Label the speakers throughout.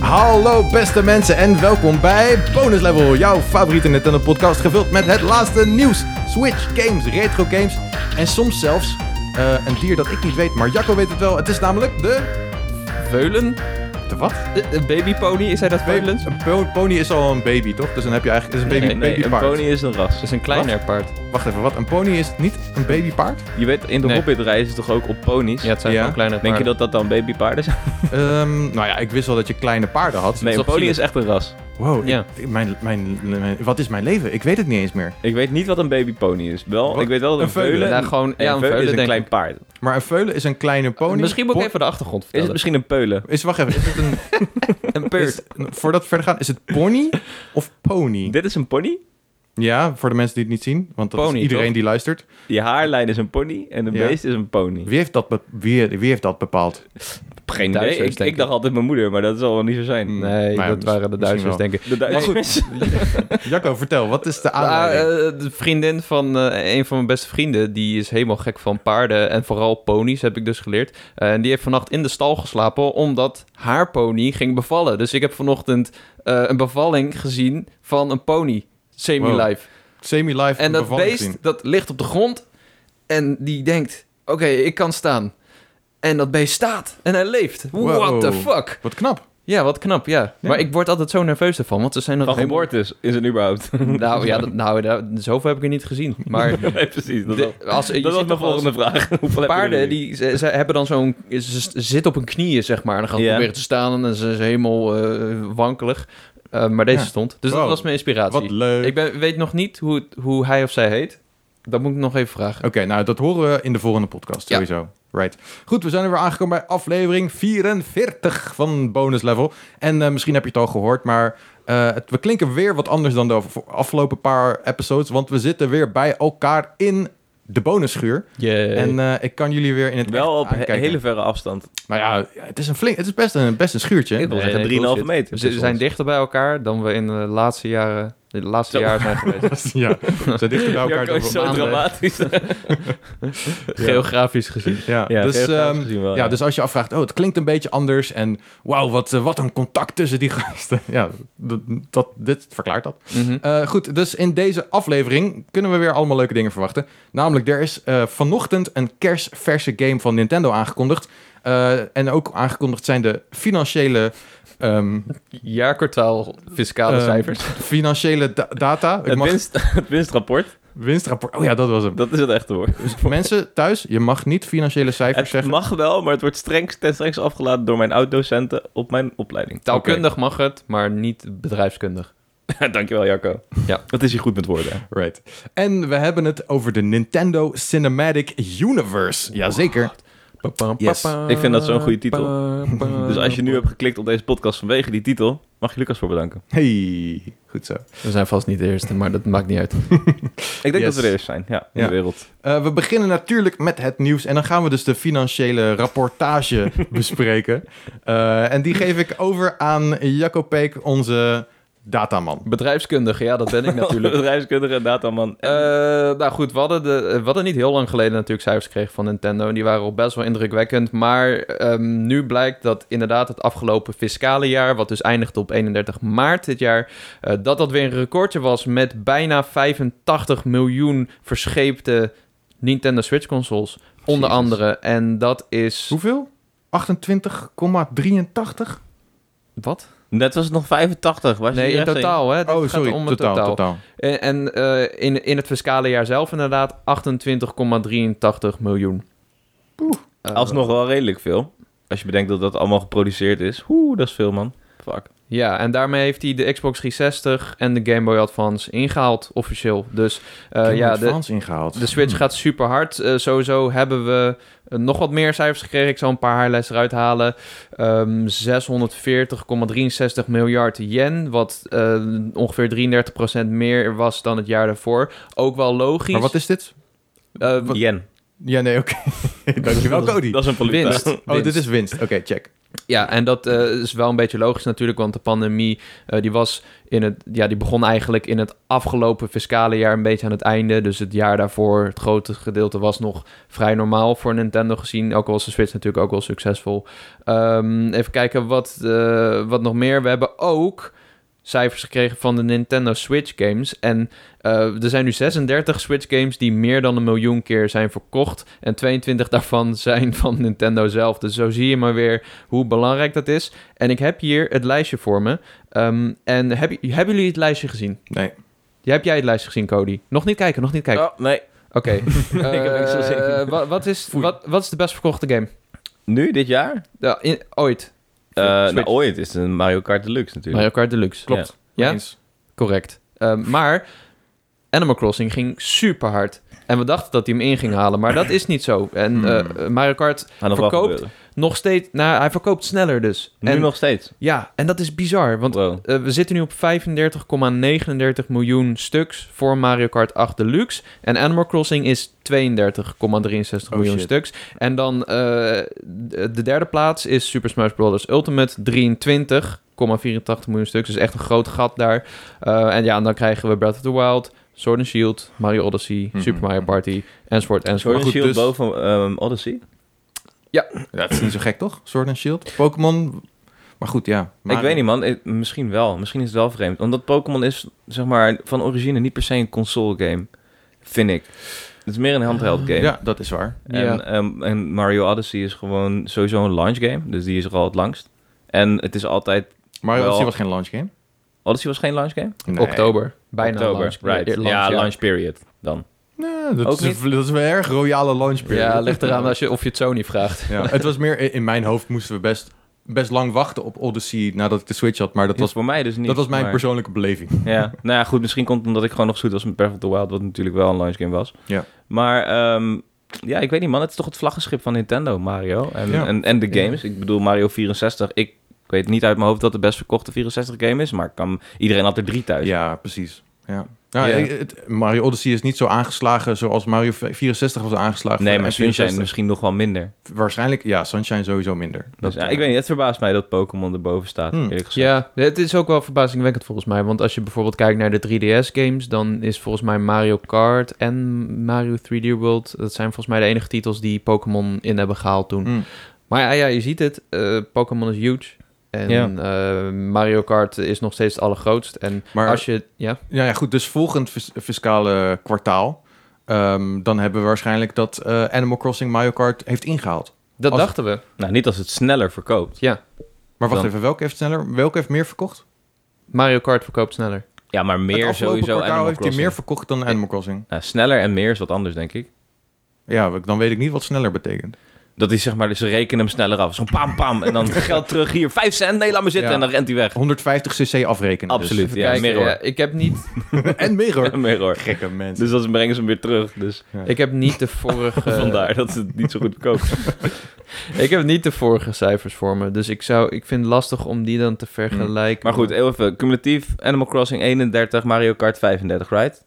Speaker 1: Hallo beste mensen en welkom bij Bonus Level, jouw favoriete Nintendo podcast gevuld met het laatste nieuws. Switch games, retro games en soms zelfs eh, een dier dat ik niet weet, maar Jacco weet het wel. Het is namelijk de...
Speaker 2: Veulen?
Speaker 1: De wat?
Speaker 2: Eh, Een babypony, is hij dat veulens?
Speaker 1: Een po- pony is al een baby, toch? Dus dan heb je eigenlijk... Het is een baby,
Speaker 3: nee,
Speaker 1: babypaard.
Speaker 3: een pony is een ras.
Speaker 2: Dat is een kleiner paard.
Speaker 1: Wacht even, wat? Een pony is niet een babypaard?
Speaker 3: Je weet, in de
Speaker 2: Nee.
Speaker 3: Hobbit reizen ze toch ook op ponies?
Speaker 2: Ja, het zijn
Speaker 1: Ja.
Speaker 2: gewoon kleine
Speaker 3: Denk je
Speaker 2: paarden.
Speaker 3: dat dat dan babypaarden zijn?
Speaker 1: Ehm, nou ja, ik wist wel dat je kleine paarden had.
Speaker 3: Nee,
Speaker 2: is
Speaker 3: een
Speaker 2: toch
Speaker 3: pony
Speaker 2: zielig?
Speaker 3: is echt een ras.
Speaker 1: Wow, ik-
Speaker 2: Ja.
Speaker 1: ik- mijn, mijn, mijn- wat is mijn leven? Ik weet het niet eens meer.
Speaker 3: Ik weet niet wat een babypony is. Wel,
Speaker 1: Wat?
Speaker 3: ik weet wel dat
Speaker 1: Een
Speaker 3: een
Speaker 1: veulen?
Speaker 3: veulen...
Speaker 2: Ja, gewoon- ja, een
Speaker 3: veulen
Speaker 2: veulen,
Speaker 3: is een
Speaker 2: denk
Speaker 3: klein
Speaker 2: ik.
Speaker 3: paard.
Speaker 1: Maar een veulen is een kleine pony.
Speaker 2: Misschien moet ik
Speaker 1: Bo-
Speaker 2: even de achtergrond
Speaker 3: Is
Speaker 2: vertellen.
Speaker 3: het misschien een peulen?
Speaker 1: Is, wacht even, is het een...
Speaker 2: een peurt?
Speaker 1: Is- voordat we verder gaan, is het pony of pony?
Speaker 3: Dit is een pony.
Speaker 1: Ja, voor de mensen die het niet zien, want dat
Speaker 2: Pony,
Speaker 1: is iedereen
Speaker 2: toch?
Speaker 1: die luistert.
Speaker 3: Je haarlijn is een pony en de
Speaker 1: Ja.
Speaker 3: beest is een pony.
Speaker 1: Wie heeft dat, be- wie, wie heeft dat bepaald?
Speaker 3: Geen
Speaker 2: Duitsers,
Speaker 3: idee. Ik,
Speaker 2: denk
Speaker 3: ik dacht
Speaker 2: ik.
Speaker 3: altijd mijn moeder, maar dat zal wel niet zo zijn.
Speaker 1: Hmm.
Speaker 2: Nee,
Speaker 1: Maar ja,
Speaker 2: dat waren de
Speaker 1: misschien
Speaker 2: Duitsers,
Speaker 1: wel.
Speaker 2: denk ik.
Speaker 3: De Duitsers.
Speaker 1: Jacco, vertel, wat is de
Speaker 2: Ah,
Speaker 1: aanleiding?
Speaker 2: eh, de vriendin van eh, een van mijn beste vrienden, die is helemaal gek van paarden en vooral ponies, heb ik dus geleerd. Eh, en die heeft vannacht in de stal geslapen omdat haar pony ging bevallen. Dus ik heb vanochtend eh, een bevalling gezien van een pony, semi-live.
Speaker 1: Semi-life
Speaker 2: En dat
Speaker 1: bevalling
Speaker 2: beest,
Speaker 1: gezien.
Speaker 2: dat ligt op de grond en die denkt, oké, ik kan staan. En dat beest staat en hij leeft.
Speaker 1: Wow.
Speaker 2: What the fuck?
Speaker 1: Wat knap.
Speaker 2: Ja, wat knap, ja.
Speaker 1: Ja.
Speaker 2: Maar ik word altijd zo nerveus ervan, want ze zijn nog
Speaker 3: Van
Speaker 2: helemaal-
Speaker 3: geboortes is het überhaupt.
Speaker 2: Nou ja, dat, nou, daar- zoveel heb ik er niet gezien. Maar
Speaker 3: nee, precies. Dat,
Speaker 2: de- als, je
Speaker 3: dat was
Speaker 2: ziet
Speaker 3: mijn
Speaker 2: toch wel eens
Speaker 3: volgende vraag. Hoeveel
Speaker 2: Paarden, die, ze, ze hebben dan zo'n... Ze st- zitten op hun knieën, zeg maar. En dan gaan ze
Speaker 3: Ja.
Speaker 2: proberen te staan en ze is helemaal eh, wankelig. Eh, maar deze
Speaker 1: Ja.
Speaker 2: stond. Dus
Speaker 1: Wow.
Speaker 2: dat was mijn inspiratie.
Speaker 1: Wat leuk.
Speaker 2: Ik ben, weet nog niet hoe, het- hoe hij of zij heet. Dat moet ik nog even vragen.
Speaker 1: Oké, nou dat horen we in de volgende podcast
Speaker 2: Ja.
Speaker 1: sowieso. Right. Goed, we zijn er weer aangekomen bij aflevering 44 van Bonus Level. En eh, misschien heb je het al gehoord, maar eh, het, we klinken weer wat anders dan de v- afgelopen paar episodes. Want we zitten weer bij elkaar in de bonusschuur.
Speaker 2: Yeah.
Speaker 1: En eh, ik kan jullie weer in het
Speaker 3: Wel
Speaker 1: echt
Speaker 3: op he-
Speaker 1: aankijken.
Speaker 3: hele verre afstand.
Speaker 1: Nou ja, het is, een flink, het is best een, best een schuurtje.
Speaker 2: Ik wil
Speaker 3: Nee,
Speaker 2: zeggen,
Speaker 3: nee, 3,5
Speaker 2: bullshit.
Speaker 3: meter.
Speaker 2: eh, Ze zijn dichter bij elkaar dan we in de laatste jaren... De laatste
Speaker 3: Zo.
Speaker 2: jaren zijn geweest.
Speaker 1: ja, ze dichten bij elkaar.
Speaker 3: Jacco is
Speaker 1: door-
Speaker 3: zo
Speaker 2: maanden.
Speaker 3: dramatisch.
Speaker 2: Geografisch gezien.
Speaker 1: Ja, dus,
Speaker 3: geografisch
Speaker 1: ehm,
Speaker 3: gezien wel,
Speaker 1: ja,
Speaker 3: ja.
Speaker 1: dus als je afvraagt, oh, het klinkt een beetje anders. En wauw, wat, eh, wat een contact tussen die gasten. Ja, dat, dat, dit verklaart dat.
Speaker 2: Mhm.
Speaker 1: Eh, goed, dus in deze aflevering kunnen we weer allemaal leuke dingen verwachten. Namelijk, er is eh, vanochtend een kerstverse game van Nintendo aangekondigd. Eh, en ook aangekondigd zijn de financiële, ehm,
Speaker 2: Jaarkwartaal fiscale
Speaker 1: Ehm,
Speaker 2: cijfers.
Speaker 1: financiële da- data. Ik
Speaker 3: Het,
Speaker 1: mag,
Speaker 3: winst, het winstrapport,
Speaker 1: winstrapport. Oh ja, dat was hem. Dus
Speaker 3: dat is het echte woord.
Speaker 1: Mensen thuis, je mag niet financiële cijfers
Speaker 3: Het
Speaker 1: zeggen.
Speaker 3: mag wel, maar het wordt streng, ten strengste afgeladen door mijn oud-docenten op mijn opleiding.
Speaker 2: Taalkundig mag het, maar niet bedrijfskundig.
Speaker 3: Dankjewel, Jacco.
Speaker 2: Ja.
Speaker 3: Dat is je goed met woorden.
Speaker 1: Right. En we hebben het over de Nintendo Cinematic Universe. Jazeker. Yes.
Speaker 3: Ik vind dat zo'n goede titel.
Speaker 1: Eh,
Speaker 3: Dus als je nu hebt geklikt op deze podcast vanwege die titel, mag je Lucas voor bedanken.
Speaker 1: Hey, goed zo.
Speaker 2: We zijn vast niet de eerste, maar dat maakt niet uit.
Speaker 3: Ik denk
Speaker 1: Yes.
Speaker 3: dat we er eerst zijn, ja, in
Speaker 1: Ja.
Speaker 3: de wereld.
Speaker 1: Eh, we beginnen natuurlijk met het nieuws en dan gaan we dus de financiële rapportage bespreken. Eh, en die geef ik over aan Jacco Peek, onze dataman.
Speaker 2: Bedrijfskundige, ja, dat ben ik natuurlijk.
Speaker 3: Bedrijfskundige, dataman.
Speaker 2: Eh, nou goed, we hadden, de, we hadden niet heel lang geleden natuurlijk cijfers gekregen van Nintendo. En die waren al best wel indrukwekkend. Maar ehm, nu blijkt dat inderdaad het afgelopen fiscale jaar, wat dus eindigt op 31 maart dit jaar, eh, dat dat weer een recordje was met bijna 85 miljoen verscheepte Nintendo Switch consoles. Onder
Speaker 3: Jezus.
Speaker 2: andere. En dat is.
Speaker 1: Hoeveel? 28,83?
Speaker 2: Wat?
Speaker 3: Net was het nog 85. Was
Speaker 2: Nee, in totaal, hè? Dit
Speaker 1: Oh,
Speaker 2: gaat
Speaker 1: sorry.
Speaker 2: om
Speaker 1: Totaal,
Speaker 2: het
Speaker 1: totaal.
Speaker 2: En, en, eh, in, in het fiscale jaar zelf inderdaad 28,83 miljoen.
Speaker 1: Poeh.
Speaker 2: Eh,
Speaker 3: Alsnog wel redelijk veel. Als je bedenkt dat dat allemaal geproduceerd is. Oeh, dat is veel, man. Fuck.
Speaker 2: Ja, en daarmee heeft hij de Xbox 360 en de Game Boy Advance ingehaald, officieel. Dus eh,
Speaker 1: Ik heb
Speaker 2: ja,
Speaker 1: het
Speaker 2: de,
Speaker 1: Frans ingehaald. Hm.
Speaker 2: de Switch gaat super hard. Eh, sowieso hebben we eh, nog wat meer cijfers gekregen. Ik zal een paar highlights eruit halen. Ehm, 640,63 miljard yen, wat eh, ongeveer 33% meer was dan het jaar daarvoor. Ook wel logisch.
Speaker 1: Maar wat is dit?
Speaker 2: Eh,
Speaker 3: Yen.
Speaker 1: Ja, nee, oké. Dankjewel, Cody.
Speaker 3: Dat is een valuta.
Speaker 2: winst.
Speaker 1: Oh,
Speaker 2: Winst.
Speaker 1: dit is winst. Oké, check.
Speaker 2: Ja, en dat eh, is wel een beetje logisch natuurlijk, want de pandemie eh, die was in het, ja, die begon eigenlijk in het afgelopen fiscale jaar een beetje aan het einde. Dus het jaar daarvoor, het grote gedeelte was nog vrij normaal voor Nintendo gezien. Ook al was de Switch natuurlijk ook wel succesvol. Ehm, even kijken wat, eh, wat nog meer. We hebben ook cijfers gekregen van de Nintendo Switch games. En eh, er zijn nu 36 Switch games die meer dan een miljoen keer zijn verkocht. En 22 daarvan zijn van Nintendo zelf. Dus zo zie je maar weer hoe belangrijk dat is. En ik heb hier het lijstje voor me. Ehm, en heb, hebben jullie het lijstje gezien?
Speaker 1: Nee.
Speaker 2: Heb jij het lijstje gezien, Cody? Nog niet kijken, nog niet kijken.
Speaker 3: Oh, nee.
Speaker 2: Oké.
Speaker 3: heb niks gezien.
Speaker 2: Eh, wa- wat, is,
Speaker 1: Foei.
Speaker 2: wat, wat is de best verkochte game?
Speaker 3: Nu, dit jaar?
Speaker 2: Ja, in- ooit.
Speaker 3: Eh,
Speaker 2: Switch.
Speaker 3: nou, ooit is het een Mario Kart Deluxe natuurlijk.
Speaker 2: Mario Kart Deluxe.
Speaker 3: Klopt.
Speaker 2: Ja?
Speaker 1: Eens.
Speaker 2: Correct. Ehm, maar Animal Crossing ging super hard. En we dachten dat hij hem in ging halen, maar dat is niet zo. En
Speaker 1: Hmm.
Speaker 2: eh, Mario Kart
Speaker 3: Gaat nog wel
Speaker 2: Verkoopt?
Speaker 3: gebeuren.
Speaker 2: nog steeds, nou, hij verkoopt sneller dus.
Speaker 3: Nu
Speaker 2: en,
Speaker 3: nog steeds.
Speaker 2: Ja, en dat is bizar, want
Speaker 3: Wow.
Speaker 2: eh, we zitten nu op 35,39 miljoen stuks voor Mario Kart 8 Deluxe. En Animal Crossing is 32,63 miljoen
Speaker 3: Oh, shit.
Speaker 2: stuks. En dan eh, de de derde plaats is Super Smash Bros. Ultimate 23,84 miljoen stuks. Dus echt een groot gat daar. Eh, en ja, en dan krijgen we Breath of the Wild, Sword and Shield, Mario Odyssey,
Speaker 1: Mhm.
Speaker 2: Super Mario Party, enzovoort, enzovoort.
Speaker 3: Sword and
Speaker 1: goed,
Speaker 3: Shield
Speaker 1: dus-
Speaker 3: boven ehm, Odyssey?
Speaker 1: Ja, dat is niet zo gek, toch? Sword and Shield. Pokémon. Maar goed, ja.
Speaker 3: Ik weet niet, man. Ik- misschien wel. Misschien is het wel vreemd. Omdat Pokémon is, zeg maar, van origine niet per se een console game. Vind ik. Het is meer een handheld game.
Speaker 1: Ja, dat is waar.
Speaker 3: En,
Speaker 2: Ja.
Speaker 3: ehm, en Mario Odyssey is gewoon sowieso een launch game. Dus die is er al het langst. En het is altijd...
Speaker 1: Mario
Speaker 3: Wel-
Speaker 1: Odyssey was geen launch game.
Speaker 3: Odyssey was geen launch game?
Speaker 1: Nee.
Speaker 2: Oktober, bijna
Speaker 3: Oktober,
Speaker 2: launch.
Speaker 3: right.
Speaker 2: Eh, launch,
Speaker 3: ja,
Speaker 2: ja.
Speaker 3: launch period dan.
Speaker 1: Nee, dat, is,
Speaker 3: Ook
Speaker 1: een- dat is een erg royale launch period.
Speaker 2: Ja, ligt eraan als je, of je het Sony vraagt.
Speaker 1: Ja, het was meer in mijn hoofd moesten we best, best lang wachten op Odyssey nadat ik de Switch had, maar dat
Speaker 3: Dat was
Speaker 1: was,
Speaker 3: voor mij dus niet.
Speaker 1: dat was mijn
Speaker 3: maar-
Speaker 1: persoonlijke beleving.
Speaker 3: Ja, nou ja, goed. Misschien komt het omdat ik gewoon nog zoet was met Breath of the Wild, wat natuurlijk wel een launch game was.
Speaker 1: Ja.
Speaker 3: Maar ehm, ja, ik weet niet man, het is toch het vlaggenschip van Nintendo, Mario. En,
Speaker 1: Ja.
Speaker 3: en, en de
Speaker 2: Ja.
Speaker 3: games. Ik bedoel, Mario 64, ik, ik weet niet uit mijn hoofd dat de best verkochte 64 game is, maar ik kan, iedereen had er drie thuis.
Speaker 1: Ja, precies. Ja. Nou,
Speaker 3: Ja.
Speaker 1: ik- het- Mario Odyssey is niet zo aangeslagen zoals Mario 64 was aangeslagen.
Speaker 3: nee,
Speaker 1: voor
Speaker 3: maar
Speaker 1: de N64.
Speaker 3: Sunshine misschien nog wel minder.
Speaker 1: Waarschijnlijk, ja, Sunshine sowieso minder.
Speaker 3: Dus, ja, ik weet niet, het verbaast mij dat Pokémon erboven staat,
Speaker 1: Hmm.
Speaker 3: eerlijk gezegd.
Speaker 2: Ja, het is ook wel verbazingwekkend volgens mij. Want als je bijvoorbeeld kijkt naar de 3DS-games, dan is volgens mij Mario Kart en Mario 3D World. Dat zijn volgens mij de enige titels die Pokémon in hebben gehaald toen.
Speaker 1: Hm.
Speaker 2: Maar ja, ja, je ziet het. eh, Pokémon is huge. En
Speaker 3: Ja.
Speaker 2: eh, Mario Kart is nog steeds het allergrootst. En
Speaker 1: Maar
Speaker 2: als je. Ja,
Speaker 1: Ja, ja, goed. Dus volgend fis- fiscale kwartaal, ehm, dan hebben we waarschijnlijk dat eh, Animal Crossing Mario Kart heeft ingehaald.
Speaker 2: dat
Speaker 1: Als-
Speaker 2: dachten we.
Speaker 3: Nou, niet als het sneller verkoopt.
Speaker 1: Maar wacht
Speaker 3: Dan.
Speaker 1: even, welke heeft sneller? Welke heeft meer verkocht?
Speaker 2: Mario Kart verkoopt sneller.
Speaker 3: Ja, maar
Speaker 1: Het
Speaker 3: meer
Speaker 1: afgelopen
Speaker 3: sowieso
Speaker 1: kwartaal
Speaker 3: Animal
Speaker 1: heeft hij
Speaker 3: Crossing.
Speaker 1: meer verkocht dan Animal Crossing.
Speaker 3: Nou, sneller en meer is wat anders, denk ik.
Speaker 1: Ja, dan weet ik niet wat sneller betekent.
Speaker 3: Dat is zeg maar, dus ze rekenen hem sneller af. Zo'n pam pam en dan geld terug hier. Vijf cent, nee, laat me zitten
Speaker 1: Ja.
Speaker 3: en dan rent hij weg.
Speaker 1: 150 cc afrekenen. dus.
Speaker 3: Absoluut, ja,
Speaker 2: Kijk,
Speaker 3: mirror.
Speaker 2: eh, ik heb niet
Speaker 1: en meer hoor.
Speaker 3: Mirror.
Speaker 1: Gekke mensen.
Speaker 3: Dus dan brengen ze hem weer terug. Dus
Speaker 2: Ik heb niet de vorige.
Speaker 3: vandaar dat ze het niet zo goed verkoopt.
Speaker 2: Ik heb niet de vorige cijfers voor me. Dus ik, zou, ik vind het lastig om die dan te vergelijken.
Speaker 3: Hmm. Maar goed, heel even. Cumulatief Animal Crossing 31, Mario Kart 35, right?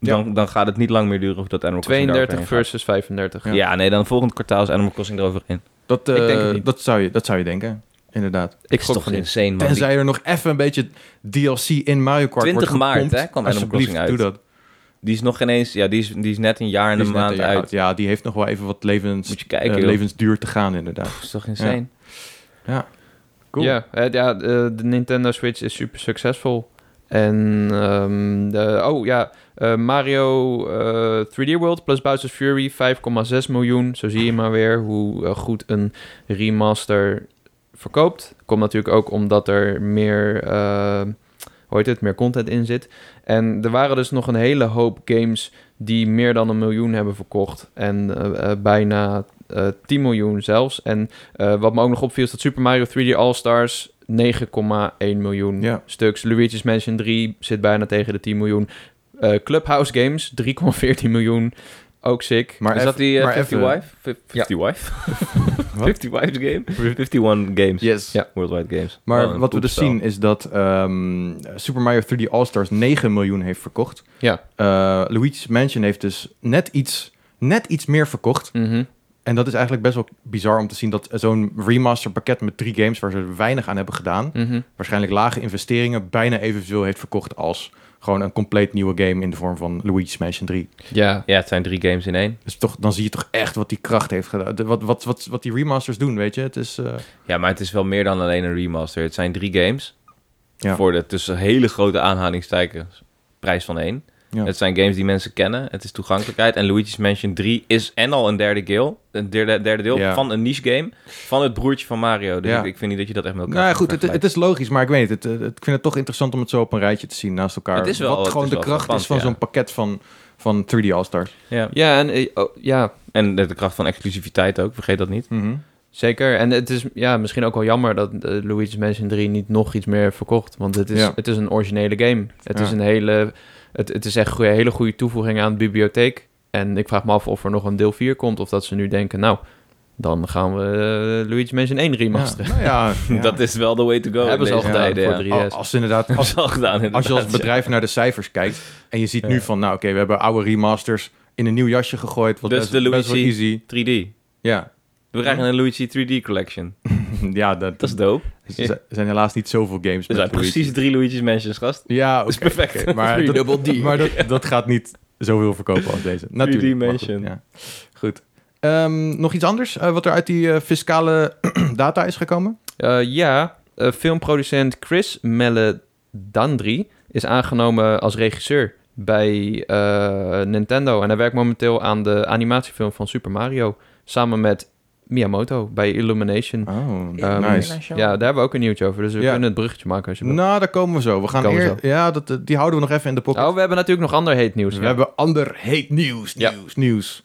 Speaker 3: Dan, dan gaat het niet lang meer duren of dat Animal Crossing
Speaker 2: 32
Speaker 3: eroverheen gaat.
Speaker 2: versus 35.
Speaker 1: Ja.
Speaker 3: Ja, nee, dan volgend kwartaal is Animal Crossing eroverheen.
Speaker 1: dat, eh,
Speaker 2: Ik denk het niet.
Speaker 1: dat, zou je, dat zou je denken, inderdaad.
Speaker 2: Ik
Speaker 3: is
Speaker 2: gok
Speaker 3: toch
Speaker 2: van niet.
Speaker 3: insane, man.
Speaker 1: Tenzij er nog even een beetje DLC in Mario Kart
Speaker 3: 20
Speaker 1: wordt
Speaker 3: maart,
Speaker 1: gepompt.
Speaker 3: hè, kwam Animal
Speaker 1: Alsjeblieft,
Speaker 3: Crossing uit.
Speaker 1: doe dat.
Speaker 3: Die, die is nog geen eens... Ja, die is, die is net een jaar en
Speaker 1: Die is
Speaker 3: een
Speaker 1: net
Speaker 3: maand
Speaker 1: een jaar oud.
Speaker 3: uit.
Speaker 1: Ja, die heeft nog wel even wat levens,
Speaker 3: Moet je kijken,
Speaker 1: eh,
Speaker 3: joh.
Speaker 1: levensduur te gaan, inderdaad.
Speaker 3: Dat is toch insane?
Speaker 1: Cool.
Speaker 2: Ja, eh, ja eh, de Nintendo Switch is super succesvol. En, ehm, de- oh ja, eh, Mario eh, 3D World plus Bowser's Fury 5,6 miljoen. Zo zie je maar weer hoe eh, goed een remaster verkoopt. Komt natuurlijk ook omdat er meer, eh, hoe heet het, meer content in zit. En er waren dus nog een hele hoop games die meer dan een miljoen hebben verkocht. En eh, eh, bijna eh 10 miljoen zelfs. En eh, wat me ook nog opviel is dat Super Mario 3D All-Stars 9,1 miljoen
Speaker 1: Ja.
Speaker 2: stuks. Luigi's Mansion 3 zit bijna tegen de 10 miljoen. Eh, Clubhouse Games 3,14 miljoen. Ook sick.
Speaker 1: Maar
Speaker 3: is dat
Speaker 1: even-
Speaker 3: die eh,
Speaker 1: maar
Speaker 3: 50
Speaker 1: even-
Speaker 3: Wife? Fi- 50 Wife?
Speaker 1: Wat?
Speaker 3: 50 Wives game? 51 games.
Speaker 1: Yes.
Speaker 2: Ja.
Speaker 3: Worldwide games.
Speaker 1: Maar
Speaker 3: Wat een
Speaker 1: wat we dus
Speaker 3: poepspel.
Speaker 1: zien is dat ehm, Super Mario 3D All-Stars 9 miljoen heeft verkocht.
Speaker 2: Ja.
Speaker 1: Eh, Luigi's Mansion heeft dus net iets, net iets meer verkocht.
Speaker 2: Mhm.
Speaker 1: En dat is eigenlijk best wel bizar om te zien dat zo'n remaster pakket met drie games waar ze weinig aan hebben gedaan,
Speaker 2: Mhm.
Speaker 1: waarschijnlijk lage investeringen, bijna evenveel heeft verkocht als gewoon een compleet nieuwe game in de vorm van Luigi's Mansion 3.
Speaker 2: Ja.
Speaker 3: Ja, het zijn drie games in één.
Speaker 1: Dus toch, dan zie je toch echt wat die kracht heeft gedaan. De- wat, wat, wat, wat die remasters doen, weet je. Het is, eh,
Speaker 3: Ja, maar het is wel meer dan alleen een remaster. Het zijn drie games.
Speaker 1: Ja.
Speaker 3: Voor de tussen hele grote aanhalingstekens prijs van één.
Speaker 1: Ja.
Speaker 3: Het zijn games die mensen kennen. Het is toegankelijkheid. En Luigi's Mansion 3 is en al een derde deel. Een derde, derde deel
Speaker 1: Ja.
Speaker 3: van een niche game. Van het broertje van Mario. Dus
Speaker 1: Ja.
Speaker 3: ik, ik vind niet dat je dat echt met elkaar
Speaker 1: nou ja,
Speaker 3: kan
Speaker 1: goed, het, het
Speaker 3: vergelijken.
Speaker 1: is logisch, maar ik weet het, het, het- Ik vind het toch interessant om het zo op een rijtje te zien naast elkaar.
Speaker 3: Het is wel-
Speaker 1: wat
Speaker 3: het
Speaker 1: gewoon
Speaker 3: is
Speaker 1: de
Speaker 3: wel
Speaker 1: kracht
Speaker 3: frappant,
Speaker 1: is van
Speaker 3: ja.
Speaker 1: zo'n pakket van, van 3D All-Stars.
Speaker 3: Ja.
Speaker 2: Ja, en eh, oh, ja,
Speaker 3: En de, de kracht van exclusiviteit ook. Vergeet dat niet.
Speaker 1: Mhm.
Speaker 2: zeker. En het is ja, misschien ook wel jammer dat eh, Luigi's Mansion 3 niet nog iets meer heeft verkocht. Want het is,
Speaker 1: Ja.
Speaker 2: het is een originele game. Het
Speaker 1: Ja.
Speaker 2: is een hele, het, het is echt goeie- hele goede toevoeging aan de bibliotheek. En ik vraag me af of er nog een deel 4 komt. Of dat ze nu denken, nou, dan gaan we eh, Luigi's Mansion 1 remasteren.
Speaker 1: Ja, nou ja, ja.
Speaker 3: Dat is wel de way to go.
Speaker 2: Hebben
Speaker 3: in
Speaker 2: ze al
Speaker 3: deze
Speaker 2: gedaan
Speaker 3: tijden,
Speaker 2: voor
Speaker 3: ja.
Speaker 2: drie.
Speaker 1: Al- Als inderdaad,
Speaker 3: Hebben
Speaker 1: als,
Speaker 3: ze al gedaan
Speaker 1: als je als
Speaker 3: inderdaad, ja.
Speaker 1: bedrijf naar de cijfers kijkt en je ziet nu van, nou oké, we hebben oude remasters in een nieuw jasje gegooid. Wat
Speaker 3: Dus
Speaker 1: best,
Speaker 3: de
Speaker 1: best wel
Speaker 3: Luigi.
Speaker 1: easy.
Speaker 3: 3D.
Speaker 1: Ja,
Speaker 3: We krijgen een Luigi 3D collection.
Speaker 1: ja dat,
Speaker 3: Dat is dope.
Speaker 1: er zijn helaas niet zoveel games.
Speaker 3: Er
Speaker 1: met
Speaker 3: zijn
Speaker 1: Luigi.
Speaker 3: precies drie Luigi's Mansions, gast.
Speaker 1: Ja, oké.
Speaker 3: Dat is perfect.
Speaker 1: oké, maar dat,
Speaker 2: Dubbel D.
Speaker 1: maar dat, dat gaat niet zoveel verkopen als deze. Natuurlijk. maar goed,
Speaker 3: Mansion.
Speaker 1: ja. Goed. Ehm, nog iets anders eh, wat er uit die eh, fiscale data is gekomen?
Speaker 2: Eh, ja, eh, filmproducent Chris Meledandri is aangenomen als regisseur bij eh, Nintendo. En hij werkt momenteel aan de animatiefilm van Super Mario samen met Miyamoto bij Illumination.
Speaker 1: Oh,
Speaker 2: Ehm,
Speaker 1: nice.
Speaker 2: Ja, daar hebben we ook een nieuwtje over, dus we
Speaker 1: Ja.
Speaker 2: kunnen het bruggetje maken als je wilt.
Speaker 1: Nou, daar komen we zo. We gaan
Speaker 2: Komen we
Speaker 1: eer- Ja, dat, eh, die houden we nog even in de pocket.
Speaker 2: Oh, we hebben natuurlijk nog ander heet nieuws.
Speaker 1: we
Speaker 2: ja.
Speaker 1: hebben ander heet nieuws,
Speaker 2: Ja.
Speaker 1: nieuws, nieuws.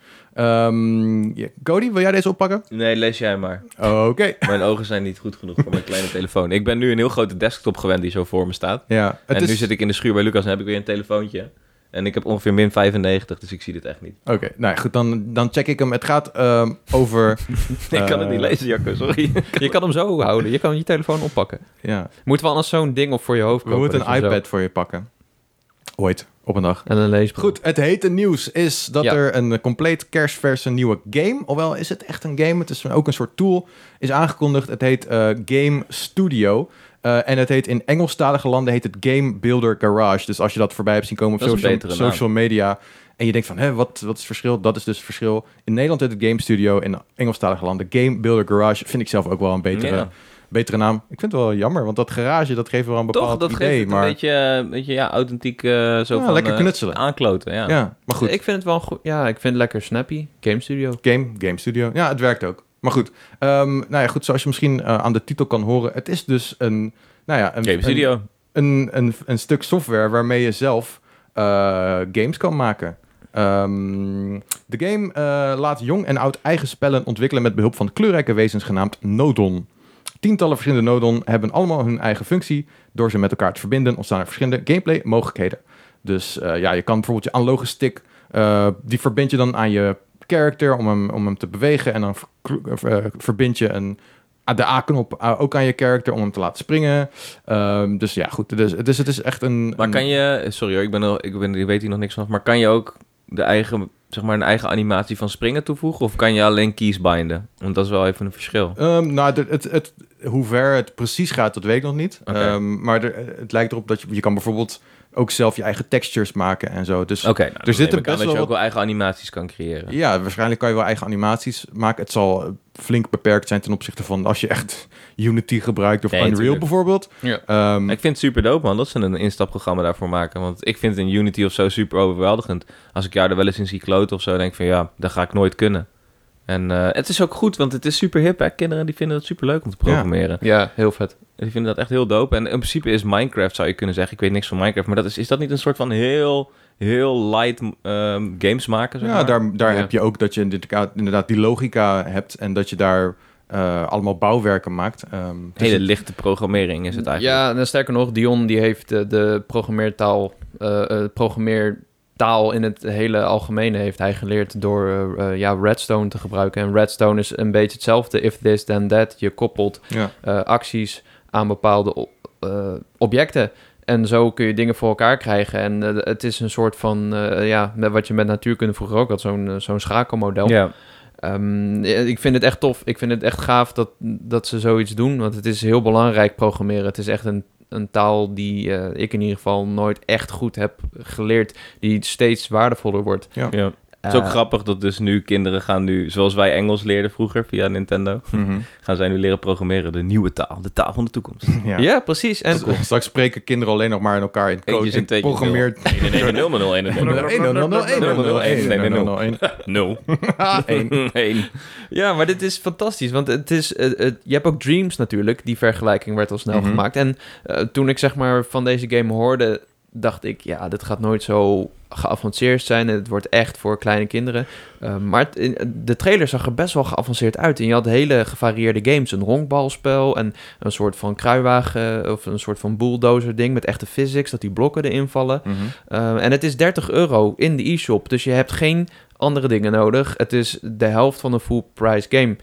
Speaker 1: Ehm, ja, Cody, wil jij deze oppakken?
Speaker 3: Nee, lees jij maar.
Speaker 1: Oké.
Speaker 3: Mijn ogen zijn niet goed genoeg voor mijn kleine telefoon. Ik ben nu een heel grote desktop gewend die zo voor me staat.
Speaker 1: Ja, het
Speaker 3: en
Speaker 1: is...
Speaker 3: nu zit ik in de schuur bij Lucas en heb ik weer een telefoontje. En ik heb ongeveer min 95, dus ik zie dit echt niet.
Speaker 1: Oké, nou ja, goed, dan, dan check ik hem. Het gaat ehm, over...
Speaker 3: ik kan het
Speaker 1: Eh.
Speaker 3: niet lezen, Jacco, sorry.
Speaker 2: Je kan hem zo houden, je kan je telefoon oppakken.
Speaker 1: ja,
Speaker 2: Moet wel anders zo'n ding op voor je hoofd
Speaker 1: we
Speaker 2: komen.
Speaker 1: moeten een iPad voor je pakken. Ooit, op een dag.
Speaker 2: En een leesbril.
Speaker 1: Goed, het hete nieuws is dat
Speaker 2: Ja.
Speaker 1: er een eh, compleet kerstverse nieuwe game, ofwel is het echt een game, het is ook een soort tool, is aangekondigd. Het heet eh, Game Studio. Eh, en het heet in Engelstalige landen heet het Game Builder Garage. Dus als je dat voorbij hebt zien komen op
Speaker 3: Dat is een
Speaker 1: social,
Speaker 3: betere naam.
Speaker 1: social media en je denkt van, hè, wat, wat is het verschil? Dat is dus het verschil. In Nederland heet het Game Studio, in Engelstalige landen Game Builder Garage. Vind ik zelf ook wel een betere,
Speaker 3: Ja.
Speaker 1: betere naam. Ik vind het wel jammer, want dat garage, dat geeft wel een bepaald
Speaker 3: Toch, dat
Speaker 1: idee.
Speaker 3: geeft het
Speaker 1: maar
Speaker 3: een beetje, eh, beetje ja, authentiek eh zo
Speaker 1: Ja,
Speaker 3: van,
Speaker 1: lekker
Speaker 3: eh,
Speaker 1: knutselen.
Speaker 3: aankloten, ja.
Speaker 1: ja, maar goed.
Speaker 2: Ik vind het wel goed. Ja, ik vind het lekker snappy. Game Studio.
Speaker 1: Game, Game Studio. Ja, het werkt ook. Maar goed, ehm, nou ja, goed zoals je misschien eh, aan de titel kan horen, het is dus een, nou ja, een,
Speaker 3: Game Studio.
Speaker 1: Een, een, een, een stuk software waarmee je zelf eh, games kan maken. Ehm, de game eh, laat jong en oud eigen spellen ontwikkelen met behulp van kleurrijke wezens genaamd Nodon. Tientallen verschillende Nodon hebben allemaal hun eigen functie. Door ze met elkaar te verbinden ontstaan er verschillende gameplay-mogelijkheden. Dus eh, ja, je kan bijvoorbeeld je analoge stick, eh, die verbind je dan aan je character om hem, om hem te bewegen. En dan ver- kl- eh, verbind je een, ah, de A-knop ah, ook aan je character om hem te laten springen. Ehm, dus ja, goed. Dus, dus het is echt een...
Speaker 3: Maar
Speaker 1: een-
Speaker 3: kan je, sorry hoor, ik, ben er, ik, ben, ik weet hier nog niks van, maar kan je ook de eigen, zeg maar, een eigen animatie van springen toevoegen? Of kan je alleen keys binden? Want dat is wel even een verschil.
Speaker 1: Ehm, nou, de- het, het, hoe ver het precies gaat, dat weet ik nog niet.
Speaker 3: Oké.
Speaker 1: Ehm, maar er- het lijkt erop dat je, je kan bijvoorbeeld ook zelf je eigen textures maken en zo. Dus
Speaker 3: Oké, nou, dan
Speaker 1: zit
Speaker 3: neem
Speaker 1: er
Speaker 3: ik aan
Speaker 1: best
Speaker 3: dat
Speaker 1: wel
Speaker 3: je ook
Speaker 1: wat-
Speaker 3: wel eigen animaties kan creëren.
Speaker 1: ja, waarschijnlijk kan je wel eigen animaties maken. Het zal eh, flink beperkt zijn ten opzichte van als je echt Unity gebruikt of
Speaker 3: Nee,
Speaker 1: Unreal
Speaker 3: tuurlijk.
Speaker 1: bijvoorbeeld.
Speaker 2: Ja.
Speaker 1: Ehm,
Speaker 3: Ik vind het super dope, man, dat ze een instapprogramma daarvoor maken. Want ik vind het in Unity of zo super overweldigend. Als ik jou er wel eens in zie kloten of zo, denk ik van ja, dat ga ik nooit kunnen. En eh, het is ook goed, want het is super hip, hè. Kinderen die vinden het super leuk om te
Speaker 1: Ja.
Speaker 3: programmeren.
Speaker 2: Ja, heel vet.
Speaker 3: Ik vind dat echt heel dope. En in principe is Minecraft, zou je kunnen zeggen, ik weet niks van Minecraft, maar dat is, is dat niet een soort van heel, heel light ehm, games maken? Zeg
Speaker 1: ja,
Speaker 3: maar?
Speaker 1: daar, daar
Speaker 2: Ja.
Speaker 1: heb je ook dat je inderdaad, inderdaad die logica hebt en dat je daar eh, allemaal bouwwerken maakt. Ehm, dus
Speaker 3: Hele
Speaker 1: het-
Speaker 3: lichte programmering is het eigenlijk.
Speaker 2: Ja, en sterker nog, Dion die heeft eh, de programmeertaal, eh, eh, programmeertaal in het hele algemene heeft hij geleerd door eh, eh, ja, Redstone te gebruiken. En Redstone is een beetje hetzelfde, if this then that. Je koppelt
Speaker 1: ja.
Speaker 2: eh, acties aan bepaalde o- eh, objecten. En zo kun je dingen voor elkaar krijgen. En eh, het is een soort van, eh, ja, met wat je met natuurkunde vroeger ook had, zo'n eh, zo'n schakelmodel.
Speaker 3: Ja.
Speaker 2: Ehm, Ehm, ja, ik vind het echt tof. Ik vind het echt gaaf dat, dat ze zoiets doen. Want het is heel belangrijk programmeren. Het is echt een, een taal die eh, ik in ieder geval nooit echt goed heb geleerd. Die steeds waardevoller wordt.
Speaker 3: Ja. Het is ook
Speaker 2: Eh,
Speaker 3: grappig dat dus nu kinderen gaan nu, zoals wij Engels leerden vroeger via Nintendo,
Speaker 1: Mhm.
Speaker 3: gaan zij nu leren programmeren. De nieuwe taal, de taal van de toekomst.
Speaker 1: ja.
Speaker 2: Ja, precies. En
Speaker 1: En straks spreken kinderen alleen nog maar in elkaar in code.
Speaker 3: Eentjes en
Speaker 1: In
Speaker 3: tweetjes,
Speaker 1: programmeert.
Speaker 3: Nee, nee, nee, 0 0 1 0 1
Speaker 2: Ja, maar dit is fantastisch. Want het is, eh, het- je hebt ook Dreams natuurlijk. Die vergelijking werd al snel
Speaker 1: Mhm.
Speaker 2: gemaakt. En eh, toen ik zeg maar van deze game hoorde, dacht ik, ja, dit gaat nooit zo geavanceerd zijn. Het wordt echt voor kleine kinderen. Eh, maar het- in- de trailer zag er best wel geavanceerd uit. En je had hele gevarieerde games. Een honkbalspel en een soort van kruiwagen eh, of een soort van bulldozer ding met echte physics. Dat die blokken erin vallen. Uh, en het is 30 euro in de e-shop. Dus je hebt geen andere dingen nodig. Het is de helft van een full price game.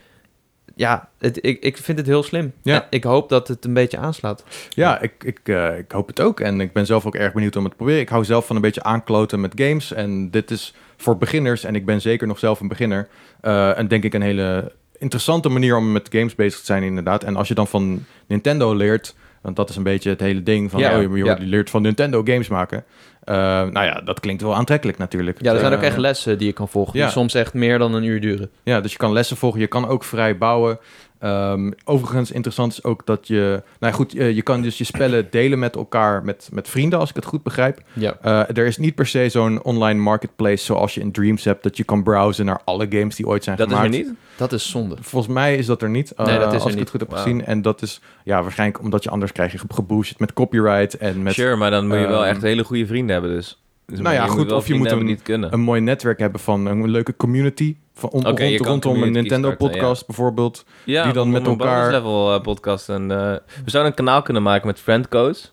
Speaker 2: Ja, het, ik, ik vind het heel slim.
Speaker 1: Ja.
Speaker 2: En Ik hoop dat het een beetje aanslaat.
Speaker 1: Ja, ik, ik, eh, ik hoop het ook. En ik ben zelf ook erg benieuwd om het te proberen. Ik hou zelf van een beetje aankloten met games. En dit is voor beginners, en ik ben zeker nog zelf een beginner. eh, en denk ik een hele interessante manier om met games bezig te zijn, inderdaad. En als je dan van Nintendo leert, want dat is een beetje het hele ding van
Speaker 2: Ja,
Speaker 1: oh, je, je
Speaker 2: ja.
Speaker 1: leert van Nintendo games maken. Eh, nou ja, dat klinkt wel aantrekkelijk natuurlijk.
Speaker 2: Ja, er zijn ook
Speaker 1: Eh,
Speaker 2: echt lessen die je kan volgen.
Speaker 1: ja.
Speaker 2: Die soms echt meer dan een uur duren.
Speaker 1: ja, dus je kan lessen volgen, je kan ook vrij bouwen. Ehm, overigens interessant is ook dat je... Nou ja, goed, eh, je kan dus je spellen delen met elkaar, met, met vrienden als ik het goed begrijp.
Speaker 2: Ja.
Speaker 1: Eh, er is niet per se zo'n online marketplace zoals je in Dreams hebt... dat je kan browsen naar alle games die ooit zijn
Speaker 3: Dat is
Speaker 1: gemaakt.
Speaker 3: er niet?
Speaker 2: Dat is zonde.
Speaker 1: Volgens mij is dat er niet, eh,
Speaker 2: Nee, dat is er
Speaker 1: als ik
Speaker 2: niet.
Speaker 1: het goed heb
Speaker 3: Wauw.
Speaker 1: gezien. En dat is ja, waarschijnlijk omdat je anders krijg je ge- geboost met copyright... en met
Speaker 3: Sure, maar dan moet je wel
Speaker 1: ehm,
Speaker 3: echt hele goede vrienden hebben dus. Dus
Speaker 1: Nou ja,
Speaker 3: je moet
Speaker 1: goed,
Speaker 3: wel
Speaker 1: of je moet hem-
Speaker 3: vrienden hebben die het kunnen.
Speaker 1: een mooi netwerk hebben van een leuke community... Van om-
Speaker 3: Oké, je
Speaker 1: rond,
Speaker 3: kan
Speaker 1: rondom een
Speaker 3: community starten,
Speaker 1: Nintendo-podcast bijvoorbeeld.
Speaker 3: Ja,
Speaker 1: die dan
Speaker 3: om
Speaker 1: met
Speaker 3: een bonus
Speaker 1: elkaar-
Speaker 3: level eh, podcast. En, eh, we zouden een kanaal kunnen maken met friendcodes.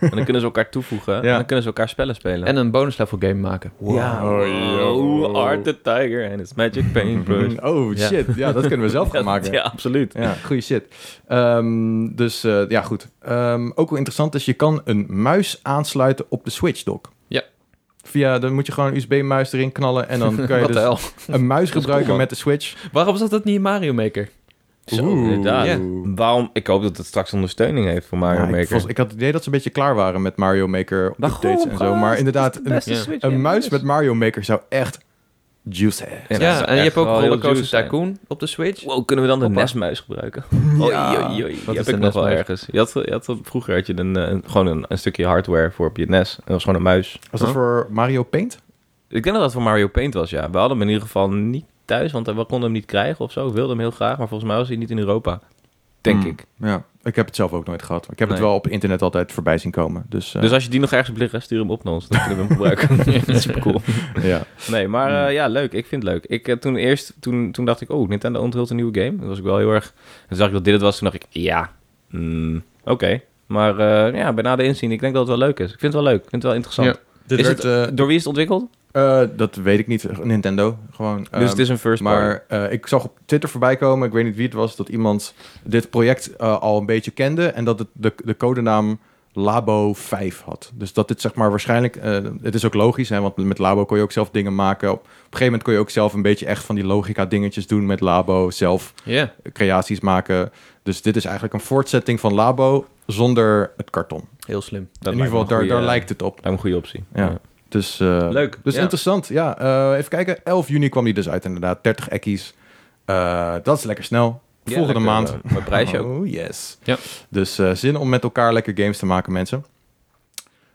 Speaker 3: en dan kunnen ze elkaar toevoegen. En dan kunnen ze elkaar spellen spelen.
Speaker 2: En een bonus level game maken.
Speaker 3: Ja,
Speaker 1: Wow.
Speaker 3: wow. Art the Tiger and his magic paintbrush.
Speaker 1: Oh
Speaker 2: Ja.
Speaker 1: shit, ja, dat kunnen we zelf
Speaker 3: Ja,
Speaker 1: gaan maken.
Speaker 3: Ja, absoluut.
Speaker 1: Ja, goede shit. Ehm, dus eh, ja, goed. Ehm, ook wel interessant is, je kan een muis aansluiten op de Switch dock.
Speaker 2: Ja.
Speaker 1: Via, dan moet je gewoon een USB-muis erin knallen en dan kan je
Speaker 2: Wat de
Speaker 1: dus
Speaker 2: hel.
Speaker 1: een muis
Speaker 3: cool,
Speaker 1: gebruiken
Speaker 3: man.
Speaker 1: met de Switch.
Speaker 2: Waarom zat dat niet in Mario Maker?
Speaker 3: Zo,
Speaker 1: Oeh.
Speaker 3: inderdaad.
Speaker 2: Ja.
Speaker 3: Waarom? Ik hoop dat het straks ondersteuning heeft voor Mario
Speaker 1: Ja, Ah, ik,
Speaker 3: Maker.
Speaker 1: volgens- ik had het idee dat ze een beetje klaar waren met Mario Maker updates en zo. Maar inderdaad, een,
Speaker 2: beste Switch
Speaker 1: een muis met Mario Maker zou echt juice hebben.
Speaker 2: Ja, en je hebt ook Rollercoaster Tycoon op de Switch.
Speaker 3: Wow, kunnen we dan de
Speaker 2: Hoppa.
Speaker 3: NES-muis gebruiken?
Speaker 1: Ja.
Speaker 3: Oei, oei, oei. Die
Speaker 2: Wat
Speaker 3: heb
Speaker 2: is
Speaker 3: ik
Speaker 2: een
Speaker 3: nog wel
Speaker 2: NES-muis?
Speaker 3: ergens. Je had, je had, vroeger had je een, eh, een- gewoon een, een stukje hardware voor op je NES. En dat was gewoon een muis.
Speaker 1: Was dat
Speaker 3: Huh?
Speaker 1: voor Mario Paint?
Speaker 3: Ik denk dat dat voor Mario Paint was, ja. We hadden hem in ieder geval niet thuis, want we konden hem niet krijgen of zo. Ik wilde hem heel graag, maar volgens mij was hij niet in Europa. Denk
Speaker 1: Hmm.
Speaker 3: ik.
Speaker 1: Ja, ik heb het zelf ook nooit gehad. Ik heb het
Speaker 3: Nee.
Speaker 1: wel op internet altijd voorbij zien komen. Dus, eh,
Speaker 3: Dus als je die nog ergens op liggen, stuur hem op naar ons. Dan kunnen we hem gebruiken. Super cool.
Speaker 1: ja.
Speaker 3: Nee, maar
Speaker 1: Hmm.
Speaker 3: eh, ja, leuk. Ik vind het leuk. Ik, eh, toen, eerst, toen, toen dacht ik, oh, Nintendo onthult een nieuwe game. Dat was ik wel heel erg... Toen zag ik dat dit het was, toen dacht ik, ja, mm, oké. Maar eh, ja, bij nader inzien, ik denk dat het wel leuk is. Ik vind het wel leuk. Ik vind het wel interessant.
Speaker 2: Ja.
Speaker 1: Dit
Speaker 3: Is
Speaker 1: werd, eh,
Speaker 3: Door wie is het ontwikkeld?
Speaker 1: Eh, dat weet ik niet. Nintendo, gewoon.
Speaker 3: dus
Speaker 1: Ehm,
Speaker 3: het is een first party.
Speaker 1: maar eh, ik zag op Twitter voorbij komen, ik weet niet wie het was, dat iemand dit project eh, al een beetje kende en dat het de, de codenaam Labo 5 had. Dus dat dit zeg maar waarschijnlijk, eh, het is ook logisch, hè, want met Labo kon je ook zelf dingen maken. Op, op een gegeven moment kon je ook zelf een beetje echt van die logica dingetjes doen met Labo, zelf eh,
Speaker 2: Ja.
Speaker 1: creaties maken. Dus dit is eigenlijk een voortzetting van Labo zonder het karton.
Speaker 2: Heel slim.
Speaker 3: Dat
Speaker 1: In ieder geval,
Speaker 3: lijkt me
Speaker 1: daar,
Speaker 3: een
Speaker 1: daar
Speaker 3: goede-
Speaker 1: lijkt het op.
Speaker 3: lijkt me een goede optie.
Speaker 1: Ja. Dus, eh,
Speaker 3: Leuk,
Speaker 1: Dus
Speaker 3: ja.
Speaker 1: interessant, ja. Eh, even kijken. 11 juni kwam die dus uit, inderdaad. 30 ekkies. Eh, dat is lekker snel.
Speaker 3: Ja,
Speaker 1: Volgende
Speaker 3: lekker,
Speaker 1: maand.
Speaker 3: eh, Met prijsje ook.
Speaker 1: Oh, yes.
Speaker 2: Ja.
Speaker 1: Dus eh, zin om met elkaar lekker games te maken, mensen.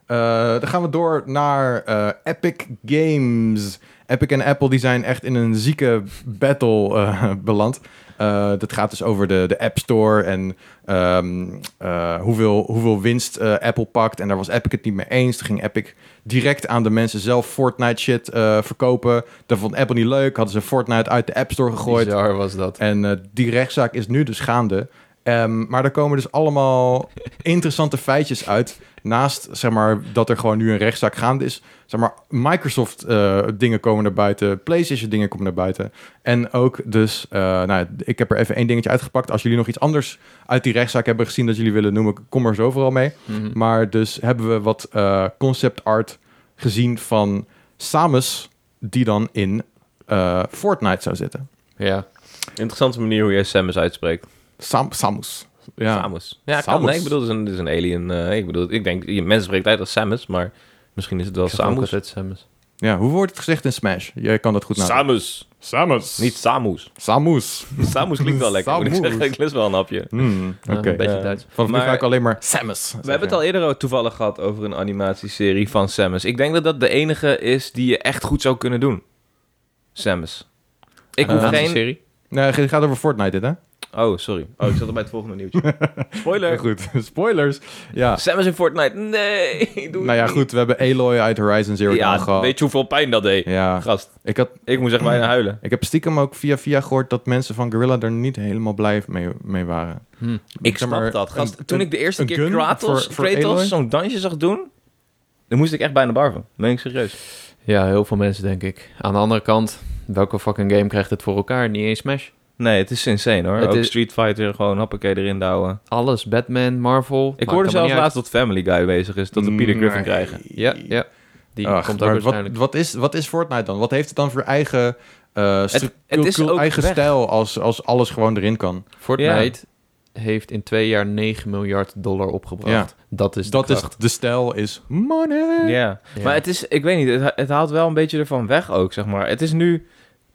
Speaker 1: Eh, dan gaan we door naar eh, Epic Games. Epic en Apple die zijn echt in een zieke battle eh, beland. Eh, dat gaat dus over de, de App Store en ehm, eh, hoeveel, hoeveel winst eh, Apple pakt. En daar was Epic het niet mee eens. Toen ging Epic direct aan de mensen zelf Fortnite shit eh, verkopen. Dat vond Apple niet leuk. Hadden ze Fortnite uit de App Store gegooid.
Speaker 2: Bizar was dat.
Speaker 1: En eh, die rechtszaak is nu dus gaande. Ehm, maar er komen dus allemaal interessante feitjes uit. Naast zeg maar, dat er gewoon nu een rechtszaak gaande is. Zeg maar, Microsoft eh, dingen komen naar buiten. PlayStation dingen komen naar buiten. En ook dus, eh, nou, ik heb er even één dingetje uitgepakt. Als jullie nog iets anders uit die rechtszaak hebben gezien dat jullie willen noemen, kom er zo vooral mee.
Speaker 2: Mhm.
Speaker 1: Maar dus hebben we wat eh, concept art gezien van Samus, die dan in eh, Fortnite zou zitten.
Speaker 2: Ja.
Speaker 3: Interessante manier hoe jij Samus uitspreekt.
Speaker 1: Sam, Samus. Ja.
Speaker 3: Samus. Ja, kan.
Speaker 1: Samus.
Speaker 3: Nee, ik bedoel, het is een, het is een alien. eh, ik bedoel, ik denk, je- mensen spreken het uit als Samus, maar misschien is het wel
Speaker 2: Ik zeg ook
Speaker 3: Samus.
Speaker 2: altijd Samus.
Speaker 1: ja, hoe wordt het gezegd in Smash? Jij kan dat goed
Speaker 3: Nou.
Speaker 1: nadenken.
Speaker 3: Samus.
Speaker 1: Samus.
Speaker 3: Niet Samus.
Speaker 1: Samus.
Speaker 3: Samus klinkt wel lekker. Moet ik
Speaker 1: Samus.
Speaker 3: zeggen, ik lust wel een hapje.
Speaker 1: Hmm, Oké.
Speaker 2: Ja, een beetje
Speaker 3: Ja.
Speaker 2: Duits.
Speaker 1: Vanaf
Speaker 3: Maar-
Speaker 1: nu ga ik alleen maar Samus.
Speaker 3: We hebben het al eerder toevallig gehad over een animatieserie van Samus. Ik denk dat dat de enige is die je echt goed zou kunnen doen. Samus. Ik hoef
Speaker 1: Eh,
Speaker 3: geen...
Speaker 2: serie.
Speaker 1: Nee, het gaat over Fortnite dit, hè?
Speaker 3: Oh, sorry. Oh, ik zat al bij het volgende nieuwtje.
Speaker 1: Heel
Speaker 3: Spoiler.
Speaker 1: goed. Spoilers. Ja.
Speaker 3: Samus in Fortnite. Nee, doe het
Speaker 1: Nou ja,
Speaker 3: niet.
Speaker 1: goed. We hebben Aloy uit Horizon Zero Dawn
Speaker 3: Ja,
Speaker 1: gehad.
Speaker 3: weet je hoeveel pijn dat deed?
Speaker 1: Ja.
Speaker 3: Gast,
Speaker 1: Ik, had,
Speaker 3: ik moest echt bijna huilen.
Speaker 1: ik heb stiekem ook via via gehoord dat mensen van Gorilla er niet helemaal blij mee, mee waren.
Speaker 2: Hm.
Speaker 3: Ik
Speaker 1: Zeg
Speaker 3: snap
Speaker 1: maar,
Speaker 3: dat. Gast,
Speaker 1: een-
Speaker 3: toen
Speaker 1: een-
Speaker 3: ik de eerste
Speaker 1: een
Speaker 3: keer
Speaker 1: gun
Speaker 3: Kratos,
Speaker 1: voor- voor Aloy?
Speaker 3: Kratos zo'n dansje zag doen, dan moest ik echt bijna barven. Meen ik serieus.
Speaker 2: Ja, heel veel mensen, denk ik. Aan de andere kant, welke fucking game krijgt het voor elkaar? Niet eens Smash.
Speaker 3: Nee, het is insane hoor.
Speaker 2: Het
Speaker 3: Ook
Speaker 2: is-
Speaker 3: Street Fighter, gewoon hoppakee erin douwen.
Speaker 2: Alles, Batman, Marvel.
Speaker 3: Ik
Speaker 2: maakt
Speaker 3: hoorde
Speaker 2: allemaal
Speaker 3: zelfs
Speaker 2: niet uit.
Speaker 3: laatst dat Family Guy bezig is, dat we Peter Griffin
Speaker 1: Nee.
Speaker 3: krijgen.
Speaker 2: Ja, ja. Die
Speaker 1: Ach,
Speaker 2: komt ook
Speaker 1: maar wat,
Speaker 2: waarschijnlijk.
Speaker 1: wat, is, wat is Fortnite dan? Wat heeft het dan voor eigen, eh stru-
Speaker 3: het is
Speaker 1: cultu-
Speaker 3: ook
Speaker 1: eigen
Speaker 3: weg.
Speaker 1: stijl als, als alles gewoon erin kan?
Speaker 2: Fortnite heeft in twee jaar 9 miljard dollar opgebracht. Dat is de
Speaker 1: dat is
Speaker 2: kracht.
Speaker 1: de stijl is money.
Speaker 3: Ja,
Speaker 2: Ja.
Speaker 3: maar het is, ik weet niet, het, ha- het haalt wel een beetje ervan weg ook, zeg maar. Het is nu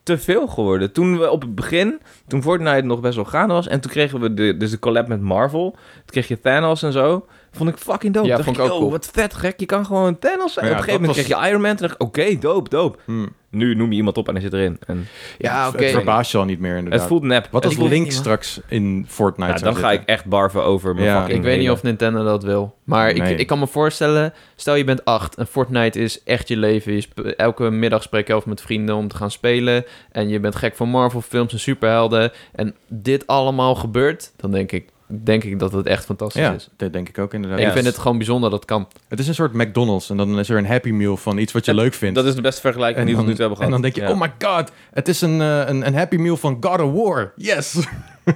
Speaker 3: te veel geworden. Toen we op het begin, toen Fortnite nog best wel gaande was, en toen kregen we de, dus de collab met Marvel, toen kreeg je Thanos en zo, vond ik fucking dope.
Speaker 2: Ja,
Speaker 3: Dacht
Speaker 2: vond ik ook
Speaker 3: oh,
Speaker 2: cool.
Speaker 3: wat vet gek, je kan gewoon Thanos zijn.
Speaker 1: Ja,
Speaker 3: op een gegeven
Speaker 1: dat
Speaker 3: moment kreeg je Iron Man, en dacht ik, oké, dope, dope.
Speaker 1: Hmm.
Speaker 3: Nu noem je iemand op en hij zit erin. En
Speaker 2: Ja,
Speaker 1: Het-
Speaker 2: oké.
Speaker 1: Het verbaast je al niet meer
Speaker 3: het
Speaker 1: inderdaad.
Speaker 3: voelt nep.
Speaker 1: Wat
Speaker 3: En
Speaker 1: als
Speaker 3: ik weet
Speaker 1: Link
Speaker 3: niet, man.
Speaker 1: straks in Fortnite
Speaker 3: Ja,
Speaker 1: zou
Speaker 3: dan ga ik
Speaker 1: zitten?
Speaker 3: echt barven over mijn
Speaker 1: Ja.
Speaker 3: fucking
Speaker 2: Ik weet niet
Speaker 3: hele-
Speaker 2: of Nintendo dat wil. Maar
Speaker 1: Nee.
Speaker 2: ik, ik kan me voorstellen, stel je bent acht en Fortnite is echt je leven. Je sp- elke middag spreek je over met vrienden om te gaan spelen. En je bent gek van Marvel films en superhelden. En dit allemaal gebeurt, dan denk ik, denk ik dat het echt fantastisch
Speaker 1: Ja, Dus
Speaker 2: is.
Speaker 1: dat denk ik ook inderdaad.
Speaker 2: Ik
Speaker 3: Ja.
Speaker 2: vind het gewoon bijzonder dat het kan.
Speaker 1: Het is een soort McDonald's en dan is er een Happy Meal van iets wat je
Speaker 3: Ja,
Speaker 1: leuk vindt.
Speaker 3: Dat is de beste vergelijking die we
Speaker 1: dan,
Speaker 3: tot nu toe
Speaker 1: en
Speaker 3: hebben gehad.
Speaker 1: dan denk je,
Speaker 3: Ja.
Speaker 1: oh my god, het is een, eh, een, een Happy Meal van God of War. Yes!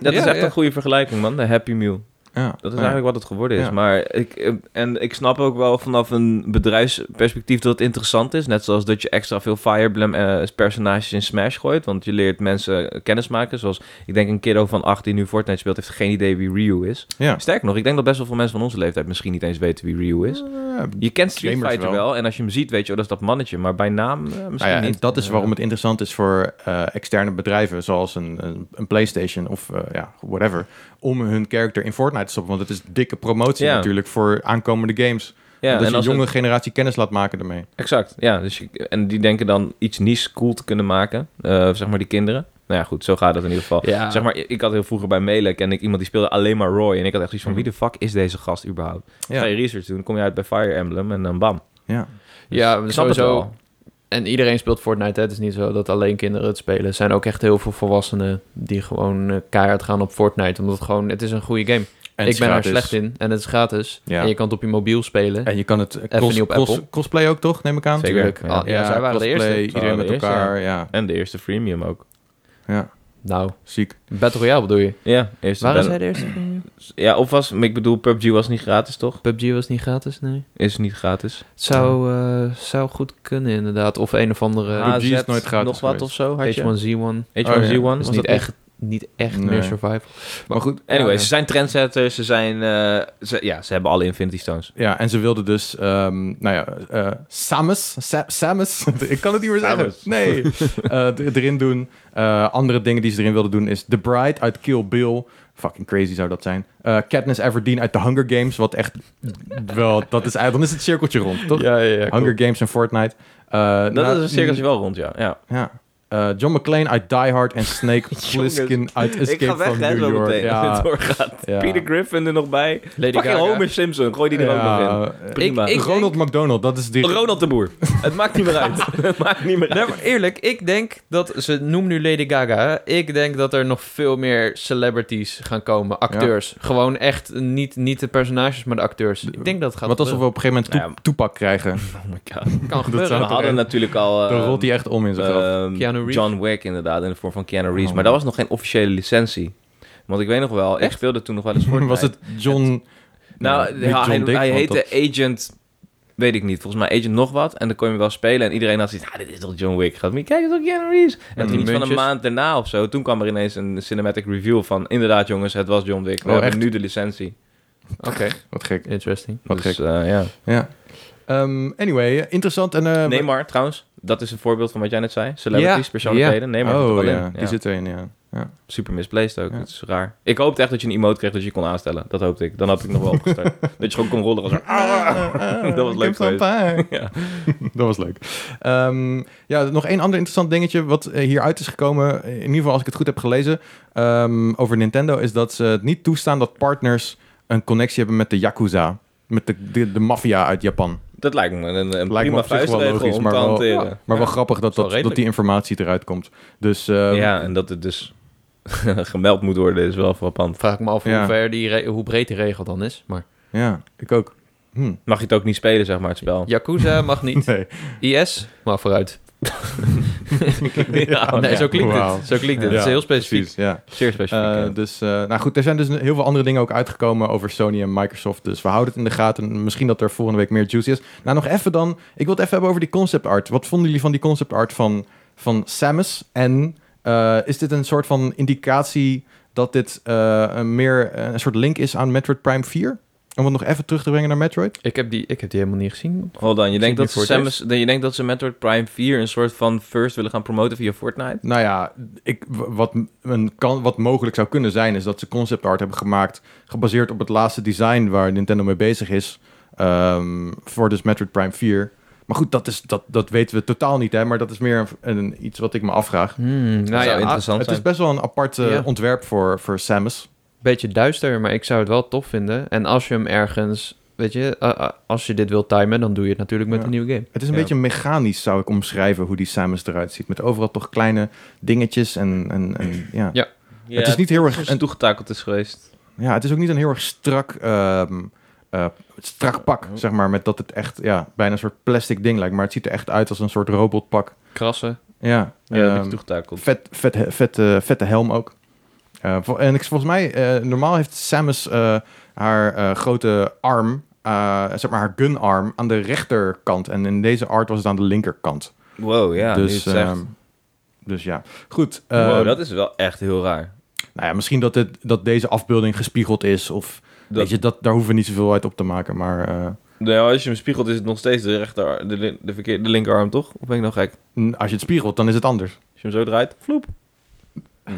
Speaker 3: Dat is
Speaker 2: Ja,
Speaker 3: echt
Speaker 2: ja.
Speaker 3: een goede vergelijking, man. De Happy Meal.
Speaker 1: Ja,
Speaker 3: Dat is
Speaker 1: ja.
Speaker 3: eigenlijk wat het geworden is.
Speaker 1: Ja.
Speaker 3: Maar ik, eh, en ik snap ook wel vanaf een bedrijfsperspectief dat het interessant is. Net zoals dat je extra veel Fire Emblem eh, personages in Smash gooit. Want je leert mensen kennis maken. Zoals ik denk een kiddo van 8 die nu Fortnite speelt, heeft geen idee wie Ryu is.
Speaker 1: Ja.
Speaker 3: Sterker nog, ik denk dat best wel veel mensen van onze leeftijd misschien niet eens weten wie Ryu is. Je kent Street
Speaker 1: Gamers
Speaker 3: Fighter wel.
Speaker 1: wel.
Speaker 3: En als je hem ziet, weet je, oh, dat is dat mannetje. Maar bij naam eh, misschien
Speaker 1: Nou ja, en
Speaker 3: niet.
Speaker 1: dat is
Speaker 3: Eh,
Speaker 1: waarom het interessant is voor eh, externe bedrijven, zoals een, een, een PlayStation of eh, ja, whatever, om hun character in Fortnite te stoppen. Want het is dikke promotie
Speaker 3: Ja. natuurlijk
Speaker 1: natuurlijk voor aankomende games. dat
Speaker 3: ja, en
Speaker 1: je
Speaker 3: als
Speaker 1: een
Speaker 3: het-
Speaker 1: jonge generatie kennis laat maken daarmee.
Speaker 3: Exact, ja. Dus je- en die denken dan iets niche cool te kunnen maken, eh, zeg maar die kinderen. Nou ja, goed, zo gaat dat in ieder geval.
Speaker 2: Ja.
Speaker 3: Zeg maar, ik had heel vroeger bij Mele en ik iemand die speelde alleen maar Roy. En ik had echt zoiets van,
Speaker 1: Mhm.
Speaker 3: wie de fuck is deze gast überhaupt?
Speaker 1: Ja.
Speaker 3: Ga je research doen, kom je uit bij Fire Emblem en dan bam.
Speaker 1: Ja.
Speaker 2: Ja,
Speaker 3: Ik snap het
Speaker 2: sowieso.
Speaker 3: wel.
Speaker 2: En iedereen speelt Fortnite. Hè? Het is niet zo dat alleen kinderen het spelen. Er zijn ook echt heel veel volwassenen die gewoon eh, keihard gaan op Fortnite. Omdat het gewoon, het is een goede game.
Speaker 1: En
Speaker 2: ik ben
Speaker 1: er
Speaker 2: er slecht in en het is gratis.
Speaker 1: Ja.
Speaker 2: En je kan het op je mobiel spelen.
Speaker 1: En je kan het eh,
Speaker 2: Even
Speaker 1: cross,
Speaker 2: niet op
Speaker 1: cross-
Speaker 2: Apple.
Speaker 1: crossplay ook toch, neem ik aan?
Speaker 3: Zeker.
Speaker 2: Natuurlijk.
Speaker 3: Ja.
Speaker 2: Ah, Ja, zij waren de
Speaker 1: crossplay,
Speaker 2: eerste.
Speaker 1: Iedereen
Speaker 3: waren
Speaker 1: met
Speaker 3: de eerste,
Speaker 1: elkaar, ja.
Speaker 3: En de eerste freemium ook.
Speaker 2: Nou,
Speaker 1: Ziek.
Speaker 2: Battle Royale bedoel je?
Speaker 3: Ja, eerste
Speaker 2: Waren
Speaker 3: battle-
Speaker 2: zij de eerste?
Speaker 3: Ja, of was, maar ik bedoel, PUBG was niet gratis, toch?
Speaker 2: PUBG was niet gratis, nee.
Speaker 3: Is niet gratis.
Speaker 2: Het zou, eh, zou goed kunnen inderdaad. Of een of andere
Speaker 1: Ah,
Speaker 2: eh,
Speaker 1: PUBG is nooit gratis
Speaker 3: nog wat
Speaker 1: geweest.
Speaker 3: of zo, had je?
Speaker 2: H1Z1.
Speaker 3: H1Z1,
Speaker 1: Oh,
Speaker 2: Dat is
Speaker 3: was
Speaker 2: niet
Speaker 3: dat
Speaker 2: echt, niet echt
Speaker 1: Nee.
Speaker 2: meer survival.
Speaker 1: Maar goed,
Speaker 3: Anyway,
Speaker 2: Ja, ja.
Speaker 3: ze zijn trendsetters, ze zijn, eh, ze, ja, ze hebben alle Infinity Stones.
Speaker 1: Ja, en ze wilden dus, ehm, nou ja, eh, Samus, Sa- Samus, ik kan het niet meer zeggen,
Speaker 3: Samus.
Speaker 1: nee, Eh, d- erin doen. Eh, andere dingen die ze erin wilden doen is The Bride uit Kill Bill, fucking crazy zou dat zijn. Eh, Katniss Everdeen uit The Hunger Games, wat echt, wel, dat is, dan is het cirkeltje rond, toch?
Speaker 2: Ja, ja, ja.
Speaker 1: Hunger Games en Fortnite. Eh,
Speaker 3: Dat
Speaker 1: nou,
Speaker 3: is een cirkeltje wel rond, ja. ja.
Speaker 1: Ja. Eh, John McClane uit Die Hard en Snake
Speaker 3: Jongens,
Speaker 1: Plissken uit Escape from New
Speaker 3: zo
Speaker 1: York.
Speaker 3: meteen. als
Speaker 1: Ja,
Speaker 3: het doorgaat.
Speaker 1: ja.
Speaker 3: Peter Griffin er nog bij.
Speaker 2: Lady
Speaker 3: Fucking
Speaker 2: Gaga.
Speaker 3: Homer Simpson, gooi die er ook nog in.
Speaker 1: Ja,
Speaker 3: Prima.
Speaker 2: Ik- ik-
Speaker 1: Ronald McDonald, dat is die...
Speaker 3: Ronald de Boer. Het maakt niet meer uit. het maakt niet meer
Speaker 2: Nee,
Speaker 3: uit.
Speaker 2: maar eerlijk, ik denk dat ze noem nu Lady Gaga. hè. Ik denk dat er nog veel meer celebrities gaan komen, acteurs. Gewoon echt niet, niet de personages, maar de acteurs. Ik denk dat het gaat.
Speaker 1: Wat als we op een gegeven moment
Speaker 3: Nou ja.
Speaker 1: Toe- toepak krijgen?
Speaker 3: Oh my god.
Speaker 2: kan
Speaker 1: dat
Speaker 2: gebeuren.
Speaker 3: We
Speaker 1: zou toch
Speaker 3: hadden
Speaker 1: echt-
Speaker 3: natuurlijk al... eh,
Speaker 1: Dan rolt hij echt om in zijn graf.
Speaker 3: ehm,
Speaker 2: Keanu Reeves.
Speaker 3: John Wick inderdaad, in de vorm van Keanu Reeves.
Speaker 1: Oh.
Speaker 3: Maar dat was nog geen officiële licentie. Want ik weet nog wel, ik
Speaker 2: Echt?
Speaker 3: speelde toen nog wel eens Fortnite.
Speaker 1: Was het John...
Speaker 3: Nou,
Speaker 1: Nee,
Speaker 3: ja,
Speaker 1: niet
Speaker 3: hij,
Speaker 1: John Dick,
Speaker 3: hij
Speaker 1: want
Speaker 3: heette Agent Weet ik niet. Volgens mij Agent nog wat. En dan kon je hem wel spelen. En iedereen had zoiets. Ah, dit is toch John Wick. Gaat me kijken, dit is toch Keanu Reeves. En
Speaker 2: die
Speaker 3: toen iets van een
Speaker 2: muntjes.
Speaker 3: maand daarna of zo. Toen kwam er ineens een cinematic review van. Inderdaad, jongens, het was John Wick. We
Speaker 1: Oh,
Speaker 3: hebben
Speaker 1: echt?
Speaker 3: nu de licentie.
Speaker 2: Oké,
Speaker 1: Wat gek.
Speaker 2: interesting.
Speaker 1: Wat
Speaker 3: dus,
Speaker 1: gek.
Speaker 3: eh, ja.
Speaker 1: Ja. Ehm, anyway, eh, interessant. En, eh,
Speaker 3: Neymar, trouwens. Dat is een voorbeeld van wat jij net zei. Celebrities,
Speaker 1: Ja,
Speaker 3: specialiteiten. Neymar zit er
Speaker 1: oh,
Speaker 3: wel
Speaker 1: ja.
Speaker 3: in.
Speaker 1: Die
Speaker 3: Ja.
Speaker 1: zit erin, ja. ja.
Speaker 3: Super misplaced ook.
Speaker 1: Ja.
Speaker 3: Dat is raar. Ik hoopte echt dat je een emote kreeg dat je kon aanstellen. Dat hoopte ik. Dan had ik nog wel opgestart. dat je gewoon kon rollen als een... Dat was leuk geweest. Ja.
Speaker 1: Dat was leuk. Ehm, ja, nog één ander interessant dingetje wat eh, hieruit is gekomen, in ieder geval als ik het goed heb gelezen, ehm, over Nintendo, is dat ze het niet toestaan dat partners een connectie hebben met de Yakuza, met de, de, de maffia uit Japan.
Speaker 3: Dat lijkt me een, een
Speaker 1: Lijkt me
Speaker 3: prima
Speaker 1: op zich wel
Speaker 3: vuistregel
Speaker 1: logisch,
Speaker 3: om
Speaker 1: maar
Speaker 3: te
Speaker 1: wel-
Speaker 3: hanteren.
Speaker 1: ja, Maar wel grappig dat,
Speaker 2: wel
Speaker 1: dat, dat
Speaker 2: redelijk.
Speaker 1: die informatie eruit komt. Dus ehm,
Speaker 3: ja, en dat het dus gemeld moet worden is wel frappant.
Speaker 2: Vraag ik me af
Speaker 1: Ja.
Speaker 2: hoe, ver die re- hoe breed die regel dan is. Maar
Speaker 1: ja, ik ook. Hm.
Speaker 3: Mag je het ook niet spelen, zeg maar, het spel.
Speaker 2: Yakuza mag niet.
Speaker 1: Nee.
Speaker 2: IS, maar vooruit.
Speaker 3: Ja,
Speaker 2: nee,
Speaker 1: ja.
Speaker 2: zo klinkt
Speaker 1: Wauw.
Speaker 2: het. Zo klinkt het.
Speaker 1: Ja,
Speaker 2: het is heel specifiek.
Speaker 1: Ja.
Speaker 3: Zeer specifiek.
Speaker 1: Eh,
Speaker 3: ja.
Speaker 1: dus, eh, nou goed, er zijn dus heel veel andere dingen ook uitgekomen over Sony en Microsoft. Dus we houden het in de gaten. Misschien dat er volgende week meer juice is. Nou, nog even dan. Ik wil het even hebben over die concept art. Wat vonden jullie van die concept art van, van Samus? En eh, is dit een soort van indicatie dat dit eh, een meer eh, een soort link is aan Metroid Prime 4? Om het nog even terug te brengen naar Metroid?
Speaker 2: Ik, heb die, ik heb die helemaal niet gezien.
Speaker 3: Hold on, je denkt,
Speaker 2: nu
Speaker 3: dat ze
Speaker 2: voor het
Speaker 3: Samus, je denkt dat ze Metroid Prime 4 een soort van first willen gaan promoten via Fortnite?
Speaker 1: Nou ja, ik, w- wat, m- een kan, wat mogelijk zou kunnen zijn, is dat ze concept art hebben gemaakt. gebaseerd op het laatste design waar Nintendo mee bezig is. ehm, voor dus Metroid Prime 4. Maar goed, dat, is, dat, dat weten we totaal niet, hè? Maar dat is meer een, een- iets wat ik me afvraag.
Speaker 2: nou
Speaker 3: zou
Speaker 2: ja,
Speaker 3: interessant
Speaker 2: een
Speaker 1: het
Speaker 3: zijn.
Speaker 1: is best wel een apart eh,
Speaker 2: Ja.
Speaker 1: ontwerp voor, voor Samus.
Speaker 2: ah, beetje duister, maar ik zou het wel tof vinden. En als je hem ergens, weet je, eh, eh, als je dit wil timen, dan doe je het natuurlijk met
Speaker 1: Ja.
Speaker 2: een nieuwe game.
Speaker 1: Het is een
Speaker 3: Ja.
Speaker 1: beetje mechanisch, zou ik omschrijven, hoe die Samus eruit ziet. Met overal toch kleine dingetjes en, en, en ja.
Speaker 2: Ja.
Speaker 1: Het is niet heel erg
Speaker 3: een toegetakeld is geweest.
Speaker 1: Ja, het is ook niet een heel erg strak, ehm, eh, strak pak, zeg maar. Met dat het echt ja, bijna een soort plastic ding lijkt. Maar het ziet er echt uit als een soort robotpak.
Speaker 2: Krassen.
Speaker 1: Ja,
Speaker 3: Ja, een beetje
Speaker 1: ehm,
Speaker 3: toegetakeld.
Speaker 1: vet, vet, vet, eh, vette helm ook. Eh, vol- en ik, volgens mij, eh, normaal heeft Samus eh, haar eh, grote arm, eh, zeg maar haar gunarm, aan de rechterkant. En in deze art was het aan de linkerkant.
Speaker 3: Wow, ja. nu je
Speaker 1: dus,
Speaker 3: het zegt.
Speaker 1: ehm, dus ja, goed.
Speaker 3: wow,
Speaker 1: ehm,
Speaker 3: dat is wel echt heel raar.
Speaker 1: Nou ja, misschien dat, het, dat deze afbeelding gespiegeld is of...
Speaker 3: Dat-
Speaker 1: Weet je, dat, daar hoeven we niet zoveel uit op te maken, maar... eh,
Speaker 3: Nou, als je hem spiegelt is het nog steeds de rechter, de, lin- de, verkeer- de linkerarm, toch? Of ben ik nog gek?
Speaker 1: n- als je het spiegelt, dan is het anders.
Speaker 3: Als je hem zo draait, vloep. Hm.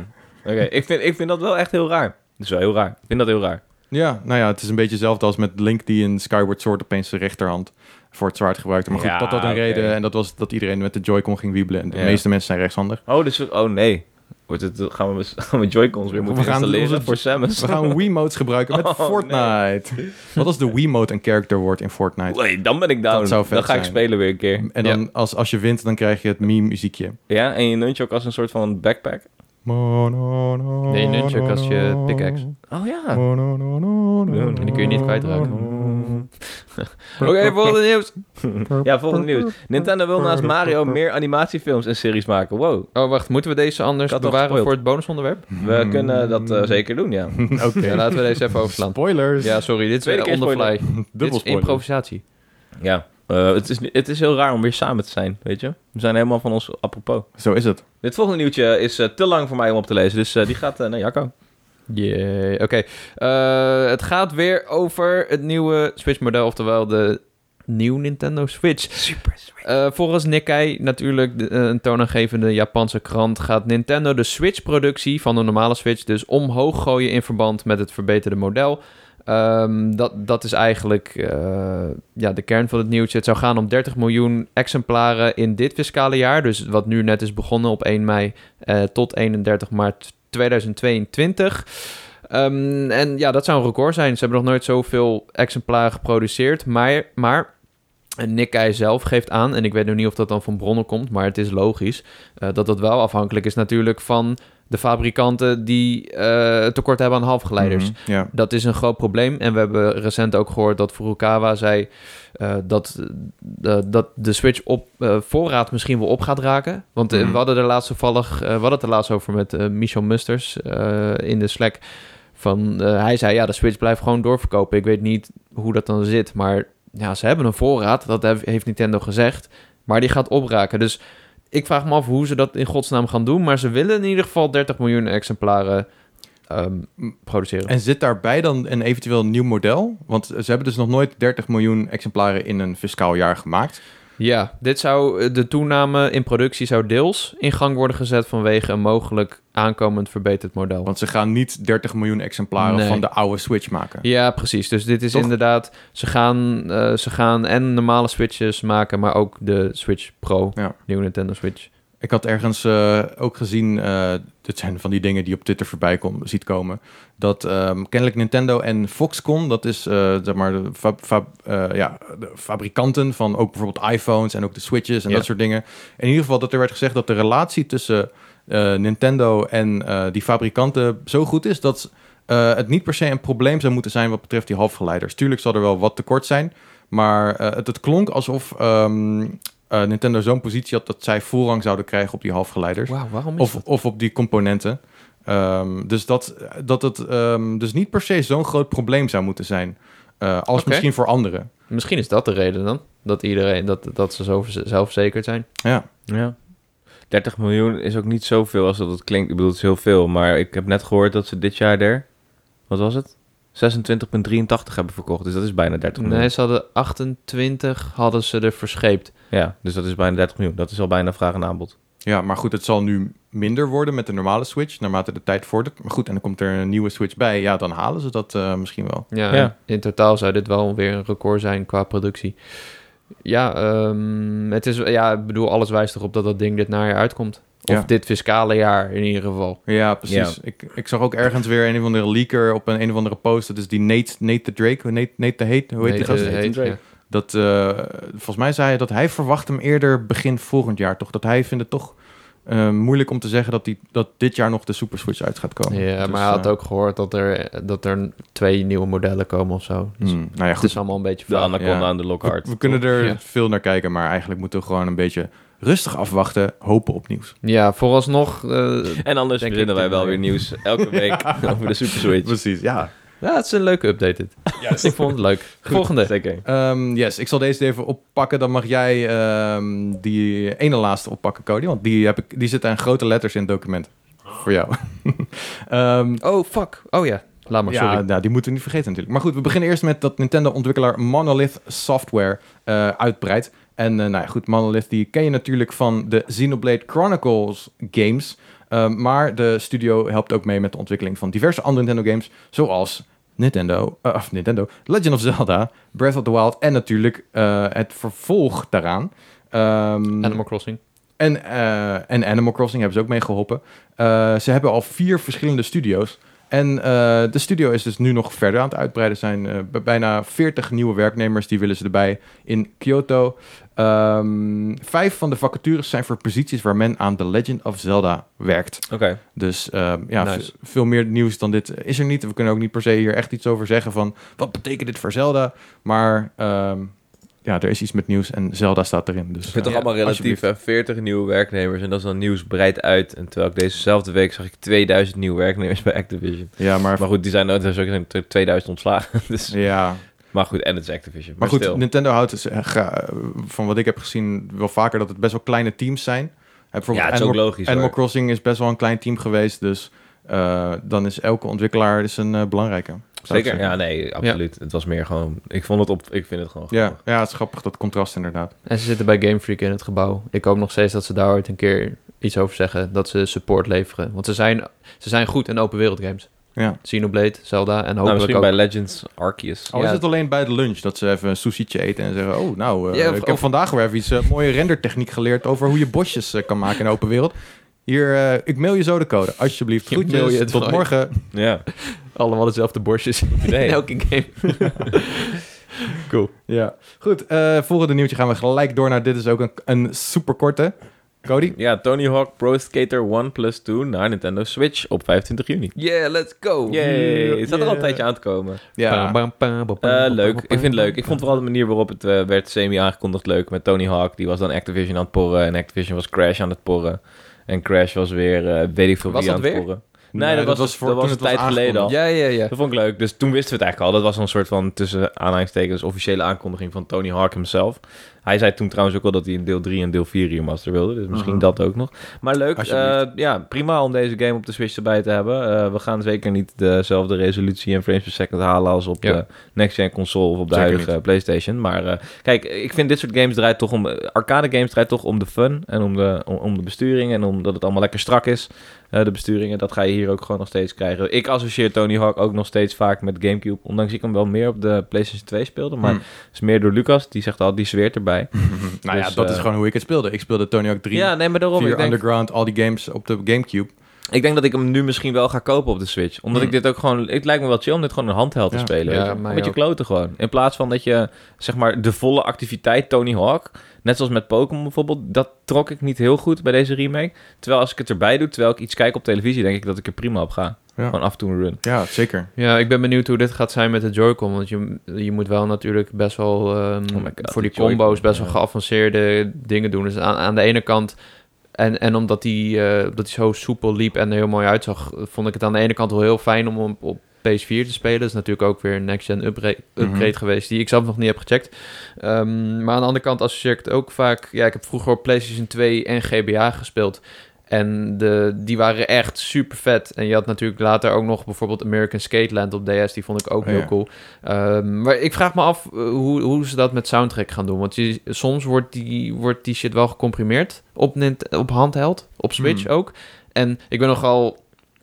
Speaker 3: Oké, ik, vind, ik vind dat wel echt heel raar. Dat is wel heel raar. Ik vind dat heel raar.
Speaker 1: Ja, nou ja, het is een beetje hetzelfde als met Link die in Skyward Sword opeens zijn rechterhand voor het zwaard gebruikte. Maar goed,
Speaker 3: Ja,
Speaker 1: dat had een
Speaker 3: oké.
Speaker 1: reden en dat was dat iedereen met de Joy-Con ging wiebelen. En de
Speaker 3: Ja.
Speaker 1: meeste mensen zijn rechtshandig.
Speaker 3: Oh, dus, oh nee. Wordt het, gaan we mis- gaan we Joy-Cons weer moeten
Speaker 1: We gaan
Speaker 3: installeren
Speaker 1: onze-
Speaker 3: voor Samus?
Speaker 1: We gaan Wiimotes gebruiken met
Speaker 3: Oh, nee.
Speaker 1: Fortnite. Wat als de Wiimote een character wordt in Fortnite?
Speaker 3: Wait, dan ben ik down.
Speaker 1: Dat zou vet
Speaker 3: dan ga ik
Speaker 1: zijn.
Speaker 3: spelen weer een keer.
Speaker 1: En dan, als, als je wint, dan krijg je het meme-muziekje.
Speaker 3: Ja, en je nunchuk als een soort van backpack.
Speaker 1: Nee,
Speaker 2: Nee, nunchuk als je pickaxe.
Speaker 3: Oh ja.
Speaker 1: En
Speaker 2: En die kun je niet kwijtraken.
Speaker 1: Oh,
Speaker 3: Oké, volgende nieuws. Ja, volgende nieuws. Nintendo wil naast Mario meer animatiefilms en series maken. Wow.
Speaker 2: Oh, wacht, moeten we deze anders
Speaker 3: Ik had al
Speaker 2: bewaren
Speaker 3: gespoild.
Speaker 2: voor het bonusonderwerp?
Speaker 3: We
Speaker 1: Hmm.
Speaker 3: kunnen dat eh, zeker doen, ja.
Speaker 1: Oké.
Speaker 2: Ja, laten we deze even overslaan.
Speaker 1: Spoilers.
Speaker 2: Ja, sorry, dit is
Speaker 3: Tweede
Speaker 2: weer
Speaker 3: keer
Speaker 2: on the
Speaker 3: spoiler.
Speaker 2: fly. Dit
Speaker 1: Dubbel
Speaker 2: is
Speaker 1: spoiler.
Speaker 2: improvisatie.
Speaker 3: Ja, eh, het, is, het is heel raar om weer samen te zijn, weet je. We zijn helemaal van ons apropos.
Speaker 1: Zo is het.
Speaker 3: Dit volgende nieuwtje is eh, te lang voor mij om op te lezen, dus eh, die gaat eh, naar Jacco.
Speaker 2: Jee, Oké, Eh, het gaat weer over het nieuwe Switch-model, oftewel de nieuwe Nintendo Switch.
Speaker 3: Super sweet.
Speaker 2: Eh, volgens Nikkei, natuurlijk de- eh, een toonaangevende Japanse krant, gaat Nintendo de Switch-productie van de normale Switch dus omhoog gooien in verband met het verbeterde model. Ehm, dat, dat is eigenlijk eh, ja, de kern van het nieuwtje. Het zou gaan om 30 miljoen exemplaren in dit fiscale jaar, dus wat nu net is begonnen op 1 mei eh, tot 31 maart 2022. Ehm, en ja, dat zou een record zijn. Ze hebben nog nooit zoveel exemplaren geproduceerd, maar, maar en Nikkei zelf geeft aan, en ik weet nog niet of dat dan van bronnen komt, maar het is logisch, eh, dat dat wel afhankelijk is natuurlijk van de fabrikanten die eh, het tekort hebben aan halfgeleiders.
Speaker 1: Mhm, Ja.
Speaker 2: Dat is een groot probleem. En we hebben recent ook gehoord dat Furukawa zei eh, dat, eh, dat de Switch op eh, voorraad misschien wel op gaat raken. Want eh,
Speaker 1: Mhm.
Speaker 2: we hadden er laatst toevallig, eh, we hadden het er laatst over met eh, Michel Musters eh, in de Slack. Van, eh, hij zei ja, de Switch blijft gewoon doorverkopen. Ik weet niet hoe dat dan zit, maar ja, ze hebben een voorraad, dat hef- heeft Nintendo gezegd, maar die gaat opraken. Dus ik vraag me af hoe ze dat in godsnaam gaan doen, maar ze willen in ieder geval 30 miljoen exemplaren ehm, produceren.
Speaker 1: En zit daarbij dan een eventueel nieuw model? Want ze hebben dus nog nooit 30 miljoen exemplaren in een fiscaal jaar gemaakt.
Speaker 2: Ja, dit zou, eh, de toename in productie zou deels in gang worden gezet vanwege een mogelijk aankomend verbeterd model.
Speaker 1: Want ze gaan niet 30 miljoen exemplaren
Speaker 2: Nee.
Speaker 1: van de oude Switch maken.
Speaker 2: Ja, precies. Dus dit is
Speaker 1: Toch?
Speaker 2: inderdaad, ze gaan, eh, ze gaan en normale Switches maken, maar ook de Switch Pro,
Speaker 1: Ja.
Speaker 2: nieuwe Nintendo Switch.
Speaker 1: Ik had ergens eh, ook gezien, eh, dit zijn van die dingen die je op Twitter voorbij kom, ziet komen, dat ehm, kennelijk Nintendo en Foxconn, dat is eh, zeg maar de, fa- fa- eh, ja, de fabrikanten van ook bijvoorbeeld iPhones en ook de Switches en
Speaker 2: Ja.
Speaker 1: dat soort dingen. In ieder geval dat er werd gezegd dat de relatie tussen eh, Nintendo en eh, die fabrikanten zo goed is dat eh, het niet per se een probleem zou moeten zijn wat betreft die halfgeleiders. Tuurlijk zal er wel wat tekort zijn, maar eh, het, het klonk alsof ehm, eh, Nintendo zo'n positie had dat zij voorrang zouden krijgen op die halfgeleiders.
Speaker 2: Wauw, waarom is
Speaker 1: Of,
Speaker 2: dat?
Speaker 1: of op die componenten. Ehm, dus dat, dat het ehm, dus niet per se zo'n groot probleem zou moeten zijn. Eh, als
Speaker 2: Oké.
Speaker 1: misschien voor anderen.
Speaker 2: Misschien is dat de reden dan, dat iedereen, dat, dat ze zo verz- zelfverzekerd zijn.
Speaker 1: Ja.
Speaker 3: Ja. 30 miljoen is ook niet zoveel als dat het klinkt. Ik bedoel, het is heel veel. Maar ik heb net gehoord dat ze dit jaar er... Wat was het? 26,83 hebben verkocht. Dus dat is bijna 30 miljoen.
Speaker 2: Nee, ze hadden 28, hadden ze er verscheept.
Speaker 3: Ja, dus dat is bijna 30 miljoen. Dat is al bijna vraag en aanbod.
Speaker 1: ja, maar goed, het zal nu minder worden met de normale Switch, naarmate de tijd vordert. Maar goed, en dan komt er een nieuwe Switch bij. Ja, dan halen ze dat eh, misschien wel.
Speaker 2: Ja,
Speaker 3: Ja.
Speaker 2: in totaal zou dit wel weer een record zijn qua productie. Ja, ehm, het is, ja, ik bedoel, alles wijst erop dat dat ding dit najaar uitkomt. Of
Speaker 1: Ja.
Speaker 2: dit fiscale jaar in ieder geval.
Speaker 1: Ja, precies. Ik, ik zag ook ergens weer een of andere leaker op een, een of andere post. Dat is die Nate, Nate de Drake, Nate, Nate de Heet, hoe heet die
Speaker 2: Nee,
Speaker 1: gast?
Speaker 2: eh,
Speaker 3: Nathan
Speaker 2: heet,
Speaker 3: Drake.
Speaker 2: ja.
Speaker 1: Dat, eh, volgens mij zei hij dat hij verwacht hem eerder begin volgend jaar, toch? Dat hij vindt het toch eh, moeilijk om te zeggen dat, die, dat dit jaar nog de Super Switch uit gaat komen.
Speaker 2: Ja,
Speaker 1: Dus,
Speaker 2: maar hij had
Speaker 1: eh,
Speaker 2: ook gehoord dat er, dat er twee nieuwe modellen komen of zo. Dus
Speaker 1: hmm, nou ja,
Speaker 2: Het
Speaker 1: goed.
Speaker 2: is allemaal een beetje
Speaker 3: De
Speaker 2: vaag.
Speaker 3: Anaconda
Speaker 1: ja.
Speaker 3: aan de Lockhart.
Speaker 1: We kunnen er
Speaker 2: Ja.
Speaker 1: veel naar kijken, maar eigenlijk moeten we gewoon een beetje rustig afwachten, hopen op nieuws.
Speaker 2: Ja, vooralsnog... eh,
Speaker 3: En anders
Speaker 2: Denk
Speaker 3: vinden
Speaker 2: ik
Speaker 3: wij
Speaker 2: dat
Speaker 3: wel
Speaker 2: wij-
Speaker 3: weer nieuws elke week over de Super Switch.
Speaker 1: Precies, ja.
Speaker 2: ja, het is een leuke update dit. Ik vond het leuk. Volgende.
Speaker 3: Zeker.
Speaker 1: Ehm, yes, ik zal deze even oppakken. Dan mag jij ehm, die ene laatste oppakken, Cody. Want die, heb ik, die zit aan grote letters in het document. Voor jou. Ehm,
Speaker 2: Oh, fuck. Oh ja, laat maar,
Speaker 1: ja,
Speaker 2: sorry.
Speaker 1: nou, die moeten we niet vergeten natuurlijk. Maar goed, we beginnen eerst met dat Nintendo-ontwikkelaar Monolith Software eh, uitbreidt. En eh, nou ja, goed, Monolith die ken je natuurlijk van de Xenoblade Chronicles games. Eh, maar de studio helpt ook mee met de ontwikkeling van diverse andere Nintendo games. Zoals Nintendo, eh, of Nintendo, Legend of Zelda, Breath of the Wild en natuurlijk eh, het vervolg daaraan. Ehm,
Speaker 2: Animal Crossing.
Speaker 1: en, eh, en Animal Crossing hebben ze ook mee geholpen. Eh, ze hebben al vier verschillende studio's. En eh, de studio is dus nu nog verder aan het uitbreiden. Er zijn eh, b- bijna 40 nieuwe werknemers, die willen ze erbij in Kyoto. Ehm, vijf van de vacatures zijn voor posities waar men aan The Legend of Zelda werkt.
Speaker 3: Oké.
Speaker 1: Dus ehm, ja,
Speaker 2: Nice.
Speaker 1: v- veel meer nieuws dan dit is er niet. We kunnen ook niet per se hier echt iets over zeggen van... wat betekent dit voor Zelda? Maar ehm, ja, er is iets met nieuws en Zelda staat erin. Dus,
Speaker 3: Ik vind het
Speaker 1: eh,
Speaker 3: toch allemaal relatief,
Speaker 1: alsjeblieft.
Speaker 3: hè? 40 nieuwe werknemers en dat is dan nieuws breid uit. En terwijl ik dezezelfde week zag ik 2000 nieuwe werknemers bij Activision.
Speaker 1: Ja, maar...
Speaker 3: Maar goed, die zijn er zijn ook zo'n 2000 ontslagen. Dus,
Speaker 1: ja,
Speaker 3: maar goed, en het is Activision.
Speaker 1: Maar goed,
Speaker 3: stil.
Speaker 1: Nintendo houdt dus, eh, gra- van wat ik heb gezien wel vaker dat het best wel kleine teams zijn. Eh,
Speaker 3: ja,
Speaker 1: Bijvoorbeeld
Speaker 3: het is ook
Speaker 1: Animal,
Speaker 3: logisch.
Speaker 1: Animal
Speaker 3: hoor.
Speaker 1: Crossing is best wel een klein team geweest, dus eh, dan is elke ontwikkelaar is een eh, belangrijke. zou ik
Speaker 3: Zeker?
Speaker 1: zeggen.
Speaker 3: Ja, nee, absoluut. Het was meer gewoon... Ik vond het op... Ik vind het gewoon...
Speaker 1: Ja, ja, het is grappig dat contrast inderdaad.
Speaker 2: En ze zitten bij Game Freak in het gebouw. Ik hoop nog steeds dat ze daar ooit een keer iets over zeggen. Dat ze support leveren. Want ze zijn, ze zijn goed in open wereld games.
Speaker 1: Ja.
Speaker 2: Xenoblade, Zelda en
Speaker 3: Nou,
Speaker 2: hopelijk
Speaker 3: misschien
Speaker 2: ook...
Speaker 3: bij Legends Arceus.
Speaker 1: Al
Speaker 2: Ja.
Speaker 1: is het alleen bij de lunch dat ze even een sushietje eten en zeggen: Oh, nou, eh,
Speaker 2: Ja, of-
Speaker 1: ik heb
Speaker 2: of-
Speaker 1: vandaag weer even iets eh, mooie rendertechniek geleerd over hoe je bosjes eh, kan maken in de open wereld. Hier, eh, ik mail je zo de code, alsjeblieft.
Speaker 2: Ik mail je
Speaker 1: Groetjes,
Speaker 2: het
Speaker 1: tot
Speaker 2: gewoon.
Speaker 1: morgen.
Speaker 3: Ja,
Speaker 2: Allemaal dezelfde borstjes in
Speaker 3: nee.
Speaker 2: elke game. cool.
Speaker 1: Ja, goed. eh volgende nieuwtje gaan we gelijk door naar. Dit is ook een, een superkorte. Cody?
Speaker 3: Ja, Tony Hawk Pro Skater 1 Plus 2 naar Nintendo Switch op 25 juni.
Speaker 2: Yeah, let's go.
Speaker 3: Yay, het zat er al een
Speaker 1: Yeah.
Speaker 3: tijdje aan te komen.
Speaker 1: Ja,
Speaker 2: Bam, bam, bam, bam,
Speaker 3: Eh,
Speaker 2: bam, bam,
Speaker 3: leuk,
Speaker 2: bam,
Speaker 3: ik vind het
Speaker 2: bam,
Speaker 3: leuk. Ik
Speaker 2: bam.
Speaker 3: vond vooral de manier waarop het eh, werd semi-aangekondigd leuk met Tony Hawk. Die was dan Activision aan het porren en Activision was Crash aan het porren. En Crash was weer, eh, weet ik veel
Speaker 2: Was
Speaker 3: wie
Speaker 2: dat
Speaker 3: aan het
Speaker 2: weer?
Speaker 3: porren. Nee, dat was- dat was
Speaker 1: toen
Speaker 3: een
Speaker 1: het was
Speaker 3: tijd geleden
Speaker 1: aangekondigd.
Speaker 3: al.
Speaker 2: Ja, ja, ja.
Speaker 3: Dat vond ik leuk. Dus toen wisten we het eigenlijk al. Dat was een soort van tussen aanhalingstekens officiële aankondiging van Tony Hawk himself. Hij zei toen trouwens ook wel dat hij een deel 3 en deel 4 remaster wilde. Dus misschien
Speaker 1: Mhm.
Speaker 3: dat ook nog. Maar leuk.
Speaker 1: Alsjeblieft.
Speaker 3: eh, ja, prima om deze game op de Switch erbij te hebben. Eh, we gaan zeker niet dezelfde resolutie en frames per second halen als op
Speaker 2: Ja.
Speaker 3: de next-gen console of op de
Speaker 1: Zeker
Speaker 3: huidige PlayStation. Maar eh, kijk, ik vind dit soort games draait toch om... eh, Arcade games draait toch om de fun en om de, om, om de besturing en omdat het allemaal lekker strak is. Eh, de besturingen, dat ga je hier ook gewoon nog steeds krijgen. Ik associeer Tony Hawk ook nog steeds vaak met Gamecube. Ondanks ik hem wel meer op de PlayStation 2 speelde. Maar
Speaker 1: Hmm.
Speaker 3: het is meer door Lucas. Die zegt al, die zweert erbij.
Speaker 1: Nou ja,
Speaker 3: Dus,
Speaker 1: dat
Speaker 3: eh,
Speaker 1: is gewoon hoe ik het speelde. Ik speelde Tony Hawk 3,
Speaker 3: Ja, nee, maar daarom.
Speaker 1: 4
Speaker 3: Ik denk,
Speaker 1: Underground, al die games op de Gamecube.
Speaker 3: ik denk dat ik hem nu misschien wel ga kopen op de Switch. Omdat
Speaker 1: Hmm.
Speaker 3: ik dit ook gewoon... Het lijkt me wel chill om dit gewoon een handheld
Speaker 1: Ja.
Speaker 3: te spelen.
Speaker 2: Ja,
Speaker 3: weet je.
Speaker 2: mij
Speaker 3: met je
Speaker 2: ook.
Speaker 3: kloten gewoon. In plaats van dat je, zeg maar, de volle activiteit Tony Hawk... Net zoals met Pokémon bijvoorbeeld. Dat trok ik niet heel goed bij deze remake. Terwijl als ik het erbij doe, terwijl ik iets kijk op televisie... denk ik dat ik er prima op ga.
Speaker 1: Ja.
Speaker 3: Gewoon af en toe een run.
Speaker 1: Ja, zeker.
Speaker 2: Ja, ik ben benieuwd hoe dit gaat zijn met de Joy-Con. Want je, je moet wel natuurlijk best wel ehm,
Speaker 3: Oh my God,
Speaker 2: voor die
Speaker 3: die Joy-Con,
Speaker 2: combo's best wel
Speaker 3: ja.
Speaker 2: geavanceerde dingen doen. Dus aan, aan de ene kant, en, en omdat die, eh, omdat die zo soepel liep en er heel mooi uitzag, vond ik het aan de ene kant wel heel fijn om op, op PS4 te spelen. Dat is natuurlijk ook weer een next-gen upgra- upgrade
Speaker 1: Mhm.
Speaker 2: geweest, die ik zelf nog niet heb gecheckt. Ehm, maar aan de andere kant associeer ik het ook vaak... Ja, ik heb vroeger op PlayStation 2 en GBA gespeeld. En de, die waren echt super vet. En je had natuurlijk later ook nog bijvoorbeeld American Skateland op DS. Die vond ik ook
Speaker 1: Oh,
Speaker 2: heel
Speaker 1: ja.
Speaker 2: cool. Ehm, maar ik vraag me af eh, hoe, hoe ze dat met soundtrack gaan doen. Want je, soms wordt die, wordt die shit wel gecomprimeerd op, Nint- op handheld. Op Switch
Speaker 1: Hmm.
Speaker 2: ook. En ik ben nogal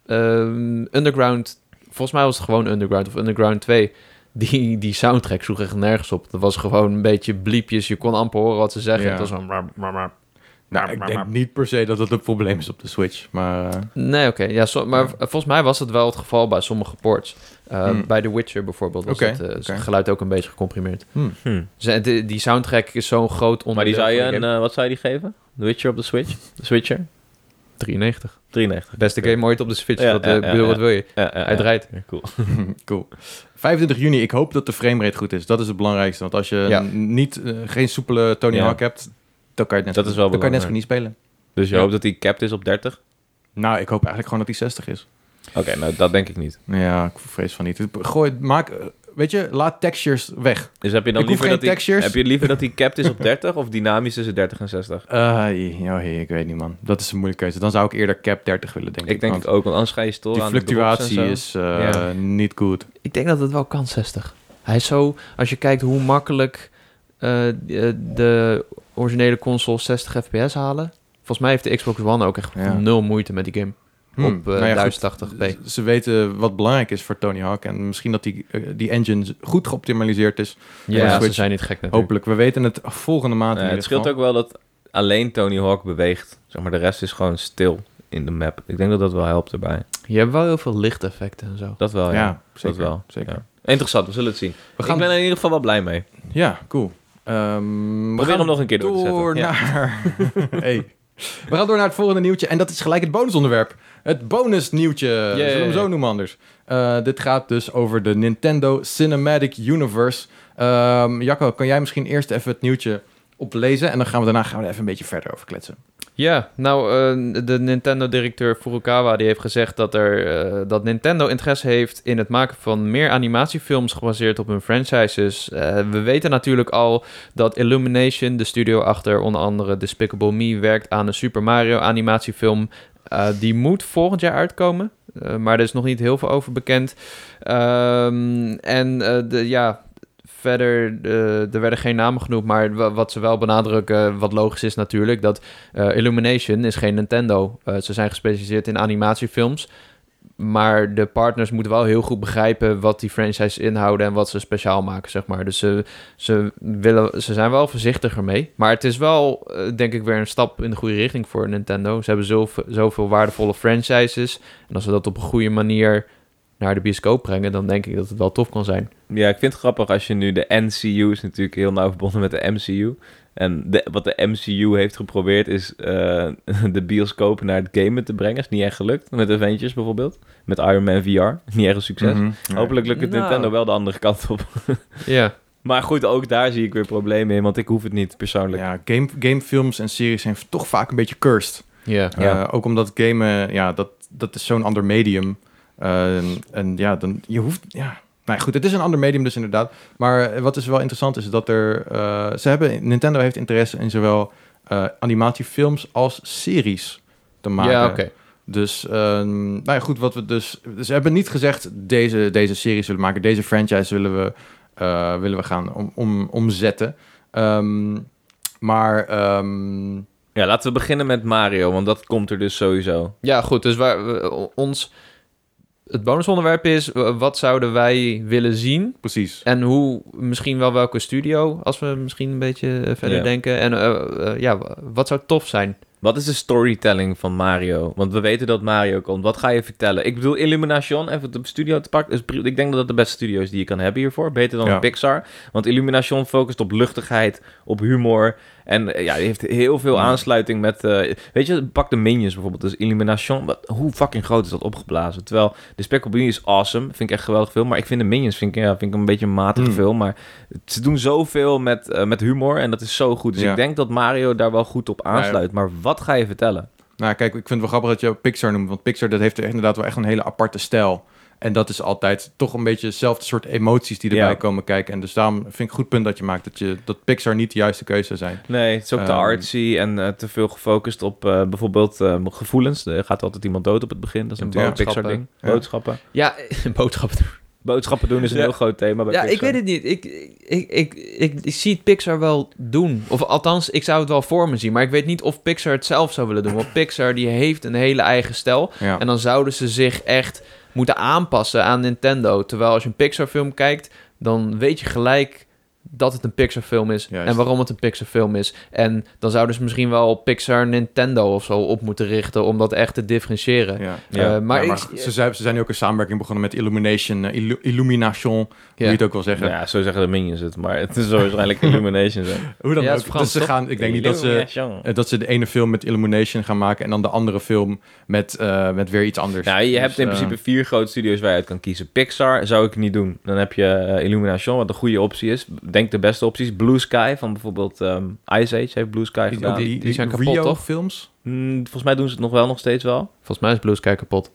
Speaker 2: ehm, Underground... Volgens mij was het gewoon Underground of Underground 2 die, die soundtrack sloeg echt nergens op. Dat was gewoon een beetje bliepjes. Je kon amper horen wat ze zeggen.
Speaker 1: Ja.
Speaker 2: Het was gewoon... rap, rap, rap.
Speaker 1: Nou, ik denk niet per se dat het een probleem is op de Switch, maar... eh,
Speaker 2: Nee, oké. Ja, so- maar v- volgens mij was het wel het geval bij sommige ports. Uh,
Speaker 1: Hmm.
Speaker 2: Bij The Witcher bijvoorbeeld was
Speaker 1: Oké,
Speaker 2: het, eh,
Speaker 1: oké.
Speaker 2: geluid ook een beetje gecomprimeerd.
Speaker 3: Hmm.
Speaker 2: Dus, eh, de- die soundtrack is zo'n groot onderdeel.
Speaker 3: Maar die zou je,
Speaker 2: van de
Speaker 3: een,
Speaker 2: game.
Speaker 3: eh, wat zou je die geven? The Witcher op de Switch? De Switcher?
Speaker 2: 93.
Speaker 3: 93.
Speaker 2: Beste game ooit op de Switch.
Speaker 3: eh, Ja,
Speaker 2: dat, eh,
Speaker 3: ja,
Speaker 2: ik
Speaker 3: ja,
Speaker 2: bedoel,
Speaker 3: ja.
Speaker 2: wat wil je?
Speaker 3: Ja, ja,
Speaker 2: Hij
Speaker 3: ja.
Speaker 2: draait.
Speaker 3: Ja, Cool.
Speaker 1: eh, Cool. 25 juni, ik hoop dat de framerate goed is. Dat is het belangrijkste. Want als je
Speaker 2: Ja.
Speaker 1: n- niet, eh, geen soepele Tony
Speaker 3: Ja.
Speaker 1: Hawk hebt, dan kan je het net,
Speaker 3: Dat
Speaker 1: zo-
Speaker 3: is wel
Speaker 1: dan kan je net zo goed
Speaker 3: belangrijk.
Speaker 1: niet spelen.
Speaker 3: Dus je
Speaker 1: Ja.
Speaker 3: hoopt dat die capped is op 30?
Speaker 1: Nou, ik hoop eigenlijk gewoon dat hij 60 is.
Speaker 3: Oké, nou dat denk ik niet.
Speaker 1: Ja, ik vrees van niet. Gooi, maak, eh, weet je, laat textures weg.
Speaker 3: Dus heb je dan
Speaker 1: Ik hoef
Speaker 3: liever
Speaker 1: geen
Speaker 3: dat die,
Speaker 1: textures.
Speaker 3: Heb je liever dat die capped is op 30 of dynamisch tussen 30 en 60?
Speaker 1: Eh, joh, hey, ik weet niet, man. Dat is een moeilijke keuze. Dan zou ik eerder cap 30 willen, denk ik.
Speaker 3: Ik denk
Speaker 1: want
Speaker 3: het ook, want anders ga je storen
Speaker 1: die
Speaker 3: aan de drops en
Speaker 1: fluctuatie
Speaker 3: zo.
Speaker 1: is eh,
Speaker 3: Ja.
Speaker 1: niet goed.
Speaker 2: Ik denk dat het wel kan, 60. Hij is zo, als je kijkt hoe makkelijk eh, de originele console 60 fps halen. Volgens mij heeft de Xbox One ook echt
Speaker 1: Ja.
Speaker 2: nul moeite met die game.
Speaker 1: Hm,
Speaker 2: Op eh,
Speaker 1: nou ja, goed.
Speaker 2: 1080p.
Speaker 1: Ze weten wat belangrijk is voor Tony Hawk. En misschien dat die, eh, die engine goed geoptimaliseerd is.
Speaker 2: Ja,
Speaker 1: Ja,
Speaker 2: ze
Speaker 1: Switch.
Speaker 2: zijn niet gek natuurlijk.
Speaker 1: Hopelijk. We weten het volgende maand. in
Speaker 3: Eh,
Speaker 1: ieder
Speaker 3: het scheelt
Speaker 1: geval.
Speaker 3: ook wel dat alleen Tony Hawk beweegt. Zeg maar, de rest is gewoon stil in de map. Ik denk dat dat wel helpt erbij.
Speaker 2: Je hebt wel heel veel lichteffecten en zo.
Speaker 3: Dat wel, ja.
Speaker 1: ja,
Speaker 3: dat
Speaker 1: zeker.
Speaker 3: wel.
Speaker 1: zeker.
Speaker 3: ja. Interessant, we zullen het zien.
Speaker 1: We gaan,
Speaker 3: Ik ben er in ieder geval wel blij mee.
Speaker 1: Ja, cool. Ehm, we
Speaker 3: Probeer
Speaker 1: gaan
Speaker 3: hem nog een keer door te
Speaker 1: door
Speaker 3: zetten.
Speaker 1: naar... hey. We gaan door naar het volgende nieuwtje. En dat is gelijk het bonusonderwerp. Het bonusnieuwtje. Zullen we hem zo noemen anders. Eh, dit gaat dus over de Nintendo Cinematic Universe. Ehm, Jacco, kan jij misschien eerst even het nieuwtje oplezen? En dan gaan we daarna gaan we er even een beetje verder over kletsen.
Speaker 2: Ja, nou, eh, de Nintendo-directeur Furukawa die heeft gezegd dat, er, eh, dat Nintendo interesse heeft in het maken van meer animatiefilms gebaseerd op hun franchises. Eh, we weten natuurlijk al dat Illumination, de studio achter onder andere Despicable Me, werkt aan een Super Mario animatiefilm. Eh, die moet volgend jaar uitkomen, eh, maar er is nog niet heel veel over bekend. Ehm, en eh, de, ja, verder, eh, er werden geen namen genoemd, maar wa- wat ze wel benadrukken, wat logisch is natuurlijk, dat eh, Illumination is geen Nintendo. Eh, ze zijn gespecialiseerd in animatiefilms. Maar de partners moeten wel heel goed begrijpen wat die franchise inhouden en wat ze speciaal maken, zeg maar. Dus ze, ze, willen, ze zijn wel voorzichtiger mee. Maar het is wel, eh, denk ik, weer een stap in de goede richting voor Nintendo. Ze hebben zoveel, zoveel waardevolle franchises. En als ze dat op een goede manier naar de bioscoop brengen, dan denk ik dat het wel tof kan zijn.
Speaker 3: Ja, ik vind het grappig als je nu de NCU is natuurlijk heel nauw verbonden met de MCU. En de, wat de MCU heeft geprobeerd is eh, de bioscoop naar het gamen te brengen. Is niet echt gelukt. Met Avengers bijvoorbeeld. Met Iron Man VR. Niet echt een succes.
Speaker 1: Mhm.
Speaker 3: Hopelijk lukt het
Speaker 2: Nou.
Speaker 3: Nintendo wel de andere kant op.
Speaker 2: Ja,
Speaker 3: Maar goed, ook daar zie ik weer problemen in. Want ik hoef het niet persoonlijk.
Speaker 1: Ja, game, gamefilms en series zijn toch vaak een beetje cursed.
Speaker 2: ja.
Speaker 3: Ja.
Speaker 1: Eh, ook omdat gamen, ja, dat, dat is zo'n ander medium. Eh, en ja, dan, je hoeft... Ja. Nou ja, goed, het is een ander medium dus inderdaad. Maar eh, wat is wel interessant is dat er... eh, ze hebben, Nintendo heeft interesse in zowel eh, animatiefilms als series te maken.
Speaker 2: ja, oké.
Speaker 1: Dus, ehm, nou ja, goed, wat we dus... Ze hebben niet gezegd, deze, deze serie zullen we maken, deze franchise willen we, eh, willen we gaan om, om, omzetten. Ehm, maar, ehm,
Speaker 3: Ja, laten we beginnen met Mario, want dat komt er dus sowieso.
Speaker 2: Ja, goed. Dus waar we- ons. Het bonusonderwerp is: eh, wat zouden wij willen zien?
Speaker 1: precies.
Speaker 2: En hoe, misschien wel welke studio, als we misschien een beetje eh, verder
Speaker 3: Ja.
Speaker 2: denken. En eh, eh, ja, wat zou tof zijn?
Speaker 3: Wat is de storytelling van Mario? Want we weten dat Mario komt. Wat ga je vertellen? Ik bedoel, Illumination, even de studio te pakken. Is, pri- ik denk dat dat de beste studio is die je kan hebben hiervoor. Beter dan
Speaker 1: Ja.
Speaker 3: Pixar. Want Illumination focust op luchtigheid, op humor. En eh, ja, die heeft heel veel
Speaker 1: Ja.
Speaker 3: aansluiting met... eh, weet je, pak de Minions bijvoorbeeld. Dus Illumination, wat, hoe fucking groot is dat opgeblazen? Terwijl Despicable Me is awesome. Vind ik echt geweldig film. Maar ik vind de Minions vind ik, ja, vind ik een beetje een matige
Speaker 1: Hmm.
Speaker 3: film. Maar ze doen zoveel met, eh, met humor en dat is zo goed. Dus
Speaker 1: Ja.
Speaker 3: ik denk dat Mario daar wel goed op aansluit. Maar wat ga je vertellen?
Speaker 1: Nou, kijk, ik vind het wel grappig dat je Pixar noemt. Want Pixar dat heeft inderdaad wel echt een hele aparte stijl. En dat is altijd toch een beetje hetzelfde soort emoties die erbij
Speaker 3: Ja.
Speaker 1: komen kijken. En dus daarom vind ik een goed punt dat je maakt dat, je, dat Pixar niet de juiste keuze zou zijn.
Speaker 3: Nee, het is ook te
Speaker 1: Ehm,
Speaker 3: artsy en eh, te veel gefocust op eh, bijvoorbeeld eh, gevoelens. Er gaat altijd iemand dood op het begin. Dat is een
Speaker 1: Ja.
Speaker 3: Pixar ding.
Speaker 1: Ja.
Speaker 3: Boodschappen.
Speaker 2: Ja, boodschappen.
Speaker 3: Boodschappen doen is een
Speaker 2: Ja.
Speaker 3: heel groot thema bij
Speaker 2: Ja,
Speaker 3: Pixar.
Speaker 2: ik weet het niet. Ik, ik, ik, ik, ik zie het Pixar wel doen. Of althans, ik zou het wel voor me zien. Maar ik weet niet of Pixar het zelf zou willen doen. Want Pixar die heeft een hele eigen stijl.
Speaker 1: Ja.
Speaker 2: En dan zouden ze zich echt moeten aanpassen aan Nintendo. Terwijl als je een Pixar film kijkt, dan weet je gelijk dat het een Pixar film is.
Speaker 1: Juist.
Speaker 2: En waarom het een Pixar film is. En dan zouden ze misschien wel Pixar Nintendo of zo op moeten richten. Om dat echt te differentiëren.
Speaker 1: Ja.
Speaker 3: Ja.
Speaker 2: Eh, maar
Speaker 1: Ja,
Speaker 2: ik-
Speaker 1: maar ze, zijn, ze zijn nu ook een samenwerking begonnen met Illumination, eh, Illu- Illumination, hoe
Speaker 2: Ja.
Speaker 1: je het ook wil zeggen.
Speaker 3: Nou Ja, zo zeggen de Minions het, maar het is zo waarschijnlijk Illumination. Zijn.
Speaker 1: Hoe dan
Speaker 2: Ja, het
Speaker 1: ook.
Speaker 2: is Frans,
Speaker 1: dus ze
Speaker 2: toch?
Speaker 1: gaan, ik denk niet dat ze,
Speaker 3: Illumination.
Speaker 1: eh, dat ze de ene film met Illumination gaan maken en dan de andere film met, eh, met weer iets anders.
Speaker 3: Nou, je
Speaker 1: Dus,
Speaker 3: hebt in
Speaker 1: eh,
Speaker 3: principe vier grote studios waar je uit kan kiezen. Pixar zou ik niet doen. Dan heb je eh, Illumination, wat een goede optie is. Denk de beste opties. Blue Sky van bijvoorbeeld ehm, Ice Age heeft Blue Sky
Speaker 1: die,
Speaker 3: gedaan.
Speaker 1: die,
Speaker 2: die
Speaker 1: die
Speaker 2: zijn kapot,
Speaker 1: Rio
Speaker 2: toch?
Speaker 1: films?
Speaker 3: Mm, volgens mij doen ze het nog wel nog steeds wel.
Speaker 2: Volgens mij is Blue Sky kapot.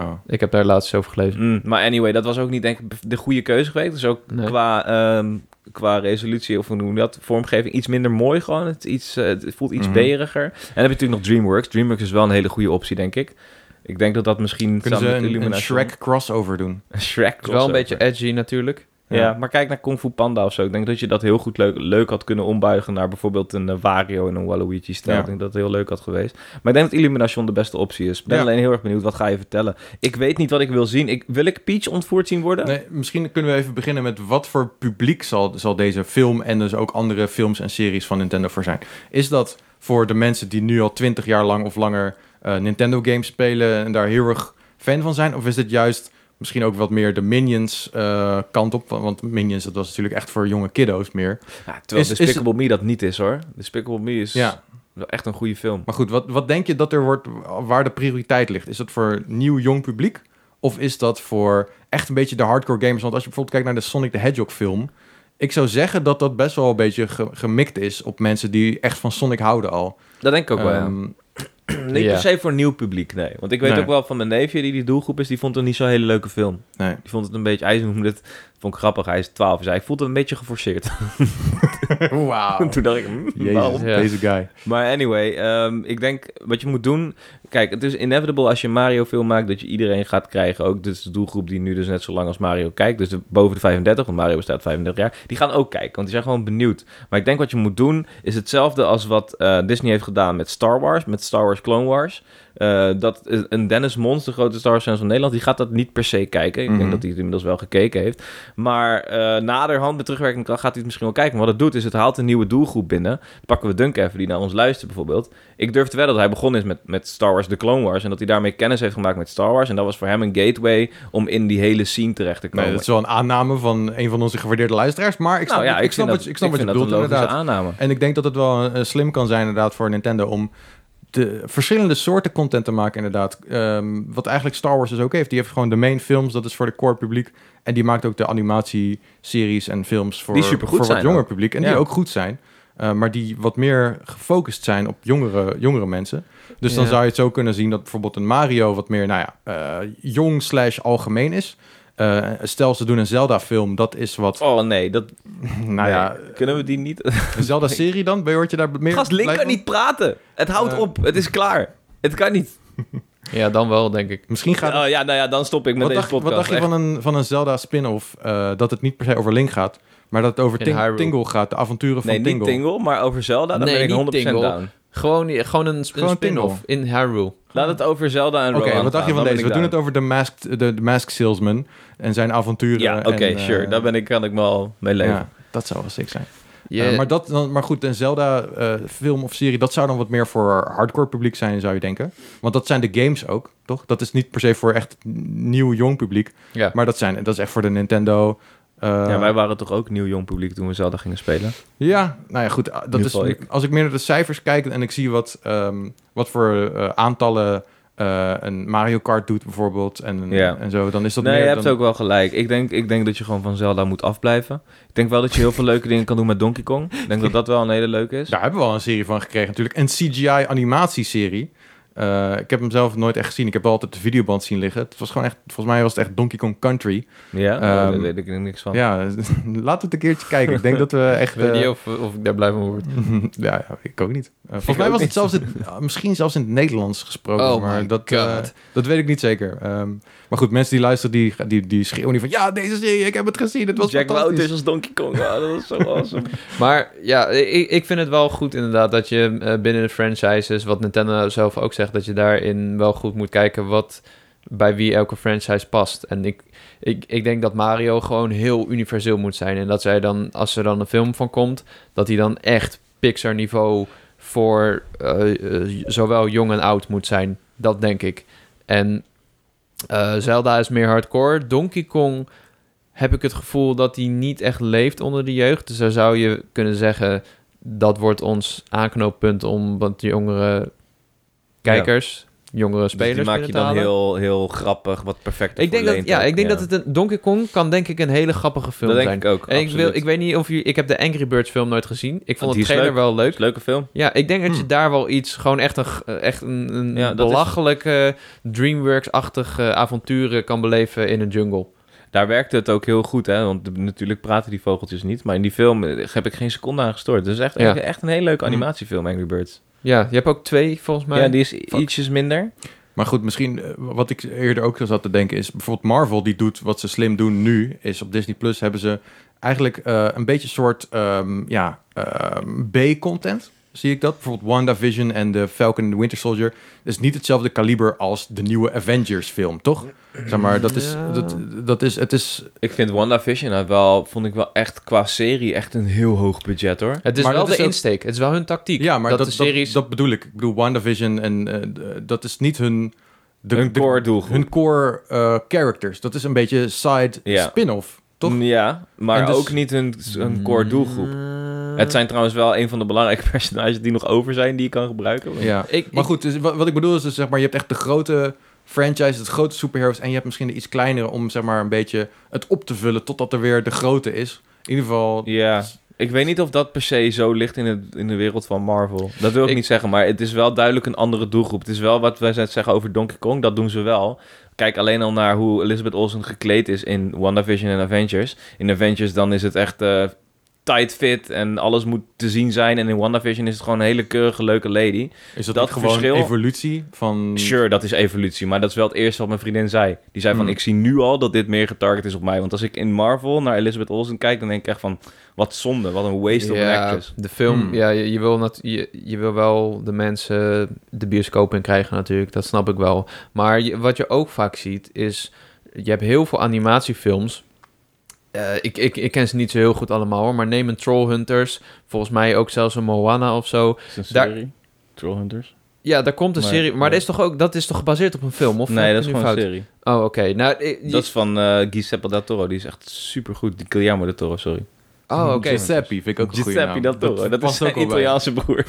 Speaker 1: Oh.
Speaker 2: Ik heb daar laatst over gelezen.
Speaker 3: Mm, maar anyway, dat was ook niet denk ik de goede keuze geweest. Dus ook
Speaker 2: Nee.
Speaker 3: qua, ehm, qua resolutie of hoe noem je dat, vormgeving iets minder mooi gewoon. Het, is iets, eh, het voelt iets
Speaker 1: Mhm.
Speaker 3: beriger. En dan heb je natuurlijk nog DreamWorks. DreamWorks is wel een hele goede optie, denk ik. Ik denk dat dat misschien
Speaker 1: Kunnen ze
Speaker 3: samen met
Speaker 1: een, een
Speaker 3: Illumination-
Speaker 1: Shrek crossover doen?
Speaker 3: Shrek
Speaker 2: Het is wel een
Speaker 3: crossover.
Speaker 2: beetje edgy natuurlijk.
Speaker 3: Ja, maar kijk naar Kung Fu Panda of zo. Ik denk dat je dat heel goed leuk, leuk had kunnen ombuigen naar bijvoorbeeld een eh, Wario en een Waluigi stijl.
Speaker 1: Ja.
Speaker 3: Ik denk dat het heel leuk had geweest. Maar ik denk dat Illumination de beste optie is. Ik ben
Speaker 1: Ja.
Speaker 3: alleen heel erg benieuwd, wat ga je vertellen? Ik weet niet wat ik wil zien. Ik, wil ik Peach ontvoerd zien worden?
Speaker 1: Nee, misschien kunnen we even beginnen met wat voor publiek zal, zal deze film en dus ook andere films en series van Nintendo voor zijn. Is dat voor de mensen die nu al 20 jaar lang of langer eh, Nintendo games spelen en daar heel erg fan van zijn? Of is dit juist misschien ook wat meer de Minions eh, kant op? Want- Want Minions, dat was natuurlijk echt voor jonge kiddo's meer.
Speaker 3: Ja, terwijl
Speaker 1: Is- is
Speaker 3: Despicable Me dat niet is hoor. Despicable Me is
Speaker 1: Ja,
Speaker 3: wel echt een goede film.
Speaker 1: maar goed, wat, wat denk je dat er wordt, waar de prioriteit ligt? Is dat voor nieuw jong publiek? Of is dat voor echt een beetje de hardcore gamers? Want als je bijvoorbeeld kijkt naar de Sonic the Hedgehog film... Ik zou zeggen dat dat best wel een beetje ge- gemikt is op mensen die echt van Sonic houden al.
Speaker 3: Dat denk ik ook wel. ja.
Speaker 1: Ehm,
Speaker 3: Niet
Speaker 2: ja.
Speaker 3: per se voor nieuw publiek, nee. Want ik weet
Speaker 1: Nee.
Speaker 3: ook wel van mijn neefje die die doelgroep is, die vond het een niet zo'n hele leuke film.
Speaker 1: nee.
Speaker 3: Die vond het een beetje, hij noemde het, vond ik grappig, hij is 12. Hij zei, ik voelde het een beetje geforceerd.
Speaker 1: Wauw.
Speaker 3: Toen dacht ik, hm, waarom?
Speaker 1: Jezus,
Speaker 2: Ja.
Speaker 1: deze guy.
Speaker 3: Maar anyway, ehm, ik denk wat je moet doen. Kijk, het is inevitable als je een Mario-film maakt dat je iedereen gaat krijgen. Ook dit is de doelgroep die nu dus net zo lang als Mario kijkt. Dus de, boven de 35, want Mario bestaat 35 jaar. Die gaan ook kijken, want die zijn gewoon benieuwd. Maar ik denk wat je moet doen is hetzelfde als wat eh, Disney heeft gedaan met Star Wars. Met Star Wars Clone Wars. Eh, dat is een Dennis Mons, de grote Star Wars fan van Nederland, die gaat dat niet per se kijken. Ik
Speaker 1: Mhm.
Speaker 3: denk dat hij het inmiddels wel gekeken heeft. Maar eh naderhand, met terugwerkende kracht, gaat hij het misschien wel kijken. Maar wat het doet, is het haalt een nieuwe doelgroep binnen. Pakken we Dunk even, die naar ons luistert bijvoorbeeld. Ik durf te wedden dat hij begonnen is met, met Star Wars The Clone Wars. En dat hij daarmee kennis heeft gemaakt met Star Wars. En dat was voor hem een gateway om in die hele scene terecht te komen.
Speaker 1: Nee, dat is wel een aanname van een van onze gewaardeerde luisteraars. Maar ik snap,
Speaker 3: Nou ja,
Speaker 1: ik, snap
Speaker 3: vind
Speaker 1: wat, je-
Speaker 3: dat-
Speaker 1: ik snap wat je
Speaker 3: vind
Speaker 1: bedoelt
Speaker 3: dat een logische
Speaker 1: inderdaad.
Speaker 3: aanname.
Speaker 1: En ik denk dat het wel eh, slim kan zijn inderdaad voor Nintendo om de verschillende soorten content te maken inderdaad. Ehm, wat eigenlijk Star Wars dus ook heeft. Die heeft gewoon de main films, dat is voor de core publiek. En die maakt ook de animatieseries en films voor,
Speaker 3: Die supergoed
Speaker 1: voor wat
Speaker 3: zijn
Speaker 1: jonger
Speaker 3: ook.
Speaker 1: publiek. En
Speaker 3: Ja.
Speaker 1: die ook goed zijn. eh, maar die wat meer gefocust zijn op jongere, jongere mensen. Dus dan
Speaker 2: Ja.
Speaker 1: zou je het zo kunnen zien dat bijvoorbeeld een Mario wat meer, nou ja, eh, jong slash algemeen is. Eh, stel, ze doen een Zelda-film, dat is wat,
Speaker 3: Oh nee, dat
Speaker 1: nou ja,
Speaker 3: nee. kunnen we die niet.
Speaker 1: een Zelda-serie dan? Hoort je daar meer
Speaker 3: Gast, Link
Speaker 1: blij
Speaker 3: kan
Speaker 1: van?
Speaker 3: niet praten. Het houdt
Speaker 1: Eh.
Speaker 3: op. Het is klaar. Het kan niet.
Speaker 2: Ja, dan wel, denk ik.
Speaker 1: Misschien gaat
Speaker 3: Oh ja, nou ja, dan stop ik met
Speaker 1: wat,
Speaker 3: deze
Speaker 1: dacht, wat
Speaker 3: podcast.
Speaker 1: dacht je
Speaker 3: echt.
Speaker 1: van een, van een Zelda spin-off? eh, dat het niet per se over Link gaat, maar dat het over
Speaker 2: In
Speaker 1: Ting-
Speaker 2: Hyrule.
Speaker 1: Tingle gaat. De avonturen van
Speaker 3: Nee,
Speaker 1: Tingle.
Speaker 3: niet Tingle, maar over Zelda. Dan
Speaker 2: Nee,
Speaker 3: ben ik
Speaker 2: niet
Speaker 3: 100%
Speaker 2: Tingle.
Speaker 3: down.
Speaker 2: Gewoon, gewoon een,
Speaker 1: Gewoon
Speaker 2: een spin-off in Hyrule.
Speaker 3: Laat het over Zelda en
Speaker 1: Oké,
Speaker 3: Rowan
Speaker 1: wat dacht je
Speaker 3: gaan,
Speaker 1: van
Speaker 3: dan
Speaker 1: deze? We
Speaker 3: ben
Speaker 1: doen
Speaker 3: ik
Speaker 1: het over de Masked, de, de Masked Salesman en zijn avonturen.
Speaker 3: down. Ja, oké,
Speaker 1: en, eh,
Speaker 3: sure. Daar ben ik, kan ik me al mee leven.
Speaker 1: ja, dat zou wel sick zijn.
Speaker 2: Je,
Speaker 1: Eh, maar, dat, dan, maar goed, een Zelda-film of serie, dat zou dan wat meer voor hardcore publiek zijn, zou je denken. Want dat zijn de games ook, toch? Dat is niet per se voor echt nieuw, jong publiek.
Speaker 2: ja.
Speaker 1: Maar dat, zijn, dat is echt voor de Nintendo. eh,
Speaker 3: ja, wij waren toch ook nieuw jong publiek toen we Zelda gingen spelen.
Speaker 1: Ja, nou ja, goed. ah, Dat
Speaker 3: Nu
Speaker 1: is,
Speaker 3: val ik.
Speaker 1: als ik meer naar de cijfers kijk en ik zie wat, ehm, wat voor eh, aantallen eh, een Mario Kart doet bijvoorbeeld en,
Speaker 3: Ja.
Speaker 1: en zo, dan is dat
Speaker 3: nee,
Speaker 1: meer
Speaker 3: je hebt
Speaker 1: dan...
Speaker 3: ook wel gelijk. Ik denk, ik denk dat je gewoon van Zelda moet afblijven. Ik denk wel dat je heel veel leuke dingen kan doen met Donkey Kong. Ik denk dat dat wel een hele leuke is.
Speaker 1: Daar hebben we al een serie van gekregen natuurlijk. Een CGI-animatieserie. Eh ik heb hem zelf nooit echt gezien. Ik heb wel altijd de videoband zien liggen. Het was gewoon echt, volgens mij was het echt Donkey Kong Country.
Speaker 3: Ja,
Speaker 1: Ehm,
Speaker 3: daar weet ik niks van.
Speaker 1: Ja, laten we het een keertje kijken. Ik denk dat we echt...
Speaker 2: Ik weet
Speaker 1: eh,
Speaker 2: niet of, of ik daar blij van word.
Speaker 1: ja, ja, ik ook niet. Eh, volgens
Speaker 2: Ik
Speaker 1: mij
Speaker 2: ook
Speaker 1: was het
Speaker 2: niet.
Speaker 1: zelfs in- ah, misschien zelfs in het Nederlands gesproken.
Speaker 2: Oh
Speaker 1: maar
Speaker 2: my
Speaker 1: dat, eh,
Speaker 2: God.
Speaker 1: dat weet ik niet zeker. Ehm, maar goed, mensen die luisteren, die, die, die schreeuwen niet van... Ja, deze serie, ik heb het gezien. Het was
Speaker 3: Jack
Speaker 1: fantastisch.
Speaker 3: Wouters als Donkey Kong. Ja, dat is zo awesome.
Speaker 2: Maar ja, ik, ik vind het wel goed inderdaad dat je eh, binnen de franchises, wat Nintendo zelf ook zegt, dat je daarin wel goed moet kijken wat bij wie elke franchise past. En ik, ik, ik denk dat Mario gewoon heel universeel moet zijn. En dat zij dan, als er dan een film van komt, dat die dan echt Pixar niveau voor eh, eh, zowel jong en oud moet zijn. Dat denk ik. En eh, Zelda is meer hardcore. Donkey Kong heb ik het gevoel dat die niet echt leeft onder de jeugd. Dus daar zou je kunnen zeggen, dat wordt ons aanknooppunt om wat jongere kijkers, jongere
Speaker 3: Dus
Speaker 2: spelers
Speaker 3: die maak
Speaker 2: binnen
Speaker 3: je
Speaker 2: te
Speaker 3: dan
Speaker 2: halen.
Speaker 3: heel, heel grappig, wat perfect
Speaker 2: Ik denk
Speaker 3: ervoor
Speaker 2: dat,
Speaker 3: leent
Speaker 2: ja,
Speaker 3: ook.
Speaker 2: ik denk dat het een Donkey Kong kan denk ik een hele grappige film
Speaker 3: Dat denk
Speaker 2: zijn.
Speaker 3: ik ook,
Speaker 2: en ik, wil,
Speaker 3: absoluut. Oh,
Speaker 2: ik weet niet of je, ik heb de Angry Birds film nooit gezien. Ik vond
Speaker 3: Die
Speaker 2: het
Speaker 3: is
Speaker 2: trailer
Speaker 3: leuk.
Speaker 2: wel leuk.
Speaker 3: Is een Leuke film.
Speaker 2: Ja, ik denk dat je
Speaker 1: Hmm.
Speaker 2: daar wel iets, gewoon echt een, g- echt een, een
Speaker 3: Ja, dat is-
Speaker 2: belachelijke DreamWorks-achtige avonturen kan beleven in een jungle.
Speaker 3: Daar werkte het ook heel goed, hè? Want de- natuurlijk praten die vogeltjes niet. Maar in die film eh, heb ik geen seconde aan gestoord. Het is echt,
Speaker 2: Ja.
Speaker 3: echt een hele leuke animatiefilm, Angry Birds.
Speaker 2: Ja, je hebt ook twee volgens mij.
Speaker 3: ja, die is
Speaker 2: fuck.
Speaker 3: ietsjes minder.
Speaker 1: Maar goed, misschien eh, wat ik eerder ook zat te denken is... bijvoorbeeld Marvel, die doet wat ze slim doen nu... is op Disney Plus hebben ze eigenlijk eh, een beetje een soort ehm, ja, ehm, B-content... Zie ik dat? Bijvoorbeeld WandaVision en de Falcon and the Winter Soldier. is niet hetzelfde kaliber als de nieuwe Avengers film, toch? Zeg maar, dat is,
Speaker 2: Ja.
Speaker 1: dat, dat is, het is...
Speaker 3: Ik vind WandaVision had wel, vond ik wel echt qua serie echt een heel hoog budget, hoor.
Speaker 2: Het is
Speaker 1: Maar
Speaker 2: wel
Speaker 1: dat
Speaker 2: de
Speaker 1: is ook-
Speaker 2: insteek. Het is wel hun tactiek.
Speaker 1: Ja, maar dat,
Speaker 2: dat,
Speaker 1: dat,
Speaker 2: de series...
Speaker 1: dat bedoel ik. Ik bedoel, WandaVision en eh, d- dat is niet hun... De,
Speaker 3: Hun
Speaker 1: de-
Speaker 3: core doelgroep.
Speaker 1: Hun core eh, characters. Dat is een beetje side
Speaker 3: Ja.
Speaker 1: spin-off, toch?
Speaker 3: Ja, maar
Speaker 1: En dus-
Speaker 3: ook niet een, een core doelgroep. Het zijn trouwens wel een van de belangrijke personages die nog over zijn, die je kan gebruiken. Want-
Speaker 1: Ja.
Speaker 2: Ik,
Speaker 1: Maar
Speaker 2: ik-
Speaker 1: goed, dus wat, wat ik bedoel is dus zeg maar, je hebt echt de grote franchise, de grote superheroes en je hebt misschien de iets kleinere om zeg maar een beetje het op te vullen totdat er weer de grote is. In ieder geval,
Speaker 3: Ja, ik weet niet of dat per se zo ligt in, het, in de wereld van Marvel. Dat wil ik,
Speaker 2: Ik-
Speaker 3: niet zeggen, maar het is wel duidelijk een andere doelgroep. Het is wel wat wij net zeggen over Donkey Kong, dat doen ze wel. Kijk alleen al naar hoe Elizabeth Olsen gekleed is in WandaVision en Avengers. In Avengers dan is het echt eh, tight fit en alles moet te zien zijn. En in WandaVision is het gewoon een hele keurige, leuke lady.
Speaker 1: is dat,
Speaker 3: Dat
Speaker 1: niet gewoon
Speaker 3: verschil-
Speaker 1: evolutie van...
Speaker 2: Hmm.
Speaker 3: Sure, dat is evolutie, maar dat is wel het eerste wat mijn vriendin zei. Die zei van,
Speaker 1: Hmm.
Speaker 3: ik zie nu al dat dit meer getarget is op mij. Want als ik in Marvel naar Elizabeth Olsen kijk, dan denk ik echt van... Wat zonde, wat een waste of an
Speaker 2: ja,
Speaker 3: actress.
Speaker 2: de film,
Speaker 1: Hmm.
Speaker 2: ja, je, je wil nat- je, je wil wel de mensen de bioscoop in krijgen natuurlijk, dat snap ik wel. Maar je- wat je ook vaak ziet is, je hebt heel veel animatiefilms. Eh, ik, ik, ik ken ze niet zo heel goed allemaal hoor, maar neem een Trollhunters, volgens mij ook zelfs een Moana of zo.
Speaker 3: Is het een
Speaker 2: Daar-
Speaker 3: serie? Trollhunters?
Speaker 2: Ja, daar komt een
Speaker 3: Nee,
Speaker 2: serie, maar
Speaker 3: nee.
Speaker 2: dat is toch ook, dat is toch gebaseerd op een film? Of
Speaker 3: nee,
Speaker 2: heb
Speaker 3: dat is
Speaker 2: ik
Speaker 3: gewoon
Speaker 2: nu
Speaker 3: een
Speaker 2: fout?
Speaker 3: serie.
Speaker 2: Oh, oké. Nou, eh, je-
Speaker 3: Dat is van eh Giuseppe del Toro. Die is echt supergoed. Die Guillermo del Toro, sorry.
Speaker 2: oh, oké.
Speaker 1: Giuseppe vind ik ook een goede
Speaker 3: Giuseppe
Speaker 1: naam.
Speaker 3: del Toro. Dat,
Speaker 1: past
Speaker 3: is zijn
Speaker 1: wel bij.
Speaker 3: Italiaanse broer.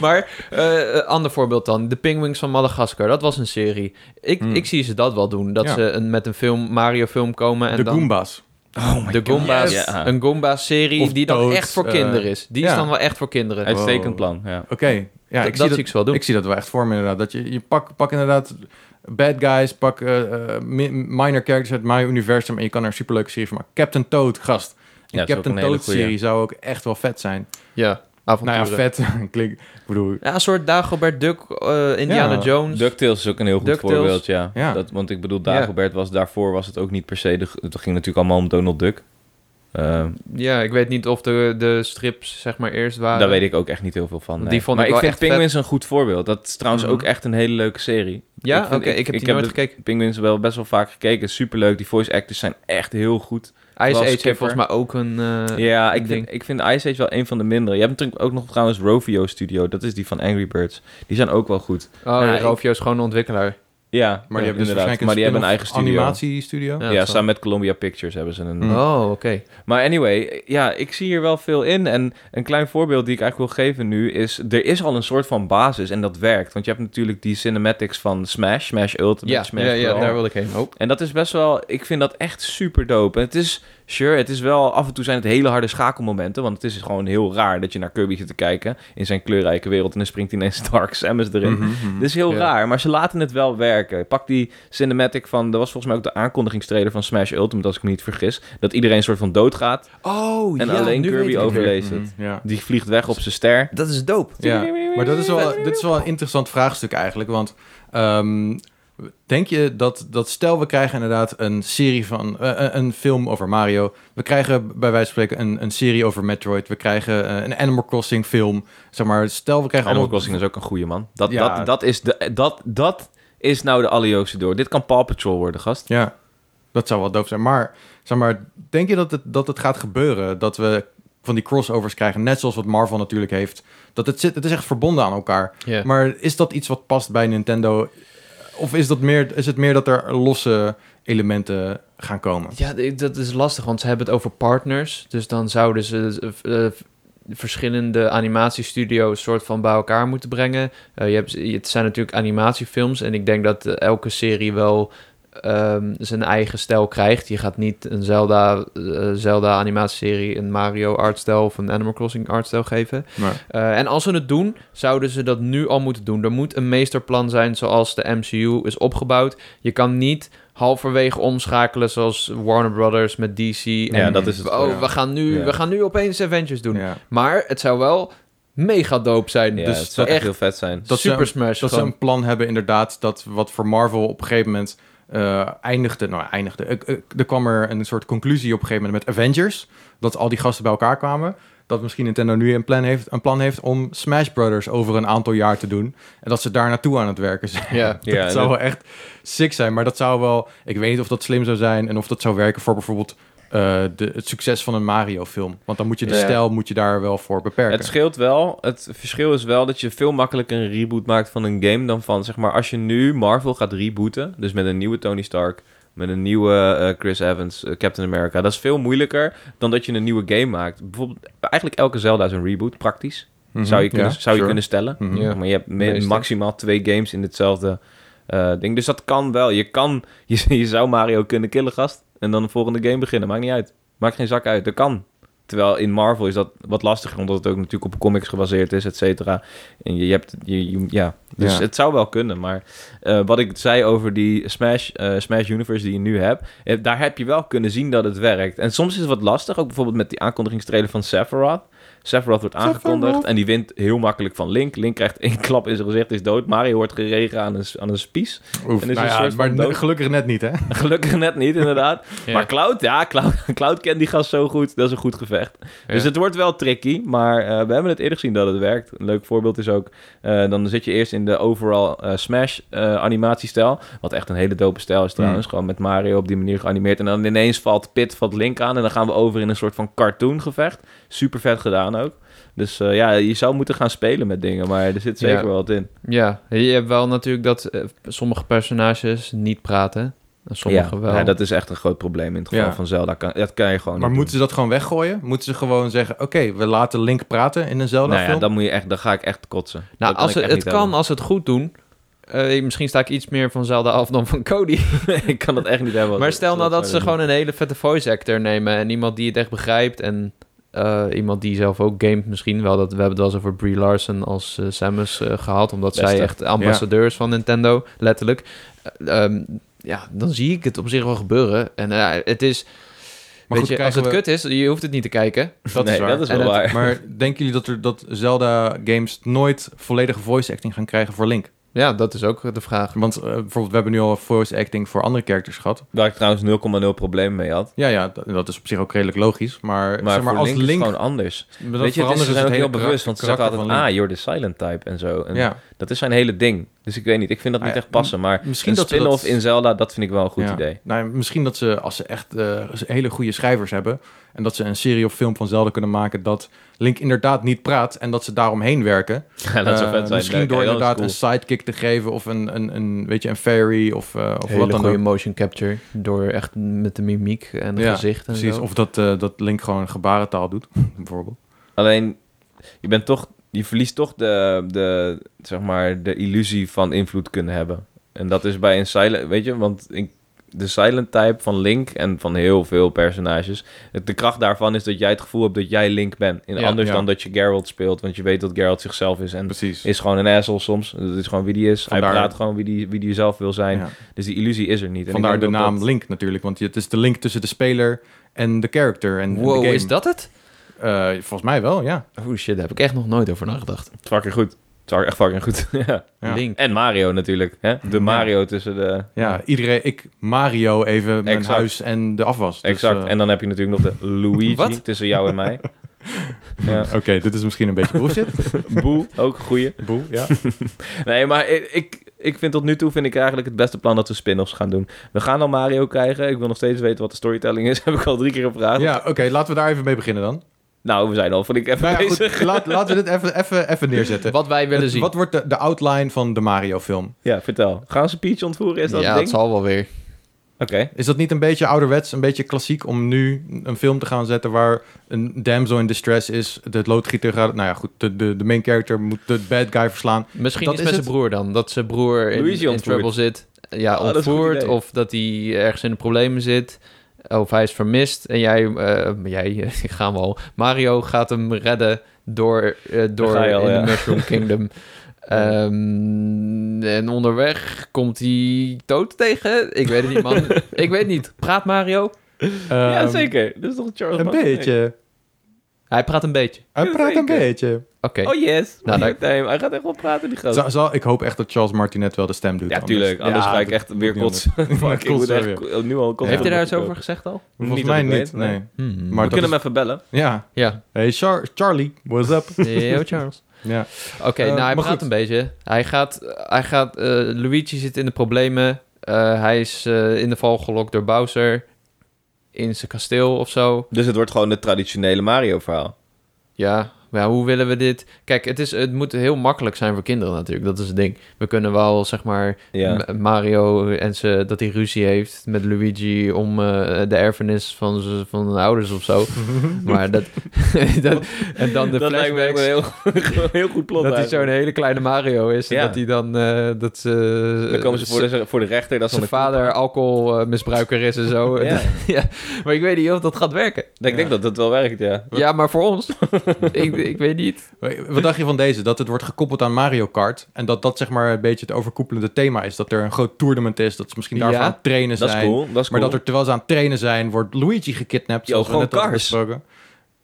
Speaker 2: Maar, eh, eh, ander voorbeeld dan. De Penguins van Madagaskar, dat was een serie. Ik,
Speaker 1: Hmm.
Speaker 2: ik zie ze dat wel doen. Dat
Speaker 1: Ja.
Speaker 2: ze een, met een film, Mario film komen en
Speaker 1: De
Speaker 2: dan...
Speaker 1: Goombas.
Speaker 3: Oh
Speaker 2: de Gomba's,
Speaker 1: yes.
Speaker 3: Ja.
Speaker 2: Een
Speaker 1: Of
Speaker 2: Gomba-serie die dan
Speaker 1: Toads,
Speaker 2: echt voor
Speaker 1: eh,
Speaker 2: kinderen is. Die
Speaker 1: ja.
Speaker 2: is dan wel echt voor kinderen.
Speaker 1: Uit-
Speaker 3: Uitstekend
Speaker 1: Wow.
Speaker 3: plan, ja.
Speaker 1: Oké, ja,
Speaker 2: dat
Speaker 1: ik
Speaker 2: dat
Speaker 1: zie
Speaker 2: zie
Speaker 1: dat,
Speaker 2: ik ze wel doen.
Speaker 1: ik zie dat wel echt voor me inderdaad. Dat je, je pak, pak inderdaad bad guys, pak eh, eh, mi- minor characters uit mijn universum en je kan er een superleuke serie van maken. Captain Toad, gast. Een
Speaker 3: Ja, dat is ook
Speaker 1: Captain
Speaker 3: een hele
Speaker 1: Toad serie zou ook echt wel vet zijn.
Speaker 2: Ja, avonturen.
Speaker 1: Nou ja, vet. Klinkt, ik bedoel,
Speaker 2: Ja, een soort Dagobert Duck, eh, Indiana
Speaker 1: Ja.
Speaker 2: Jones.
Speaker 3: DuckTales is ook een heel goed
Speaker 2: DuckTales.
Speaker 3: voorbeeld, ja.
Speaker 1: Ja.
Speaker 3: Dat, want ik bedoel, Dagobert was daarvoor was het ook niet per se... De, het ging natuurlijk allemaal om Donald Duck. Eh,
Speaker 2: Ja, ik weet niet of de, de strips zeg maar eerst waren.
Speaker 3: daar weet ik ook echt niet heel veel van.
Speaker 2: Die
Speaker 3: nee.
Speaker 2: vond
Speaker 3: maar
Speaker 2: ik
Speaker 3: ik
Speaker 2: wel
Speaker 3: vind
Speaker 2: echt
Speaker 3: Penguins een goed voorbeeld. Dat is trouwens
Speaker 2: Mhm.
Speaker 3: ook echt een hele leuke serie.
Speaker 2: Ja,
Speaker 3: Ik
Speaker 2: oké,
Speaker 3: vind-
Speaker 2: ik, heb die
Speaker 3: heb
Speaker 2: nooit
Speaker 3: de
Speaker 2: gekeken.
Speaker 3: Penguins wel best wel vaak gekeken. Superleuk. Die voice actors zijn echt heel goed.
Speaker 2: Ice Age heeft
Speaker 3: Skipper.
Speaker 2: volgens mij ook een... eh,
Speaker 3: ja, ik
Speaker 2: ik
Speaker 3: vind, ik vind Ice Age wel een van de mindere. Je hebt natuurlijk ook nog trouwens Rovio Studio. Dat is die van Angry Birds. Die zijn ook wel goed.
Speaker 2: Oh,
Speaker 3: Ja, ik-
Speaker 2: Rovio is gewoon een ontwikkelaar.
Speaker 3: Ja,
Speaker 1: maar die
Speaker 3: ja,
Speaker 1: hebben dus
Speaker 3: inderdaad.
Speaker 1: waarschijnlijk een
Speaker 3: Maar die hebben een eigen
Speaker 1: spin-off
Speaker 3: studio.
Speaker 1: animatiestudio.
Speaker 2: Ja,
Speaker 3: Ja,
Speaker 2: dat zal.
Speaker 3: samen met Columbia Pictures hebben ze een...
Speaker 1: Mm.
Speaker 2: Oh, oké.
Speaker 3: Maar anyway, ja, ik zie hier wel veel in. En een klein voorbeeld die ik eigenlijk wil geven nu is... Er is al een soort van basis en dat werkt. Want je hebt natuurlijk die cinematics van Smash. Smash Ultimate,
Speaker 2: Ja,
Speaker 3: Smash
Speaker 2: ja, ja,
Speaker 3: Brawl.
Speaker 2: daar wil ik heen. Oh.
Speaker 3: En dat is best wel, ik vind dat echt super dope. En het is, sure, het is wel, af en toe zijn het hele harde schakelmomenten. Want het is gewoon heel raar dat je naar Kirby zit te kijken in zijn kleurrijke wereld. En dan springt hij ineens Dark Samus erin.
Speaker 1: Mhm, mhm.
Speaker 3: Dit is heel
Speaker 2: Ja.
Speaker 3: raar, maar ze laten het wel werken. Pak die cinematic van, dat was volgens mij ook de aankondigingstrailer van Smash Ultimate, als ik me niet vergis. Dat iedereen een soort van doodgaat
Speaker 2: Oh,
Speaker 3: en alleen Kirby overleeft
Speaker 1: Mhm,
Speaker 3: het.
Speaker 1: Ja.
Speaker 3: Die vliegt weg op zijn ster.
Speaker 2: Dat is dope.
Speaker 1: Ja, maar dat is wel, dit is wel een interessant vraagstuk eigenlijk. Want ehm, denk je dat, dat stel we krijgen inderdaad een serie van, eh, een- een film over Mario. We krijgen bij wijze van spreken een, een serie over Metroid. We krijgen eh, een Animal Crossing film. Zeg maar, stel we krijgen
Speaker 3: Animal
Speaker 1: allemaal-
Speaker 3: Crossing is ook een goede man. Dat,
Speaker 1: Ja.
Speaker 3: dat, dat, is de, dat, dat is nou de Allioze door. Dit kan Paw Patrol worden, gast.
Speaker 1: Ja, dat zou wel doof zijn. Maar, zeg maar denk je dat het, dat het gaat gebeuren? Dat we van die crossovers krijgen, net zoals wat Marvel natuurlijk heeft. Dat het, zit, het is echt verbonden aan elkaar.
Speaker 2: Ja.
Speaker 1: Maar is dat iets wat past bij Nintendo? Of is, dat meer, is het meer dat er losse elementen gaan komen?
Speaker 2: Ja, d- dat is lastig, want ze hebben het over partners. Dus dan zouden ze eh, eh, verschillende animatiestudio's soort van bij elkaar moeten brengen. Eh, je hebt, je- het zijn natuurlijk animatiefilms en ik denk dat eh, elke serie wel ehm, zijn eigen stijl krijgt. Je gaat niet een Zelda, eh, Zelda animatieserie een Mario artstijl of een Animal Crossing artstijl geven.
Speaker 1: Maar,
Speaker 2: Eh, en als ze het doen, zouden ze dat nu al moeten doen. Er moet een meesterplan zijn zoals de MCU is opgebouwd. Je kan niet halverwege omschakelen zoals Warner Brothers met DC. En,
Speaker 3: Ja, dat is het.
Speaker 2: oh,
Speaker 1: ja.
Speaker 2: we, gaan nu,
Speaker 3: Ja.
Speaker 2: we gaan nu opeens Avengers doen.
Speaker 1: ja.
Speaker 2: Maar het zou wel mega dope zijn.
Speaker 3: Ja,
Speaker 2: dus
Speaker 3: het zou echt
Speaker 2: echt
Speaker 3: heel vet zijn.
Speaker 1: Dat ze
Speaker 2: super
Speaker 1: een-
Speaker 2: smash.
Speaker 1: Dat ze
Speaker 2: gewoon.
Speaker 1: een plan hebben inderdaad, dat wat voor Marvel op een gegeven moment eh, eindigde. Nou, eindigde. Ik- ik- er kwam er een soort conclusie op een gegeven moment met Avengers. Dat al die gasten bij elkaar kwamen. Dat misschien Nintendo nu een plan heeft, een plan heeft om Smash Brothers over een aantal jaar te doen. En dat ze daar naartoe aan het werken zijn.
Speaker 2: Ja.
Speaker 1: Dat
Speaker 3: Ja,
Speaker 1: zou
Speaker 3: dat-
Speaker 1: wel echt sick zijn. Maar dat zou wel... Ik weet niet of dat slim zou zijn en of dat zou werken voor bijvoorbeeld... eh, de, het succes van een Mario-film. Want dan moet je de
Speaker 3: Ja.
Speaker 1: stijl moet je daar wel voor beperken.
Speaker 3: Het scheelt wel. Het verschil is wel dat je veel makkelijker een reboot maakt van een game dan van, zeg maar, als je nu Marvel gaat rebooten, dus met een nieuwe Tony Stark, met een nieuwe eh, Chris Evans, eh, Captain America, dat is veel moeilijker dan dat je een nieuwe game maakt. Bijvoorbeeld, eigenlijk elke Zelda is een reboot, praktisch.
Speaker 1: Mhm,
Speaker 3: zou je kunnen,
Speaker 1: ja,
Speaker 3: zou je
Speaker 1: sure.
Speaker 3: kunnen stellen.
Speaker 1: Mhm.
Speaker 2: Ja.
Speaker 3: Maar je hebt me-
Speaker 2: Meestal.
Speaker 3: maximaal twee games in hetzelfde eh, ding. Dus dat kan wel. Je kan, je, je zou Mario kunnen killen, gast. En dan de volgende game beginnen. Maakt niet uit. Maakt geen zak uit. Dat kan. Terwijl in Marvel is dat wat lastiger, omdat het ook natuurlijk op comics gebaseerd is, et cetera. En je, je hebt, je, je- ja. Dus
Speaker 1: Ja.
Speaker 3: het zou wel kunnen. Maar eh, wat ik zei over die Smash, eh, Smash Universe die je nu hebt, eh, daar heb je wel kunnen zien dat het werkt. En soms is het wat lastig, ook bijvoorbeeld met die aankondigingstrailer van Sephiroth. Sephiroth wordt aangekondigd en die wint heel makkelijk van Link. Link krijgt één klap in zijn gezicht, is dood. Mario wordt geregen aan een, aan een spies.
Speaker 1: Oef,
Speaker 3: En is
Speaker 1: nou
Speaker 3: een
Speaker 1: ja,
Speaker 3: soort van
Speaker 1: maar
Speaker 3: dood.
Speaker 1: gelukkig net niet, hè?
Speaker 3: Gelukkig net niet, inderdaad.
Speaker 2: Ja.
Speaker 3: Maar Cloud, ja, Cloud, Cloud kent die gast zo goed. Dat is een goed gevecht.
Speaker 2: Ja.
Speaker 3: Dus het wordt wel tricky, maar eh, we hebben het eerder gezien dat het werkt. Een leuk voorbeeld is ook, eh, dan zit je eerst in de overall eh, Smash eh, animatiestijl. Wat echt een hele dope stijl
Speaker 2: Mm.
Speaker 3: is trouwens. Gewoon met Mario op die manier geanimeerd. En dan ineens valt Pit, valt Link aan. En dan gaan we over in een soort van cartoon gevecht. Super vet gedaan ook. Dus eh, ja, je zou moeten gaan spelen met dingen, maar er zit zeker
Speaker 2: Ja.
Speaker 3: wel wat in.
Speaker 2: Ja, je hebt wel natuurlijk dat eh, sommige personages niet praten. En sommige
Speaker 3: ja.
Speaker 2: wel.
Speaker 3: Ja, dat is echt een groot probleem in het geval
Speaker 1: Ja.
Speaker 3: van Zelda. Kan, Oh, dat kan je gewoon
Speaker 1: Maar
Speaker 3: niet doen.
Speaker 1: moeten ze dat gewoon weggooien? Moeten ze gewoon zeggen, oké, we laten Link praten in een
Speaker 3: Nou ja,
Speaker 1: Zelda-film?
Speaker 3: dan moet je echt, dan ga ik echt kotsen.
Speaker 2: Nou,
Speaker 3: Dat kan
Speaker 2: als
Speaker 3: ik
Speaker 2: het,
Speaker 3: echt
Speaker 2: het
Speaker 3: niet
Speaker 2: kan
Speaker 3: hebben.
Speaker 2: als ze het goed doen. eh, misschien sta ik iets meer van Zelda af dan van Cody.
Speaker 3: ik kan dat echt niet hebben.
Speaker 2: maar stel nou dat ze
Speaker 3: zouden
Speaker 2: gewoon een hele vette voice actor nemen en iemand die het echt begrijpt en eh, iemand die zelf ook gamet misschien wel. Dat, we hebben het wel eens over Brie Larson als eh, Samus eh, gehaald, omdat zij
Speaker 3: Beste.
Speaker 2: echt ambassadeur is van Nintendo, letterlijk. Eh, ehm, ja, dan zie ik het op zich wel gebeuren. En eh, het is,
Speaker 1: Maar
Speaker 2: weet
Speaker 1: goed,
Speaker 2: je, als
Speaker 1: krijgen
Speaker 2: het
Speaker 1: we-
Speaker 2: kut is, je hoeft het niet te kijken.
Speaker 1: Dat
Speaker 3: nee,
Speaker 1: is waar.
Speaker 3: dat is wel
Speaker 2: En het-
Speaker 3: waar.
Speaker 1: Maar denken jullie dat, er, dat Zelda-games nooit volledige voice acting gaan krijgen voor Link?
Speaker 2: Ja, dat is ook de vraag.
Speaker 1: Want eh, bijvoorbeeld, we hebben nu al voice acting voor andere characters gehad.
Speaker 3: Waar ik trouwens 0,0 problemen mee had.
Speaker 1: Ja, ja, dat, dat is op zich ook redelijk logisch. Maar,
Speaker 3: Maar,
Speaker 1: zeg maar
Speaker 3: voor
Speaker 1: als
Speaker 3: Link,
Speaker 1: Link...
Speaker 3: is het gewoon anders.
Speaker 1: dan
Speaker 3: Weet je, het
Speaker 1: veranderen
Speaker 3: is,
Speaker 1: ze
Speaker 3: ze zijn ook
Speaker 1: hele
Speaker 3: heel bewust,
Speaker 1: karak-
Speaker 3: want ze zeggen
Speaker 1: karakter
Speaker 3: altijd,
Speaker 1: van
Speaker 3: ah,
Speaker 1: Link.
Speaker 3: you're the silent type en zo. En
Speaker 1: Ja.
Speaker 3: Dat is zijn hele ding. Dus ik weet niet, ik vind dat niet
Speaker 1: Ah, ja,
Speaker 3: echt passen. Maar
Speaker 1: misschien
Speaker 3: een
Speaker 1: dat ze
Speaker 3: spin-off
Speaker 1: dat-
Speaker 3: in Zelda, dat vind ik wel een goed
Speaker 1: Ja.
Speaker 3: idee.
Speaker 1: Nou, ja, misschien dat ze, als ze echt eh, hele goede schrijvers hebben... en dat ze een serie of film van Zelda kunnen maken... dat Link inderdaad niet praat en dat ze daaromheen werken.
Speaker 3: Ja, dat zou
Speaker 1: Eh,
Speaker 3: vet zijn.
Speaker 1: Misschien
Speaker 3: Leuk.
Speaker 1: door
Speaker 3: Ja, dat is
Speaker 1: inderdaad
Speaker 3: cool.
Speaker 1: een sidekick te geven... of een, een, een, weet je, een fairy of, eh, of
Speaker 2: Hele
Speaker 1: wat dan
Speaker 2: goede
Speaker 1: ook.
Speaker 2: motion capture door echt met de mimiek en het
Speaker 1: Ja,
Speaker 2: gezicht en
Speaker 1: Precies,
Speaker 2: zo.
Speaker 1: of dat, eh, dat Link gewoon gebarentaal doet, bijvoorbeeld.
Speaker 3: Alleen, je bent toch, je verliest toch de, de, zeg maar, de illusie van invloed kunnen hebben. En dat is bij een silent, weet je, want ik, de silent type van Link en van heel veel personages, het- de kracht daarvan is dat jij het gevoel hebt dat jij Link bent. In
Speaker 2: Ja,
Speaker 3: anders
Speaker 1: ja.
Speaker 3: dan dat je Geralt speelt, want je weet dat Geralt zichzelf is en
Speaker 1: Precies.
Speaker 3: is gewoon een asshole soms. Dat is gewoon wie die is.
Speaker 1: Vandaar-
Speaker 3: Hij praat gewoon wie die, wie die zelf wil zijn.
Speaker 1: Ja.
Speaker 3: Dus die illusie is er niet. En
Speaker 1: Vandaar
Speaker 3: ik
Speaker 1: de
Speaker 3: denk dat
Speaker 1: naam
Speaker 3: dat-
Speaker 1: Link natuurlijk, want het is de link tussen de speler en de character en en de
Speaker 2: Wow,
Speaker 1: game.
Speaker 2: is dat het?
Speaker 1: Eh, volgens mij wel, ja.
Speaker 2: Oh shit, daar heb ik echt nog nooit over nagedacht.
Speaker 3: Het is fucking goed. Het is echt fucking goed. ja.
Speaker 1: Ja.
Speaker 2: Link.
Speaker 3: En Mario natuurlijk. Hè?
Speaker 1: Ja.
Speaker 3: De Mario tussen de...
Speaker 1: Ja, iedereen, ik, Mario, even mijn
Speaker 3: Exact.
Speaker 1: huis en de afwas. Dus,
Speaker 3: Exact.
Speaker 1: eh,
Speaker 3: en dan heb je natuurlijk nog de Luigi
Speaker 2: Wat?
Speaker 3: tussen jou en mij. ja.
Speaker 1: Oké, dit is misschien een beetje bullshit.
Speaker 3: Boe, ook een goeie.
Speaker 1: Boe, ja.
Speaker 3: Nee, maar ik, ik, ik vind tot nu toe vind ik eigenlijk het beste plan dat we spin-offs gaan doen. We gaan dan Mario krijgen. Ik wil nog steeds weten wat de storytelling is. Heb ik al drie keer gevraagd.
Speaker 1: Ja, oké, laten we daar even mee beginnen dan.
Speaker 3: Nou, we zijn al, vond ik even
Speaker 1: Nou ja,
Speaker 3: bezig.
Speaker 1: goed, laat, laten we dit even, even, even neerzetten.
Speaker 2: Wat wij willen
Speaker 1: Het-
Speaker 2: zien.
Speaker 1: Wat wordt de, de outline van de Mario-film?
Speaker 3: Ja, vertel. Gaan ze Peach ontvoeren? Is dat
Speaker 2: ja, het
Speaker 3: het ding?
Speaker 2: zal wel weer.
Speaker 3: Oké.
Speaker 1: Is dat niet een beetje ouderwets, een beetje klassiek om nu een film te gaan zetten waar een damsel in distress is, de loodgieter gaat, nou ja goed, de, de, de main character moet de bad guy verslaan.
Speaker 2: Misschien
Speaker 1: Dat
Speaker 2: iets
Speaker 1: is
Speaker 2: met
Speaker 1: het.
Speaker 2: zijn broer dan. Dat zijn broer in,
Speaker 3: Luigi
Speaker 2: in
Speaker 3: ontvoert.
Speaker 2: trouble zit. Ja,
Speaker 3: Oh, dat is een goed
Speaker 2: ontvoerd.
Speaker 3: idee.
Speaker 2: Of dat hij ergens in de problemen zit. Of hij is vermist. En jij, eh, jij eh, gaan we al. Mario gaat hem redden door, eh, door
Speaker 3: ga je al,
Speaker 2: in
Speaker 3: ja.
Speaker 2: de Mushroom Kingdom. Ehm, en onderweg komt hij dood tegen. Ik weet het niet, man. Ik weet het niet. Praat Mario?
Speaker 3: ja,
Speaker 1: Ehm,
Speaker 3: zeker. Dat is toch Charles
Speaker 1: Een
Speaker 3: Manson?
Speaker 1: beetje.
Speaker 2: Hij praat een beetje.
Speaker 1: Hij
Speaker 3: Ja,
Speaker 1: praat een
Speaker 3: zeker.
Speaker 1: beetje.
Speaker 2: Oké.
Speaker 3: Oh yes.
Speaker 2: Nou,
Speaker 3: Mario time. Hij gaat echt wel praten, die gast.
Speaker 1: Zal, zal- ik hoop echt dat Charles Martinet wel de stem doet.
Speaker 3: Ja,
Speaker 1: anders.
Speaker 3: tuurlijk. Anders
Speaker 1: Ja,
Speaker 3: ga ik
Speaker 1: dat-
Speaker 3: echt weer
Speaker 1: niet
Speaker 3: kotsen. Fuck, ik
Speaker 1: Kotsen
Speaker 3: moet echt
Speaker 1: weer.
Speaker 3: ko- nu al kotsen.
Speaker 2: Heeft hij daar
Speaker 3: Ja.
Speaker 2: iets over gezegd al?
Speaker 1: Volgens
Speaker 3: Niet dat
Speaker 1: mij
Speaker 3: ik
Speaker 1: niet,
Speaker 3: weet, nee.
Speaker 1: nee.
Speaker 2: Hmm.
Speaker 1: Maar
Speaker 3: we
Speaker 1: dat
Speaker 3: kunnen
Speaker 1: is-
Speaker 3: hem even bellen.
Speaker 1: Ja.
Speaker 2: Ja.
Speaker 1: Hey, Char- Charlie, what's up?
Speaker 2: Yo, Charles.
Speaker 1: ja.
Speaker 2: Oké,
Speaker 1: Eh,
Speaker 2: nou
Speaker 1: maar
Speaker 2: hij praat
Speaker 1: goed.
Speaker 2: een beetje. Hij gaat, hij gaat eh, Luigi zit in de problemen. Eh, hij is eh, in de val gelokt door Bowser. In zijn kasteel of zo.
Speaker 3: Dus het wordt gewoon het traditionele Mario-verhaal.
Speaker 2: Ja, maar ja, hoe willen we dit? Kijk, het, is, het moet heel makkelijk zijn voor kinderen natuurlijk. Dat is het ding. We kunnen wel, zeg maar,
Speaker 3: Ja.
Speaker 2: M- Mario en ze, dat hij ruzie heeft met Luigi om eh, de erfenis van, z'n- van hun ouders of zo. maar dat, dat... En dan de
Speaker 3: dat lijkt me ook
Speaker 2: flashbacks.
Speaker 3: een heel, een heel goed plot
Speaker 2: Dat hij zo'n
Speaker 3: eigenlijk.
Speaker 2: hele kleine Mario is. En
Speaker 3: Ja.
Speaker 2: dat hij dan... eh, dat ze,
Speaker 3: Dan komen ze voor de, voor de rechter. Dat is
Speaker 2: eh, zijn
Speaker 3: dan een-
Speaker 2: vader alcoholmisbruiker is en zo.
Speaker 3: Ja.
Speaker 2: maar ik weet niet of dat gaat werken.
Speaker 3: Ik denk dat dat wel werkt, ja.
Speaker 2: Ja, maar voor ons. ik, ik weet niet.
Speaker 1: Wat dacht je van deze? Dat het wordt gekoppeld aan Mario Kart. En dat dat zeg maar een beetje het overkoepelende thema is. Dat er een groot tournament is. Dat ze misschien daarvoor
Speaker 2: Ja.
Speaker 1: aan het trainen
Speaker 3: Dat
Speaker 1: zijn.
Speaker 3: is cool. Dat is
Speaker 1: Maar
Speaker 3: cool.
Speaker 1: dat er terwijl ze aan het trainen zijn, wordt Luigi gekidnapt. zoals we
Speaker 3: gewoon
Speaker 1: net hadden
Speaker 3: Cars.
Speaker 1: besproken.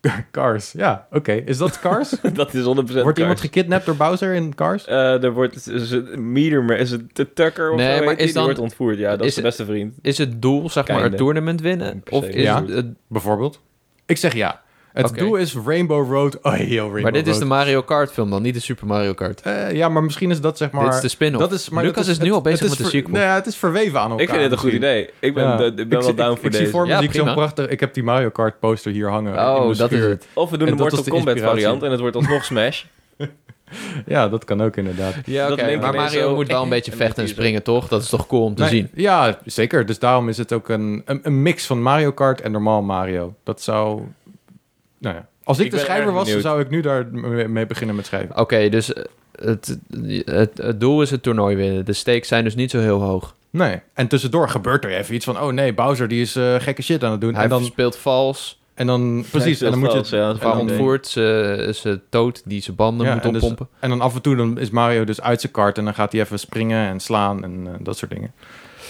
Speaker 1: Cars, ja, oké. Is dat Cars? wordt
Speaker 3: dat is 100% Cars.
Speaker 1: iemand gekidnapt door Bowser in Cars?
Speaker 3: Eh, er wordt is het Meter, maar is het de Tucker of
Speaker 2: Nee,
Speaker 3: zo heet
Speaker 2: maar
Speaker 3: die?
Speaker 2: is
Speaker 3: Die
Speaker 2: dan-
Speaker 3: wordt ontvoerd, ja. Dat is,
Speaker 2: is
Speaker 3: de
Speaker 2: het-
Speaker 3: beste vriend.
Speaker 2: Is het doel, zeg maar,
Speaker 3: Kinda.
Speaker 2: het toernooi winnen?
Speaker 3: Per se.
Speaker 2: Of is
Speaker 3: Ja.
Speaker 2: het, eh, het-
Speaker 1: Bijvoorbeeld? Ik zeg ja. Het
Speaker 2: Oké.
Speaker 1: doel is Rainbow Road. Oh, heel Rainbow
Speaker 2: Maar dit is de
Speaker 1: Road.
Speaker 2: Mario Kart film dan, niet de Super Mario Kart.
Speaker 1: Eh, ja, maar misschien is dat zeg maar...
Speaker 2: dit is de spin-off.
Speaker 1: dat is, maar dat
Speaker 2: Lucas is, nu
Speaker 1: het-
Speaker 2: al bezig
Speaker 1: het
Speaker 2: met
Speaker 1: is
Speaker 2: de
Speaker 1: ver-
Speaker 2: sequel.
Speaker 1: Nou ja, het is verweven aan elkaar.
Speaker 3: Ik vind dit een goed
Speaker 1: misschien.
Speaker 3: idee. Ik ben,
Speaker 1: Ja.
Speaker 3: de- ik ben wel
Speaker 1: zie-
Speaker 3: down
Speaker 1: ik,
Speaker 3: voor
Speaker 1: ik zie
Speaker 3: deze.
Speaker 1: voor me
Speaker 2: Ja,
Speaker 1: zie ik zo'n
Speaker 2: prima.
Speaker 1: prachtig... Ik heb die Mario Kart poster hier hangen. in
Speaker 2: oh,
Speaker 1: mijn
Speaker 2: dat is
Speaker 1: schuur.
Speaker 2: het.
Speaker 3: Of we doen
Speaker 1: En dat
Speaker 3: de Mortal
Speaker 1: is de
Speaker 3: Kombat
Speaker 1: inspiratie.
Speaker 3: variant en het wordt alsnog Smash.
Speaker 1: Ja, dat kan ook inderdaad.
Speaker 2: Ja,
Speaker 3: Dat
Speaker 2: oké,
Speaker 3: linken
Speaker 2: maar
Speaker 3: ineens
Speaker 2: Mario
Speaker 3: zo-
Speaker 2: moet wel een beetje
Speaker 3: en
Speaker 2: vechten en
Speaker 3: teaser.
Speaker 2: springen, toch? Dat is toch cool om te
Speaker 1: Nee,
Speaker 2: zien.
Speaker 1: Ja, zeker. Dus daarom is het ook een, een, een mix van Mario Kart en normaal Mario. Dat zou... Nou ja. Als ik,
Speaker 3: Ik
Speaker 1: de
Speaker 3: ben
Speaker 1: schrijver
Speaker 3: erg
Speaker 1: was,
Speaker 3: benieuwd.
Speaker 1: zou ik nu daar mee mee beginnen met schrijven.
Speaker 2: Oké, dus eh, het, het, het doel is het toernooi winnen. De stakes zijn dus niet zo heel hoog.
Speaker 1: Nee. En tussendoor gebeurt er even iets van... oh nee, Bowser die is eh, gekke shit aan het doen.
Speaker 2: Hij
Speaker 1: En dan,
Speaker 2: speelt vals,
Speaker 1: en dan precies, en dan moet je het...
Speaker 3: ja, dat is
Speaker 2: hij
Speaker 3: wel een ding.
Speaker 2: ontvoert ze, ze toot die zijn banden
Speaker 1: Ja,
Speaker 2: moet
Speaker 1: en dus-
Speaker 2: oppompen.
Speaker 1: En dan af en toe dan is Mario dus uit zijn kart... en dan gaat hij even springen en slaan en eh, dat soort dingen.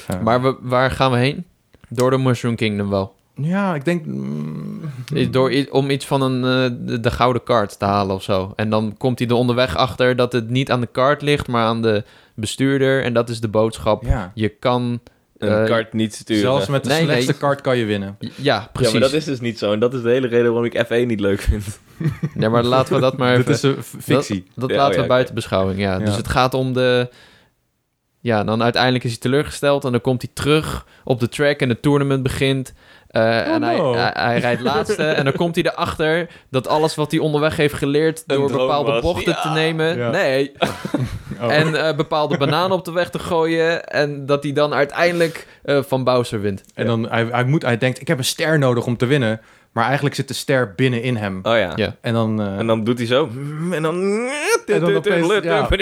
Speaker 1: Eh,
Speaker 2: Maar we- waar gaan we heen? Door de Mushroom Kingdom wel.
Speaker 1: Ja, ik denk... mm,
Speaker 2: Is Door, i- om iets van een, eh, de, de gouden kaart te halen of zo. En dan komt hij er onderweg achter dat het niet aan de kaart ligt, maar aan de bestuurder. En dat is de boodschap.
Speaker 1: ja.
Speaker 2: Je kan...
Speaker 3: Een
Speaker 2: eh,
Speaker 3: kart niet sturen.
Speaker 1: Zelfs met de
Speaker 2: Nee, nee.
Speaker 1: slechtste kart kan je winnen.
Speaker 2: Ja,
Speaker 3: Ja,
Speaker 2: precies.
Speaker 3: maar dat is dus niet zo. En dat is de hele reden waarom ik F1 niet leuk vind.
Speaker 2: Nee, maar laten we dat maar even...
Speaker 1: Dit is een f- fictie.
Speaker 2: Dat
Speaker 3: Ja,
Speaker 2: laten
Speaker 3: oh
Speaker 2: we
Speaker 3: ja,
Speaker 2: buiten beschouwing, ja.
Speaker 1: Ja.
Speaker 2: Dus het gaat om de... Ja, dan uiteindelijk is hij teleurgesteld en dan komt hij terug op de track en het tournament begint. Eh, en hij,
Speaker 1: no.
Speaker 2: hij, hij rijdt laatste en dan komt hij erachter dat alles wat hij onderweg heeft geleerd
Speaker 3: Een
Speaker 2: door
Speaker 3: droom
Speaker 2: bepaalde
Speaker 3: was.
Speaker 2: bochten te nemen,
Speaker 1: Ja.
Speaker 2: nee,
Speaker 1: Oh.
Speaker 2: en eh, bepaalde bananen op de weg te gooien en dat hij dan uiteindelijk eh, van Bowser wint.
Speaker 1: En dan, hij, hij, moet, hij denkt, ik heb een ster nodig om te winnen. Maar eigenlijk zit de ster binnen in hem.
Speaker 3: Oh ja.
Speaker 2: Ja.
Speaker 1: En dan... eh,
Speaker 3: En dan doet hij zo. En dan...
Speaker 1: En dan opeens, ja.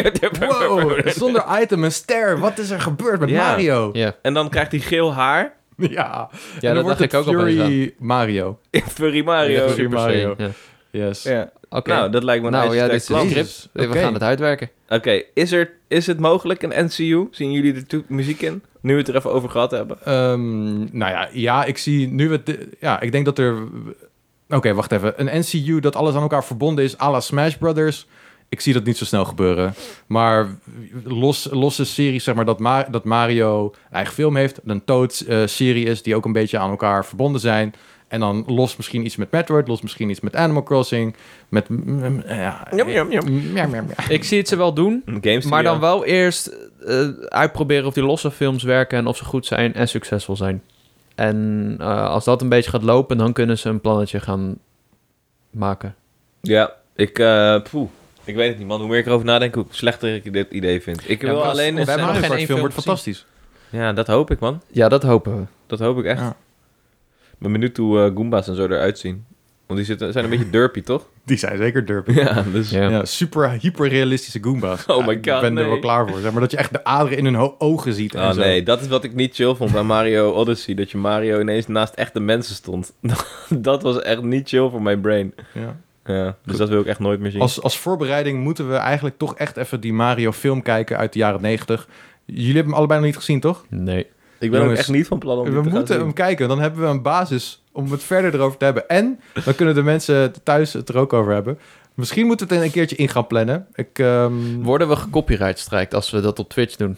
Speaker 1: Wow, zonder item een ster. Wat is er gebeurd met
Speaker 3: Ja.
Speaker 1: Mario?
Speaker 2: Ja,
Speaker 3: En dan krijgt hij geel haar.
Speaker 1: Ja,
Speaker 2: ja dat dacht ik ook al
Speaker 1: Fury
Speaker 2: bij
Speaker 1: Mario.
Speaker 3: Furry Mario.
Speaker 1: Fury Mario.
Speaker 2: Ja.
Speaker 1: Yes.
Speaker 3: Ja.
Speaker 2: Oké,
Speaker 3: Nou, dat lijkt me een
Speaker 2: Nou, ja,
Speaker 3: ijzersterk
Speaker 2: dit is
Speaker 3: plan.
Speaker 2: een script.
Speaker 1: Jezus.
Speaker 2: we
Speaker 1: Oké.
Speaker 2: gaan het uitwerken.
Speaker 3: Oké, is, er, is het mogelijk een NCU? Zien jullie er toe- muziek in? Nu we het er even over gehad hebben.
Speaker 1: Ehm, nou ja, ja, ik zie nu het... Ja, ik denk dat er... Oké, wacht even. Een NCU dat alles aan elkaar verbonden is, à la Smash Brothers... Ik zie dat niet zo snel gebeuren. Maar los, losse series, zeg maar, dat, Ma- dat Mario eigen film heeft... een Toad-serie is, die ook een beetje aan elkaar verbonden zijn... En dan los misschien iets met Metroid, los misschien iets met Animal Crossing, met... mm, mm, Ja,
Speaker 3: Jam, jam, jam.
Speaker 1: Jam, jam, jam.
Speaker 2: Ik zie het ze wel doen,
Speaker 3: Een game
Speaker 2: Maar
Speaker 3: studio.
Speaker 2: dan wel eerst eh, uitproberen of die losse films werken en of ze goed zijn en succesvol zijn. En eh, als dat een beetje gaat lopen, dan kunnen ze een plannetje gaan maken.
Speaker 3: Ja, ik... eh, poeh. Ik weet het niet, man. Hoe meer ik erover nadenk, hoe slechter ik dit idee vind. Ik
Speaker 2: Ja,
Speaker 3: wil
Speaker 2: maar als-
Speaker 3: alleen...
Speaker 2: we hebben
Speaker 1: Mario
Speaker 2: nog geen
Speaker 1: Kart
Speaker 2: één
Speaker 1: film
Speaker 2: film
Speaker 1: wordt
Speaker 2: gezien.
Speaker 1: fantastisch.
Speaker 3: Ja, dat hoop ik, man.
Speaker 2: Ja, dat hopen we.
Speaker 3: Dat hoop ik echt.
Speaker 1: Ja.
Speaker 3: Ik ben benieuwd hoe eh, Goombas en zo eruit zien. Want die zitten, zijn een beetje derpy, toch?
Speaker 1: Die zijn zeker derpy.
Speaker 3: Ja, dus...
Speaker 2: Ja.
Speaker 1: Ja, super hyperrealistische Goombas.
Speaker 3: Oh my
Speaker 1: Ik
Speaker 3: god,
Speaker 1: ben
Speaker 3: nee.
Speaker 1: er wel klaar voor. Zeg maar dat je echt de aderen in hun ho- ogen ziet. En
Speaker 3: Oh
Speaker 1: zo.
Speaker 3: nee, dat is wat ik niet chill vond aan Mario Odyssey. Dat je Mario ineens naast echte mensen stond. dat was echt niet chill voor mijn brain.
Speaker 1: Ja.
Speaker 3: Ja, dus dat wil ik echt nooit meer zien.
Speaker 1: Als, als voorbereiding moeten we eigenlijk toch echt even die Mario film kijken uit de jaren 90. Jullie hebben hem allebei nog niet gezien, toch?
Speaker 2: Nee.
Speaker 3: ik ben ook
Speaker 1: jongens,
Speaker 3: echt niet van plan om
Speaker 1: we
Speaker 3: die te gaan
Speaker 1: moeten
Speaker 3: zien.
Speaker 1: hem kijken. Dan hebben we een basis om het verder erover te hebben. En dan kunnen de mensen thuis het er ook over hebben. Misschien moeten we het een keertje in gaan plannen. Ik, ehm,
Speaker 2: Worden we gecopyright strikt als we dat op Twitch doen?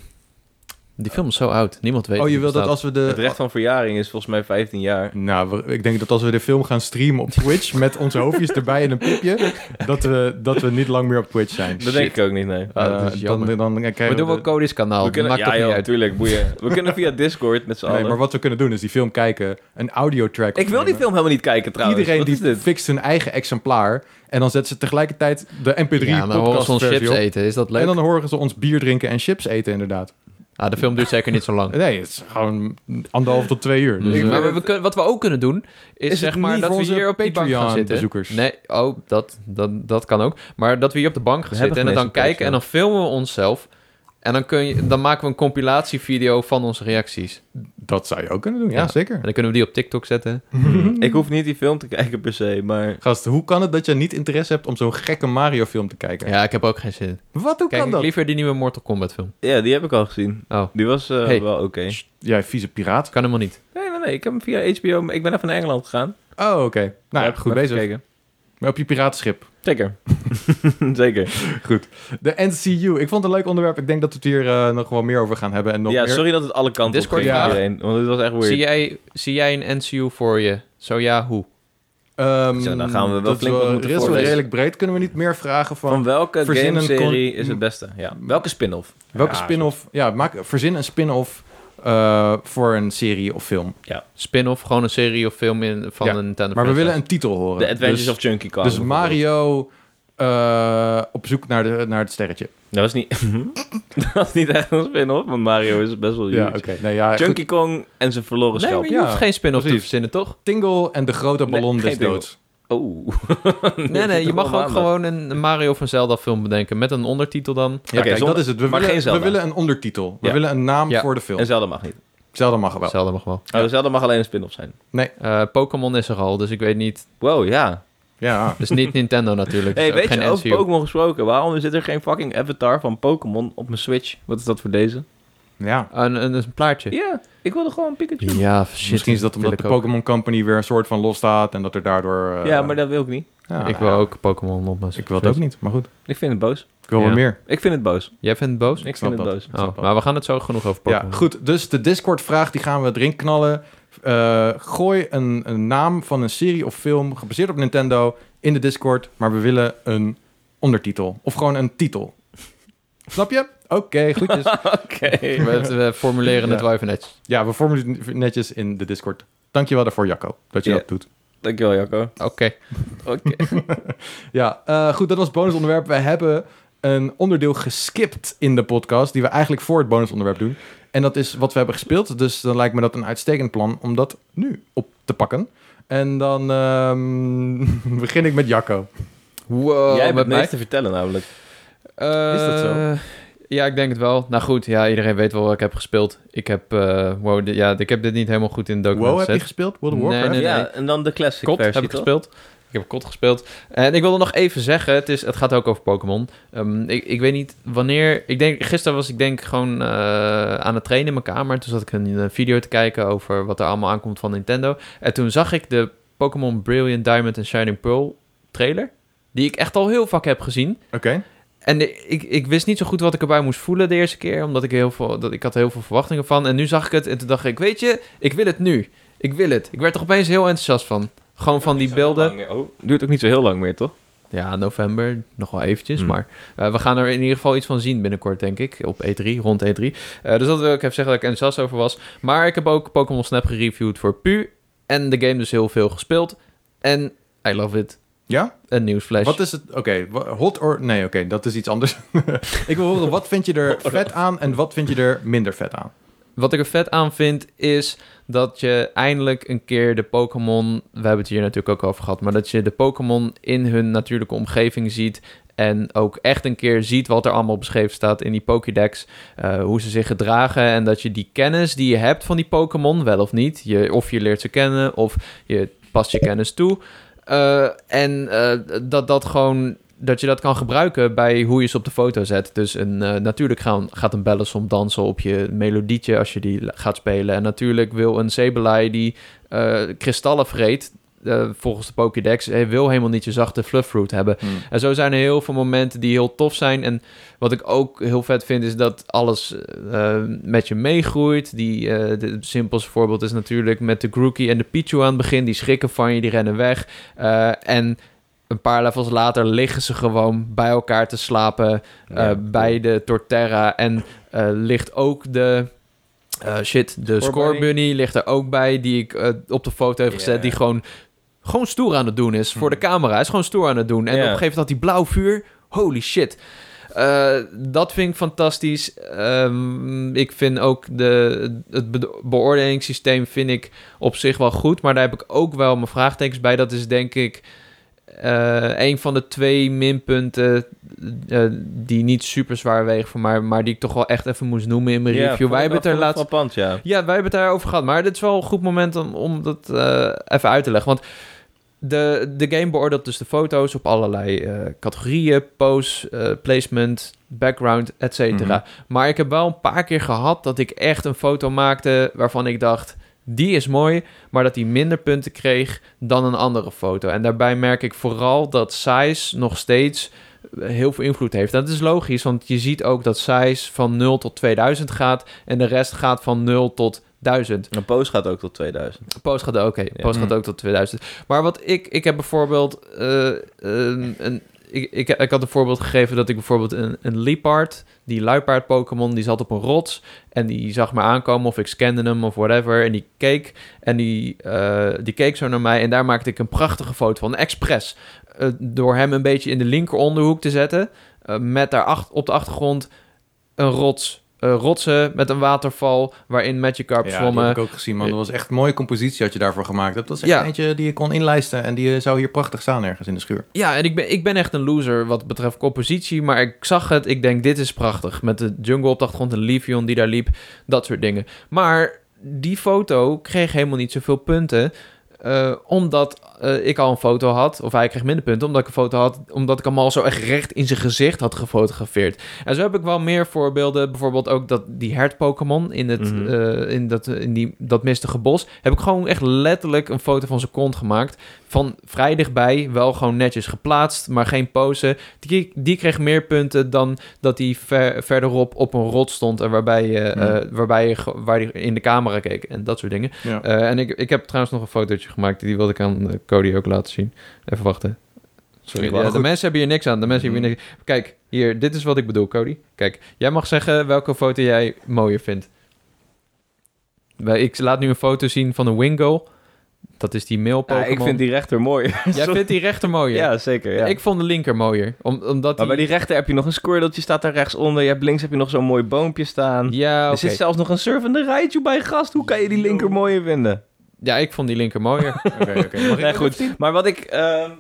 Speaker 2: Die film is zo oud. Niemand weet
Speaker 1: oh,
Speaker 2: of
Speaker 1: je
Speaker 2: het
Speaker 1: wilt dat
Speaker 2: bestaat.
Speaker 1: als we de...
Speaker 3: Het recht van verjaring is volgens mij 15 jaar.
Speaker 1: Nou, we- ik denk dat als we de film gaan streamen op Twitch... met onze hoofdjes erbij en een pipje... dat we, dat we niet lang meer op Twitch zijn.
Speaker 3: Dat denk ik ook niet, nee.
Speaker 2: Ah, dat is
Speaker 1: Eh, dan,
Speaker 2: jammer.
Speaker 1: dan, dan
Speaker 2: We
Speaker 1: krijgen
Speaker 2: doen
Speaker 1: we...
Speaker 2: wel Cody's kanaal.
Speaker 3: we kunnen,
Speaker 2: Maakt
Speaker 3: ja,
Speaker 2: toch
Speaker 3: joh,
Speaker 2: niet uit.
Speaker 3: tuurlijk, boeien. We kunnen via Discord met z'n
Speaker 1: nee,
Speaker 3: allen.
Speaker 1: maar wat we kunnen doen is die film kijken, een audiotrack.
Speaker 3: Ik wil die
Speaker 1: opnemen.
Speaker 3: film helemaal niet kijken, trouwens.
Speaker 1: Iedereen
Speaker 3: Wat is
Speaker 1: die
Speaker 3: dit?
Speaker 1: fixt zijn eigen exemplaar en dan zetten ze tegelijkertijd de MP3
Speaker 2: Ja, dan horen ze ons
Speaker 1: podcast
Speaker 2: chips
Speaker 1: versie op.
Speaker 2: eten. Is dat leuk?
Speaker 1: En dan horen ze ons bier drinken en chips eten inderdaad.
Speaker 2: Ah, de film duurt zeker niet zo lang.
Speaker 1: Nee, het is gewoon anderhalf tot twee uur. Dus,
Speaker 2: Dus,
Speaker 1: eh,
Speaker 2: maar we, we kunnen- wat we ook kunnen doen, is,
Speaker 1: Is
Speaker 2: zeg
Speaker 1: het
Speaker 2: maar
Speaker 1: niet
Speaker 2: dat
Speaker 1: voor
Speaker 2: we
Speaker 1: onze
Speaker 2: hier op die bank gaan zitten.
Speaker 1: Patreon-bezoekers?
Speaker 2: Nee, oh, dat, dat, dat kan ook. Maar dat we hier op de bank gaan
Speaker 3: We hebben
Speaker 2: zitten en het dan
Speaker 3: geen eens een
Speaker 2: kijken en dan filmen we onszelf. En dan, kun je, dan maken we een compilatievideo van onze reacties.
Speaker 1: dat zou je ook kunnen doen, ja,
Speaker 2: Ja.
Speaker 1: zeker.
Speaker 2: En dan kunnen we die op TikTok zetten.
Speaker 1: Mhm.
Speaker 3: Ik hoef niet die film te kijken per se, maar...
Speaker 1: Gast, hoe kan het dat je niet interesse hebt om zo'n gekke Mario film te kijken?
Speaker 2: Ja, ik heb ook geen zin. in.
Speaker 1: Wat, hoe
Speaker 2: Kijk
Speaker 1: kan
Speaker 2: ik
Speaker 1: dat?
Speaker 2: liever die nieuwe Mortal Kombat film.
Speaker 3: Ja, die heb ik al gezien.
Speaker 2: Oh,
Speaker 3: Die was eh,
Speaker 2: Hey.
Speaker 3: wel oké.
Speaker 1: Jij vieze piraat.
Speaker 2: kan helemaal niet.
Speaker 3: Nee, nee, nee. Ik heb hem via HBO... Ik ben even naar Engeland gegaan.
Speaker 1: Oh, oké. Nou,
Speaker 3: Daar heb ik
Speaker 1: goed
Speaker 3: even
Speaker 1: bezig.
Speaker 3: gekeken.
Speaker 1: Maar op je piratenschip.
Speaker 3: Zeker. Zeker.
Speaker 1: De NCU. Ik vond het een leuk onderwerp. Ik denk dat we het hier eh, nog wel meer over gaan hebben. En nog
Speaker 3: ja,
Speaker 1: meer...
Speaker 3: sorry dat het alle kanten op
Speaker 2: Discord
Speaker 3: ging
Speaker 1: vragen.
Speaker 3: iedereen. Want het was echt weird.
Speaker 2: Zie jij, zie jij een NCU voor je? Zo ja, hoe?
Speaker 1: Ehm,
Speaker 3: Zo, dan gaan we wel
Speaker 1: dat
Speaker 3: flink wat moeten
Speaker 1: er is wel
Speaker 3: voorlezen.
Speaker 1: redelijk breed. Kunnen we niet meer vragen van...
Speaker 3: Van, welke
Speaker 1: verzin een
Speaker 3: gameserie
Speaker 1: con- Hmm.
Speaker 3: is het beste? Ja. Welke spin-off?
Speaker 1: welke
Speaker 3: Ja,
Speaker 1: spin-off... Ja, maak, verzin een spin-off eh, voor een serie of film.
Speaker 2: Spin-off, gewoon een serie of film in, van
Speaker 1: Ja,
Speaker 2: een Nintendo
Speaker 1: Maar we willen
Speaker 2: franchise.
Speaker 1: een titel horen.
Speaker 3: The Adventures
Speaker 1: dus,
Speaker 3: of Chunky Kong.
Speaker 1: Dus Mario eh, op zoek naar, de, naar het sterretje.
Speaker 3: Dat was niet, dat was niet echt een spin-off, want Mario is best wel huge.
Speaker 1: Ja, oké. Nee, ja, goed.
Speaker 3: Chunky Kong en zijn verloren
Speaker 2: Nee,
Speaker 3: schelp.
Speaker 2: maar je
Speaker 1: Ja,
Speaker 2: hoeft geen spin-off te
Speaker 1: precies.
Speaker 2: verzinnen, toch?
Speaker 1: Tingle en de grote
Speaker 3: Nee,
Speaker 1: ballon
Speaker 3: geen
Speaker 1: des doods.
Speaker 3: Oh.
Speaker 2: Nee, nee, je mag ook gewoon een Mario van Zelda film bedenken. Met een ondertitel dan.
Speaker 1: Ja, kijk,
Speaker 3: zonder-
Speaker 1: dat is het. We
Speaker 3: maar
Speaker 1: willen,
Speaker 3: geen Zelda.
Speaker 1: we willen een ondertitel. We
Speaker 3: Ja.
Speaker 1: willen een naam
Speaker 2: Ja.
Speaker 1: voor de film.
Speaker 3: En Zelda mag niet.
Speaker 1: Zelda mag wel.
Speaker 2: Zelda mag wel.
Speaker 3: Oh, Zelda mag alleen een spin-off zijn.
Speaker 2: Eh, Pokémon is er al, dus ik weet niet.
Speaker 3: Wow, ja.
Speaker 1: Ja.
Speaker 2: Dus niet Nintendo natuurlijk.
Speaker 3: Hey,
Speaker 2: Dus ook
Speaker 3: weet je,
Speaker 2: geen
Speaker 3: over
Speaker 2: NCU.
Speaker 3: Pokémon gesproken. Waarom zit er geen fucking avatar van Pokémon op mijn Switch? Wat is dat voor deze?
Speaker 1: ja.
Speaker 2: Een, een, een plaatje.
Speaker 3: Ja, ik wilde gewoon Pikachu.
Speaker 2: Ja, shit.
Speaker 1: Misschien is dat
Speaker 2: wil
Speaker 1: omdat
Speaker 2: ik
Speaker 1: de
Speaker 2: ook.
Speaker 1: Pokémon Company weer een soort van los staat en dat er daardoor... eh,
Speaker 3: ja, maar dat wil ik niet.
Speaker 1: ja,
Speaker 2: ik wil
Speaker 1: ja.
Speaker 2: ook Pokémon op mijn
Speaker 1: Ik wil het ook niet, maar goed.
Speaker 3: Ik vind het boos.
Speaker 1: Ik wil
Speaker 2: Ja.
Speaker 1: wel meer.
Speaker 3: Ik vind het boos.
Speaker 2: Jij vindt het boos?
Speaker 3: Ik
Speaker 1: snap
Speaker 3: vind het
Speaker 1: dat.
Speaker 3: boos.
Speaker 1: snap
Speaker 2: Oh,
Speaker 1: dat.
Speaker 2: maar we gaan het zo genoeg over Pokémon.
Speaker 1: Ja, goed. Dus de Discord-vraag, die gaan we erin knallen. Eh, gooi een, een naam van een serie of film gebaseerd op Nintendo in de Discord, maar we willen een ondertitel. Of gewoon een titel. Snap je? Oké, goedjes.
Speaker 3: Oké.
Speaker 2: We, we formuleren het
Speaker 1: Ja.
Speaker 2: wel even netjes.
Speaker 1: Ja, we vormen het netjes in de Discord. Dankjewel daarvoor, Jacco, dat je
Speaker 3: Ja.
Speaker 1: dat doet.
Speaker 3: Dankjewel, Jacco.
Speaker 2: Oké.
Speaker 3: Oké.
Speaker 1: Ja, eh, goed, dat was het bonusonderwerp. We hebben een onderdeel geskipt in de podcast, die we eigenlijk voor het bonusonderwerp doen. En dat is wat we hebben gespeeld. Dus dan lijkt me dat een uitstekend plan om dat nu op te pakken. En dan ehm, begin ik met Jacco.
Speaker 2: Wow,
Speaker 3: Jij hebt
Speaker 2: Oh, met
Speaker 3: het
Speaker 2: mij?
Speaker 3: meest te vertellen namelijk.
Speaker 2: Eh,
Speaker 1: Is dat zo?
Speaker 2: Ja, ik denk het wel. Nou goed, ja, iedereen weet wel wat ik heb gespeeld. Ik heb, eh, wow, dit- ja, ik heb dit niet helemaal goed in de document
Speaker 1: Wow, heb je
Speaker 2: gezet.
Speaker 1: gespeeld? World of
Speaker 2: Nee,
Speaker 1: Warcraft?
Speaker 2: nee, nee.
Speaker 3: Ja, en dan de classic
Speaker 2: Kot
Speaker 3: versie,
Speaker 2: heb ik
Speaker 3: toch?
Speaker 2: gespeeld. Ik heb Kot gespeeld. En ik wilde nog even zeggen, het, is, het gaat ook over Pokémon. Ehm, ik, ik weet niet wanneer... Ik denk, gisteren was ik denk gewoon eh, aan het trainen in mijn kamer. Toen zat ik een, eh, video te kijken over wat er allemaal aankomt van Nintendo. En toen zag ik de Pokémon Brilliant Diamond en Shining Pearl trailer. Die ik echt al heel vaak heb gezien.
Speaker 1: Oké.
Speaker 2: En de- ik, ik wist niet zo goed wat ik erbij moest voelen de eerste keer. Omdat ik heel veel, dat, ik had heel veel verwachtingen van. En nu zag ik het en toen dacht ik, weet je, ik wil het nu. Ik wil het. Ik werd er opeens heel enthousiast van. Gewoon van die beelden.
Speaker 3: Oh, duurt ook niet zo heel lang meer, toch?
Speaker 2: Ja, november, nog wel eventjes.
Speaker 3: Hmm.
Speaker 2: Maar eh, we gaan er in ieder geval iets van zien binnenkort, denk ik. Op E3, rond E3. Eh, dus dat wil ik even zeggen dat ik enthousiast over was. Maar ik heb ook Pokémon Snap gereviewd voor Pu. En de game dus heel veel gespeeld. En I love it.
Speaker 1: Ja?
Speaker 2: Een nieuwsflash.
Speaker 1: Wat is het? Oké, wa- hot or... Nee, oké, dat is iets anders. ik wil horen, wat vind je er vet aan en wat vind je er minder vet aan?
Speaker 2: Wat ik er vet aan vind is dat je eindelijk een keer de Pokémon. We hebben het hier natuurlijk ook over gehad. Maar dat je de Pokémon in hun natuurlijke omgeving ziet. En ook echt een keer ziet wat er allemaal beschreven staat in die Pokédex. eh, hoe ze zich gedragen. En dat je die kennis die je hebt van die Pokémon, wel of niet. Je, of je leert ze kennen. Of je past je kennis toe. Eh, en eh, dat dat gewoon. Dat je dat kan gebruiken bij hoe je ze op de foto zet. Dus een, eh, natuurlijk gaan, gaat een bellensom dansen op je melodietje als je die la- gaat spelen. En natuurlijk wil een Sebelai die eh, kristallen vreet, eh, volgens de Pokédex, hij wil helemaal niet je zachte fluffroot hebben.
Speaker 1: Mm.
Speaker 2: En zo zijn er heel veel momenten die heel tof zijn. En wat ik ook heel vet vind, is dat alles eh, met je meegroeit. Die, eh, de- het simpelste voorbeeld is natuurlijk met de Grookey en de Pichu aan het begin. Die schrikken van je, die rennen weg. Eh, en een paar levels later liggen ze gewoon bij elkaar te slapen eh, bij de Torterra. En eh, ligt ook de... eh, shit, de
Speaker 3: Scorbunny.
Speaker 2: Scorbunny ligt er ook bij, die ik eh, op de foto heb
Speaker 3: Ja.
Speaker 2: gezet. Die gewoon gewoon stoer aan het doen is voor de camera. Hij is gewoon stoer aan het doen. En
Speaker 3: Ja.
Speaker 2: op een gegeven moment had hij blauw vuur. Holy shit. Eh, dat vind ik fantastisch. Ehm, ik vind ook de, het be- beoordelingssysteem vind ik op zich wel goed. Maar daar heb ik ook wel mijn vraagtekens bij. Dat is denk ik eh, een van de twee minpunten eh, die niet super zwaar wegen voor mij. Maar die ik toch wel echt even moest noemen in mijn review. Wij hebben het er laatst
Speaker 3: Pand, ja.
Speaker 2: ja, wij hebben het daarover gehad. Maar dit is wel een goed moment om, om dat eh, even uit te leggen. Want de, de game beoordeelt dus de foto's op allerlei eh, categorieën. Pose, eh, placement, background, et cetera. Maar ik heb wel een paar keer gehad dat ik echt een foto maakte... waarvan ik dacht, die is mooi... maar dat die minder punten kreeg dan een andere foto. En daarbij merk ik vooral dat size nog steeds eh, heel veel invloed heeft. Dat is logisch, want je ziet ook dat size van 0 tot 2000 gaat... en de rest gaat van 0 tot 1000.
Speaker 3: Een post gaat ook tot 2000.
Speaker 2: Post gaat ook, oké.
Speaker 3: Ja.
Speaker 2: Post gaat
Speaker 1: Mm.
Speaker 2: ook tot 2000. Maar wat ik, ik heb bijvoorbeeld, eh, een, een- ik, ik, ik had een voorbeeld gegeven dat ik bijvoorbeeld een, een Leopard, die luipaard Pokémon, die zat op een rots en die zag me aankomen of ik scande hem of whatever en die keek en die, eh, die keek zo naar mij en daar maakte ik een prachtige foto van, expres. Eh, door hem een beetje in de linker onderhoek te zetten, eh, met daar ach- op de achtergrond een rots eh, rotsen met een waterval waarin Magikarp
Speaker 1: Ja, die
Speaker 2: zwommen.
Speaker 1: heb ik ook gezien, man. Dat was echt een mooie compositie dat je daarvoor gemaakt hebt. Dat is echt
Speaker 2: Ja.
Speaker 1: eentje die je kon inlijsten en die eh, zou hier prachtig staan ergens in de schuur.
Speaker 2: Ja, en ik ben, ik ben echt een loser wat betreft compositie. Maar ik zag het, ik denk, dit is prachtig. Met de jungle op de achtergrond, en Livion die daar liep, dat soort dingen. Maar die foto kreeg helemaal niet zoveel punten. eh, omdat eh, ik al een foto had, of hij kreeg minder punten, omdat ik een foto had, omdat ik hem al zo echt recht in zijn gezicht had gefotografeerd. En zo heb ik wel meer voorbeelden, bijvoorbeeld ook dat die hert-Pokémon in, het,
Speaker 3: Mhm.
Speaker 2: eh, in, dat, in die, dat mistige bos, heb ik gewoon echt letterlijk een foto van zijn kont gemaakt van vrij dichtbij, wel gewoon netjes geplaatst, maar geen pose. Die, die kreeg meer punten dan dat hij ver- verderop op een rot stond en waarbij je, eh, waarbij je ge- waar hij in de camera keek en dat soort dingen.
Speaker 1: Ja.
Speaker 2: Eh, en ik, ik heb trouwens nog een fotootje gemaakt, die wilde ik aan eh, Cody ook laten zien. Even wachten. Sorry,
Speaker 1: Ik wacht.
Speaker 2: ja, de mensen hebben hier niks aan. De mensen hebben hier
Speaker 3: Mm.
Speaker 2: niks. Kijk, hier, dit is wat ik bedoel, Cody. Kijk, jij mag zeggen welke foto jij mooier vindt. Wij- Ik laat nu een foto zien van een Wingo. Dat is die mail
Speaker 3: Ja,
Speaker 2: Pokémon.
Speaker 3: ik vind die rechter mooi.
Speaker 2: Jij
Speaker 3: Sorry.
Speaker 2: vindt die rechter mooier.
Speaker 3: Ja, zeker. Ja.
Speaker 2: Ik vond de linker mooier. Om, omdat
Speaker 3: Maar bij die rechter heb je nog een squirreltje staat daar rechtsonder. Je hebt links heb je nog zo'n mooi boompje staan.
Speaker 2: Ja,
Speaker 3: Er
Speaker 2: oké.
Speaker 3: zit zelfs nog een surfende Raichu bij gast. Hoe kan je die linker mooier vinden?
Speaker 2: ja, ik vond die linker mooier.
Speaker 1: Oké, oké. Mag ik
Speaker 3: Nee,
Speaker 1: ook even
Speaker 3: goed. Maar wat ik... ehm,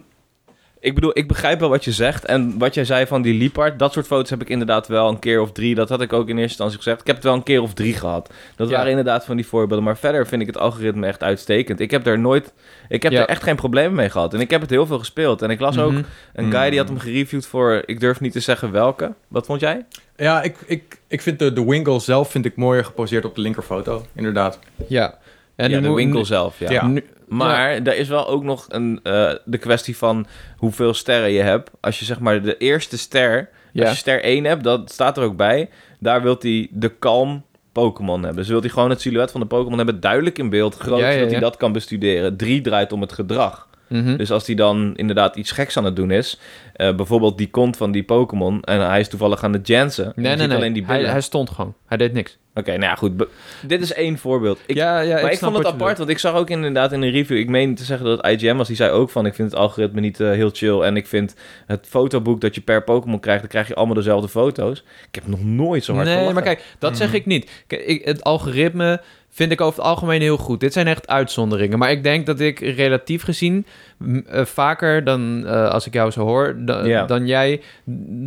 Speaker 3: ik bedoel, ik begrijp wel wat je zegt. En wat jij zei van die Liepard. Dat soort foto's heb ik inderdaad wel een keer of drie. Dat had ik ook in eerste instantie gezegd. Ik heb het wel een keer of drie gehad. Dat
Speaker 2: Ja.
Speaker 3: waren inderdaad van die voorbeelden. Maar verder vind ik het algoritme echt uitstekend. Ik heb daar nooit... Ik heb
Speaker 2: Ja.
Speaker 3: er echt geen problemen mee gehad. En ik heb het heel veel gespeeld. En ik las ook
Speaker 2: Mhm.
Speaker 3: een guy die had hem gereviewd voor... Ik durf niet te zeggen welke. Wat vond jij?
Speaker 1: Ja, ik, ik, ik vind de, de Wingle zelf vind ik mooier geposeerd op de linkerfoto. Inderdaad.
Speaker 2: Ja. En
Speaker 3: ja,
Speaker 2: nu
Speaker 3: de
Speaker 2: moet-
Speaker 3: winkel zelf, ja.
Speaker 1: Ja.
Speaker 2: nu-
Speaker 3: Maar daar is wel ook nog een, eh, de kwestie van hoeveel sterren je hebt. Als je zeg maar de eerste ster, als
Speaker 2: ja.
Speaker 3: je ster 1 hebt, dat staat er ook bij. Daar wilt hij de kalm Pokémon hebben. Dus wil hij gewoon het silhouet van de Pokémon hebben duidelijk in beeld, groot,
Speaker 2: Ja, ja,
Speaker 3: zodat hij
Speaker 2: ja.
Speaker 3: dat kan bestuderen. 3 draait om het gedrag.
Speaker 2: Mhm.
Speaker 3: Dus als hij dan inderdaad iets geks aan het doen is, eh, bijvoorbeeld die kont van die Pokémon, en hij is toevallig aan het jansen, en je
Speaker 2: nee, nee,
Speaker 3: ziet
Speaker 2: nee.
Speaker 3: alleen die
Speaker 2: hij,
Speaker 3: billen.
Speaker 2: hij stond gewoon. Hij deed niks.
Speaker 3: Oké, nou ja, goed. Be- Dit is één voorbeeld. Ik,
Speaker 2: ja, ja,
Speaker 3: maar
Speaker 2: snap
Speaker 3: ik, vond het
Speaker 2: wat je
Speaker 3: apart, want ik zag ook inderdaad in een review... Ik meen te zeggen dat het IGM was, die zei ook van... ik vind het algoritme niet eh, heel chill... en ik vind het fotoboek dat je per Pokémon krijgt... dan krijg je allemaal dezelfde foto's. Ik heb nog nooit zo hard Mm.
Speaker 2: Nee,
Speaker 3: gelachen.
Speaker 2: maar kijk, dat zeg ik niet. Kijk, ik- het algoritme vind ik over het algemeen heel goed. Dit zijn echt uitzonderingen. Maar ik denk dat ik relatief gezien m, eh, vaker dan eh, als ik jou zo hoor, da-
Speaker 3: Ja.
Speaker 2: dan jij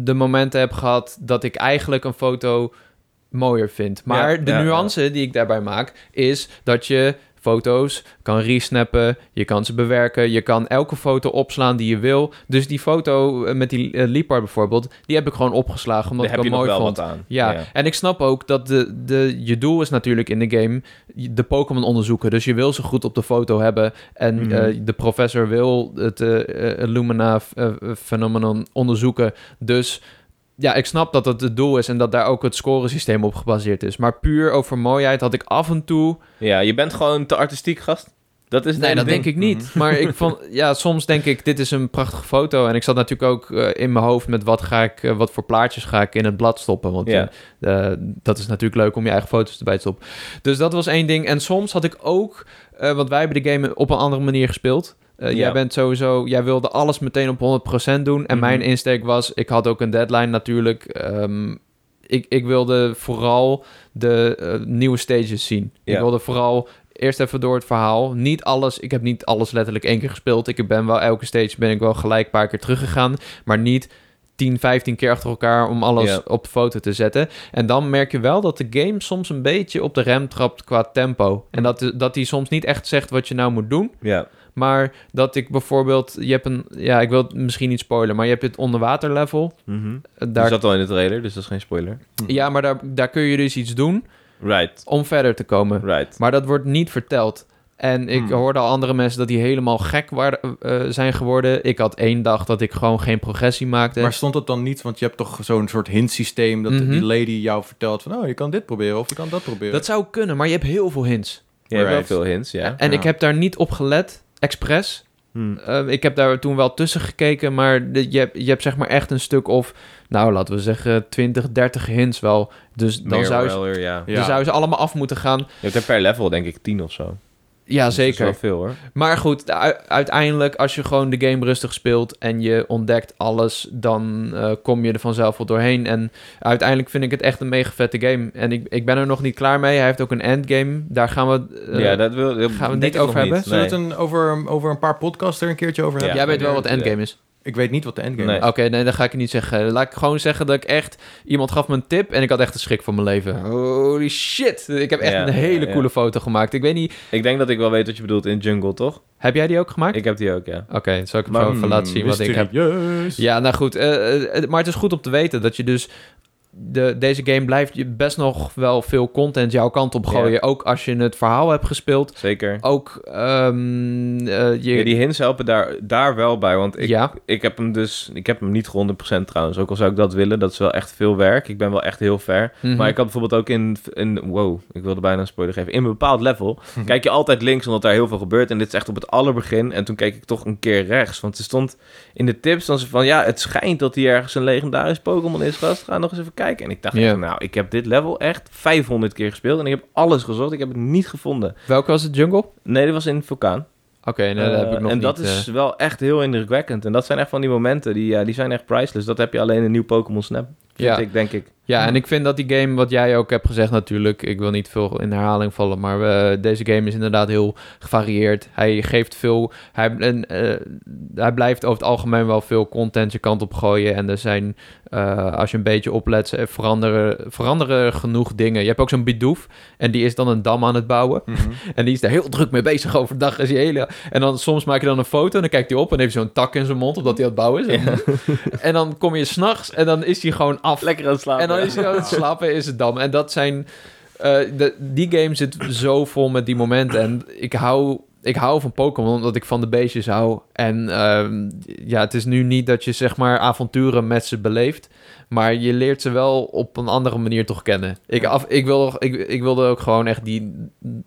Speaker 2: de momenten heb gehad dat ik eigenlijk een foto mooier vind. Maar
Speaker 3: Ja,
Speaker 2: de
Speaker 3: ja, ja.
Speaker 2: nuance die ik daarbij maak is dat je foto's kan resnappen, je kan ze bewerken, je kan elke foto opslaan die je wil. Dus die foto eh, met die eh, Liepar bijvoorbeeld, die heb ik gewoon opgeslagen omdat
Speaker 3: Daar heb
Speaker 2: ik
Speaker 3: je
Speaker 2: hem
Speaker 3: nog
Speaker 2: mooi
Speaker 3: wel
Speaker 2: vond.
Speaker 3: wat aan.
Speaker 2: Ja, en ik snap ook dat de, de, je doel is natuurlijk in de game de Pokémon onderzoeken. Dus je wil ze goed op de foto hebben. En
Speaker 3: Mhm.
Speaker 2: eh, de professor wil het eh, eh, Illumina eh, phenomenon onderzoeken. Dus ja, ik snap dat dat het doel is en dat daar ook het scoresysteem op gebaseerd is. Maar puur over mooiheid had ik af en toe...
Speaker 3: Ja, je bent gewoon te artistiek, gast. Dat is het
Speaker 2: Nee,
Speaker 3: hele
Speaker 2: dat
Speaker 3: ding. Mhm.
Speaker 2: denk ik niet. Maar ik vond, ja, soms denk ik, dit is een prachtige foto. En ik zat natuurlijk ook eh, in mijn hoofd met wat, ga ik, eh, wat voor plaatjes ga ik in het blad stoppen. Want
Speaker 3: Ja.
Speaker 2: eh, eh, dat is natuurlijk leuk om je eigen foto's erbij te stoppen. Dus dat was één ding. En soms had ik ook, eh, want wij hebben de game op een andere manier gespeeld. Eh,
Speaker 3: Ja.
Speaker 2: Jij bent sowieso, jij wilde alles meteen op 100% doen. En
Speaker 3: Mhm.
Speaker 2: mijn insteek was, ik had ook een deadline natuurlijk. Ehm, ik, ik wilde vooral de eh, nieuwe stages zien.
Speaker 3: Ja.
Speaker 2: Ik wilde vooral eerst even door het verhaal. Niet alles, ik heb niet alles letterlijk één keer gespeeld. Ik ben wel elke stage ben ik wel gelijk een paar keer teruggegaan. Maar niet 10, 15 keer achter elkaar om alles
Speaker 3: Ja.
Speaker 2: op foto te zetten. En dan merk je wel dat de game soms een beetje op de rem trapt qua tempo. En dat, dat die soms niet echt zegt wat je nou moet doen.
Speaker 3: Ja,
Speaker 2: Maar dat ik bijvoorbeeld, je hebt een, ja, ik wil het misschien niet spoilen, maar je hebt het onderwater level. Eh,
Speaker 3: mhm.
Speaker 2: Daar,
Speaker 3: die zat al in de trailer, dus dat is geen spoiler.
Speaker 2: Ja, maar daar, daar kun je dus iets doen
Speaker 3: Right,
Speaker 2: om verder te komen.
Speaker 3: right.
Speaker 2: Maar dat wordt niet verteld. En ik
Speaker 1: Hmm.
Speaker 2: hoorde al andere mensen dat die helemaal gek waren, eh, zijn geworden. Ik had één dag dat ik gewoon geen progressie maakte.
Speaker 1: Maar stond dat dan niet? Want je hebt toch zo'n soort hintsysteem dat
Speaker 2: Mhm.
Speaker 1: die lady jou vertelt van, oh, je kan dit proberen of je kan dat proberen.
Speaker 2: dat zou kunnen, maar je hebt heel veel hints.
Speaker 3: Je hebt wel
Speaker 1: Right.
Speaker 3: veel hints, ja.
Speaker 2: En
Speaker 1: Ja.
Speaker 2: ik heb daar niet op gelet, expres.
Speaker 3: Hm.
Speaker 2: Eh, ik heb daar toen wel tussen gekeken, maar de- je, hebt- je hebt zeg maar echt een stuk of, nou laten we zeggen, 20, 30 hints wel. Dus dan
Speaker 3: Meer
Speaker 2: zou, je,
Speaker 3: wel weer, ja.
Speaker 2: dan zou je ze allemaal af moeten gaan.
Speaker 3: Je hebt er per level denk ik tien of zo.
Speaker 2: Ja, zeker.
Speaker 3: Dat is wel veel hoor.
Speaker 2: Maar goed, u- uiteindelijk, als je gewoon de game rustig speelt en je ontdekt alles, dan eh, kom je er vanzelf wel doorheen. En uiteindelijk vind ik het echt een mega vette game. En ik, ik ben er nog niet klaar mee. Hij heeft ook een endgame. Daar gaan we. eh,
Speaker 3: ja, dat wil dat
Speaker 2: gaan we het niet
Speaker 3: denk ik nog
Speaker 2: over hebben?
Speaker 1: Zullen
Speaker 3: Nee.
Speaker 1: we het een, over, over een paar podcasts er een keertje over
Speaker 3: Ja.
Speaker 1: hebben?
Speaker 2: jij weet wel wat
Speaker 3: inderdaad,
Speaker 2: endgame is.
Speaker 1: Ik weet niet wat de endgame
Speaker 3: Nee.
Speaker 1: is.
Speaker 2: Oké, nee, dat ga ik niet zeggen. Laat ik gewoon zeggen dat ik echt... Iemand gaf me een tip en ik had echt een schrik van mijn leven. Holy shit. Ik heb echt
Speaker 3: Ja,
Speaker 2: een hele
Speaker 3: ja, ja.
Speaker 2: coole foto gemaakt. Ik weet niet...
Speaker 3: Ik denk dat ik wel weet wat je bedoelt in Jungle, toch?
Speaker 2: Heb jij die ook gemaakt?
Speaker 3: Ik heb die ook, ja.
Speaker 2: Oké, zal ik hem
Speaker 3: Maar, mm,
Speaker 2: gewoon even laten zien wat ik heb.
Speaker 1: Mysterieus.
Speaker 2: Ja, nou goed. eh, eh, eh, maar het is goed om te weten dat je dus... De, deze game blijft je best nog wel veel content jouw kant op gooien.
Speaker 3: Ja.
Speaker 2: Ook als je het verhaal hebt gespeeld.
Speaker 3: Zeker.
Speaker 2: Ook ehm, eh, je...
Speaker 3: Ja, die hints helpen daar, daar wel bij, want ik,
Speaker 2: Ja.
Speaker 3: ik heb hem dus... Ik heb hem niet 100% trouwens, ook al zou ik dat willen. Dat is wel echt veel werk. Ik ben wel echt heel ver.
Speaker 2: Mhm.
Speaker 3: Maar ik had bijvoorbeeld ook in, in... Wow, ik wilde bijna een spoiler geven. In een bepaald level
Speaker 2: Mhm.
Speaker 3: kijk je altijd links, omdat daar heel veel gebeurt. En dit is echt op het allerbegin. En toen keek ik toch een keer rechts. Want ze stond in de tips dan ze van... Ja, het schijnt dat hier ergens een legendarisch Pokémon is. Gast, ga nog eens even kijken. En ik dacht,
Speaker 2: Ja.
Speaker 3: echt, nou, ik heb dit level echt 500 keer gespeeld. En ik heb alles gezocht. Ik heb het niet gevonden.
Speaker 2: Welke was het, Jungle? Oké,
Speaker 3: Nee, dat was in Vulkaan.
Speaker 2: nee, dat heb
Speaker 3: Eh,
Speaker 2: ik nog
Speaker 3: en
Speaker 2: niet.
Speaker 3: dat is wel echt heel indrukwekkend. En dat zijn echt van die momenten. Die, ja, die zijn echt priceless. Dat heb je alleen in nieuw Pokémon Snap. Vind
Speaker 2: eh, Ja.
Speaker 3: ik, denk ik.
Speaker 2: Ja, en ik vind dat die game, wat jij ook hebt gezegd natuurlijk, ik wil niet veel in herhaling vallen, maar eh, deze game is inderdaad heel gevarieerd. Hij geeft veel, hij, en, eh, hij blijft over het algemeen wel veel content je kant op gooien. En er zijn, eh, als je een beetje oplet, ze veranderen, veranderen er genoeg dingen. Je hebt ook zo'n Bidoof en die is dan een dam aan het bouwen.
Speaker 1: Mhm.
Speaker 2: En die is daar heel druk mee bezig overdag. Is die hele... En dan soms maak je dan een foto en dan kijkt hij op en heeft hij zo'n tak in zijn mond, omdat hij aan het bouwen is. en dan kom je s'nachts en dan is hij gewoon af.
Speaker 3: Lekker aan het slapen.
Speaker 2: En dan is hij aan het slapen, is het dam. En dat zijn... eh, de- die game zit zo vol met die momenten. En ik hou, ik hou van Pokémon, omdat ik van de beestjes hou. En ehm, ja, het is nu niet dat je zeg maar avonturen met ze beleeft. Maar je leert ze wel op een andere manier toch kennen. Ik, af, ik, wil, ik, ik wilde ook gewoon echt die,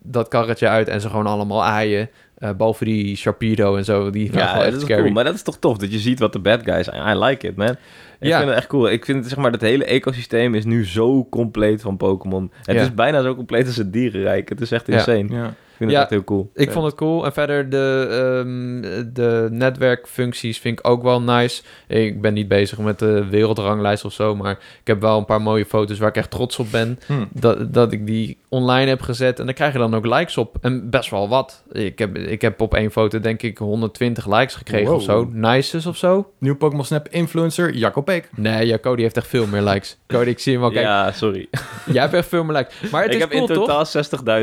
Speaker 2: dat karretje uit en ze gewoon allemaal aaien. Eh behalve die Sharpedo en zo. Die waren
Speaker 3: Ja,
Speaker 2: gewoon
Speaker 3: dat
Speaker 2: echt
Speaker 3: is
Speaker 2: scary.
Speaker 3: cool. Maar dat is toch tof dat je ziet wat de bad guys zijn. I like it, man. Ik
Speaker 2: Ja.
Speaker 3: vind het echt cool. Ik vind zeg maar dat hele ecosysteem is nu zo compleet van Pokémon. Het
Speaker 2: Ja.
Speaker 3: is bijna zo compleet als het dierenrijk. Het is echt
Speaker 2: Ja.
Speaker 3: insane. Ik
Speaker 1: Ja.
Speaker 3: vind
Speaker 2: Ja.
Speaker 3: het echt heel cool.
Speaker 2: Ik vond het cool. En verder de, ehm, de netwerkfuncties vind ik ook wel nice. Ik ben niet bezig met de wereldranglijst of zo. Maar ik heb wel een paar mooie foto's waar ik echt trots op ben.
Speaker 1: Hm.
Speaker 2: Dat, dat ik die online heb gezet. En daar krijg je dan ook likes op. En best wel wat. Ik heb, ik heb op één foto denk ik 120 likes gekregen
Speaker 1: Wow.
Speaker 2: of zo. Nices of zo.
Speaker 1: Nieuw Pokémon Snap influencer Jacco Peek.
Speaker 2: Nee, ja, Cody heeft echt veel meer likes. Cody, ik zie hem al kijken.
Speaker 3: Ja, sorry.
Speaker 2: Jij hebt echt veel meer likes. Maar Oh, het
Speaker 3: ik
Speaker 2: is
Speaker 3: heb
Speaker 2: cool,
Speaker 3: in
Speaker 2: toch?
Speaker 3: totaal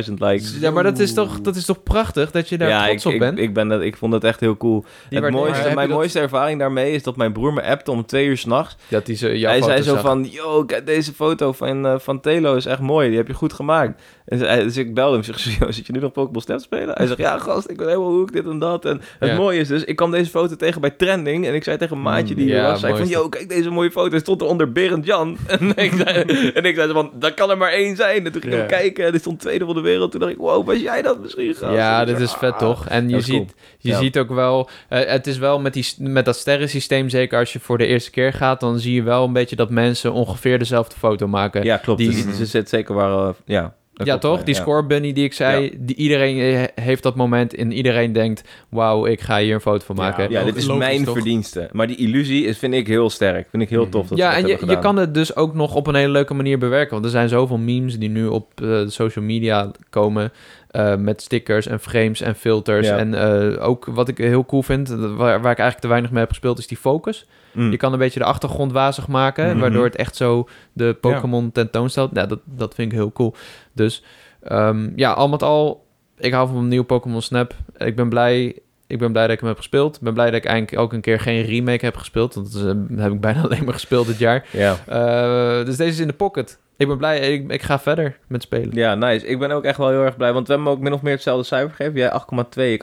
Speaker 3: 60.000 likes.
Speaker 2: Ja, maar dat is, toch, dat is toch prachtig dat je daar
Speaker 3: ja,
Speaker 2: trots
Speaker 3: ik,
Speaker 2: op
Speaker 3: ik,
Speaker 2: bent?
Speaker 3: ik, ben dat, ik vond het echt heel cool.
Speaker 2: Die
Speaker 3: Het
Speaker 2: waardering.
Speaker 1: Maar heb
Speaker 3: mooiste,
Speaker 1: je
Speaker 3: mijn
Speaker 1: dat-
Speaker 3: mooiste ervaring daarmee is dat mijn broer me appte om twee uur s'nachts.
Speaker 2: dat die ze, jouw
Speaker 3: hij zei
Speaker 2: foto's
Speaker 3: zo
Speaker 2: zag.
Speaker 3: van, yo, kijk, deze foto van, eh, van Telo is echt mooi. Die heb je goed gemaakt. En ze- hij- dus ik belde hem. Ik zeg, "Yo, zit je nu nog Pokémon Snap te spelen? Hij zegt, ja, gast, ik weet helemaal hoe ik dit en dat. En het
Speaker 2: Ja.
Speaker 3: mooie is dus, ik kwam deze foto tegen bij Trending. En ik zei tegen een maatje die
Speaker 2: Mm,
Speaker 3: hier
Speaker 2: ja,
Speaker 3: was, zei ik
Speaker 2: mooi
Speaker 3: van,
Speaker 2: is dat.
Speaker 3: yo, kijk, deze mooie foto. Hij stond er onder Berend Jan. en ik zei, en ik zei zo van, dat kan er maar één zijn. En toen ging ik
Speaker 1: Ja.
Speaker 3: hem kijken. En er stond tweede van de wereld. Toen dacht ik, wow, was jij dat misschien, gast?
Speaker 2: Ja,
Speaker 3: En ik
Speaker 2: dit
Speaker 3: zei,
Speaker 2: is vet
Speaker 3: "Ah."
Speaker 2: toch? En je,
Speaker 3: dat is
Speaker 2: ziet,
Speaker 3: cool.
Speaker 2: je
Speaker 3: Ja.
Speaker 2: ziet ook wel, eh, het is wel met, die, s- met dat sterrensysteem, zeker als je voor de eerste keer gaat, dan zie je wel een beetje dat mensen ongeveer dezelfde foto maken. Ja,
Speaker 3: Ja, klopt.
Speaker 2: Die-
Speaker 3: Die, ze zit zeker waar... eh, ja, dat klopt, eh,
Speaker 2: toch?
Speaker 3: ja.
Speaker 2: Die score bunny die ik zei, die, iedereen eh, heeft dat moment en iedereen denkt, wauw, ik ga hier een foto van
Speaker 1: Ja,
Speaker 2: maken.
Speaker 3: Ja,
Speaker 1: Lo-
Speaker 3: dit is
Speaker 1: logisch,
Speaker 3: mijn
Speaker 1: toch?
Speaker 3: verdienste. Maar die illusie is, vind ik heel sterk. Vind ik heel tof dat ze
Speaker 2: Ja,
Speaker 3: dat
Speaker 2: en je,
Speaker 3: hebben
Speaker 2: je
Speaker 3: gedaan.
Speaker 2: kan het dus ook nog op een hele leuke manier bewerken. Want er zijn zoveel memes die nu op eh, social media komen. eh, met stickers en frames en filters.
Speaker 3: Ja.
Speaker 2: En eh, ook wat ik heel cool vind, eh, waar, waar ik eigenlijk te weinig mee heb gespeeld, is die focus.
Speaker 3: Mm.
Speaker 2: Je kan een beetje de achtergrond wazig maken.
Speaker 3: Mhm.
Speaker 2: Waardoor het echt zo de Pokémon tentoonstelt. Nou, dat, dat vind ik heel cool. Dus ehm, ja, al met al, ik hou van een nieuw Pokémon Snap. Ik ben blij. Ik ben blij dat ik hem heb gespeeld. Ik ben blij dat ik eigenlijk ook een keer geen remake heb gespeeld. Want dat is, eh, heb ik bijna alleen maar gespeeld dit jaar.
Speaker 3: Ja.
Speaker 2: Eh, dus deze is in de pocket. Ik ben blij. Ik, ik ga verder met spelen.
Speaker 3: ja, nice. Ik ben ook echt wel heel erg blij. Want we hebben hem ook min of meer hetzelfde cijfer gegeven. Jij 8,2, ik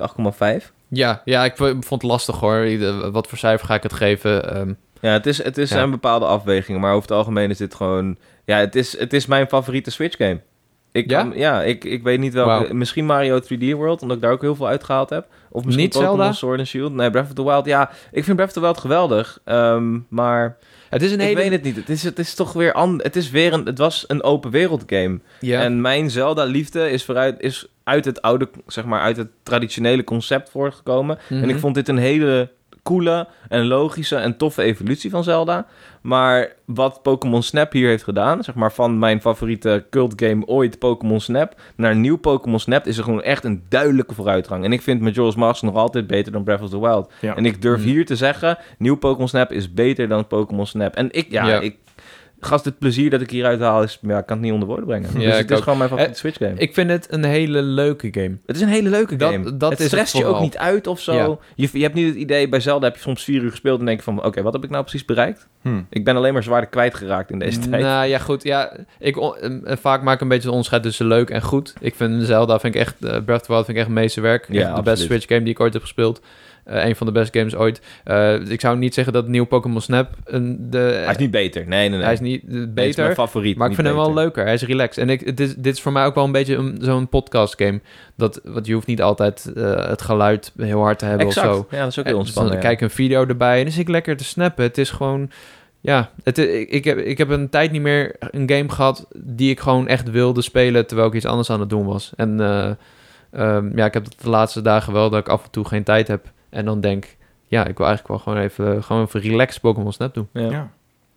Speaker 3: 8,5.
Speaker 2: Ja, ja ik v- vond het lastig hoor. Ik- eh, Wat voor cijfer ga ik het geven? Ehm,
Speaker 3: Ja, het, is, het is,
Speaker 2: Ja.
Speaker 3: zijn bepaalde afwegingen. Maar over het algemeen is dit gewoon... Ja, het is, het is mijn favoriete Switch game. Ik,
Speaker 2: Ja?
Speaker 3: ja? ja, ik, ik weet niet welke.
Speaker 2: Wauw.
Speaker 3: Misschien Mario 3D World, omdat ik daar ook heel veel uitgehaald heb. Of misschien
Speaker 2: Niet
Speaker 3: Pokémon
Speaker 2: Zelda?
Speaker 3: Sword and Shield. Nee, Breath of the Wild. Ja, ik vind Breath of the Wild geweldig. ehm, maar
Speaker 2: Het is een
Speaker 3: ik
Speaker 2: hele...
Speaker 3: weet het niet. Het is, het is toch weer... an- Het, is weer een, het was een open wereld game.
Speaker 2: Ja.
Speaker 3: En mijn Zelda-liefde is, vooruit, is uit het oude, zeg maar, uit het traditionele concept voortgekomen.
Speaker 2: Mhm.
Speaker 3: En ik vond dit een hele coole en logische en toffe evolutie van Zelda. Maar wat Pokémon Snap hier heeft gedaan, zeg maar van mijn favoriete cult game ooit, Pokémon Snap, naar nieuw Pokémon Snap, is er gewoon echt een duidelijke vooruitgang. En ik vind Majora's Mask nog altijd beter dan Breath of the Wild.
Speaker 1: Ja.
Speaker 3: En ik durf
Speaker 2: Mm.
Speaker 3: hier te zeggen, nieuw Pokémon Snap is beter dan Pokémon Snap. En ik, ja,
Speaker 2: Ja.
Speaker 3: ik... Gast, het plezier dat ik hieruit haal is... Ja, ik kan het niet onder woorden brengen.
Speaker 2: Ja,
Speaker 3: dus
Speaker 2: ik
Speaker 3: het is
Speaker 2: ook.
Speaker 3: gewoon mijn favoriete
Speaker 2: Eh,
Speaker 3: Switch game.
Speaker 2: Ik vind het een hele leuke game.
Speaker 3: Het is een hele leuke
Speaker 2: Dat-
Speaker 3: game.
Speaker 2: dat is
Speaker 3: het
Speaker 2: het
Speaker 3: stresst je ook
Speaker 2: vooral.
Speaker 3: niet uit of zo.
Speaker 2: Ja.
Speaker 3: Je, je hebt niet het idee, bij Zelda heb je soms vier uur gespeeld en denk je van... Oké, wat heb ik nou precies bereikt?
Speaker 2: Hmm.
Speaker 1: Hm.
Speaker 3: Ik ben alleen maar zwaar kwijtgeraakt in deze tijd.
Speaker 2: Nou ja, goed. Ja, ik, on- eh, vaak maak ik een beetje een onderscheid tussen leuk en goed. Ik vind Zelda, vind ik echt, eh, Breath of the Wild vind ik echt meesterwerk.
Speaker 3: Ja,
Speaker 2: Echt de beste
Speaker 3: absoluut.
Speaker 2: Switch game die ik ooit heb gespeeld. Eh, een van de beste games ooit. Eh, ik zou niet zeggen dat nieuw Pokémon Snap een, de,
Speaker 3: Hij is niet beter. Nee, nee, nee.
Speaker 2: hij is niet, eh,
Speaker 3: Nee, het is mijn
Speaker 2: beter.
Speaker 3: favoriet.
Speaker 2: Maar ik
Speaker 3: niet
Speaker 2: vind hem wel
Speaker 3: beter.
Speaker 2: leuker. Hij is relaxed. En ik, het is, dit is voor mij ook wel een beetje een- zo'n podcast game. Dat, want je hoeft niet altijd eh, het geluid heel hard te hebben
Speaker 3: Exact.
Speaker 2: of zo.
Speaker 3: Ja, dat is ook heel
Speaker 2: Eh, dus dan
Speaker 3: ontspannen. ja.
Speaker 2: kijk ik een video erbij en dan zit ik lekker te snappen. Het is gewoon... Ja, het, ik, ik, heb, ik heb een tijd niet meer een game gehad die ik gewoon echt wilde spelen terwijl ik iets anders aan het doen was. En eh, ehm, ja, ik heb dat de laatste dagen wel dat ik af en toe geen tijd heb. En dan denk, ja, ik wil eigenlijk wel gewoon even, gewoon even relaxed Pokémon Snap doen.
Speaker 3: Ja.
Speaker 1: Ja.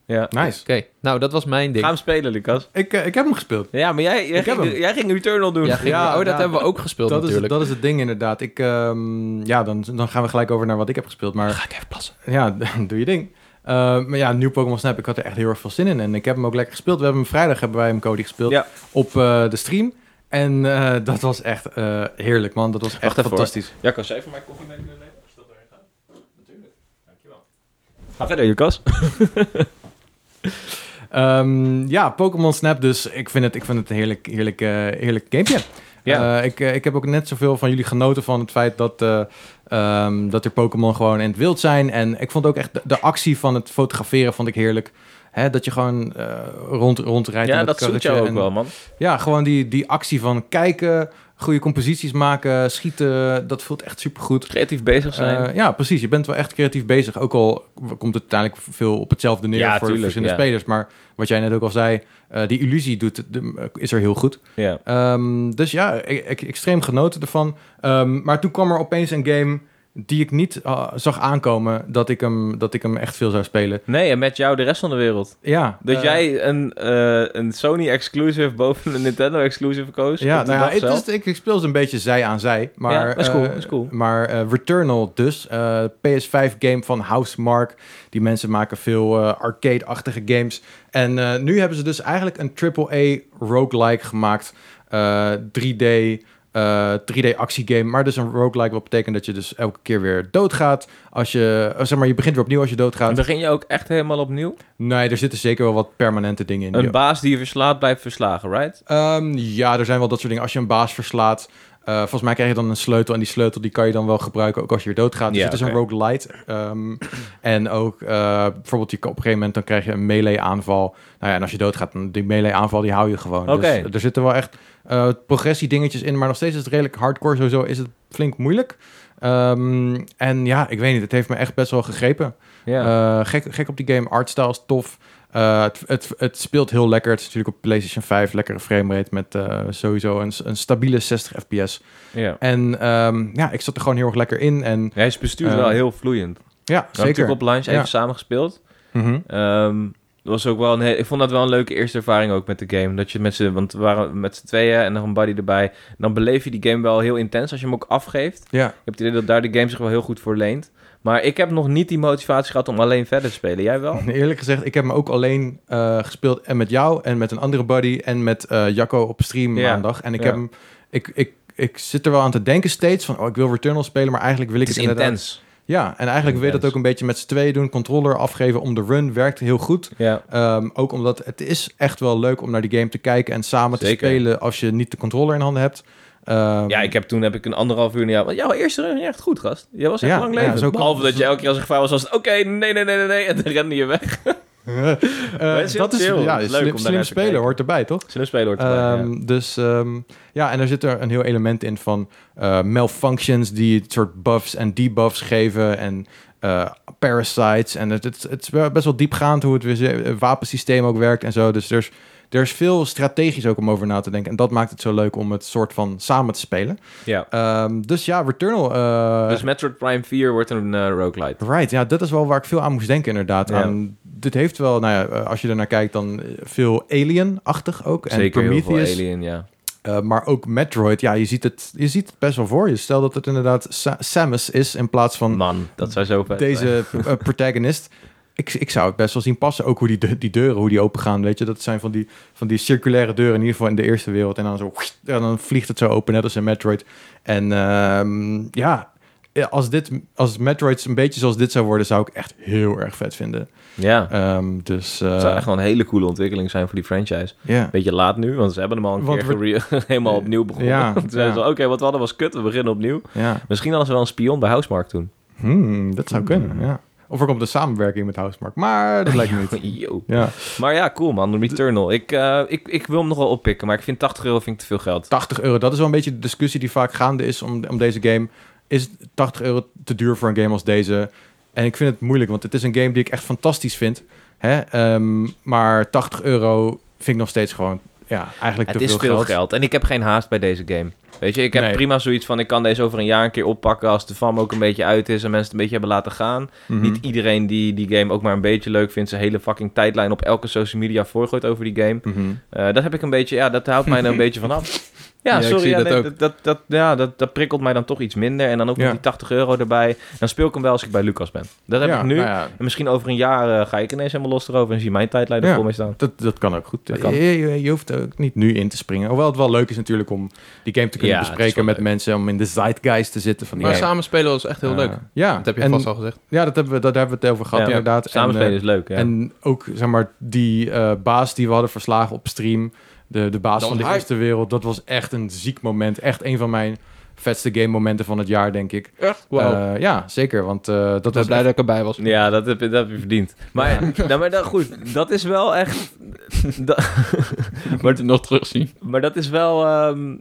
Speaker 3: Ja.
Speaker 1: Nice.
Speaker 2: Oké, nou dat was mijn ding.
Speaker 3: Ga hem spelen, Lucas.
Speaker 1: Ik, eh, ik heb hem gespeeld.
Speaker 3: Ja, maar jij, jij,
Speaker 1: Ik heb
Speaker 3: ging,
Speaker 1: hem.
Speaker 3: jij ging Returnal doen.
Speaker 2: ja, ging-
Speaker 1: Ja,
Speaker 2: oh, dat
Speaker 1: ja.
Speaker 2: hebben we ook gespeeld
Speaker 1: Dat is, het,
Speaker 2: natuurlijk.
Speaker 1: dat is het ding inderdaad. Ik, ehm, ja, dan, dan gaan we gelijk over naar wat ik heb gespeeld. Maar
Speaker 2: Ga ik even plassen.
Speaker 1: Ja, doe je ding. Eh, maar ja, nieuw Pokémon Snap, ik had er echt heel erg veel zin in. En ik heb hem ook lekker gespeeld. We hebben hem vrijdag, hebben wij hem Cody gespeeld,
Speaker 3: Ja.
Speaker 1: op eh, de stream. En eh, dat was echt eh, heerlijk, man. Dat was echt
Speaker 3: Wacht even,
Speaker 1: fantastisch.
Speaker 3: Ja, kan zij voor mij koffie mee kunnen nemen? Als dat erin gaat. Natuurlijk. Dankjewel. Ga verder, Lucas.
Speaker 1: Ehm, ja, Pokémon Snap, dus ik vind het, ik vind het een heerlijk, heerlijk, eh, heerlijk gamepje.
Speaker 3: Ja.
Speaker 1: Eh, ik, eh, ik heb ook net zoveel van jullie genoten van het feit dat, eh, ehm, dat er Pokémon gewoon in het wild zijn. En ik vond ook echt de, de actie van het fotograferen vond ik heerlijk. Hè, dat je gewoon eh, rond, rondrijdt.
Speaker 3: Ja,
Speaker 1: met
Speaker 3: dat
Speaker 1: het
Speaker 3: zoet jou
Speaker 1: karretje
Speaker 3: ook
Speaker 1: en-
Speaker 3: wel, man.
Speaker 1: Ja, gewoon die, die actie van kijken, goede composities maken, schieten. Dat voelt echt supergoed.
Speaker 3: Creatief bezig zijn.
Speaker 1: Eh, ja, precies. Je bent wel echt creatief bezig. Ook al komt het uiteindelijk veel op hetzelfde neer
Speaker 3: Ja,
Speaker 1: voor
Speaker 3: tuurlijk,
Speaker 1: verschillende
Speaker 3: ja.
Speaker 1: spelers. Maar wat jij net ook al zei, eh, die illusie doet, het- de- eh, is er heel goed.
Speaker 3: ja.
Speaker 1: Ehm, dus ja, ik, ik- extreem genoten ervan. Ehm, maar toen kwam er opeens een game die ik niet ah, zag aankomen dat ik, hem, dat ik hem echt veel zou spelen.
Speaker 3: Nee, en met jou de rest van de wereld.
Speaker 1: Ja,
Speaker 3: Dat
Speaker 1: eh,
Speaker 3: jij een, eh, een Sony-exclusive boven een Nintendo-exclusive koos.
Speaker 1: Ja,
Speaker 3: op die
Speaker 1: nou ja,
Speaker 3: dag
Speaker 1: het
Speaker 3: zelf.
Speaker 1: is, ik, ik speel ze een beetje zij aan zij. Maar,
Speaker 3: Ja, dat is cool,
Speaker 1: eh,
Speaker 3: dat is cool.
Speaker 1: Maar eh, Returnal dus, eh, PS5-game van Housemark. Die mensen maken veel eh, arcade-achtige games. En eh, nu hebben ze dus eigenlijk een AAA roguelike gemaakt. Eh, 3D, eh 3D-actiegame. Maar dus een roguelike wat betekent dat je dus elke keer weer doodgaat. Als je, eh, zeg maar, je begint weer opnieuw als je
Speaker 3: En
Speaker 1: doodgaat.
Speaker 3: begin je ook echt helemaal opnieuw.
Speaker 1: Nee, er zitten zeker wel wat permanente dingen in.
Speaker 3: Een
Speaker 1: Ja.
Speaker 3: baas die je verslaat, blijft verslagen, right?
Speaker 1: Ehm, ja, er zijn wel dat soort dingen. Als je een baas verslaat, eh, volgens mij krijg je dan een sleutel. En die sleutel die kan je dan wel gebruiken, ook als je weer doodgaat. Dus
Speaker 3: Ja,
Speaker 1: het is
Speaker 3: oké.
Speaker 1: een roguelite. Ehm en ook eh, bijvoorbeeld, je, kan- op een gegeven moment dan krijg je een melee aanval. Nou ja, en als je doodgaat, dan die melee aanval die hou je gewoon.
Speaker 3: Oké.
Speaker 1: Dus er zitten wel echt eh progressie dingetjes in. Maar nog steeds is het redelijk hardcore. Sowieso is het flink moeilijk. Ehm, en ja, ik weet niet. Het heeft me echt best wel gegrepen.
Speaker 3: Ja.
Speaker 1: Eh, gek, gek op die game. Artstyle is tof. Eh, het, het, het speelt heel lekker. Het is natuurlijk op PlayStation 5 lekkere framerate met eh, sowieso een, een stabiele 60 fps.
Speaker 3: ja.
Speaker 1: En ehm, ja, ik zat er gewoon heel erg lekker in. En
Speaker 3: Hij is bestuurd
Speaker 1: Eh,
Speaker 3: wel heel vloeiend. We
Speaker 1: ja,
Speaker 3: hebben
Speaker 1: zeker.
Speaker 3: natuurlijk op lunch even
Speaker 1: Ja.
Speaker 3: samengespeeld.
Speaker 1: Mhm.
Speaker 3: Ehm, dat was ook wel een he- ik vond dat wel een leuke eerste ervaring ook met de game. Dat je met z'n, want we waren met z'n tweeën en nog een buddy erbij. Dan beleef je die game wel heel intens als je hem ook afgeeft.
Speaker 1: Ja.
Speaker 3: Ik heb het idee dat daar de game zich wel heel goed voor leent. Maar ik heb nog niet die motivatie gehad om alleen verder te spelen. Jij wel?
Speaker 1: Eerlijk gezegd, ik heb me ook alleen eh, gespeeld en met jou en met een andere buddy en met eh, Jacco op stream
Speaker 3: Ja,
Speaker 1: maandag. En ik
Speaker 3: ja.
Speaker 1: heb hem, ik, ik, ik zit er wel aan te denken steeds van, oh, ik wil Returnal spelen, maar eigenlijk wil ik
Speaker 3: Het
Speaker 1: het,
Speaker 3: is
Speaker 1: inderdaad-
Speaker 3: intens.
Speaker 1: Ja, en eigenlijk wil je dat
Speaker 3: Intens.
Speaker 1: ook een beetje met z'n tweeën doen. Controller afgeven om de run werkt heel goed.
Speaker 3: Ja.
Speaker 1: Ehm, ook omdat het is echt wel leuk om naar die game te kijken en samen te
Speaker 3: Zeker.
Speaker 1: spelen als je niet de controller in handen hebt. Ehm,
Speaker 3: Ja, ik heb, toen heb ik een anderhalf uur naar jou... Want jouw eerste run ging echt goed, gast. Jij was echt
Speaker 1: Ja,
Speaker 3: lang
Speaker 1: ja,
Speaker 3: leven.
Speaker 1: zo kan-
Speaker 3: Behalve dat
Speaker 1: zo-
Speaker 3: je elke keer als een gevaar was, was het... Oké, nee, nee, nee, nee, nee. En dan rende je weg.
Speaker 1: Eh,
Speaker 3: is heel
Speaker 1: dat is
Speaker 3: chill.
Speaker 1: ja,
Speaker 3: Leuk
Speaker 1: is slim,
Speaker 3: om daarnaar
Speaker 1: slim
Speaker 3: te
Speaker 1: spelen
Speaker 3: kijken.
Speaker 1: hoort erbij, toch?
Speaker 3: Zullen spelen hoort erbij,
Speaker 1: Ehm, Dus ehm, ja, en er zit er een heel element in van eh, malfunctions die het soort buffs en debuffs geven en eh, parasites. En het, het, het is wel best wel diepgaand hoe het weer- het wapensysteem ook werkt en zo. Dus er is, er is veel strategisch ook om over na te denken. En dat maakt het zo leuk om het soort van samen te spelen.
Speaker 3: ja.
Speaker 1: Ehm, dus ja, Returnal. eh,
Speaker 3: dus Metroid Prime 4 wordt een eh, roguelite.
Speaker 1: Right, ja, dat is wel waar ik veel aan moest denken inderdaad.
Speaker 3: Ja.
Speaker 1: Aan, dit heeft wel, nou ja, eh, als je ernaar kijkt, dan eh, veel Alien-achtig ook.
Speaker 3: Zeker
Speaker 1: en
Speaker 3: heel veel
Speaker 1: Prometheus.
Speaker 3: Alien, ja.
Speaker 1: Uh, maar ook Metroid, ja, je ziet, het, je ziet het best wel voor je. Stel dat het inderdaad Sa- Samus is in plaats van
Speaker 3: Man, dat zou zo vet zijn.
Speaker 1: deze eh, protagonist. Ik, ik zou het best wel zien passen. Ook hoe die, de- die deuren, hoe die open gaan, weet je. Dat zijn van die, van die circulaire deuren, in ieder geval in de eerste wereld. En dan, zo, en dan vliegt het zo open, net als in Metroid. En ehm, ja, eh, als, dit, als Metroid een beetje zoals dit zou worden, zou ik echt heel erg vet vinden.
Speaker 3: Ja,
Speaker 1: Ehm, dus eh,
Speaker 3: het zou echt wel een hele coole ontwikkeling zijn voor die franchise.
Speaker 1: ja.
Speaker 3: Beetje laat nu, want ze hebben hem al een
Speaker 1: Want
Speaker 3: keer gere- helemaal opnieuw begonnen.
Speaker 1: Ja,
Speaker 3: Toen zeiden
Speaker 1: ja.
Speaker 3: ze, oké, wat we hadden was kut, we beginnen opnieuw.
Speaker 1: ja.
Speaker 3: Misschien hadden ze wel een spion bij Housemark toen.
Speaker 1: Hmm, dat zou kunnen,
Speaker 3: Hmm.
Speaker 1: ja. Of er komt een samenwerking met Housemark, maar dat
Speaker 3: Ah,
Speaker 1: lijkt me niet.
Speaker 3: Yo.
Speaker 1: Ja.
Speaker 3: Maar ja, cool man, Returnal. Ik, eh, ik, ik wil hem nog wel oppikken, maar ik vind 80 euro vind ik te veel geld.
Speaker 1: 80 euro, dat is wel een beetje de discussie die vaak gaande is om, om deze game. Is 80 euro te duur voor een game als deze? En ik vind het moeilijk, want het is een game die ik echt fantastisch vind. Hè? Ehm, maar 80 euro vind ik nog steeds gewoon, ja, eigenlijk
Speaker 3: Het
Speaker 1: te
Speaker 3: is
Speaker 1: veel,
Speaker 3: veel
Speaker 1: geld.
Speaker 3: geld. en ik heb geen haast bij deze game. Weet je, ik heb
Speaker 1: Nee.
Speaker 3: prima zoiets van, ik kan deze over een jaar een keer oppakken als de fam ook een beetje uit is en mensen het een beetje hebben laten gaan.
Speaker 1: Mhm.
Speaker 3: Niet iedereen die die game ook maar een beetje leuk vindt, zijn hele fucking tijdlijn op elke social media voorgooit over die game.
Speaker 1: Mhm.
Speaker 3: Eh, dat heb ik een beetje, ja, dat houdt mij er een beetje van af. Ja,
Speaker 1: Ja, ik
Speaker 3: sorry,
Speaker 1: zie
Speaker 3: ja,
Speaker 1: dat
Speaker 3: nee,
Speaker 1: ook.
Speaker 3: dat, dat, dat, ja, dat, dat prikkelt mij dan toch iets minder. En dan ook
Speaker 1: Ja.
Speaker 3: nog die 80 euro erbij. Dan speel ik hem wel als ik bij Lucas ben. Dat heb
Speaker 1: Ja,
Speaker 3: ik nu.
Speaker 1: nou ja,
Speaker 3: En misschien over een jaar eh, ga ik ineens helemaal los erover en zie mijn tijdlijn er
Speaker 1: Ja.
Speaker 3: voor mij staan.
Speaker 1: dat, dat kan ook goed.
Speaker 3: Dat kan.
Speaker 1: Je, je- je hoeft ook niet nu in te springen. Hoewel het wel leuk is natuurlijk om die game te kunnen
Speaker 3: Ja, het is
Speaker 1: bespreken
Speaker 3: wel
Speaker 1: met
Speaker 3: leuk.
Speaker 1: mensen. Om in de zeitgeist te zitten van die
Speaker 3: Maar
Speaker 1: game.
Speaker 2: samen spelen was echt heel
Speaker 1: Eh,
Speaker 2: leuk.
Speaker 1: Ja,
Speaker 2: Dat heb je
Speaker 1: en-
Speaker 2: vast al gezegd.
Speaker 1: Ja, dat hebben we, dat hebben we het over gehad
Speaker 3: Ja.
Speaker 1: inderdaad. En, eh,
Speaker 3: Samenspelen is leuk, ja.
Speaker 1: En ook, zeg maar, die eh, baas die we hadden verslagen op stream, de, de baas van
Speaker 2: Dat was
Speaker 1: de
Speaker 2: hype.
Speaker 1: eerste wereld, dat was echt een ziek moment. Echt een van mijn vetste game momenten van het jaar, denk ik.
Speaker 2: Echt? Wauw.
Speaker 1: Eh, ja, zeker, want eh, dat
Speaker 2: ik ben
Speaker 1: was
Speaker 2: blij dat ik erbij was.
Speaker 3: Ja, dat heb, je- dat heb je verdiend. Maar, nou, maar dat, goed, dat is wel echt... dat-
Speaker 2: Wordt het nog terugzien.
Speaker 3: maar dat is wel ehm,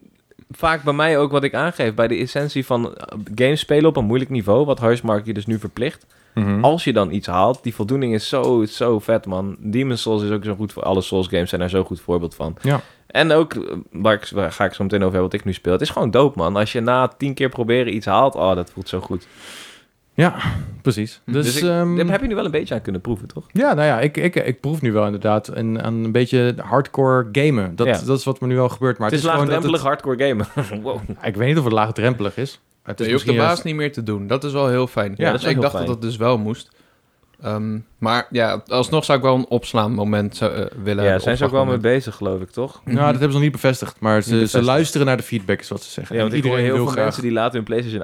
Speaker 3: vaak bij mij ook wat ik aangeef. Bij de essentie van eh, games spelen op een moeilijk niveau. Wat Housemark je dus nu verplicht.
Speaker 1: Mhm.
Speaker 3: Als je dan iets haalt, die voldoening is zo, zo vet, man. Demon's Souls is ook zo goed voor... Alle Souls games zijn daar zo'n goed voorbeeld van.
Speaker 1: Ja.
Speaker 3: En ook, eh, waar, ik, waar ga ik zo meteen over hebben, wat ik nu speel. Het is gewoon dope, man. Als je na tien keer proberen iets haalt, oh, dat voelt zo goed.
Speaker 1: Ja, precies. Dus,
Speaker 3: Dus ik-
Speaker 1: ehm,
Speaker 3: Daar heb je nu wel een beetje aan kunnen proeven, toch?
Speaker 1: Ja, nou ja, ik, ik, ik proef nu wel inderdaad een, aan een beetje hardcore gamen. Dat,
Speaker 3: Ja.
Speaker 1: dat is wat me nu wel gebeurt. Maar
Speaker 3: het
Speaker 1: het,
Speaker 3: is
Speaker 1: gewoon dat
Speaker 3: laagdrempelig
Speaker 1: het-
Speaker 3: hardcore gamen. wow.
Speaker 1: Ik weet niet of het laagdrempelig is. Het is
Speaker 2: je hoeft de
Speaker 1: misschien
Speaker 2: baas
Speaker 1: juist-
Speaker 2: niet meer te doen. Dat is wel heel fijn.
Speaker 1: Ja, dat
Speaker 3: is wel
Speaker 2: ik
Speaker 3: heel
Speaker 2: dacht
Speaker 3: fijn.
Speaker 2: dat dat dus wel moest. Ehm, maar ja, alsnog zou ik wel een opslaan moment willen
Speaker 3: Ja, zijn ze ook wel mee
Speaker 2: met
Speaker 3: bezig, geloof ik, toch?
Speaker 1: Nou, dat hebben ze nog niet bevestigd. Maar ze,
Speaker 3: Mhm. Niet
Speaker 1: ze
Speaker 3: bevestigd.
Speaker 1: luisteren naar de feedback, is wat ze zeggen.
Speaker 3: Ja, want
Speaker 1: En
Speaker 3: ik hoor heel
Speaker 1: wil
Speaker 3: veel mensen die laten hun PlayStation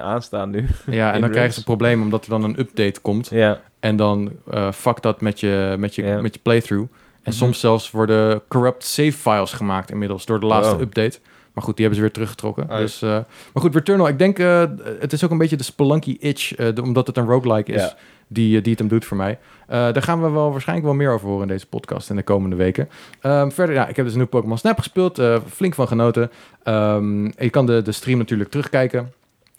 Speaker 3: aanstaan nu.
Speaker 1: Ja, en dan
Speaker 3: Inroads.
Speaker 1: krijgen ze een probleem omdat er dan een update komt.
Speaker 3: Ja,
Speaker 1: En dan eh fuck dat met je, met je,
Speaker 3: Ja.
Speaker 1: met je playthrough. En
Speaker 2: Mhm.
Speaker 1: soms zelfs worden corrupt save files gemaakt inmiddels door de laatste
Speaker 3: Wow.
Speaker 1: update. Maar goed, die hebben ze weer teruggetrokken.
Speaker 2: Oh, ja.
Speaker 1: dus, eh, maar goed, Returnal, ik denk, eh, het is ook een beetje de Spelunky itch, eh, de- omdat het een roguelike is,
Speaker 3: Ja.
Speaker 1: die, eh, die het hem doet voor mij. Eh, daar gaan we wel waarschijnlijk wel meer over horen in deze podcast in de komende weken. Ehm, verder, ja, ik heb dus nu Pokémon Snap gespeeld, eh, flink van genoten. Ehm, je kan de, de stream natuurlijk terugkijken,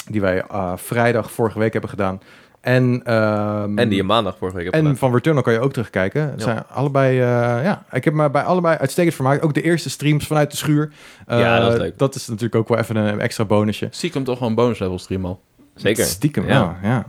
Speaker 1: die wij eh, vrijdag vorige week hebben gedaan. En, ehm,
Speaker 3: en die je maandag vorige week hebt
Speaker 1: en
Speaker 3: gedaan.
Speaker 1: van Returnal kan je ook terugkijken. Het
Speaker 3: Ja.
Speaker 1: zijn allebei, eh, ja, ik heb me bij allebei uitstekend vermaakt. Ook de eerste streams vanuit de schuur. Eh,
Speaker 3: Ja, dat is leuk.
Speaker 1: Dat is natuurlijk ook wel even een extra bonusje.
Speaker 2: Zie ik hem toch wel een bonus level stream al.
Speaker 3: Zeker.
Speaker 1: Stiekem,
Speaker 3: Ja.
Speaker 1: ja. ja.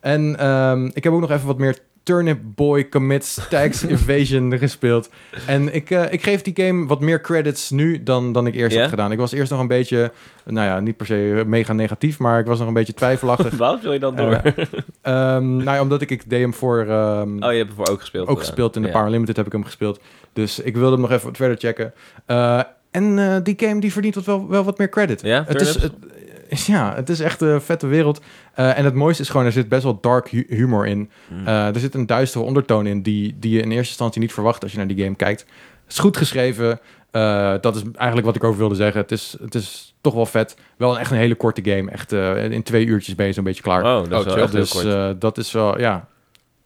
Speaker 1: En ehm, ik heb ook nog even wat meer Turnip Boy Commits Tax Invasion gespeeld. En ik, eh, ik geef die game wat meer credits nu dan, dan ik eerst
Speaker 3: Ja?
Speaker 1: had gedaan. Ik was eerst nog een beetje, nou ja, niet per se mega negatief, maar ik was nog een beetje twijfelachtig.
Speaker 3: Waarom wil je dan door?
Speaker 1: Eh, Ehm, nou ja, omdat ik, ik deed hem voor... ehm,
Speaker 3: oh, je hebt ervoor ook gespeeld.
Speaker 1: ook
Speaker 3: eh.
Speaker 1: gespeeld in de
Speaker 3: ja.
Speaker 1: Power Limited heb ik hem gespeeld. Dus ik wilde hem nog even wat verder checken. Eh, en eh, die game die verdient wat wel, wel wat meer credit.
Speaker 3: Ja,
Speaker 1: het is,
Speaker 3: turnips?
Speaker 1: het, ja, het is echt een vette wereld. Eh, en het mooiste is gewoon, er zit best wel dark hu- humor in.
Speaker 3: Hmm.
Speaker 1: Eh, er zit een duistere ondertoon in die, die je in eerste instantie niet verwacht als je naar die game kijkt. Het is goed geschreven. Eh, dat is eigenlijk wat ik over wilde zeggen. Het is, het is toch wel vet. Wel een, echt een hele korte game. Echt eh, in twee uurtjes ben je zo'n beetje klaar.
Speaker 3: oh, dat
Speaker 2: Oh,
Speaker 3: is wel
Speaker 2: chill.
Speaker 3: echt heel
Speaker 1: Dus
Speaker 3: kort.
Speaker 1: eh, dat is wel, ja.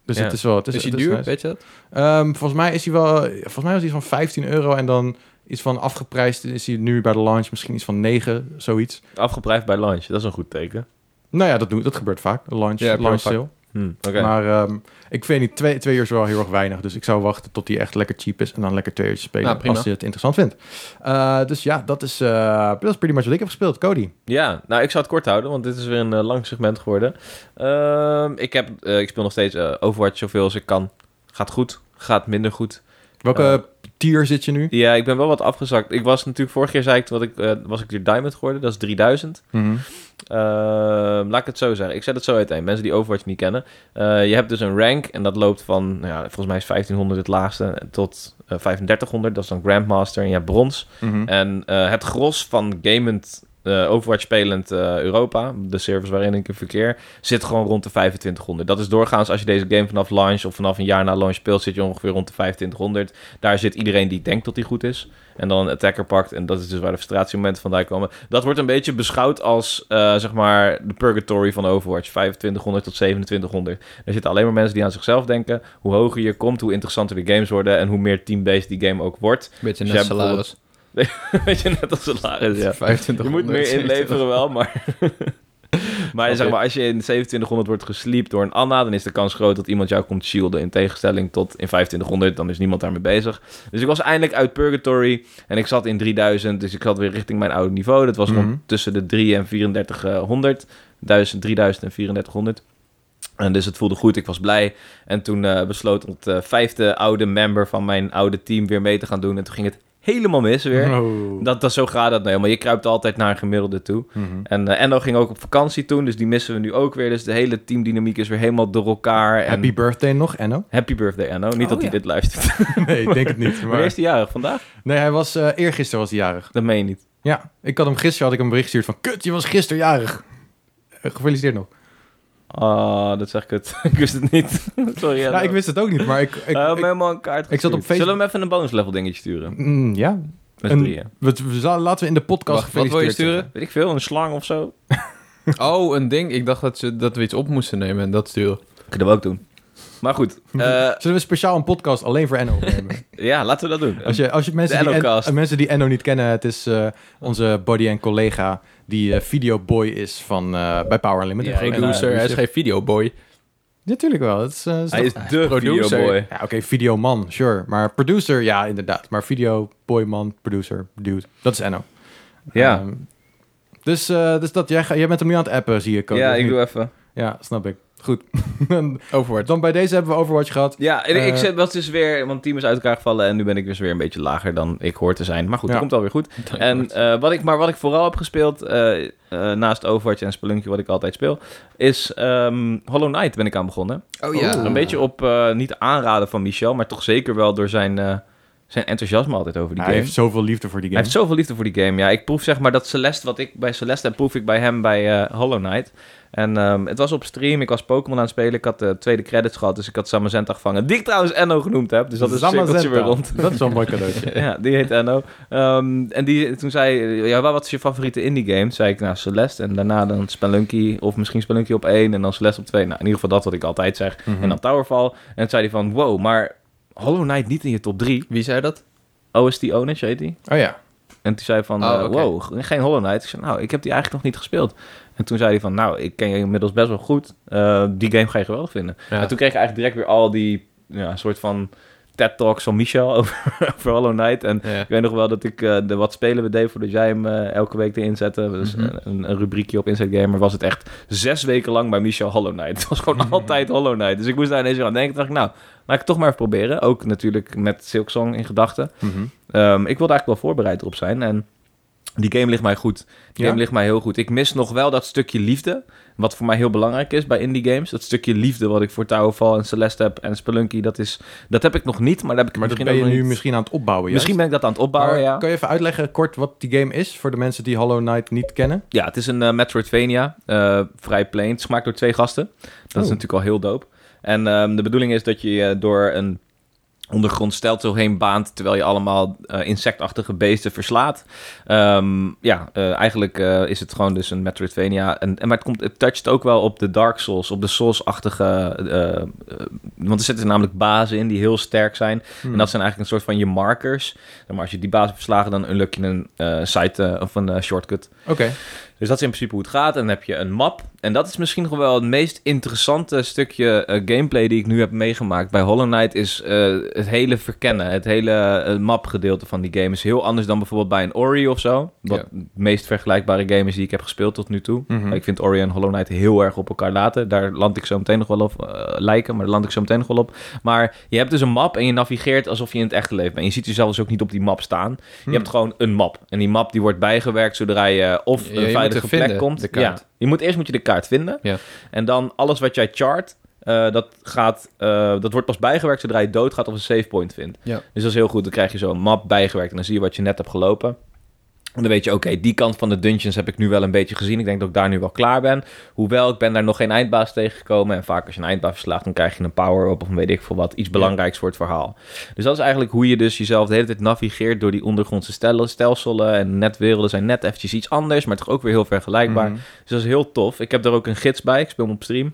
Speaker 1: Dus
Speaker 3: Ja.
Speaker 1: het is wel... Het is,
Speaker 2: Is die
Speaker 1: het is
Speaker 2: duur,
Speaker 1: nice.
Speaker 2: weet je dat?
Speaker 1: Ehm, volgens mij is hij wel... Volgens mij was hij van 15 euro en dan iets van afgeprijsd is hij nu bij de launch misschien iets van 9, zoiets.
Speaker 3: Afgeprijsd eh, bij lunch, dat is een goed teken.
Speaker 1: Nou ja, dat, doet, dat gebeurt vaak. Launch,
Speaker 2: Ja,
Speaker 1: launch
Speaker 2: perfect.
Speaker 1: sale.
Speaker 3: Hm, Oké.
Speaker 1: Maar ehm, ik vind niet, twee, twee uur is wel heel erg weinig. Dus ik zou wachten tot die echt lekker cheap is. En dan lekker twee uurtjes spelen
Speaker 2: Nou, prima.
Speaker 1: als je het interessant vindt. Eh, dus ja, dat is, eh, dat is pretty much wat ik heb gespeeld. Cody.
Speaker 3: Ja, nou ik zou het kort houden, want dit is weer een eh, lang segment geworden. Ehm, ik, heb, eh, ik speel nog steeds eh, Overwatch zoveel als ik kan. Gaat goed, gaat minder goed.
Speaker 1: Welke tier zit je nu?
Speaker 3: Ja, ik ben wel wat afgezakt. Ik was natuurlijk vorig jaar, zei ik, wat ik, eh, was ik weer Diamond geworden. Dat is 3000.
Speaker 1: Mhm,
Speaker 3: Ehm, laat ik het zo zeggen. Ik zet het zo uiteen. Mensen die Overwatch niet kennen. Eh, je hebt dus een rank en dat loopt van, nou ja, volgens mij is 1500 het laagste tot eh, 3500. Dat is dan Grandmaster en je hebt brons.
Speaker 1: Mhm.
Speaker 3: En eh, het gros van gamend, eh, Overwatch spelend eh, Europa, de servers waarin ik in verkeer, zit gewoon rond de 2500. Dat is doorgaans als je deze game vanaf launch of vanaf een jaar na launch speelt, zit je ongeveer rond de 2500. Daar zit iedereen die denkt dat hij goed is. En dan een attacker pakt. En dat is dus waar de frustratiemomenten vandaan komen. Dat wordt een beetje beschouwd als, eh, zeg maar, de purgatory van Overwatch. 2500 tot 2700. Er zitten alleen maar mensen die aan zichzelf denken. Hoe hoger je komt, hoe interessanter de games worden. En hoe meer team-based die game ook wordt.
Speaker 2: Beetje
Speaker 3: Dus
Speaker 2: net
Speaker 3: jij bijvoorbeeld-
Speaker 2: salaris.
Speaker 3: Weet je, net als salaris, ja.
Speaker 2: 25
Speaker 3: Je moet meer inleveren wel, maar... maar zeg maar, als je in 2700 wordt gesleept door een Anna... dan is de kans groot dat iemand jou komt shielden... in tegenstelling tot in 2500, dan is niemand daarmee bezig. Dus ik was eindelijk uit Purgatory en ik zat in 3000... dus ik zat weer richting mijn oude niveau. Dat was
Speaker 1: Mhm.
Speaker 3: rond tussen de 3 en 3400. 1000, 3000 en 3400. En dus het voelde goed, ik was blij. En toen eh, besloot het eh, vijfde oude member van mijn oude team weer mee te gaan doen. En toen ging het helemaal mis weer.
Speaker 1: Oh.
Speaker 3: Dat, dat, zo gaat dat nou helemaal. Je kruipt altijd naar een gemiddelde toe.
Speaker 1: Mhm.
Speaker 3: En eh Enno ging ook op vakantie toen, dus die missen we nu ook weer. Dus de hele teamdynamiek is weer helemaal door elkaar. En
Speaker 1: Happy birthday nog, Enno?
Speaker 3: Happy birthday, Enno. Niet
Speaker 2: Oh,
Speaker 3: dat hij
Speaker 2: ja.
Speaker 3: dit luistert.
Speaker 1: Nee, ik denk het niet.
Speaker 3: Wanneer is
Speaker 1: Maar...
Speaker 3: hij jarig? Vandaag?
Speaker 1: Nee, hij was, eh eergisteren was hij jarig.
Speaker 3: Dat meen je niet.
Speaker 1: Ja, ik had hem gisteren had ik hem een bericht gestuurd van... Kut, je was gisteren jarig. Eh, Gefeliciteerd nog.
Speaker 3: Ah, dat zeg ik het. ik wist het niet. Sorry, Enno.
Speaker 1: nou, ik wist het ook niet, maar ik... ik,
Speaker 3: Hij
Speaker 2: Eh,
Speaker 3: had me
Speaker 1: ik-
Speaker 3: helemaal een kaart
Speaker 1: ik zat op
Speaker 3: gestuurd. Zullen we
Speaker 1: Facebook-
Speaker 3: hem even een bonus level dingetje sturen?
Speaker 1: Mm, ja,
Speaker 3: Met
Speaker 1: Een-
Speaker 3: drieën.
Speaker 1: we, we zal- laten we in de podcast
Speaker 2: Wacht, wat wil je
Speaker 1: gefeliciteerd
Speaker 2: sturen?
Speaker 1: zeggen.
Speaker 3: Weet ik veel, een slang of zo?
Speaker 2: Oh, een ding. Ik dacht dat, ze, dat we iets op moesten nemen en dat sturen.
Speaker 3: Kunnen we ook doen. Maar goed, eh,
Speaker 1: Mhm. Zullen we speciaal een podcast alleen voor Enno opnemen?
Speaker 3: ja, laten we dat doen.
Speaker 1: Als je, als je mensen,
Speaker 3: De
Speaker 1: die en,
Speaker 3: Ennocast.
Speaker 1: eh, mensen die Enno niet kennen, het is eh, onze buddy en collega die eh, videoboy is van, eh, bij Power Unlimited. eh,
Speaker 2: Ja, producer, hij is geen videoboy.
Speaker 1: Natuurlijk wel. Het is, eh, is
Speaker 3: Hij
Speaker 1: toch-
Speaker 3: is de
Speaker 2: producer.
Speaker 3: videoboy.
Speaker 1: Ja, oké, videoman, sure. Maar producer, ja, inderdaad. Maar videoboy, man, producer, dude. Dat is Enno.
Speaker 3: Ja.
Speaker 1: Ehm, dus, eh, dus dat, jij, ga- jij bent hem nu aan het appen, zie ik. ook,
Speaker 3: ja,
Speaker 1: of
Speaker 3: ik
Speaker 1: niet?
Speaker 3: doe even.
Speaker 1: Ja, snap ik. Goed.
Speaker 2: Overwatch.
Speaker 1: Dan bij deze hebben we Overwatch gehad.
Speaker 3: Ja, en ik
Speaker 1: Eh,
Speaker 3: zit, was dus weer, want het team is uit elkaar gevallen en nu ben ik dus weer een beetje lager dan ik hoor te zijn. Maar goed,
Speaker 1: Ja.
Speaker 3: dat komt alweer goed. En, eh, wat ik, maar wat ik vooral heb gespeeld, eh, eh, naast Overwatch en Spelunkje, wat ik altijd speel, is ehm, Hollow Knight ben ik aan begonnen.
Speaker 2: oh ja.
Speaker 1: Oeh.
Speaker 3: Een beetje op, eh, niet aanraden van Michel, maar toch zeker wel door zijn, eh, zijn enthousiasme altijd over die
Speaker 1: Hij
Speaker 3: game.
Speaker 1: heeft zoveel liefde voor die
Speaker 3: Hij
Speaker 1: game.
Speaker 3: heeft zoveel liefde voor die game. Ja, ik proef zeg maar dat Celeste, wat ik bij Celeste heb, proef ik bij hem bij eh, Hollow Knight. En ehm, het was op stream, ik was Pokémon aan het spelen, ik had de tweede credits gehad, dus ik had Samazenta gevangen, die ik trouwens Enno genoemd heb, dus dat is een cirkeltje weer rond.
Speaker 1: Dat is wel een mooi cadeautje.
Speaker 3: Ja, die heet Enno. Ehm, en die, toen zei eh, ja, wat is je favoriete indie game? Toen zei ik, nou, Celeste. En daarna dan Spelunky, of misschien Spelunky op één en dan Celeste op twee. Nou, in ieder geval dat wat ik altijd zeg.
Speaker 4: Mhm.
Speaker 3: En dan Towerfall. En toen zei hij van, wow, maar Hollow Knight niet in je top 3.
Speaker 2: Wie zei dat?
Speaker 3: OST Owners, heet die.
Speaker 1: Oh ja.
Speaker 3: En toen zei hij van,
Speaker 2: Oh,
Speaker 3: eh,
Speaker 2: oké.
Speaker 3: wow, ge- geen Hollow Knight. Ik zei, nou, ik heb die eigenlijk nog niet gespeeld. En toen zei hij van, nou, ik ken je inmiddels best wel goed. Eh, die game ga je geweldig vinden.
Speaker 2: Ja.
Speaker 3: En toen kreeg ik eigenlijk direct weer al die ja, soort van TED-talks van Michel over, over Hollow Knight. En
Speaker 2: Ja.
Speaker 3: ik weet nog wel dat ik eh, de Wat Spelen we deed voordat jij hem eh, elke week erin zette. Dus
Speaker 2: Mhm.
Speaker 3: een- een, een rubriekje op Inside Gamer was het echt zes weken lang bij Michel Hollow Knight. Het was gewoon
Speaker 2: Mhm.
Speaker 3: altijd Hollow Knight. Dus ik moest daar ineens weer aan denken. Toen dacht ik, nou, laat ik het toch maar even proberen. Ook natuurlijk met Silksong in gedachten. Ehm, ik wilde eigenlijk wel voorbereid op zijn en... Die game ligt mij goed. Die
Speaker 1: Ja?
Speaker 3: game ligt mij heel goed. Ik mis nog wel dat stukje liefde. Wat voor mij heel belangrijk is bij indie games. Dat stukje liefde wat ik voor Towerfall en Celeste heb en Spelunky. Dat, is, dat heb ik nog niet, maar daar heb ik
Speaker 1: Maar dat
Speaker 3: misschien
Speaker 1: ben je
Speaker 3: ook nog
Speaker 1: nu
Speaker 3: niet-
Speaker 1: misschien aan het opbouwen, juist.
Speaker 3: Misschien ben ik dat aan het opbouwen,
Speaker 1: Maar
Speaker 3: ja.
Speaker 1: Kan je even uitleggen kort wat die game is voor de mensen die Hollow Knight niet kennen?
Speaker 3: Ja, het is een eh, Metroidvania. eh, vrij plain. Het is gemaakt door twee gasten. Dat is
Speaker 1: Oh.
Speaker 3: natuurlijk al heel dope. En ehm, de bedoeling is dat je eh, door een ondergrond stelsel heen baant, terwijl je allemaal eh, insectachtige beesten verslaat. Ehm, ja, eh, eigenlijk eh, is het gewoon dus een Metroidvania. En, en, maar het, komt, het toucht ook wel op de Dark Souls, op de Souls-achtige... eh, eh, want er zitten namelijk bazen in die heel sterk zijn. En dat zijn eigenlijk een soort van je markers. Maar als je die bazen verslagen, dan unlock je een eh, site eh, of een eh, shortcut.
Speaker 1: Oké.
Speaker 3: Dus dat is in principe hoe het gaat. En dan heb je een map. En dat is misschien nog wel het meest interessante stukje eh, gameplay die ik nu heb meegemaakt bij Hollow Knight. Is eh, het hele verkennen. Het hele eh, mapgedeelte van die game is heel anders dan bijvoorbeeld bij een Ori of zo. Wat het meest vergelijkbare game is die ik heb gespeeld tot nu toe.
Speaker 1: Mhm.
Speaker 3: Ik vind Ori en Hollow Knight heel erg op elkaar laten. Daar land ik zo meteen nog wel op. eh, lijken, maar daar land ik zo meteen nog wel op. Maar je hebt dus een map en je navigeert alsof je in het echte leven bent. Je ziet jezelf dus ook niet op die map staan.
Speaker 2: Hmm.
Speaker 3: Je hebt gewoon een map. En die map die wordt bijgewerkt zodra je
Speaker 2: Ja,
Speaker 3: of een
Speaker 2: je moet
Speaker 3: veilige
Speaker 2: er
Speaker 3: plek
Speaker 2: vinden,
Speaker 3: komt.
Speaker 2: de kaart.
Speaker 3: Ja. Je moet eerst moet je de kaart vinden.
Speaker 2: Ja.
Speaker 3: En dan alles wat jij chart, eh, dat, gaat, eh, dat wordt pas bijgewerkt zodra je doodgaat of een save point vindt.
Speaker 2: Ja.
Speaker 3: Dus dat is heel goed. Dan krijg je zo'n map bijgewerkt en dan zie je wat je net hebt gelopen. En dan weet je, oké, die kant van de dungeons heb ik nu wel een beetje gezien. Ik denk dat ik daar nu wel klaar ben. Hoewel, ik ben daar nog geen eindbaas tegengekomen. En vaak als je een eindbaas verslaagt, dan krijg je een power-up of een weet ik veel wat. Iets belangrijks voor het verhaal. Dus dat is eigenlijk hoe je dus jezelf de hele tijd navigeert door die ondergrondse stel- stelselen. En netwerelden zijn net eventjes iets anders, maar toch ook weer heel vergelijkbaar.
Speaker 1: Mhm.
Speaker 3: Dus dat is heel tof. Ik heb daar ook een gids bij. Ik speel hem op stream.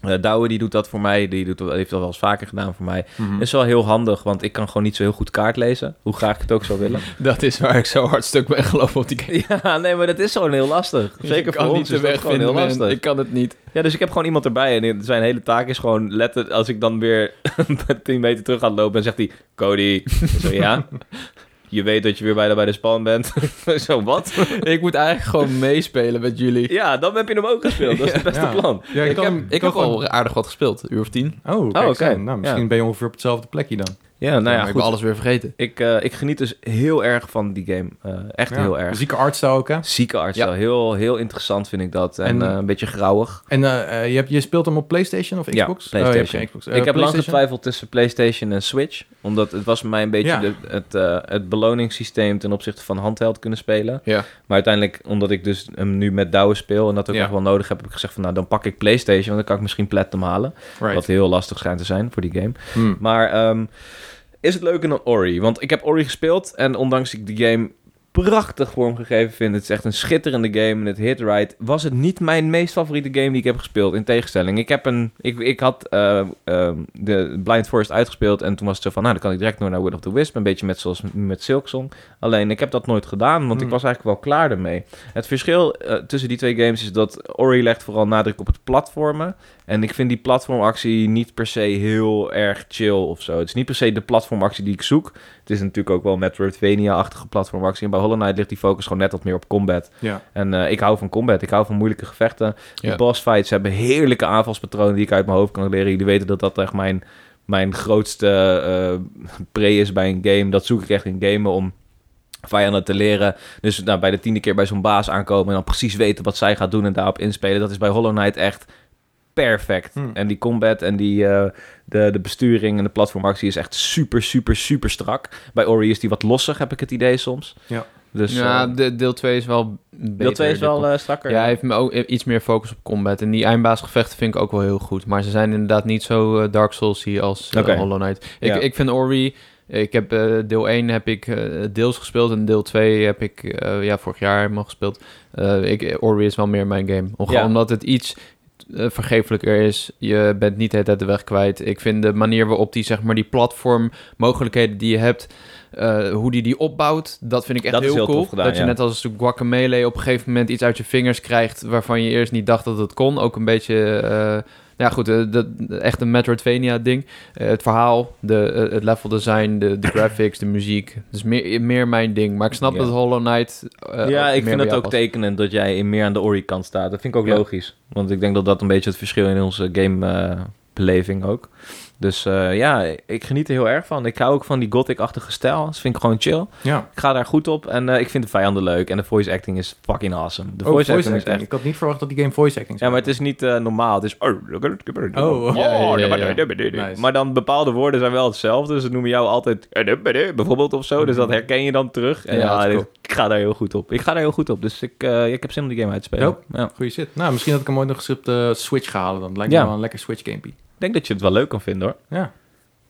Speaker 3: Eh Douwe die doet dat voor mij. Die doet, heeft dat wel eens vaker gedaan voor mij.
Speaker 1: Mhm.
Speaker 3: Dat is wel heel handig, want ik kan gewoon niet zo heel goed kaart lezen. Hoe graag ik het ook zou willen.
Speaker 4: Dat is waar ik zo hard stuk ben gelopen op die game.
Speaker 3: Ja, nee, maar dat is gewoon heel lastig. Zeker
Speaker 4: ik kan
Speaker 3: voor ons
Speaker 4: niet
Speaker 3: is
Speaker 4: de
Speaker 3: dat
Speaker 4: weg
Speaker 3: gewoon
Speaker 4: vinden,
Speaker 3: heel
Speaker 4: man.
Speaker 3: lastig.
Speaker 4: Ik kan het niet.
Speaker 3: Ja, dus ik heb gewoon iemand erbij en zijn hele taak is gewoon letten als ik dan weer 10 meter terug ga lopen en zegt hij, Cody, Ik zo, ja, je weet dat je weer bijna bij de span bent. zo, wat?
Speaker 4: Ik moet eigenlijk gewoon meespelen met jullie.
Speaker 3: Ja, dan heb je hem ook gespeeld. Dat is het beste
Speaker 1: Ja.
Speaker 3: plan.
Speaker 1: Ja,
Speaker 4: ik
Speaker 1: ik kan,
Speaker 4: heb, ik heb al aardig wat gespeeld, een uur of tien.
Speaker 1: Oh, kijk
Speaker 3: Oh,
Speaker 1: eens
Speaker 3: oké.
Speaker 1: aan. Nou, misschien
Speaker 3: Ja.
Speaker 1: ben je ongeveer op hetzelfde plekje dan.
Speaker 3: Ja, nou
Speaker 4: Maar
Speaker 3: ja,
Speaker 4: ik ben
Speaker 3: goed.
Speaker 4: alles weer vergeten.
Speaker 3: Ik, eh, ik geniet dus heel erg van die game. Eh, echt
Speaker 1: Ja.
Speaker 3: heel erg.
Speaker 1: Zieke artstyle ook, hè?
Speaker 3: Zieke arts,
Speaker 4: Ja.
Speaker 3: heel, heel interessant vind ik dat. En,
Speaker 1: En-
Speaker 3: eh, een beetje grauwig.
Speaker 1: En eh, eh, je, hebt, je speelt hem op PlayStation of Xbox?
Speaker 3: Ja,
Speaker 1: Oh, je hebt
Speaker 3: PlayStation.
Speaker 1: geen Xbox. Eh,
Speaker 3: ik heb lang
Speaker 1: PlayStation?
Speaker 3: getwijfeld tussen PlayStation en Switch. Omdat het was voor mij een beetje
Speaker 1: Ja.
Speaker 3: de- het, eh, het beloningssysteem ten opzichte van handheld kunnen spelen.
Speaker 4: Ja.
Speaker 3: Maar uiteindelijk, omdat ik dus hem nu met Douwe speel en dat ook
Speaker 4: Ja.
Speaker 3: echt wel nodig heb, heb ik gezegd van nou dan pak ik PlayStation, want dan kan ik misschien Platinum halen.
Speaker 1: Right.
Speaker 3: Wat heel lastig schijnt te zijn voor die game.
Speaker 1: Hmm.
Speaker 3: Maar ehm, is het leuker dan Ori? Want ik heb Ori gespeeld en ondanks ik die game prachtig vormgegeven vind, het is echt een schitterende game en het hit right, was het niet mijn meest favoriete game die ik heb gespeeld, in tegenstelling. Ik, heb een, ik, ik had eh, ehm, de Blind Forest uitgespeeld en toen was het zo van, nou dan kan ik direct door naar Wood of the Wisp, een beetje met zoals met Silksong. Alleen ik heb dat nooit gedaan, want
Speaker 1: Hmm.
Speaker 3: ik was eigenlijk wel klaar ermee. Het verschil eh, tussen die twee games is dat Ori legt vooral nadruk op het platformen en ik vind die platformactie niet per se heel erg chill of zo. Het is niet per se de platformactie die ik zoek. Het is natuurlijk ook wel Metroidvania-achtige platformactie. En bij Hollow Knight ligt die focus gewoon net wat meer op combat.
Speaker 1: Ja.
Speaker 3: En eh, ik hou van combat. Ik hou van moeilijke gevechten.
Speaker 4: Ja.
Speaker 3: De boss fights hebben heerlijke aanvalspatronen die ik uit mijn hoofd kan leren. Jullie weten dat dat echt mijn, mijn grootste eh pre is bij een game. Dat zoek ik echt in gamen om vijanden te leren. Dus nou, bij de tiende keer bij zo'n baas aankomen en dan precies weten wat zij gaat doen en daarop inspelen. Dat is bij Hollow Knight echt perfect.
Speaker 1: Hmm.
Speaker 3: En die combat en die, eh, de, de besturing en de platformactie is echt super, super, super strak. Bij Ori is die wat losser, heb ik het idee soms.
Speaker 1: Ja.
Speaker 3: Dus
Speaker 4: ja,
Speaker 3: eh,
Speaker 4: de, deel 2 is wel beter.
Speaker 3: deel 2 is wel eh, strakker.
Speaker 4: Ja, hij heeft me ook iets meer focus op combat. En die eindbaasgevechten vind ik ook wel heel goed. Maar ze zijn inderdaad niet zo eh, Dark Souls-y als eh,
Speaker 3: Oké.
Speaker 4: Hollow Knight. Ik,
Speaker 3: Ja.
Speaker 4: ik vind Ori... Ik heb eh, deel 1 heb ik eh, deels gespeeld en deel 2 heb ik eh, ja, vorig jaar helemaal gespeeld. Eh, ik, Ori is wel meer mijn game. Om-
Speaker 3: Ja.
Speaker 4: Omdat het iets eh, vergeeflijker is. Je bent niet de hele tijd de weg kwijt. Ik vind de manier waarop die, zeg maar, die platformmogelijkheden die je hebt, eh, hoe die die opbouwt, dat vind ik echt
Speaker 3: Dat is
Speaker 4: heel,
Speaker 3: heel
Speaker 4: cool.
Speaker 3: tof gedaan,
Speaker 4: dat je
Speaker 3: ja.
Speaker 4: net als een guacamele op een gegeven moment iets uit je vingers krijgt waarvan je eerst niet dacht dat het kon. Ook een beetje, eh, nou ja goed, eh, dat, echt een Metroidvania ding. Eh, het verhaal, de, eh, het level design, de, de graphics, de muziek. Dus meer, meer mijn ding. Maar ik snap
Speaker 3: Ja.
Speaker 4: dat Hollow Knight eh,
Speaker 3: ja,
Speaker 4: ook
Speaker 3: ik
Speaker 4: meer
Speaker 3: vind
Speaker 4: bij
Speaker 3: het
Speaker 4: jou
Speaker 3: ook
Speaker 4: past.
Speaker 3: tekenend dat jij meer aan de Ori-kant staat. Dat vind ik ook
Speaker 4: Ja.
Speaker 3: logisch. Want ik denk dat dat een beetje het verschil in onze gamebeleving ook. Dus eh, ja, ik geniet er heel erg van. Ik hou ook van die gothic-achtige stijl. Dat vind ik gewoon chill.
Speaker 1: Ja.
Speaker 3: Ik ga daar goed op en eh, ik vind de vijanden leuk. En de voice acting is fucking awesome. De
Speaker 1: Oh,
Speaker 3: voice, acting is echt...
Speaker 1: Ik had niet verwacht dat die game voice acting
Speaker 3: Ja,
Speaker 1: zou
Speaker 3: maar het
Speaker 1: hebben.
Speaker 3: is niet eh, normaal. Het is...
Speaker 1: Oh.
Speaker 4: Ja, ja, ja, ja.
Speaker 1: Nice.
Speaker 3: Maar dan bepaalde woorden zijn wel hetzelfde. Dus ze noemen jou altijd... Bijvoorbeeld of zo. Dus dat herken je dan terug. En
Speaker 4: Ja,
Speaker 3: ja,
Speaker 4: dat is cool.
Speaker 3: ik ga daar heel goed op. Ik ga daar heel goed op. Dus ik, eh, ik heb zin om die game uit te spelen.
Speaker 1: Nope.
Speaker 3: Ja.
Speaker 1: Goeie shit. Nou, misschien had ik hem ooit nog eens op de eh, Switch gehaald. Dan lijkt
Speaker 3: Ja.
Speaker 1: me wel een lekker Switch gamepie.
Speaker 3: Ik denk dat je het wel leuk kan vinden hoor.
Speaker 1: Ja.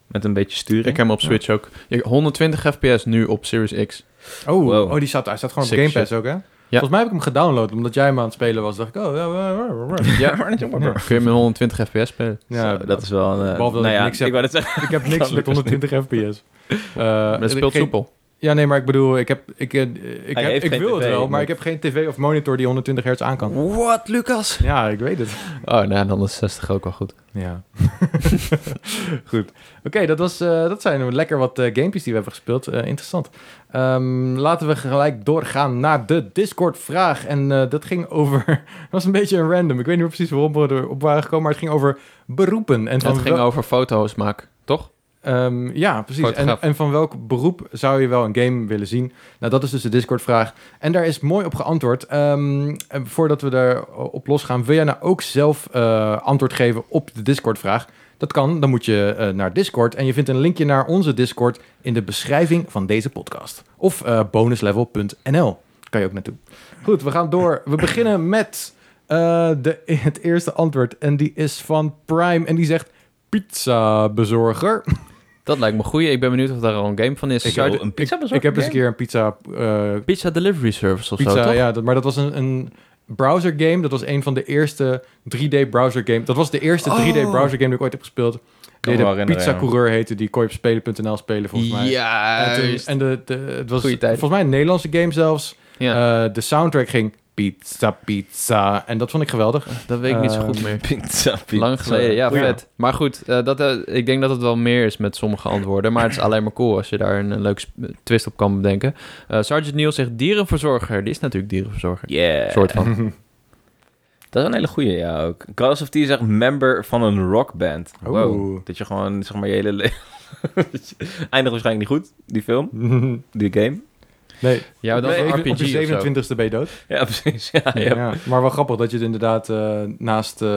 Speaker 3: Met een beetje sturing.
Speaker 2: Ik heb hem op Switch ook. Ik- 120 fps nu op Series X.
Speaker 1: Oh,
Speaker 3: Wow.
Speaker 1: oh die staat, hij staat gewoon op
Speaker 2: Sick
Speaker 1: Game Pass ook, hè? Volgens mij heb ik hem gedownload, omdat jij hem aan het spelen was. dacht ik, oh, ja, wa- wa- wa- wa.
Speaker 2: Ja, kun je met 120 fps spelen.
Speaker 1: ja
Speaker 3: Zo, dat is wel een... eh,
Speaker 1: Behalve dat
Speaker 3: nou
Speaker 1: ik
Speaker 3: ja,
Speaker 1: niks heb.
Speaker 3: ik wou dat dus zeggen.
Speaker 1: ik heb niks met 120 fps. Eh,
Speaker 2: Maar het speelt
Speaker 1: geen-
Speaker 2: soepel.
Speaker 1: Ja, nee, maar ik bedoel, ik, heb, ik, eh, ik,
Speaker 3: Hij
Speaker 1: heb,
Speaker 3: heeft
Speaker 1: ik
Speaker 3: geen
Speaker 1: wil het
Speaker 3: TV,
Speaker 1: wel, maar
Speaker 3: maar-
Speaker 1: ik heb geen tv of monitor die 120 hertz aan kan.
Speaker 3: What, Lucas?
Speaker 1: Ja, ik weet het.
Speaker 2: Oh, nou, dan is 60 ook wel goed.
Speaker 1: Ja. Goed. Oké, dat, was, eh, dat zijn lekker wat eh gamepjes die we hebben gespeeld. Eh, interessant. Ehm, laten we gelijk doorgaan naar de Discord-vraag. En eh, dat ging over... dat was een beetje een random. Ik weet niet precies waarom we erop waren gekomen, maar het ging over beroepen. En van
Speaker 2: het ging
Speaker 1: wel-
Speaker 2: over foto's maken, toch?
Speaker 1: Ehm, ja, precies. En,
Speaker 2: Fotograaf.
Speaker 1: en van welk beroep zou je wel een game willen zien? Nou, dat is dus de Discord-vraag. En daar is mooi op geantwoord. Ehm, en voordat we daarop losgaan, wil jij nou ook zelf eh, antwoord geven op de Discord-vraag? Dat kan, dan moet je eh, naar Discord. En je vindt een linkje naar onze Discord in de beschrijving van deze podcast. Of eh, bonuslevel.nl. Kan je ook naartoe. Goed, we gaan door. We beginnen met eh, de, het eerste antwoord. En die is van Prime. En die zegt pizza bezorger.
Speaker 2: Dat lijkt me goed. Ik ben benieuwd of daar al een game van is.
Speaker 1: Ik
Speaker 2: Zou
Speaker 1: wil
Speaker 2: je-
Speaker 3: een pizza bezorgen?
Speaker 1: Ik heb eens een keer een pizza. eh,
Speaker 2: Pizza Delivery Service of zo,
Speaker 1: pizza
Speaker 2: toch?
Speaker 1: ja, dat, maar dat was een, een browser game. Dat was een van de eerste 3D browser game. Dat was de eerste
Speaker 2: Oh.
Speaker 1: 3D browser game die ik ooit heb gespeeld.
Speaker 3: me
Speaker 1: De,
Speaker 3: wel
Speaker 1: de
Speaker 3: herinneren,
Speaker 1: pizza
Speaker 3: ja.
Speaker 1: coureur heette. Die kon je op spelen.nl spelen volgens mij.
Speaker 2: Ja,
Speaker 1: En, toen-
Speaker 2: juist.
Speaker 1: en de, de, het was
Speaker 2: Goeie tijd.
Speaker 1: volgens mij een Nederlandse game zelfs.
Speaker 2: ja
Speaker 1: Eh, de soundtrack ging pizza, pizza. En dat vond ik geweldig.
Speaker 2: dat weet ik niet zo goed
Speaker 1: ehm,
Speaker 2: meer.
Speaker 3: Pizza, pizza.
Speaker 2: Lang geleden,
Speaker 1: Ja.
Speaker 2: ja, vet. Maar goed, eh, dat, eh, ik denk dat het wel meer is met sommige antwoorden. Maar het is alleen maar cool als je daar een, een leuk sp- eh, twist op kan bedenken. Eh, Sergeant Neil zegt dierenverzorger. Die is natuurlijk dierenverzorger.
Speaker 3: Yeah.
Speaker 2: soort van.
Speaker 3: Dat is een hele goeie, ja, ook. Call of Duty is echt member van een rockband.
Speaker 1: Oeh.
Speaker 3: Wow. Dat je gewoon, zeg maar, je hele... le- Eindigt waarschijnlijk niet goed, die film, die game.
Speaker 1: nee,
Speaker 2: Ja, maar dat is
Speaker 1: op je-
Speaker 2: een RPG
Speaker 1: op
Speaker 2: of zo.
Speaker 1: je 27ste ben je dood.
Speaker 3: Ja, precies. Ja, ja.
Speaker 1: Ja, maar wel grappig dat je het inderdaad eh, naast... eh,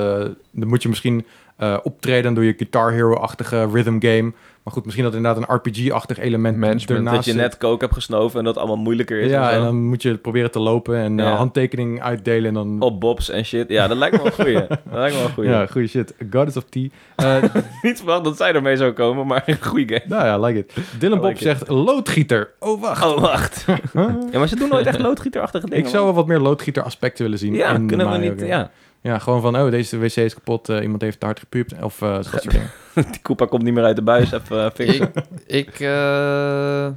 Speaker 1: dan moet je misschien eh, optreden, dan doe je Guitar Hero-achtige rhythm game. Maar goed, misschien dat inderdaad een RPG-achtig element
Speaker 2: Management,
Speaker 1: ernaast
Speaker 3: Dat je
Speaker 1: zit.
Speaker 3: net kook hebt gesnoven en dat allemaal moeilijker is.
Speaker 1: Ja,
Speaker 3: en
Speaker 1: en
Speaker 3: zo.
Speaker 1: dan moet je proberen te lopen en eh,
Speaker 3: Ja.
Speaker 1: handtekening uitdelen en dan...
Speaker 3: Op bobs en shit. Ja, dat lijkt me wel een goeie. dat lijkt me wel een goeie.
Speaker 1: Ja, goede shit. Goddess of Tea. Eh,
Speaker 3: Niet verwacht dat zij ermee zou komen, maar een goeie game.
Speaker 1: nou ja, like it. Dylan
Speaker 3: I
Speaker 1: Bob
Speaker 3: like it.
Speaker 1: zegt loodgieter. Oh, wacht.
Speaker 3: Oh, wacht. ja, maar ze doen nooit echt loodgieterachtige dingen.
Speaker 1: Ik zou wel wat meer loodgieter-aspecten willen zien.
Speaker 3: man. Ja,
Speaker 1: in
Speaker 3: kunnen we
Speaker 1: Mario
Speaker 3: niet...
Speaker 1: game.
Speaker 3: Ja,
Speaker 1: Ja, gewoon van, oh, deze wc is kapot. eh, iemand heeft te hard gepuupt. Of eh, dat soort dingen.
Speaker 3: die Koopa komt niet meer uit de buis. Even eh, fixen.
Speaker 2: Ik, ik, eh,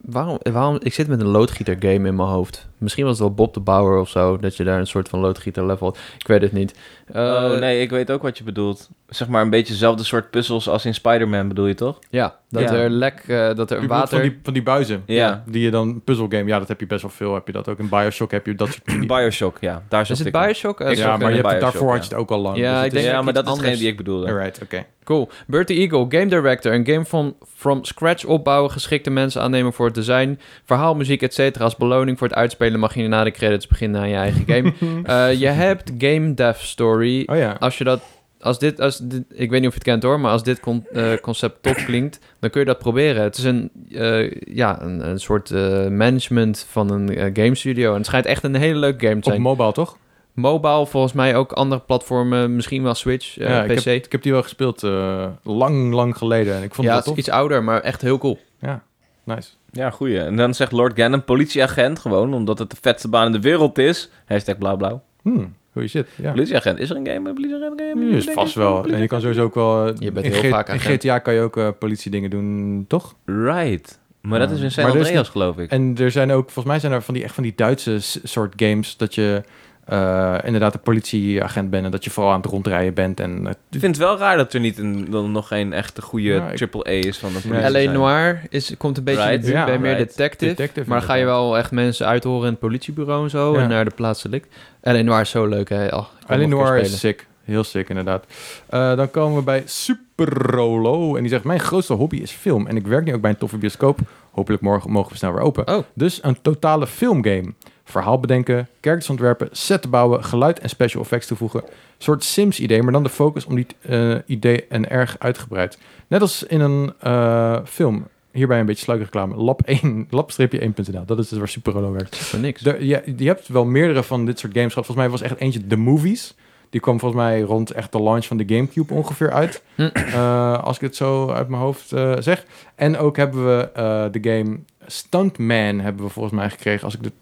Speaker 2: waarom, waarom, ik zit met een loodgieter game in mijn hoofd. Misschien was het wel Bob de Bauer of zo, dat je daar een soort van loodgieter level had. Ik weet het niet. Eh,
Speaker 3: oh nee, ik weet ook wat je bedoelt. Zeg maar een beetje hetzelfde soort puzzels als in Spider-Man bedoel je toch?
Speaker 2: Ja, dat
Speaker 3: Ja.
Speaker 2: er lek, eh,
Speaker 1: U
Speaker 2: dat er
Speaker 1: bedoelt Van
Speaker 2: water...
Speaker 1: die, van die buizen.
Speaker 3: Ja.
Speaker 1: Die je dan puzzelgame. Ja, dat heb je best wel veel. Heb je dat ook in Bioshock? Heb je dat soort.
Speaker 3: Bioshock, ja. Daar
Speaker 2: Is
Speaker 3: zat
Speaker 2: het
Speaker 3: ik op.
Speaker 2: Bioshock? Eh,
Speaker 3: Ik
Speaker 2: zo
Speaker 1: ja,
Speaker 3: zou
Speaker 1: maar
Speaker 2: kunnen.
Speaker 1: je hebt het,
Speaker 3: Bioshock,
Speaker 1: daarvoor
Speaker 3: ja.
Speaker 1: had je het ook al lang. Dus
Speaker 2: Ja,
Speaker 1: het
Speaker 2: ik denk-
Speaker 1: is-
Speaker 3: Ja, maar
Speaker 2: iets
Speaker 3: dat is geen
Speaker 2: anders.
Speaker 3: die ik bedoelde.
Speaker 1: Alright, oké.
Speaker 2: Cool. Bertie Eagle, game director. Een game van from scratch opbouwen, geschikte mensen aannemen voor het design, verhaal, muziek, etc. Als beloning voor het uitspelen mag je na de credits beginnen aan je eigen game. Eh, je hebt Game Dev Story.
Speaker 1: Oh ja.
Speaker 2: Als je dat... Als dit, als dit, ik weet niet of je het kent hoor, maar als dit con- eh, concept top klinkt, dan kun je dat proberen. Het is een, eh, ja, een, een soort eh, management van een eh, game studio. En het schijnt echt een hele leuke game te
Speaker 1: Op
Speaker 2: zijn.
Speaker 1: mobile toch?
Speaker 2: Mobile volgens mij ook andere platformen, misschien wel Switch, eh,
Speaker 1: ja, ik
Speaker 2: PC.
Speaker 1: heb, ik heb die wel gespeeld eh, lang, lang geleden. En ik vond
Speaker 2: ja,
Speaker 1: dat
Speaker 2: het is
Speaker 1: tof.
Speaker 2: iets ouder, maar echt heel cool.
Speaker 1: Ja, nice.
Speaker 3: Ja, goeie. En dan zegt Lord Gannon, politieagent gewoon, omdat het de vetste baan in de wereld is. Hashtag blauw blauw.
Speaker 1: Hmm, goeie shit. Ja.
Speaker 3: Politieagent, is er een game? met Politieagent game?
Speaker 1: Ja, is vast wel. En je kan sowieso ook wel... eh,
Speaker 2: Je bent
Speaker 1: in
Speaker 2: heel
Speaker 1: G-
Speaker 2: vaak
Speaker 1: In
Speaker 2: agent.
Speaker 1: GTA kan je ook eh, politiedingen doen, toch?
Speaker 3: Right. Maar dat is in San
Speaker 1: Maar er is
Speaker 3: Andreas, geloof ik.
Speaker 1: En er zijn ook... Volgens mij zijn er van die, echt van die Duitse s- soort games... dat je eh, inderdaad een politieagent bent... en dat je vooral aan het rondrijden bent. En eh,
Speaker 3: Ik vind het wel raar dat er niet een, dan nog geen echte goede
Speaker 1: Ja, ik-
Speaker 3: triple A is van de politie.
Speaker 1: Ja,
Speaker 2: L.A.
Speaker 1: ze
Speaker 3: zijn.
Speaker 2: Noir is, komt een beetje in de
Speaker 3: Right.
Speaker 2: buurt
Speaker 1: Ja,
Speaker 2: bij meer
Speaker 3: right.
Speaker 2: detective,
Speaker 1: Detective,
Speaker 2: Maar ga je
Speaker 1: inderdaad.
Speaker 2: wel echt mensen uithoren in het politiebureau en zo.
Speaker 1: Ja.
Speaker 2: En naar de plaatselijk. L.A. Noir is zo leuk, hè. Oh, ik wil hem nog een keer
Speaker 1: Eleanor is
Speaker 2: spelen.
Speaker 1: sick. Heel sick, inderdaad. Eh, dan komen we bij Superrolo. En die zegt, mijn grootste hobby is film. En ik werk nu ook bij een toffe bioscoop. Hopelijk morgen mogen we snel weer open.
Speaker 2: Oh.
Speaker 1: Dus een totale filmgame. Verhaal bedenken, characters ontwerpen, set bouwen, geluid en special effects toevoegen. Een soort Sims-idee, maar dan de focus om die eh, idee en erg uitgebreid. Net als in een eh, film. Hierbij een beetje sluikreclame. Lab 1, lab-1.nl. Dat is dus waar Superrolo werkt.
Speaker 2: Voor niks.
Speaker 1: Er- je, je hebt wel meerdere van dit soort games gehad. Volgens mij was echt eentje The Movies. Die kwam volgens mij rond echt de launch van de Gamecube ongeveer uit.
Speaker 2: Hm.
Speaker 1: Eh, als ik het zo uit mijn hoofd eh, zeg. En ook hebben we eh, de game Stuntman hebben we volgens mij gekregen. Als ik de,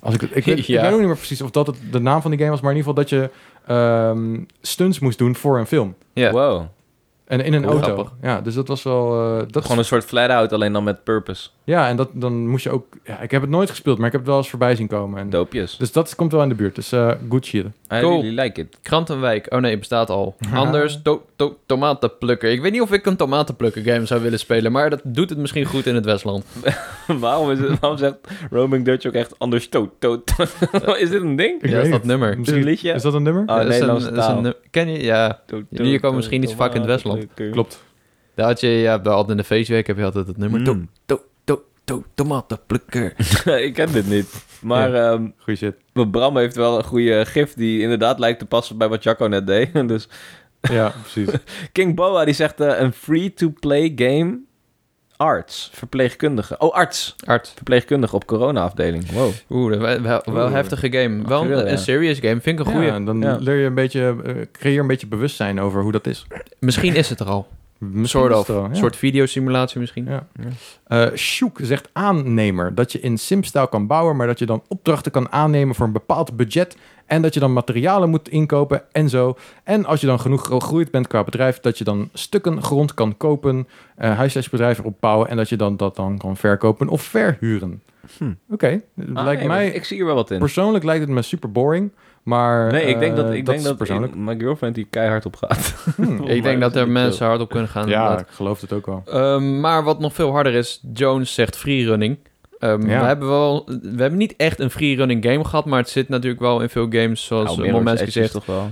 Speaker 1: als ik, het- ik, weet,
Speaker 2: Ja.
Speaker 1: ik weet ook niet meer precies of dat het de naam van die game was. Maar in ieder geval dat je ehm, stunts moest doen voor een film.
Speaker 2: Ja.
Speaker 3: Wow.
Speaker 1: En in een
Speaker 5: Cool.
Speaker 1: auto.
Speaker 5: Grappig.
Speaker 1: Ja, dus dat was wel... eh, dat
Speaker 3: Gewoon een soort flat-out, alleen dan met purpose.
Speaker 1: Ja, en dat, dan moest je ook... Ja, ik heb het nooit gespeeld, maar ik heb het wel eens voorbij zien komen. En,
Speaker 3: Doopjes.
Speaker 1: dus dat komt wel in de buurt. Dus eh good shit.
Speaker 3: I
Speaker 2: Cool.
Speaker 3: really like it.
Speaker 2: Krantenwijk. Oh nee, bestaat al. Anders, to to- tomatenplukker. Ik weet niet of ik een tomatenplukker game zou willen spelen, maar dat doet het misschien goed in het Westland.
Speaker 3: waarom, is het, waarom zegt Roaming Dutch ook echt anders toot, toot, toot? Is dit een ding?
Speaker 1: Ik
Speaker 2: ja,
Speaker 1: weet
Speaker 2: is dat
Speaker 1: het.
Speaker 2: nummer. Ah,
Speaker 1: Misschien-
Speaker 3: Een liedje?
Speaker 1: Is dat een nummer?
Speaker 3: Oh,
Speaker 2: Dat is een-
Speaker 3: Nederlandse
Speaker 2: dat is een
Speaker 3: taal.
Speaker 2: nummer. Ken je? Ja.
Speaker 3: Toot,
Speaker 2: Jullie
Speaker 3: toot,
Speaker 2: komen misschien
Speaker 3: toot,
Speaker 2: niet zo vaak in het Westland.
Speaker 3: tomaten,
Speaker 1: Klopt.
Speaker 2: Daar had je, ja, bij altijd in de feestweek heb je altijd het nummer. To
Speaker 3: Mm.
Speaker 2: to to to tomatenplukker.
Speaker 3: ik ken dit niet. Maar ehm,
Speaker 1: Goeie shit.
Speaker 3: Bram heeft wel een goede gif die inderdaad lijkt te passen bij wat Jacco net deed. dus
Speaker 1: Ja, precies.
Speaker 3: King Boa die zegt eh, een free-to-play game arts, verpleegkundige. Oh, arts,
Speaker 2: Art.
Speaker 3: verpleegkundige op corona-afdeling. Wow.
Speaker 2: Oeh, dat wel, wel, wel
Speaker 3: Oeh.
Speaker 2: heftige game. Wel
Speaker 3: Actueel,
Speaker 2: een,
Speaker 3: ja.
Speaker 2: een serious game, vind ik een goeie.
Speaker 1: Ja, en dan
Speaker 3: Ja.
Speaker 1: leer je een beetje, eh, creëer een beetje bewustzijn over hoe dat is.
Speaker 2: Misschien is het er al. Een
Speaker 1: Misschien
Speaker 2: soort
Speaker 1: is
Speaker 2: of.
Speaker 1: het wel,
Speaker 2: Een
Speaker 1: ja.
Speaker 2: soort videosimulatie misschien.
Speaker 1: Ja. Eh, Sjoek zegt aannemer. Dat je in Sim-stijl kan bouwen, maar dat je dan opdrachten kan aannemen voor een bepaald budget. En dat je dan materialen moet inkopen en zo. En als je dan genoeg gegroeid bent qua bedrijf, dat je dan stukken grond kan kopen, eh huisvestingsbedrijven opbouwen. En dat je dan dat dan kan verkopen of verhuren.
Speaker 3: Hm.
Speaker 1: Oké, lijkt mij.
Speaker 3: Ik zie hier wel wat in.
Speaker 1: Persoonlijk lijkt het me super boring. Maar
Speaker 3: Nee, ik denk dat,
Speaker 1: eh,
Speaker 3: ik
Speaker 1: is
Speaker 3: denk dat
Speaker 1: persoonlijk.
Speaker 3: ik- mijn girlfriend die keihard op gaat.
Speaker 1: Hmm.
Speaker 2: Ik denk dat er mensen hard op kunnen gaan.
Speaker 1: Ja,
Speaker 2: inderdaad.
Speaker 1: ik geloof het ook wel.
Speaker 2: Ehm, maar wat nog veel harder is, Jones zegt freerunning. Ehm
Speaker 1: Ja.
Speaker 2: we, hebben wel, we hebben niet echt een freerunning game gehad, maar het zit natuurlijk wel in veel games, zoals nou,
Speaker 3: Nou, Mirror's Edge
Speaker 2: Momenski
Speaker 3: is
Speaker 2: zegt.
Speaker 3: toch wel.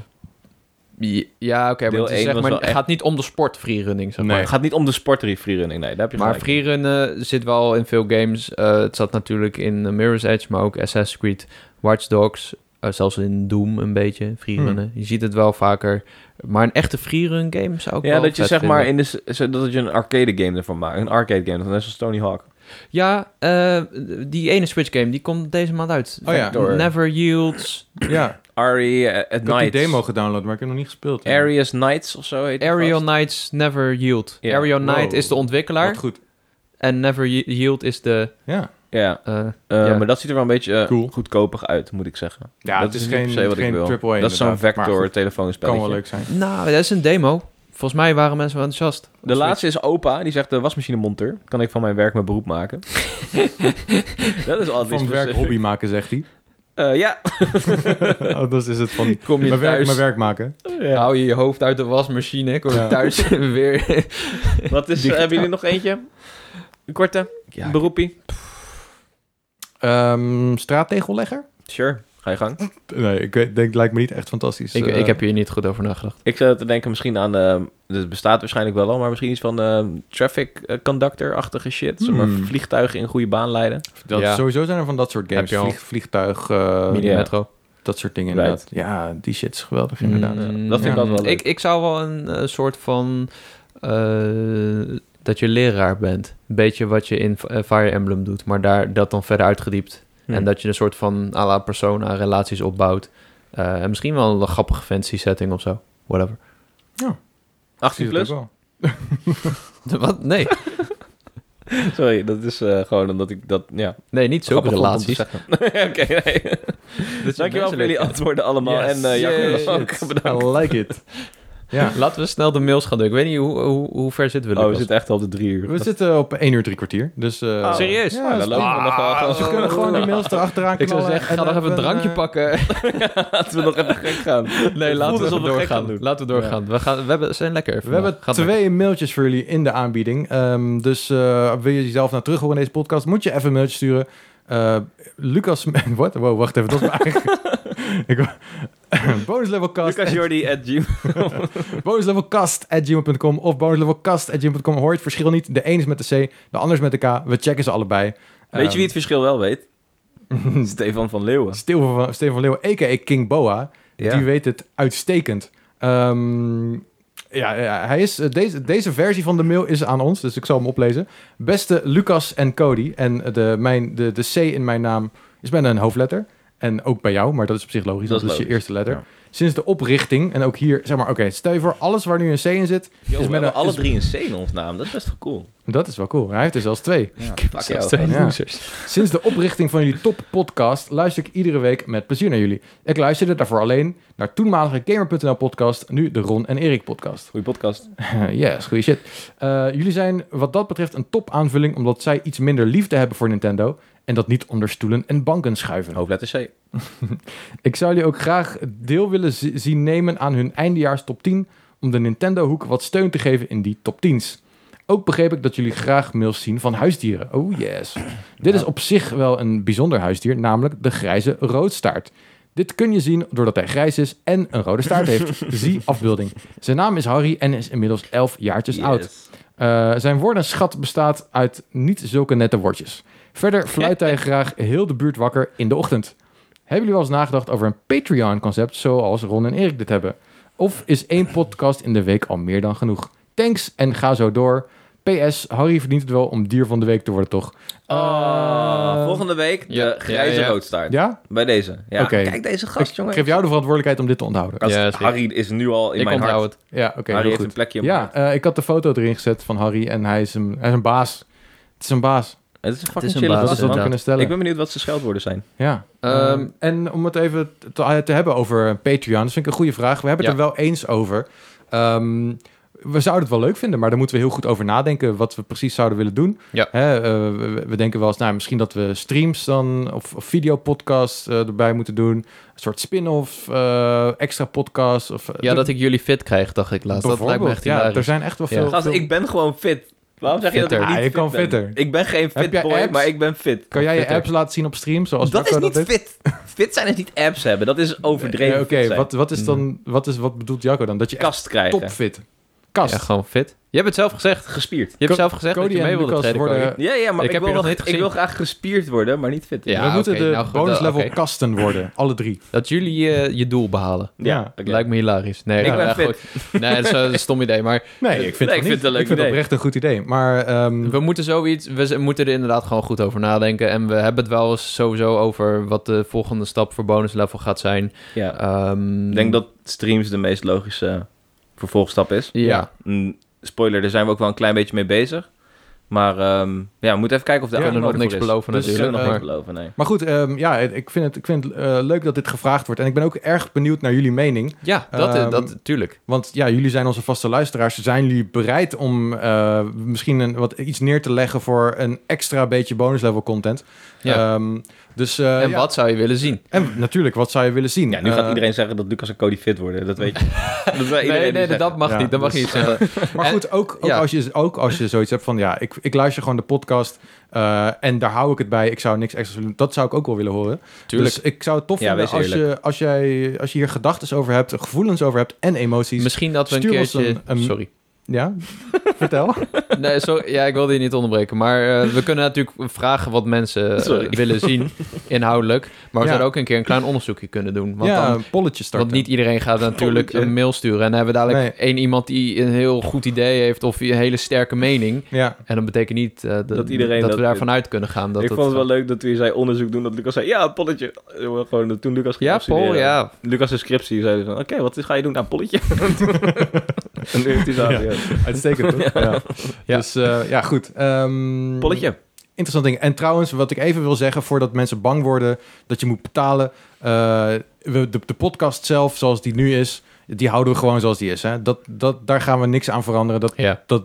Speaker 2: Ja, oké, maar
Speaker 3: Deel
Speaker 2: het is
Speaker 3: één
Speaker 2: zeg
Speaker 3: was
Speaker 2: maar,
Speaker 3: wel
Speaker 2: het
Speaker 3: echt-
Speaker 2: gaat niet om de sport freerunning, zeg
Speaker 1: Nee.
Speaker 2: maar.
Speaker 3: Het gaat niet om de sportrie freerunning, nee, daar heb je
Speaker 2: Maar
Speaker 3: gelijk.
Speaker 2: freerunnen zit wel in veel games. Eh, het zat natuurlijk in eh, Mirror's Edge, maar ook Assassin's Creed, Watch Dogs, eh, zelfs in Doom een beetje,
Speaker 3: Hmm.
Speaker 2: freerunnen. Je ziet het wel vaker. Maar een echte freerun game zou ik
Speaker 3: Ja,
Speaker 2: wel
Speaker 3: dat je
Speaker 2: vet
Speaker 3: zeg
Speaker 2: vinden.
Speaker 3: maar in de, s- zo- dat je een arcade game ervan maakt. Een arcade game, net zoals Tony Hawk.
Speaker 2: Ja, eh, die ene Switch game, die komt deze maand uit.
Speaker 1: Oh ja.
Speaker 3: Door-
Speaker 2: Never Yields,
Speaker 1: Ja,
Speaker 3: Ari eh, at
Speaker 1: ik had die
Speaker 3: Night.
Speaker 1: demo gedownload, maar ik heb hem nog niet gespeeld.
Speaker 3: Arius Knights of zo heet die
Speaker 2: Aerial
Speaker 3: gast.
Speaker 2: Knights, Never Yield.
Speaker 3: Ja.
Speaker 2: Aerial Knight
Speaker 1: Wow.
Speaker 2: is de ontwikkelaar
Speaker 1: Wat goed.
Speaker 2: en Never Ye- Yield is de...
Speaker 1: Ja,
Speaker 3: Ja,
Speaker 2: eh,
Speaker 3: eh,
Speaker 2: Ja.
Speaker 3: maar dat ziet er wel een beetje eh,
Speaker 1: Cool.
Speaker 3: goedkopig uit, moet ik zeggen.
Speaker 1: ja
Speaker 3: dat
Speaker 1: het is
Speaker 3: niet
Speaker 1: geen,
Speaker 3: per se wat ik
Speaker 1: geen
Speaker 3: wil.
Speaker 1: AAA
Speaker 3: dat is zo'n
Speaker 1: inderdaad, maar
Speaker 3: vector
Speaker 1: goed,
Speaker 3: telefoonspelletje.
Speaker 1: kan wel leuk zijn.
Speaker 2: nou, dat is een demo. Volgens mij waren mensen wel enthousiast.
Speaker 3: De laatste is opa, die zegt de wasmachinemonteur. Kan ik van mijn werk mijn beroep maken? dat is altijd
Speaker 1: Van
Speaker 3: iets
Speaker 1: werk
Speaker 3: specifiek.
Speaker 1: hobby maken, zegt hij.
Speaker 3: Eh, ja.
Speaker 1: Anders is het van
Speaker 2: Kom je
Speaker 1: mijn werk,
Speaker 2: thuis,
Speaker 1: mijn werk maken.
Speaker 2: hou je je hoofd uit de wasmachine, kom je
Speaker 1: Ja.
Speaker 2: thuis weer...
Speaker 3: Wat is, eh,
Speaker 2: Digitaal.
Speaker 3: hebben jullie nog eentje? Een korte?
Speaker 1: Ja,
Speaker 3: Een beroepie?
Speaker 1: Ehm, straattegellegger?
Speaker 3: Sure, ga je gang.
Speaker 1: Nee, ik weet- denk, lijkt me niet echt fantastisch.
Speaker 2: ik,
Speaker 1: Eh,
Speaker 2: ik heb hier niet goed over nagedacht.
Speaker 3: Ik zou te denken misschien aan, ehm het bestaat waarschijnlijk wel al, maar misschien iets van ehm, traffic eh, conductor-achtige shit. Zeg maar
Speaker 1: Hmm.
Speaker 3: vliegtuigen in goede baan leiden.
Speaker 1: dat,
Speaker 2: ja.
Speaker 1: Sowieso zijn er van dat soort games.
Speaker 2: Heb je al-
Speaker 1: Vlieg- vliegtuig, eh,
Speaker 3: Mini-
Speaker 2: Mini-metro.
Speaker 1: dat soort dingen
Speaker 3: Right.
Speaker 1: inderdaad. Ja, die shit is geweldig inderdaad.
Speaker 2: Mm,
Speaker 3: Dat vind ik
Speaker 1: Ja.
Speaker 3: altijd wel leuk.
Speaker 2: Ik, ik zou wel een eh, soort van... eh, dat je leraar bent. Een beetje wat je in eh, Fire Emblem doet, maar daar dat dan verder uitgediept. En dat je een soort van à la persona relaties opbouwt. Eh, en misschien wel een grappige fantasy setting of zo. Whatever.
Speaker 3: 18
Speaker 1: Zie je dat
Speaker 3: Hmm. plus?
Speaker 1: ook wel?
Speaker 2: Wat? Nee,
Speaker 3: Sorry, dat is eh, gewoon omdat ik dat, ja.
Speaker 2: nee niet zulke
Speaker 3: grappig vond om te
Speaker 2: relaties.
Speaker 3: zeggen. Oké, nee. Dankjewel voor jullie antwoorden allemaal.
Speaker 1: Yes.
Speaker 3: En eh
Speaker 1: Yes.
Speaker 3: Jacco ook. Bedankt.
Speaker 1: I like it. Ja.
Speaker 2: Laten we snel de mails gaan doen. Ik weet niet hoe, hoe, hoe ver zitten we,
Speaker 3: Oh, we
Speaker 2: Lucas?
Speaker 3: zitten echt al op de drie uur.
Speaker 1: We zitten op 1 uur 3 kwartier. Dus, eh,
Speaker 3: Oh.
Speaker 2: Serieus?
Speaker 1: Ja,
Speaker 3: Nou, dan
Speaker 1: dat is
Speaker 3: lopen we nog wel
Speaker 1: prima.
Speaker 3: gewoon.
Speaker 1: Dus we kunnen gewoon die mails erachteraan
Speaker 2: Ik zou
Speaker 1: knallen
Speaker 2: zeggen,
Speaker 1: en
Speaker 2: ga nog even een
Speaker 1: eh,
Speaker 2: drankje pakken.
Speaker 3: Laten we nog even gek gaan.
Speaker 2: Nee, laten we,
Speaker 3: alsof
Speaker 2: even
Speaker 3: we gek gaan
Speaker 2: doorgaan.
Speaker 3: doen.
Speaker 2: Laten we doorgaan. We, gaan, we hebben, we zijn lekker.
Speaker 1: We hebben
Speaker 2: Gaat maar.
Speaker 1: twee mailtjes voor jullie in de aanbieding. Ehm, dus eh, wil je jezelf naar terug horen in deze podcast, moet je even een mailtje sturen. Eh, Lucas... Wat? Wow, wacht even. Dat is mijn eigen... Ik wou- bonuslevelcast
Speaker 3: Jordi at Gmail.
Speaker 1: bonuslevelcast.gmail.com of bonuslevelcast.gmail.com. Hoor je het verschil niet? De een is met de C, de ander is met de K. We checken ze allebei.
Speaker 3: Weet je
Speaker 1: Ehm,
Speaker 3: wie het verschil wel weet? Stefan van Leeuwen.
Speaker 1: Steven van, Steven van Leeuwen, a.k.a. King Boa.
Speaker 3: Ja.
Speaker 1: Die weet het uitstekend. Ehm, ja, ja, hij is, eh, deze, deze versie van de mail is aan ons, dus ik zal hem oplezen. Beste Lucas en Cody, en de, mijn, de, de C in mijn naam is bijna een hoofdletter. En ook bij jou, maar dat is op zich logisch,
Speaker 3: Dat
Speaker 1: dat,
Speaker 3: is
Speaker 1: is je
Speaker 3: logisch,
Speaker 1: eerste letter.
Speaker 3: ja.
Speaker 1: Sinds de oprichting, en ook hier, zeg maar, oké, stel je voor, alles waar nu een C in zit,
Speaker 3: Yo,
Speaker 1: is
Speaker 3: we
Speaker 1: met
Speaker 3: hebben
Speaker 1: een...
Speaker 3: alle
Speaker 1: is-
Speaker 3: drie een C in ons naam. Dat is best wel cool.
Speaker 1: dat is wel cool, hij heeft er zelfs twee.
Speaker 6: Ja.
Speaker 3: Fuck
Speaker 4: Zelfs
Speaker 3: jou.
Speaker 4: twee
Speaker 1: Ja.
Speaker 4: losers.
Speaker 1: Sinds de oprichting van jullie toppodcast luister ik iedere week met plezier naar jullie. Ik luisterde daarvoor alleen naar toenmalige Gamer.nl podcast, nu de Ron en Erik podcast.
Speaker 3: Goeie podcast.
Speaker 1: yes, goede shit. Eh, jullie zijn wat dat betreft een top aanvulling omdat zij iets minder liefde hebben voor Nintendo en dat niet onder stoelen en banken schuiven.
Speaker 3: Hoofdletter C.
Speaker 1: Ik zou jullie ook graag deel willen zi- zien nemen aan hun eindejaars top 10 om de Nintendo hoek wat steun te geven in die top 10's. Ook begreep ik dat jullie graag mails zien van huisdieren. Oh yes. Dit is op zich wel een bijzonder huisdier, namelijk de grijze roodstaart. Dit kun je zien doordat hij grijs is en een rode staart heeft. Zie afbeelding. Zijn naam is Harry en is inmiddels 11 jaartjes
Speaker 3: Yes.
Speaker 1: oud. Eh, zijn woordenschat bestaat uit niet zulke nette woordjes. Verder fluit hij graag heel de buurt wakker in de ochtend. Hebben jullie wel eens nagedacht over een Patreon-concept zoals Ron en Erik dit hebben? Of is één podcast in de week al meer dan genoeg? Thanks en ga zo door. PS, Harry verdient het wel om dier van de week te worden, toch?
Speaker 3: Ah,
Speaker 1: Eh,
Speaker 3: volgende week de
Speaker 4: ja,
Speaker 3: grijze
Speaker 4: ja, ja.
Speaker 3: roodstaart.
Speaker 1: Ja?
Speaker 3: Bij deze. Ja,
Speaker 1: Oké.
Speaker 3: Kijk deze
Speaker 1: Ik
Speaker 3: gast, jongen.
Speaker 1: geef jou de verantwoordelijkheid om dit te onthouden.
Speaker 3: Gast,
Speaker 4: Ja, zeker.
Speaker 3: Harry is nu al in
Speaker 4: Ik
Speaker 3: mijn hart.
Speaker 4: onthoud het.
Speaker 1: Ja, oké,
Speaker 3: Harry
Speaker 1: heel
Speaker 3: heeft
Speaker 1: goed.
Speaker 3: een plekje. in mijn
Speaker 1: Ja, eh, ik had de foto erin gezet van Harry en hij is een, hij is een baas. Het is een baas.
Speaker 3: Het is een
Speaker 4: is
Speaker 3: fucking
Speaker 4: een
Speaker 3: chille
Speaker 4: baas,
Speaker 1: Dat is
Speaker 3: gast,
Speaker 1: wat we
Speaker 3: man.
Speaker 1: kunnen stellen.
Speaker 3: Ik ben benieuwd wat zijn scheldwoorden zijn.
Speaker 1: Ja.
Speaker 4: Ehm,
Speaker 1: Ehm, en om het even te, te hebben over Patreon, dat vind ik een goede vraag. We hebben het
Speaker 4: Ja.
Speaker 1: er wel eens over. Ehm, we zouden het wel leuk vinden, maar daar moeten we heel goed over nadenken wat we precies zouden willen doen.
Speaker 4: Ja.
Speaker 1: Hè, eh, we, we denken wel eens, nou, misschien dat we streams dan of, of videopodcasts eh, erbij moeten doen. Een soort spin-off, eh, extra podcast. Of, eh,
Speaker 4: ja, dat ik jullie fit krijg, dacht ik laatst. Dat lijkt me echt
Speaker 1: Ja,
Speaker 4: hilarisch.
Speaker 1: er zijn echt wel
Speaker 4: Ja.
Speaker 1: veel.
Speaker 3: Gast,
Speaker 1: veel-
Speaker 3: ik ben gewoon fit. Waarom zeg je dat
Speaker 4: Fitter.
Speaker 3: ik niet
Speaker 1: Ah, je kan
Speaker 3: ben?
Speaker 1: fitter.
Speaker 3: Ik ben geen
Speaker 1: Heb jij
Speaker 3: fit boy,
Speaker 1: apps?
Speaker 3: maar ik ben fit.
Speaker 1: kan jij je
Speaker 4: fitter.
Speaker 1: apps laten zien op stream? Zoals
Speaker 3: dat is
Speaker 1: Jacco
Speaker 3: niet
Speaker 1: deed?
Speaker 3: fit. fit zijn is niet apps hebben. Dat is overdreven.
Speaker 1: Ja, Oké,
Speaker 3: fit zijn.
Speaker 1: wat, wat is
Speaker 4: Mm.
Speaker 1: dan, wat, is, wat bedoelt Jacco dan? Dat je echt
Speaker 3: kast krijgen.
Speaker 1: topfit. Kast.
Speaker 4: Ja, gewoon fit. Je hebt het zelf gezegd.
Speaker 3: Gespierd.
Speaker 4: Je hebt zelf gezegd
Speaker 1: Cody
Speaker 4: dat je
Speaker 1: en
Speaker 4: mee wilde
Speaker 1: Lucas
Speaker 4: treden.
Speaker 1: worden-
Speaker 4: Cody.
Speaker 3: Ja, ja, maar
Speaker 4: Ik
Speaker 3: ik,
Speaker 4: heb
Speaker 3: wil
Speaker 4: je nog
Speaker 3: graag-
Speaker 4: niet gezien.
Speaker 3: ik wil graag gespierd worden, maar niet fit.
Speaker 4: Ja,
Speaker 1: we moeten
Speaker 4: oké,
Speaker 1: de
Speaker 4: nou goed,
Speaker 1: bonuslevel
Speaker 4: oké.
Speaker 1: kasten worden, alle drie.
Speaker 4: Dat jullie eh, je doel behalen.
Speaker 1: Ja.
Speaker 3: oké.
Speaker 4: Lijkt me hilarisch. Nee,
Speaker 3: Ik
Speaker 4: nou,
Speaker 3: ben
Speaker 4: ja,
Speaker 3: fit.
Speaker 4: goed. Nee, dat is eh, een stom idee. Maar
Speaker 1: Nee, ik vind,
Speaker 3: Nee,
Speaker 1: het,
Speaker 3: ik vind het een leuk
Speaker 1: ik vind het
Speaker 3: idee.
Speaker 1: oprecht een goed idee. Maar ehm,
Speaker 4: we moeten zoiets... We z- moeten er inderdaad gewoon goed over nadenken. En we hebben het wel eens sowieso over wat de volgende stap voor bonus level gaat zijn.
Speaker 3: Ja.
Speaker 4: Ehm,
Speaker 3: Ik denk dat streams de meest logische vervolgstap is.
Speaker 4: Ja.
Speaker 3: Mm, Spoiler, daar zijn we ook wel een klein beetje mee bezig. Maar ehm, ja, we moeten even kijken of de
Speaker 1: Ja,
Speaker 3: ja,
Speaker 1: we
Speaker 4: kunnen nog niks beloven
Speaker 3: Dus we
Speaker 4: natuurlijk.
Speaker 3: kunnen nog
Speaker 4: maar-
Speaker 3: niks beloven, nee.
Speaker 1: maar goed, ehm, ja, het- ik vind het, ik vind het eh, leuk dat dit gevraagd wordt. En ik ben ook erg benieuwd naar jullie mening.
Speaker 4: Ja, dat,
Speaker 1: Ehm,
Speaker 4: dat, tuurlijk.
Speaker 1: Want ja, jullie zijn onze vaste luisteraars. Zijn jullie bereid om eh, misschien een, wat, iets neer te leggen voor een extra beetje bonuslevel content?
Speaker 4: Ja.
Speaker 1: Ehm, dus, eh,
Speaker 4: en
Speaker 1: ja.
Speaker 4: wat zou je willen zien?
Speaker 1: En natuurlijk, wat zou je willen zien?
Speaker 3: Ja, nu gaat
Speaker 1: Eh,
Speaker 3: iedereen zeggen dat Lucas en Cody fit worden. Dat weet je. dat wil iedereen
Speaker 4: Nee,
Speaker 3: nu
Speaker 4: nee,
Speaker 3: zeggen.
Speaker 4: dat mag
Speaker 1: Ja,
Speaker 4: niet. Dat mag
Speaker 1: dus-
Speaker 4: niet zeggen.
Speaker 1: Maar
Speaker 4: En-
Speaker 1: goed, ook, ook,
Speaker 4: ja.
Speaker 1: als je, ook als je zoiets hebt van... ja, ik, ik luister gewoon de podcast eh, en daar hou ik het bij. Ik zou niks extra's willen doen. Dat zou ik ook wel willen horen.
Speaker 4: Tuurlijk.
Speaker 1: Dus ik zou het tof
Speaker 3: Ja,
Speaker 1: vinden
Speaker 3: wees
Speaker 1: als je, als, jij, als je hier gedachten over hebt... gevoelens over hebt en emoties.
Speaker 4: Misschien dat we een
Speaker 1: Stuur ons
Speaker 4: keertje...
Speaker 1: een- een-
Speaker 4: Sorry.
Speaker 1: Ja, vertel.
Speaker 4: Nee, zo, ja, ik wilde je niet onderbreken. Maar eh, we kunnen natuurlijk vragen wat mensen eh,
Speaker 3: Sorry.
Speaker 4: willen zien, inhoudelijk. Maar we
Speaker 1: Ja.
Speaker 4: zouden ook een keer een klein onderzoekje kunnen doen. Want,
Speaker 1: ja,
Speaker 4: dan,
Speaker 1: een polletje starten.
Speaker 4: want niet iedereen gaat natuurlijk
Speaker 3: Polletje.
Speaker 4: een mail sturen. En dan hebben we dadelijk één iemand die een heel goed idee heeft of een hele sterke mening.
Speaker 1: Ja,
Speaker 4: En dat betekent niet eh, dat, dat,
Speaker 3: Dat iedereen dat
Speaker 4: we daar
Speaker 3: vindt.
Speaker 4: vanuit kunnen gaan. Dat
Speaker 3: ik
Speaker 4: het-
Speaker 3: vond het wel leuk dat toen je zei onderzoek doen, dat Lucas zei, ja, het polletje. Eh, Gewoon dat toen Lucas ging
Speaker 4: Ja, Paul,
Speaker 3: studeren.
Speaker 4: ja.
Speaker 3: Lucas' de scriptie zei dus van, oké, wat ga je doen? Nou, polletje. en nu heeft hij zo,
Speaker 1: Ja.
Speaker 3: ja.
Speaker 1: uitstekend toch? Ja.
Speaker 4: Ja.
Speaker 1: Dus eh, ja, goed. Ehm,
Speaker 3: Polletje.
Speaker 1: Interessant ding. En trouwens, wat ik even wil zeggen, voordat mensen bang worden dat je moet betalen. eh, we, de, de podcast zelf, zoals die nu is, die houden we gewoon zoals die is. Hè? Dat, dat, daar gaan we niks aan veranderen. Dat,
Speaker 4: Ja.
Speaker 1: dat,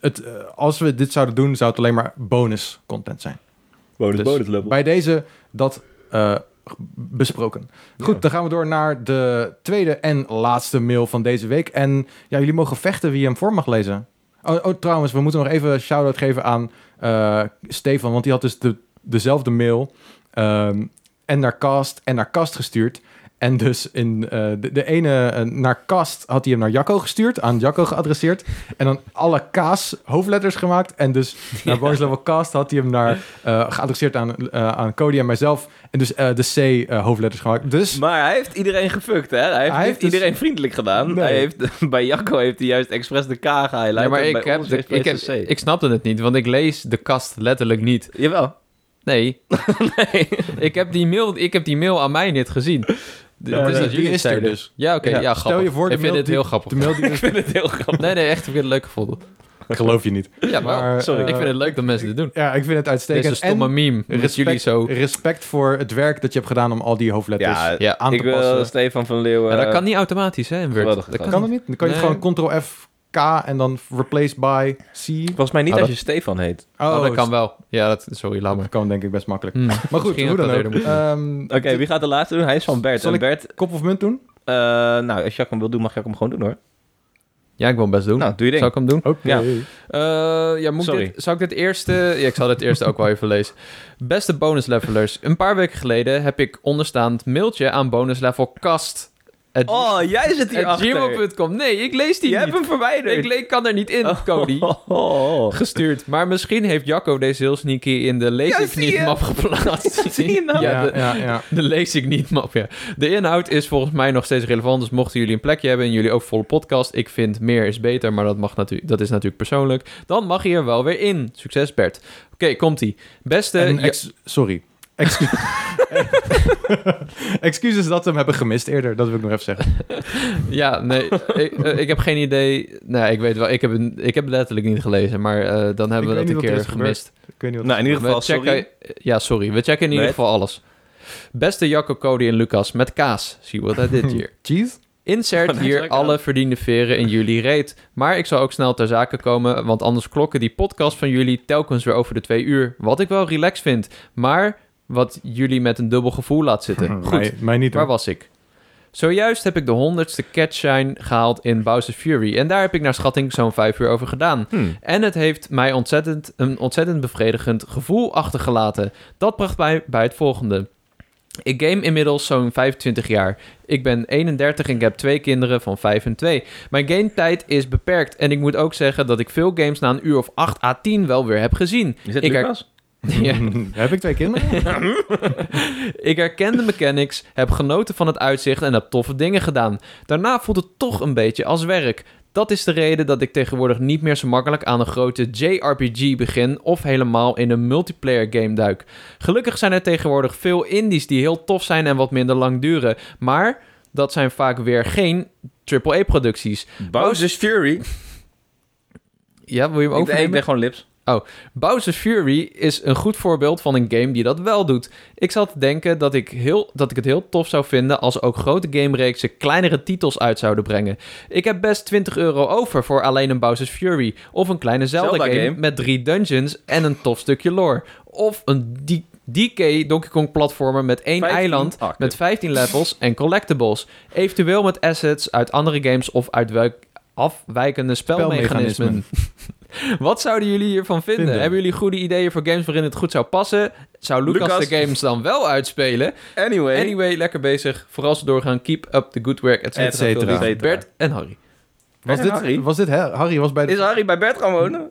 Speaker 1: het, eh, als we dit zouden doen, zou het alleen maar bonus content zijn.
Speaker 3: Bonus,
Speaker 1: Dus
Speaker 3: bonus level.
Speaker 1: Bij deze dat eh, besproken. Goed, dan gaan we door naar de tweede en laatste mail van deze week. En ja, jullie mogen vechten wie hem voor mag lezen. Oh, oh, trouwens, we moeten nog even een shout-out geven aan eh, Stefan, want die had dus de, dezelfde mail ehm, en naar Cast en naar Cast gestuurd. En dus in eh, de, de ene eh, naar Cast had hij hem naar Jacco gestuurd, aan Jacco geadresseerd. En dan alle K's hoofdletters gemaakt. En dus naar Bonus Level Cast had hij hem naar, eh, geadresseerd aan, eh, aan Cody en mijzelf. En dus eh, de C eh, hoofdletters gemaakt. Dus
Speaker 3: Maar hij heeft iedereen gefuckt, hè? Hij heeft,
Speaker 1: Hij heeft
Speaker 3: niet
Speaker 1: dus-
Speaker 3: iedereen vriendelijk gedaan.
Speaker 1: Nee.
Speaker 3: Hij heeft, bij Jacco heeft hij juist expres de K gehighlight.
Speaker 4: Nee, maar
Speaker 3: en
Speaker 4: ik,
Speaker 3: bij
Speaker 4: heb,
Speaker 3: ons
Speaker 4: de- ik,
Speaker 3: expres
Speaker 4: heb,
Speaker 3: de C.
Speaker 4: ik snapte het niet, want ik lees de kast letterlijk niet.
Speaker 3: Jawel.
Speaker 4: Nee. ik, heb die mail, ik heb die mail aan mij niet gezien.
Speaker 1: Ja, maar
Speaker 4: Het
Speaker 1: die-
Speaker 4: dat
Speaker 1: die
Speaker 4: jullie
Speaker 1: is er
Speaker 4: het zeiden.
Speaker 1: dus.
Speaker 4: Ja, oké.
Speaker 1: Ja.
Speaker 4: ja,
Speaker 1: Stel
Speaker 4: grappig.
Speaker 1: je voor de
Speaker 4: ik vind
Speaker 1: mail
Speaker 4: dit
Speaker 1: die-
Speaker 4: heel grappig.
Speaker 1: De mail die
Speaker 3: vind het heel grappig.
Speaker 4: Nee, nee, echt. Ik heb het leuk gevonden.
Speaker 1: geloof je niet.
Speaker 4: Ja, wel.
Speaker 1: Maar,
Speaker 3: sorry.
Speaker 1: eh,
Speaker 4: ik vind het leuk dat mensen dit doen.
Speaker 1: Ja, ik vind het
Speaker 4: Dit
Speaker 1: uitstekend.
Speaker 4: is een stomme
Speaker 1: En
Speaker 4: meme. Met
Speaker 1: respect,
Speaker 4: jullie zo.
Speaker 1: respect voor het werk dat je hebt gedaan om al die hoofdletters
Speaker 3: Ja,
Speaker 4: Ja.
Speaker 1: aan
Speaker 3: ik
Speaker 1: te passen.
Speaker 3: wil Stefan van Leeuwen...
Speaker 4: Maar dat kan niet automatisch, hè, in Word.
Speaker 3: geweldig
Speaker 4: Dat
Speaker 3: gedaan.
Speaker 1: Kan Eh, dat niet? Dan kan je
Speaker 4: Nee.
Speaker 1: gewoon ctrl F, K en dan replace by C.
Speaker 3: Volgens mij niet
Speaker 4: Oh,
Speaker 3: als
Speaker 4: dat-
Speaker 3: je Stefan heet.
Speaker 4: Oh, dat kan wel. Ja, dat, sorry, laat maar.
Speaker 1: Dat kan denk ik best makkelijk.
Speaker 4: Hm.
Speaker 1: Hmm. Maar goed,
Speaker 4: Misschien
Speaker 1: hoe
Speaker 4: had
Speaker 1: dan
Speaker 4: dat
Speaker 1: ook.
Speaker 4: eerder moeten
Speaker 1: Ehm,
Speaker 3: Oké, wie gaat de laatste doen? Hij is van Bert.
Speaker 1: Zal
Speaker 3: En
Speaker 1: ik-
Speaker 3: Bert,
Speaker 1: Kop of munt doen?
Speaker 3: eh, nou, als Jacques hem wil doen, mag Jacques hem gewoon doen hoor.
Speaker 4: Ja, ik wil hem best doen.
Speaker 3: Nou, doe je ding.
Speaker 4: Zou ik hem doen?
Speaker 1: Oké.
Speaker 3: Ja.
Speaker 4: Eh, ja, moet ik
Speaker 3: Sorry.
Speaker 4: dit, zou ik dit eerste... Ja, ik zal dit eerste ook wel even lezen. Beste bonuslevelers, een paar weken geleden heb ik onderstaand mailtje aan bonuslevelkast... at-
Speaker 3: Oh, jij zit hier
Speaker 4: at
Speaker 3: achter.
Speaker 4: gmail.com. Nee, ik lees die
Speaker 3: Je hebt
Speaker 4: niet.
Speaker 3: hem verwijderd.
Speaker 4: Ik, le- ik kan er niet in, Cody.
Speaker 3: Oh, oh, oh.
Speaker 4: Gestuurd. Maar misschien heeft Jacco deze heel sneaky in de lees
Speaker 3: Ja,
Speaker 4: ik
Speaker 3: zie
Speaker 4: niet
Speaker 3: je?
Speaker 4: map geplaatst.
Speaker 3: Zie je nou?
Speaker 4: Ja,
Speaker 1: Ja,
Speaker 4: de-
Speaker 1: ja, ja.
Speaker 4: De lees ik niet, map. Ja. De inhoud is volgens mij nog steeds relevant. Dus mochten jullie een plekje hebben en jullie ook volle podcast. Ik vind meer is beter, maar dat, mag natu- dat is natuurlijk persoonlijk. Dan mag je er wel weer in. Succes, Bert. Oké, komt-ie. Beste...
Speaker 1: En
Speaker 4: Ja-
Speaker 1: ex- sorry. Excu- Excuses dat we hem hebben gemist eerder. Dat wil ik nog even zeggen.
Speaker 4: ja, nee. ik, eh, ik heb geen idee. Nee, ik weet wel. Ik heb, een, ik heb het letterlijk niet gelezen, maar eh, dan hebben
Speaker 1: weet
Speaker 4: we dat een
Speaker 1: niet wat er
Speaker 4: keer
Speaker 1: is gebeurd.
Speaker 4: gemist.
Speaker 1: Ik weet niet wat...
Speaker 3: Nou, in ieder geval,
Speaker 4: We checken,
Speaker 3: sorry.
Speaker 4: Ja, sorry. We checken in ieder
Speaker 3: Nee.
Speaker 4: geval alles. Beste Jacco, Cody en Lucas met kaas. See what I did here.
Speaker 1: Cheese? Oh,
Speaker 4: Insert
Speaker 3: Van
Speaker 4: hier
Speaker 3: Hensel
Speaker 4: alle
Speaker 3: aan.
Speaker 4: verdiende veren in jullie reet. Maar ik zal ook snel ter zake komen, want anders klokken die podcast van jullie telkens weer over de twee uur. Wat ik wel relaxed vind, maar wat jullie met een dubbel gevoel laat zitten. Goed,
Speaker 1: Mij, mij niet.
Speaker 4: waar
Speaker 1: hoor.
Speaker 4: was ik? Zojuist heb ik de honderdste catshine gehaald in Bowser's Fury. En daar heb ik naar schatting zo'n vijf uur over gedaan.
Speaker 3: Hmm.
Speaker 4: En het heeft mij ontzettend, een ontzettend bevredigend gevoel achtergelaten. Dat bracht mij bij het volgende. Ik game inmiddels zo'n 25 jaar. Ik ben 31 en ik heb twee kinderen van 5 en 2. Mijn gametijd is beperkt en ik moet ook zeggen dat ik veel games na een uur of 8 à 10 wel weer heb gezien.
Speaker 3: Is het
Speaker 4: Ik her-
Speaker 3: Lucas?
Speaker 4: Ja.
Speaker 1: Heb ik twee kinderen?
Speaker 4: Ik herken de mechanics, heb genoten van het uitzicht en heb toffe dingen gedaan. Daarna voelt het toch een beetje als werk. Dat is de reden dat ik tegenwoordig niet meer zo makkelijk aan een grote JRPG begin of helemaal in een multiplayer game duik. Gelukkig zijn er tegenwoordig veel indies die heel tof zijn en wat minder lang duren, maar dat zijn vaak weer geen AAA-producties.
Speaker 3: Bowser's Fury.
Speaker 4: Ja, wil je
Speaker 3: Ik ben,
Speaker 4: hem
Speaker 3: ik
Speaker 4: overnemen?
Speaker 3: ben gewoon lips.
Speaker 4: Bowser's Fury is een goed voorbeeld van een game die dat wel doet. Ik zat te denken dat ik, heel, dat ik het heel tof zou vinden als ook grote gamereeksen kleinere titels uit zouden brengen. Ik heb best 20 euro over voor alleen een Bowser's Fury of een kleine Zelda,
Speaker 3: Zelda
Speaker 4: game,
Speaker 3: game.
Speaker 4: met drie dungeons en een tof stukje lore. Of een D- DK Donkey Kong platformer met één
Speaker 3: 15
Speaker 4: eiland
Speaker 3: akten.
Speaker 4: met 15 levels en collectibles. Eventueel met assets uit andere games of uit welk afwijkende spelmechanismen. Wat zouden jullie hiervan vinden?
Speaker 1: Vinden.
Speaker 4: Hebben jullie goede ideeën voor games waarin het goed zou passen? Zou Lucas,
Speaker 3: Lucas.
Speaker 4: de games dan wel uitspelen?
Speaker 3: Anyway.
Speaker 4: Anyway, lekker bezig. Vooral ze doorgaan. Keep up the good work, et cetera.
Speaker 3: Et cetera.
Speaker 4: Veel liefde,
Speaker 3: Et cetera.
Speaker 4: Bert en Harry.
Speaker 1: Was
Speaker 3: En
Speaker 1: dit
Speaker 3: Harry?
Speaker 1: Was dit hè? Harry was bij de...
Speaker 3: Is Harry bij Bert gaan wonen?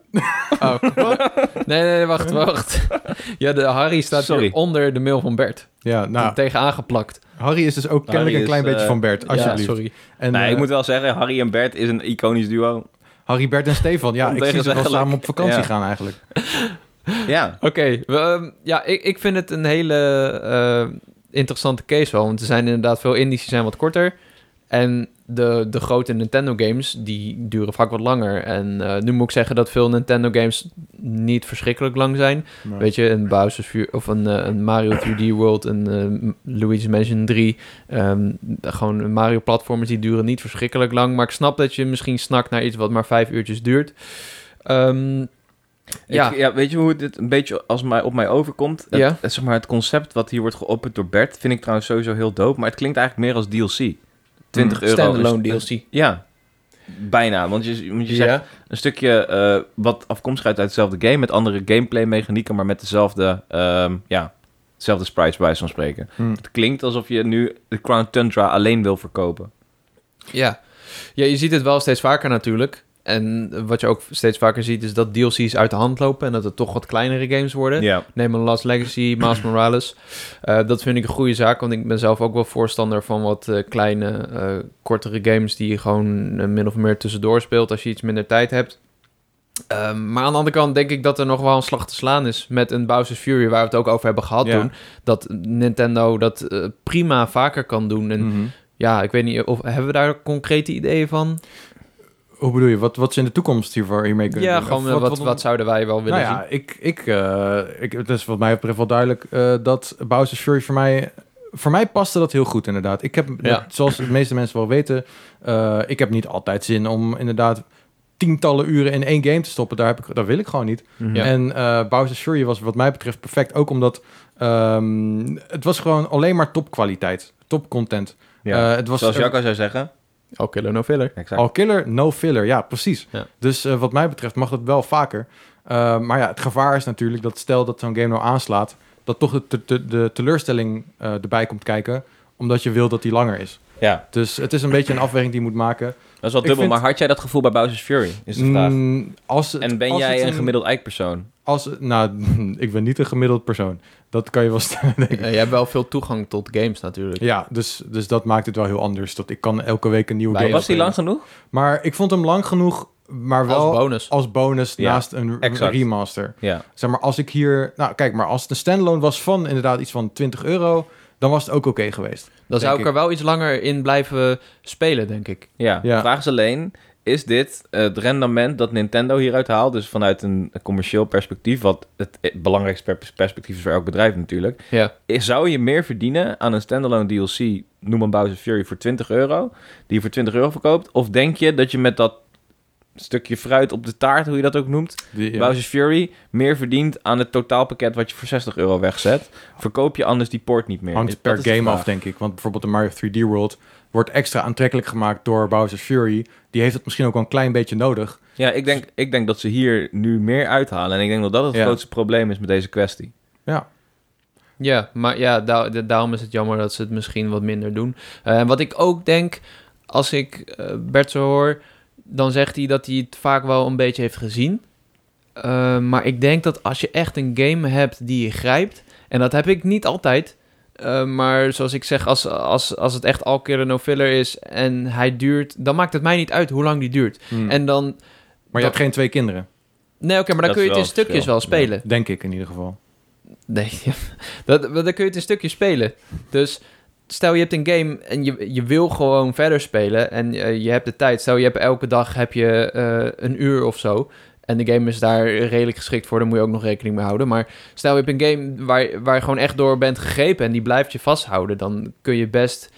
Speaker 4: Oh. nee, nee, nee, wacht, wacht. Ja, de Harry staat
Speaker 3: Sorry.
Speaker 4: hier onder de mail van Bert.
Speaker 1: Ja, nou.
Speaker 4: Tegen aangeplakt.
Speaker 1: Harry is dus ook kennelijk
Speaker 3: Harry
Speaker 1: een klein
Speaker 3: is,
Speaker 1: beetje
Speaker 3: eh,
Speaker 1: van Bert. Alsjeblieft.
Speaker 4: Ja, sorry.
Speaker 1: En,
Speaker 3: nee,
Speaker 1: eh,
Speaker 3: ik moet wel zeggen, Harry en Bert is een iconisch duo.
Speaker 1: Harry, Bert en Stefan. Ja, ik zie ze wel
Speaker 3: Ontegenzeggelijk.
Speaker 1: samen op vakantie
Speaker 3: Ja.
Speaker 1: gaan eigenlijk.
Speaker 3: Ja.
Speaker 4: Oké, we, ehm, ja, ik, ik vind het een hele eh, interessante case wel. Want er zijn inderdaad veel indies die zijn wat korter. En de, de grote Nintendo games, die duren vaak wat langer. En eh, nu moet ik zeggen dat veel Nintendo games niet verschrikkelijk lang zijn.
Speaker 1: Maar-
Speaker 4: Weet je, een Bowser's Fury, of een, eh, een Mario 3D World, een eh, Luigi's Mansion 3. ehm, gewoon Mario platformers, die duren niet verschrikkelijk lang. Maar ik snap dat je misschien snakt naar iets wat maar vijf uurtjes duurt. Ehm, ja,
Speaker 3: Ik- ja, weet je hoe dit een beetje als mij, op mij overkomt? Het,
Speaker 4: Ja.
Speaker 3: het- zeg maar, het concept wat hier wordt geopperd door Bert vind ik trouwens sowieso heel dope. Maar het klinkt eigenlijk meer als DLC. 20 euro. is-
Speaker 4: standalone DLC.
Speaker 3: Ja, bijna. Want je, want je
Speaker 4: Ja.
Speaker 3: zegt een stukje eh, wat afkomstig uit uit hetzelfde game... met andere gameplay-mechanieken, maar met dezelfde... ehm, ja, dezelfde sprites bij wijze van spreken.
Speaker 1: Hm.
Speaker 3: Het klinkt alsof je nu de Crown Tundra alleen wil verkopen.
Speaker 4: Ja. ja, je ziet het wel steeds vaker natuurlijk. En wat je ook steeds vaker ziet
Speaker 2: dus
Speaker 4: is dat DLC's uit de hand lopen en dat het toch wat kleinere games worden.
Speaker 1: Eh,
Speaker 3: Ja.
Speaker 4: Neem een Last Legacy, Miles Morales. Eh, dat vind ik een goede zaak, want ik ben zelf ook wel voorstander van wat eh, kleine, eh, kortere games die je gewoon eh, min of meer tussendoor speelt als je iets minder tijd hebt.
Speaker 2: Ehm, maar aan de andere kant denk ik dat er nog wel een slag te slaan is met een Bowser's Fury, waar we het ook over hebben gehad
Speaker 1: Ja.
Speaker 2: toen. Dat Nintendo dat eh, prima vaker kan doen. En
Speaker 1: Mhm.
Speaker 2: ja, ik weet niet of hebben we daar concrete ideeën van?
Speaker 1: Hoe bedoel je? Wat, wat ze in de toekomst hiervoor, hiermee kunnen
Speaker 2: Ja,
Speaker 1: doen?
Speaker 2: gewoon
Speaker 1: Of
Speaker 2: eh, wat, wat, zouden wij wel willen
Speaker 1: Nou ja, ik, ik, eh, ik, het is wat mij betreft wel duidelijk eh, dat Bowser's Fury voor mij... Voor mij paste dat heel goed, inderdaad. Ik heb, net zoals de meeste mensen wel weten, eh, ik heb niet altijd zin om inderdaad tientallen uren in één game te stoppen. Daar, heb ik, dat wil ik gewoon niet.
Speaker 2: Mhm.
Speaker 3: Ja.
Speaker 1: En eh, Bowser's Fury was wat mij betreft perfect. Ook omdat ehm, het was gewoon alleen maar topkwaliteit. Topcontent. Eh, het was
Speaker 3: Zoals
Speaker 1: er- Oh.
Speaker 3: Jacco zou zeggen.
Speaker 2: zien. Al killer no filler.
Speaker 3: Exact.
Speaker 1: All killer, no filler. Ja, precies.
Speaker 2: Ja.
Speaker 1: Dus eh, wat mij betreft mag dat wel vaker. Eh, maar ja, het gevaar is natuurlijk dat stel dat zo'n game nou aanslaat... dat toch de, te- te- de teleurstelling eh, erbij komt kijken... omdat je wil dat die langer is.
Speaker 3: Ja,
Speaker 1: Dus het is een beetje een afweging die je moet maken.
Speaker 3: dat is wel
Speaker 1: Ik
Speaker 3: dubbel.
Speaker 1: vind-
Speaker 3: Maar had jij dat gevoel bij Bowser's Fury? Is de vraag.
Speaker 1: Mm, als het-
Speaker 3: En ben
Speaker 1: als het
Speaker 3: jij een gemiddeld eikpersoon?
Speaker 1: Als, het- nou, ik ben niet een gemiddeld persoon. Dat kan je wel stellen, denk ik.
Speaker 2: Eh, je hebt wel veel toegang tot games natuurlijk.
Speaker 1: Ja, dus, dus dat maakt het wel heel anders. Dat ik kan elke week een nieuwe
Speaker 2: Wij
Speaker 1: game...
Speaker 3: Was die
Speaker 1: spelen.
Speaker 3: lang genoeg?
Speaker 1: Maar ik vond hem lang genoeg, maar wel...
Speaker 2: Als bonus.
Speaker 1: als bonus
Speaker 3: Ja,
Speaker 1: naast een
Speaker 3: exact.
Speaker 1: remaster.
Speaker 3: Ja.
Speaker 1: Zeg maar, als ik hier... Nou, kijk maar, als het een standalone was van inderdaad iets van 20 euro... dan was het ook oké geweest.
Speaker 2: Dan zou
Speaker 1: denk
Speaker 2: ik er wel iets langer in blijven spelen, denk ik.
Speaker 3: Ja.
Speaker 1: Ja.
Speaker 3: De vraag is alleen, is dit eh, het rendement dat Nintendo hieruit haalt? Dus vanuit een commercieel perspectief, wat het eh, belangrijkste per- perspectief is voor elk bedrijf natuurlijk.
Speaker 2: Ja.
Speaker 3: Is- Zou je meer verdienen aan een standalone DLC, noem een Bowser Fury, voor 20 euro, die je voor 20 euro verkoopt? Of denk je dat je met dat stukje fruit op de taart, hoe je dat ook noemt,
Speaker 1: Die, ja.
Speaker 3: Bowser's Fury meer verdient aan het totaalpakket wat je voor 60 euro wegzet. Verkoop je anders die port niet meer.
Speaker 1: hangt
Speaker 3: Dat
Speaker 1: per
Speaker 3: is de
Speaker 1: game
Speaker 3: vraag.
Speaker 1: af, denk ik. Want bijvoorbeeld de Mario 3D World wordt extra aantrekkelijk gemaakt door Bowser's Fury. Die heeft het misschien ook wel een klein beetje nodig.
Speaker 3: Ja, ik denk, ik denk dat ze hier nu meer uithalen. En ik denk dat dat het
Speaker 1: Ja.
Speaker 3: grootste probleem is met deze kwestie.
Speaker 2: Ja, maar ja, da- da- daarom is het jammer dat ze het misschien wat minder doen. Eh, wat ik ook denk, als ik eh, Bert zo hoor, dan zegt hij dat hij het vaak wel een beetje heeft gezien. Eh, maar ik denk dat als je echt een game hebt die je grijpt, en dat heb ik niet altijd. eh, maar zoals ik zeg, als, als, als het echt al keer een no-filler is en hij duurt, dan maakt het mij niet uit hoe lang die duurt. Hm.
Speaker 3: Hmm.
Speaker 1: En,
Speaker 2: En dan.
Speaker 1: maar je hebt geen twee kinderen,
Speaker 2: Nee, oké, maar dan kun
Speaker 3: Dat is
Speaker 2: je het in
Speaker 3: wel het
Speaker 2: stukjes
Speaker 3: verschil.
Speaker 2: wel spelen.
Speaker 1: denk ik in ieder geval.
Speaker 2: Nee, dat, dat- dan kun je het een stukje spelen. Dus stel je hebt een game en je, je wil gewoon verder spelen en eh, je hebt de tijd. Stel je hebt elke dag heb je, eh, een uur of zo. En de game is daar redelijk geschikt voor, daar moet je ook nog rekening mee houden. Maar stel je hebt een game waar, waar je gewoon echt door bent gegrepen en die blijft je vasthouden. Dan kun je best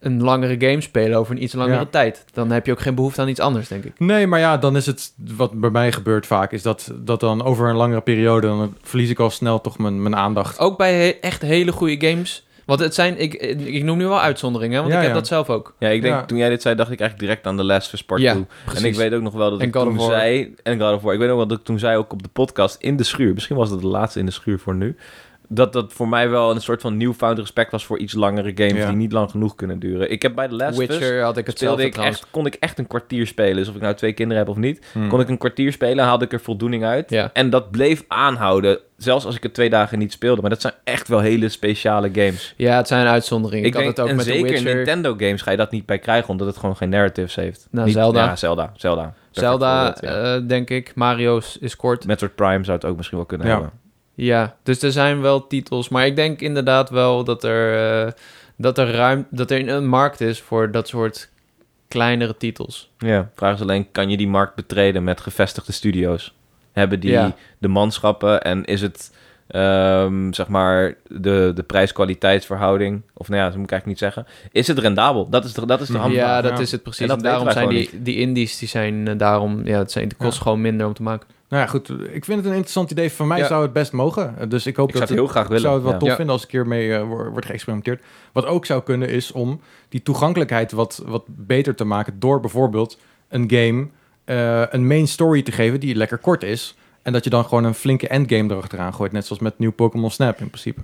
Speaker 2: een langere game spelen over een iets langere
Speaker 1: Ja.
Speaker 2: tijd. Dan heb je ook geen behoefte aan iets anders, denk ik.
Speaker 1: Nee, maar ja, dan is het wat bij mij gebeurt vaak. Is dat, dat dan over een langere periode. dan verlies ik al snel toch mijn, mijn aandacht.
Speaker 2: Ook bij he- echt hele goede games. Want het zijn, ik, ik noem nu wel uitzonderingen, want
Speaker 1: Ja,
Speaker 2: ik heb
Speaker 1: ja.
Speaker 2: dat zelf ook.
Speaker 3: Ja, ik denk,
Speaker 1: Ja.
Speaker 3: toen jij dit zei, dacht ik eigenlijk direct aan de Last of Us Part
Speaker 2: Ja,
Speaker 3: 2.
Speaker 2: Precies.
Speaker 3: En ik weet ook nog wel dat
Speaker 2: En
Speaker 3: ik
Speaker 2: God of
Speaker 3: toen
Speaker 2: War.
Speaker 3: zei... En God of War. Ik weet ook wel dat ik toen zei, ook op de podcast, in de schuur... Misschien was dat de laatste in de schuur voor nu... Dat dat voor mij wel een soort van newfound respect was voor iets langere games...
Speaker 1: Ja.
Speaker 3: die niet lang genoeg kunnen duren. Ik heb bij de Last of Us...
Speaker 2: Witcher had ik
Speaker 3: speelde
Speaker 2: hetzelfde
Speaker 3: ik
Speaker 2: trouwens.
Speaker 3: echt, kon ik echt een kwartier spelen. Dus of ik nou twee kinderen heb of niet.
Speaker 1: Hmm.
Speaker 3: Kon ik een kwartier spelen, haalde ik er voldoening uit.
Speaker 2: Mm. Ja.
Speaker 3: En dat bleef aanhouden. Zelfs als ik het twee dagen niet speelde. Maar dat zijn echt wel hele speciale games.
Speaker 2: Ja, het zijn uitzonderingen. Ik,
Speaker 3: Ik,
Speaker 2: had
Speaker 3: denk,
Speaker 2: het ook
Speaker 3: en
Speaker 2: met
Speaker 3: zeker
Speaker 2: The Witcher.
Speaker 3: Nintendo games ga je dat niet bij krijgen. Omdat het gewoon geen narratives heeft.
Speaker 2: Nou,
Speaker 3: Niet-
Speaker 2: Zelda.
Speaker 3: Ja, Zelda. Zelda. Perfect
Speaker 2: Zelda,
Speaker 3: voorbeeld, ja.
Speaker 2: eh, denk ik. Mario's is kort.
Speaker 3: Metroid Prime zou het ook misschien wel kunnen
Speaker 1: Ja.
Speaker 3: hebben.
Speaker 2: Ja, dus er zijn wel titels. Maar ik denk inderdaad wel dat er, eh, dat er ruim... Dat er een markt is voor dat soort kleinere titels.
Speaker 3: Ja. Vraag is alleen, kan je die markt betreden met gevestigde studio's? Hebben die
Speaker 2: Ja.
Speaker 3: de manschappen en is het, ehm, zeg maar, de, de prijs-kwaliteitsverhouding? Of nou ja, dat moet ik eigenlijk niet zeggen. Is het rendabel? Dat is de, dat is de
Speaker 1: Mhm.
Speaker 3: handvraag.
Speaker 2: ja, dat
Speaker 1: ja.
Speaker 2: is het precies.
Speaker 3: En
Speaker 2: En
Speaker 3: dat
Speaker 2: daarom
Speaker 3: weten wij
Speaker 2: zijn
Speaker 3: gewoon
Speaker 2: die, die indies, die zijn eh, daarom... Ja, het, zijn, het kost
Speaker 1: Ja.
Speaker 2: gewoon minder om te maken.
Speaker 1: Nou ja, goed. Ik vind het een interessant idee. Van mij
Speaker 2: Ja.
Speaker 1: zou het best mogen. Eh, Dus ik hoop
Speaker 3: Ik
Speaker 1: dat
Speaker 3: zou het heel graag willen.
Speaker 1: Ik zou het wel
Speaker 3: ja.
Speaker 1: tof
Speaker 2: Ja.
Speaker 1: vinden als ik hiermee eh, wor- wordt geëxperimenteerd. Wat ook zou kunnen is om die toegankelijkheid wat, wat beter te maken... door bijvoorbeeld een game eh, een main story te geven die lekker kort is... en dat je dan gewoon een flinke endgame erachteraan gooit. Net zoals met nieuw Pokémon Snap in principe.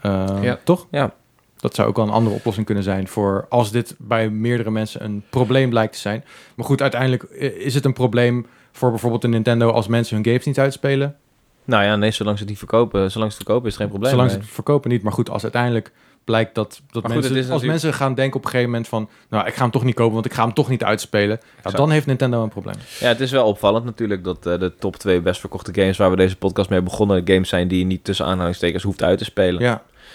Speaker 1: Eh,
Speaker 2: Ja.
Speaker 1: Toch?
Speaker 3: Ja.
Speaker 1: Dat zou ook wel een andere oplossing kunnen zijn voor als dit bij meerdere mensen een probleem blijkt te zijn. Maar goed, uiteindelijk eh, is het een probleem voor bijvoorbeeld de Nintendo als mensen hun games niet uitspelen.
Speaker 3: Nou ja, nee, zolang ze die verkopen, zolang ze het verkopen is het geen probleem.
Speaker 1: Zolang ze
Speaker 3: nee.
Speaker 1: het verkopen niet. Maar goed, als uiteindelijk blijkt dat, dat mensen,
Speaker 3: goed, het is
Speaker 1: als
Speaker 3: natuurlijk-
Speaker 1: mensen gaan denken op een gegeven moment van... nou, ik ga hem toch niet kopen, want ik ga hem toch niet uitspelen. Ja,
Speaker 3: Exact.
Speaker 1: dan heeft Nintendo een probleem.
Speaker 3: Ja, het is wel opvallend natuurlijk dat eh, de top twee best verkochte games waar we deze podcast mee begonnen, games zijn die je niet tussen aanhalingstekens hoeft uit te spelen.
Speaker 1: Ja,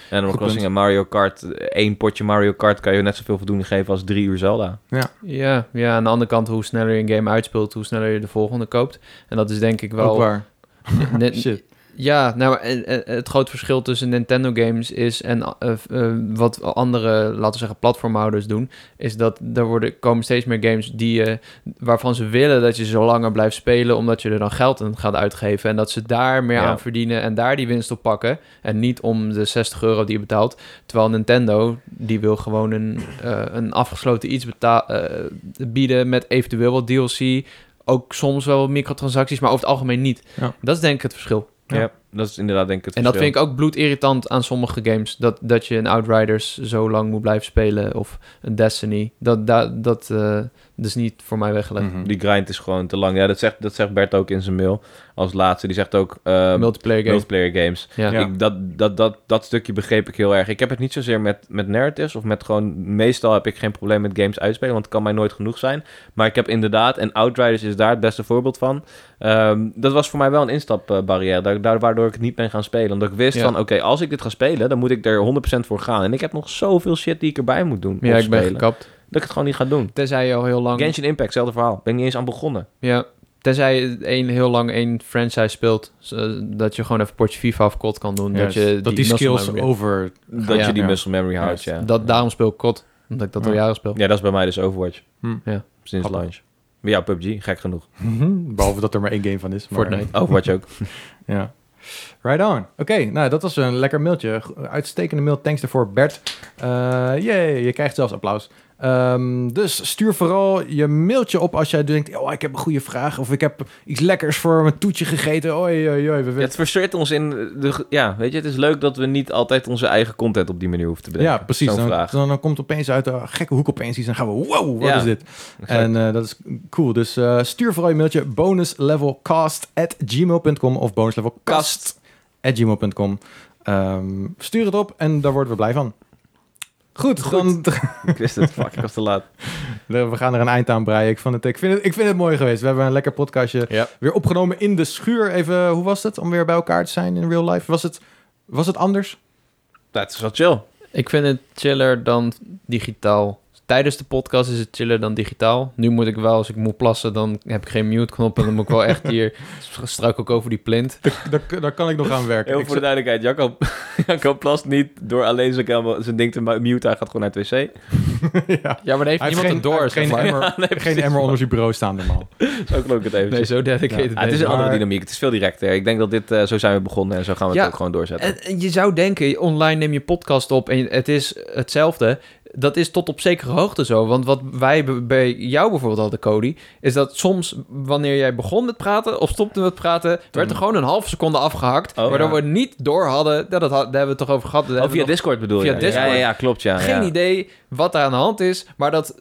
Speaker 3: En Animal
Speaker 1: goed
Speaker 3: Crossing
Speaker 1: punt.
Speaker 3: en Mario Kart, eh, één potje Mario Kart kan je net zoveel voldoening geven als drie uur Zelda.
Speaker 2: Ja, ja, aan de andere kant, hoe sneller je een game uitspeelt, hoe sneller je de volgende koopt. En dat is denk ik wel...
Speaker 1: ook waar.
Speaker 2: Net-
Speaker 1: Shit.
Speaker 2: Ja, nou, maar, eh, eh, het groot verschil tussen Nintendo games is en eh, eh, wat andere, laten we zeggen, platformhouders doen, is dat er worden, komen steeds meer games die, eh, waarvan ze willen dat je zo langer blijft spelen, omdat je er dan geld aan gaat uitgeven en dat ze daar meer
Speaker 3: Ja.
Speaker 2: aan verdienen en daar die winst op pakken en niet om de 60 euro die je betaalt. Terwijl Nintendo, die wil gewoon een, eh, een afgesloten iets beta- eh, bieden met eventueel wat DLC, ook soms wel microtransacties, maar over het algemeen niet.
Speaker 1: Ja.
Speaker 2: Dat is denk ik het verschil.
Speaker 1: Ja.
Speaker 3: Ja. dat is inderdaad denk ik het
Speaker 2: En dat vind ik ook bloedirritant aan sommige games. Dat, dat je een Outriders zo lang moet blijven spelen. Of een Destiny. Dat, dat, dat, eh, dat is niet voor mij weggelegd.
Speaker 1: Mhm.
Speaker 3: Die grind is gewoon te lang. Ja, dat zegt, dat zegt Bert ook in zijn mail als laatste. Die zegt ook eh,
Speaker 2: Multiplayer games.
Speaker 3: multiplayer games.
Speaker 2: ja.
Speaker 1: Ja.
Speaker 3: Ik, dat, dat, dat, dat stukje begreep ik heel erg. Ik heb het niet zozeer met, met narratives of met gewoon... Meestal heb ik geen probleem met games uitspelen, want het kan mij nooit genoeg zijn. Maar ik heb inderdaad, en Outriders is daar het beste voorbeeld van. ehm, dat was voor mij wel een instapbarrière, daar, daar, waardoor ik het niet ben gaan spelen. Omdat ik wist
Speaker 2: Ja.
Speaker 3: van, oké, als ik dit ga spelen, dan moet ik er 100% voor gaan. En ik heb nog zoveel shit die ik erbij moet doen.
Speaker 2: Ja,
Speaker 3: of
Speaker 2: ik ben
Speaker 3: spelen,
Speaker 2: gekapt.
Speaker 3: Dat ik het gewoon niet ga doen.
Speaker 2: Tenzij je al heel lang...
Speaker 3: Genshin Impact, hetzelfde verhaal. Ben ik niet eens aan begonnen.
Speaker 2: Ja. Tenzij je één, heel lang één franchise speelt. zo- dat je gewoon even een potje FIFA of COD kan doen. dat,
Speaker 1: Juist.
Speaker 2: je
Speaker 1: dat die
Speaker 2: muscle
Speaker 1: skills
Speaker 2: memory-
Speaker 1: over...
Speaker 3: Dat
Speaker 2: Ja.
Speaker 3: je die
Speaker 1: Ja.
Speaker 3: muscle memory houdt,
Speaker 1: Juist.
Speaker 3: ja.
Speaker 2: Dat, daarom speel ik COD. Omdat ik dat al
Speaker 1: Ja.
Speaker 2: jaren speel.
Speaker 3: Ja, dat is bij mij dus Overwatch.
Speaker 1: Hm.
Speaker 2: Ja.
Speaker 3: Sinds
Speaker 1: Grappig.
Speaker 3: launch. Maar ja, PUBG, gek genoeg.
Speaker 1: Behalve dat er maar één game van is. Maar,
Speaker 2: Fortnite.
Speaker 3: Overwatch ook.
Speaker 1: Ja. Right on. Oké, nou dat was een lekker mailtje. Go- Uitstekende mail. Thanks daarvoor, Bert. Eh yay, je krijgt zelfs applaus. Ehm, dus stuur vooral je mailtje op als jij denkt... oh, ik heb een goede vraag... of ik heb iets lekkers voor mijn toetje gegeten. Oei, oei, oei. We
Speaker 3: het frustreert ons in de... ge- Ja, weet je, het is leuk dat we niet altijd onze eigen content op die manier hoeven te bedenken.
Speaker 1: ja, precies.
Speaker 3: Zo'n
Speaker 1: Dan,
Speaker 3: vraag.
Speaker 1: dan, dan komt opeens uit de gekke hoek opeens iets... en gaan we, wow, wat
Speaker 3: Ja.
Speaker 1: is dit?
Speaker 3: Exact.
Speaker 1: En eh, dat is cool. Dus eh, stuur vooral je mailtje bonuslevelcast at gmail.com of bonuslevelcast at gmail.com. Ehm, stuur het op en daar worden we blij van. Goed, Dan,
Speaker 3: ik wist het. Fuck, ik was te laat.
Speaker 1: we gaan er een eind aan breien. Ik, vond het, ik, vind het, ik vind het mooi geweest. We hebben een lekker podcastje
Speaker 7: Ja.
Speaker 1: weer opgenomen in de schuur. Even, hoe was het om weer bij elkaar te zijn in real life? Was het, was het anders?
Speaker 3: Dat is wel chill.
Speaker 2: Ik vind het chiller dan digitaal. Tijdens de podcast is het chiller dan digitaal. Nu moet ik wel, als ik moet plassen, dan heb ik geen mute-knop. En dan moet ik wel echt hier, struikel ik over die plint.
Speaker 1: Daar, daar kan ik nog aan werken.
Speaker 3: Heel
Speaker 1: Ik
Speaker 3: voor de duidelijkheid, Jacob, Jacob plast niet door alleen zijn, camera- zijn ding te mu- mute. Hij gaat gewoon naar het wc.
Speaker 1: zou- ja.
Speaker 2: Ja, maar dan heeft
Speaker 1: Hij heeft
Speaker 2: niemand
Speaker 1: geen,
Speaker 2: een door.
Speaker 1: hij heeft geen,
Speaker 2: zeg maar.
Speaker 1: emmer, geen emmer onder zijn bureau staan normaal.
Speaker 3: Zo klonk het eventjes.
Speaker 2: Nee, zo dedicated
Speaker 1: Ja,
Speaker 3: Ah, het
Speaker 2: ben ik
Speaker 3: is een andere
Speaker 1: Maar-
Speaker 3: dynamiek. Het is veel directer. Ik denk dat dit... eh, zo zijn we begonnen en zo gaan we
Speaker 2: Ja.
Speaker 3: het ook gewoon
Speaker 2: wel. en,
Speaker 3: doorzetten.
Speaker 2: en je zou denken, online neem je podcast op en het is hetzelfde. Dat is tot op zekere hoogte zo. Want wat wij be- bij jou bijvoorbeeld hadden, Cody... is dat soms, wanneer jij begon met praten of stopte met praten... werd er gewoon een half seconde afgehakt.
Speaker 3: Oh,
Speaker 2: waardoor
Speaker 1: ja.
Speaker 2: we niet door hadden. Ja, dat had- daar hebben we het toch over gehad. Daar
Speaker 3: Oh,
Speaker 2: hebben we
Speaker 3: via
Speaker 2: nog-
Speaker 3: Discord bedoel
Speaker 2: via
Speaker 3: je?
Speaker 2: Discord.
Speaker 3: Ja, ja, ja, klopt, ja.
Speaker 2: geen
Speaker 3: ja.
Speaker 2: idee wat er aan de hand is, maar dat,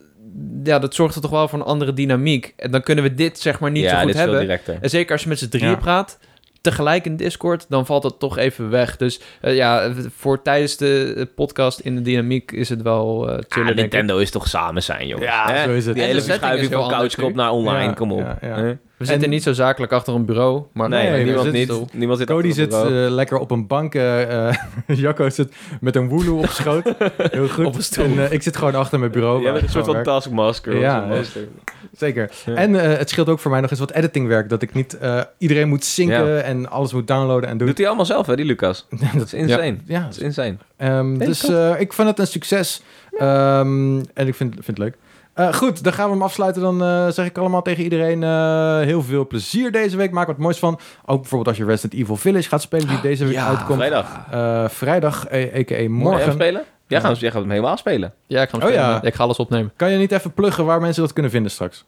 Speaker 2: ja, dat zorgt er toch wel voor een andere dynamiek. En dan kunnen we dit zeg maar niet
Speaker 3: ja,
Speaker 2: zo
Speaker 3: dit
Speaker 2: goed
Speaker 3: is veel
Speaker 2: hebben.
Speaker 3: directer.
Speaker 2: En zeker als je met z'n drieën
Speaker 1: Ja.
Speaker 2: praat, tegelijk in Discord, dan valt dat toch even weg. Dus eh, ja, voor tijdens de eh, podcast in de dynamiek is het wel eh chiller,
Speaker 3: Ah,
Speaker 2: denk ik.
Speaker 3: Nintendo is toch samen zijn, jongens.
Speaker 1: Ja,
Speaker 3: Hè?
Speaker 1: zo is het.
Speaker 3: Die
Speaker 1: En
Speaker 3: hele
Speaker 1: de setting
Speaker 3: verschuiving
Speaker 2: is heel
Speaker 3: van
Speaker 2: anders
Speaker 3: couchkop
Speaker 2: nu.
Speaker 3: naar online,
Speaker 1: Ja,
Speaker 3: kom op.
Speaker 1: ja, ja.
Speaker 3: Hè?
Speaker 2: We zitten
Speaker 1: En-
Speaker 2: niet zo zakelijk achter een bureau, maar
Speaker 3: Nee,
Speaker 1: Nee,
Speaker 3: niemand
Speaker 1: we
Speaker 3: niet.
Speaker 1: zitten
Speaker 3: Niemand zit
Speaker 1: Cody
Speaker 3: achter het
Speaker 1: zit
Speaker 3: bureau.
Speaker 1: eh, lekker op een bank. eh, eh, Jacco zit met een woeloe op schoot. Heel goed.
Speaker 2: Op een stoel.
Speaker 1: En eh, ik zit gewoon achter mijn bureau.
Speaker 3: Jij
Speaker 1: waar
Speaker 3: bent een
Speaker 1: ik
Speaker 3: soort van
Speaker 1: gewoon werk.
Speaker 3: taskmaster. of
Speaker 1: Ja,
Speaker 3: zo'n
Speaker 1: hè.
Speaker 3: master.
Speaker 1: Zeker.
Speaker 3: Ja.
Speaker 1: En eh, het scheelt ook voor mij nog eens wat editingwerk. Dat ik niet eh, iedereen moet zinken
Speaker 3: Ja.
Speaker 1: en alles moet downloaden en doen.
Speaker 3: Doet hij allemaal zelf, hè, die Lucas? Dat is insane.
Speaker 1: Ja,
Speaker 3: Dat is insane.
Speaker 1: Ehm,
Speaker 3: Nee,
Speaker 1: dus
Speaker 3: klopt.
Speaker 1: eh, ik vind het een succes. Ehm, en ik vind, vind het leuk. Eh, goed, dan gaan we hem afsluiten. Dan eh, zeg ik allemaal tegen iedereen eh, heel veel plezier deze week. Maak wat moois van. Ook bijvoorbeeld als je Resident Evil Village gaat spelen, die deze week
Speaker 2: Ja,
Speaker 1: uitkomt.
Speaker 3: Vrijdag.
Speaker 1: Eh, vrijdag, eh, a.k.a.
Speaker 3: Morgen. Jij hem
Speaker 1: morgen.
Speaker 3: spelen? Jij gaat, jij gaat hem helemaal spelen.
Speaker 2: ja, ik ga, hem
Speaker 1: Oh,
Speaker 2: spelen.
Speaker 1: ja.
Speaker 2: ik ga alles opnemen.
Speaker 1: Kan je niet even pluggen waar mensen dat kunnen vinden straks?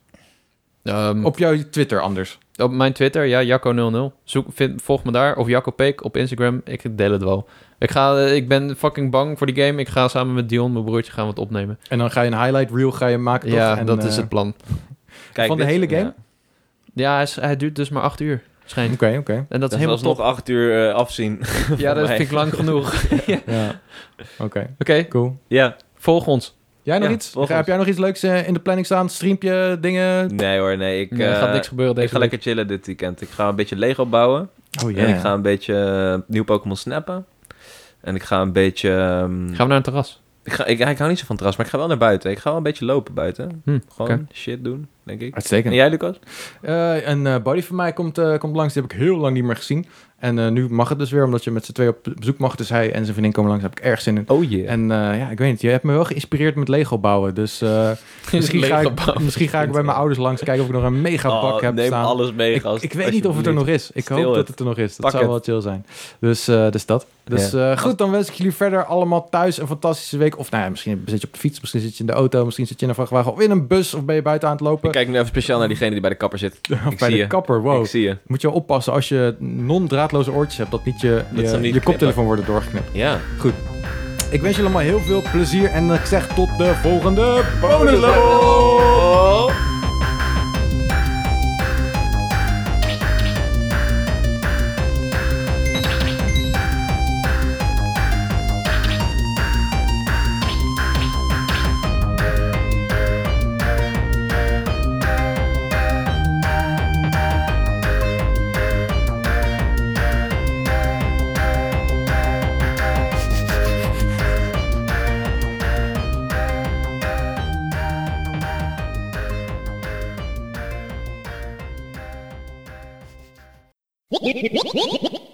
Speaker 2: Ehm, op,
Speaker 1: Op jouw Twitter anders.
Speaker 2: mijn Twitter, ja, Jacco00. Zoek, vind, volg me daar. Of Jacco Peek op Instagram. Ik deel het wel. Ik, ga, eh, ik ben fucking bang voor die game. Ik ga samen met Dion, mijn broertje, gaan we het opnemen.
Speaker 1: En dan ga je een highlight reel ga je maken. toch?
Speaker 2: Ja,
Speaker 1: En,
Speaker 2: dat
Speaker 1: eh,
Speaker 2: is het plan.
Speaker 3: Kijk,
Speaker 1: Van de
Speaker 3: dit-
Speaker 1: hele game?
Speaker 3: ja.
Speaker 2: Ja, hij, is- hij duurt dus maar acht uur.
Speaker 1: Oké,
Speaker 4: schijnt.
Speaker 1: oké.
Speaker 4: En dat is
Speaker 3: Dat
Speaker 4: helemaal
Speaker 3: was nog
Speaker 4: top.
Speaker 3: acht uur eh, afzien.
Speaker 4: Ja, dat
Speaker 3: mij.
Speaker 4: vind ik lang genoeg. Oké,
Speaker 1: Ja. Oké, cool.
Speaker 3: ja.
Speaker 4: volg ons.
Speaker 1: Jij nog
Speaker 3: Ja,
Speaker 1: iets?
Speaker 3: volgens-
Speaker 1: Heb jij nog iets leuks eh, in de planning staan? Streampje, dingen?
Speaker 3: Nee hoor, nee. Ik,
Speaker 4: Er gaat
Speaker 3: eh,
Speaker 4: niks gebeuren deze
Speaker 3: ik ga lekker chillen dit weekend. Ik ga een beetje Lego bouwen.
Speaker 1: Oh
Speaker 3: En ik ga een beetje eh, nieuw Pokémon snappen. En ik ga een beetje... ehm,
Speaker 4: week. Gaan we naar een terras?
Speaker 3: ik, ga, ik, ja, ik hou niet zo van terras, maar ik ga wel naar buiten. Ik ga wel een beetje lopen buiten.
Speaker 4: Hm,
Speaker 3: Gewoon
Speaker 4: oké.
Speaker 3: shit doen, denk ik. En
Speaker 1: Uitstekend.
Speaker 3: jij, Lucas?
Speaker 1: Eh, een eh, buddy van mij komt, eh, komt langs. Die heb ik heel lang niet meer gezien. En eh, nu mag het dus weer, omdat je met z'n twee op bezoek mag. Dus hij en zijn vriendin komen langs. Daar heb ik erg zin in.
Speaker 3: Oh jee.
Speaker 1: En eh, ja, ik weet niet. Je hebt me wel geïnspireerd met Lego bouwen. Dus eh, misschien, ga
Speaker 4: Lego
Speaker 1: ik, misschien ga ik bij mijn ouders langs kijken of ik nog een mega bak heb
Speaker 3: Oh, neem
Speaker 1: staan.
Speaker 3: alles mee,
Speaker 1: ik,
Speaker 3: gast.
Speaker 1: ik weet niet of het er nog is. Ik hoop
Speaker 3: Stil
Speaker 1: dat
Speaker 3: het.
Speaker 1: het er nog is. Dat
Speaker 3: Pak
Speaker 1: zou
Speaker 3: het.
Speaker 1: wel chill zijn. Dus, eh, dus dat. Dus eh, goed, dan wens ik jullie verder allemaal thuis een fantastische week. Of nou ja, misschien zit je op de fiets, misschien zit je in de auto, misschien zit je in een vrachtwagen of in een bus of ben je buiten aan het
Speaker 3: Ik
Speaker 1: lopen.
Speaker 3: kijk nu even speciaal naar diegene die bij de kapper zit.
Speaker 1: Of
Speaker 3: ik
Speaker 1: bij
Speaker 3: zie
Speaker 1: de
Speaker 3: je.
Speaker 1: kapper, wow.
Speaker 3: Ik zie je.
Speaker 1: Moet je wel oppassen als je non-draadloze oortjes hebt, dat niet je,
Speaker 3: Dat
Speaker 1: je,
Speaker 3: ze hem niet
Speaker 1: je
Speaker 3: knippen.
Speaker 1: koptelefoon worden doorgeknipt.
Speaker 3: Ja.
Speaker 1: Ik wens jullie allemaal heel veel plezier en ik zeg tot de volgende bonus
Speaker 3: Hallo!
Speaker 6: What?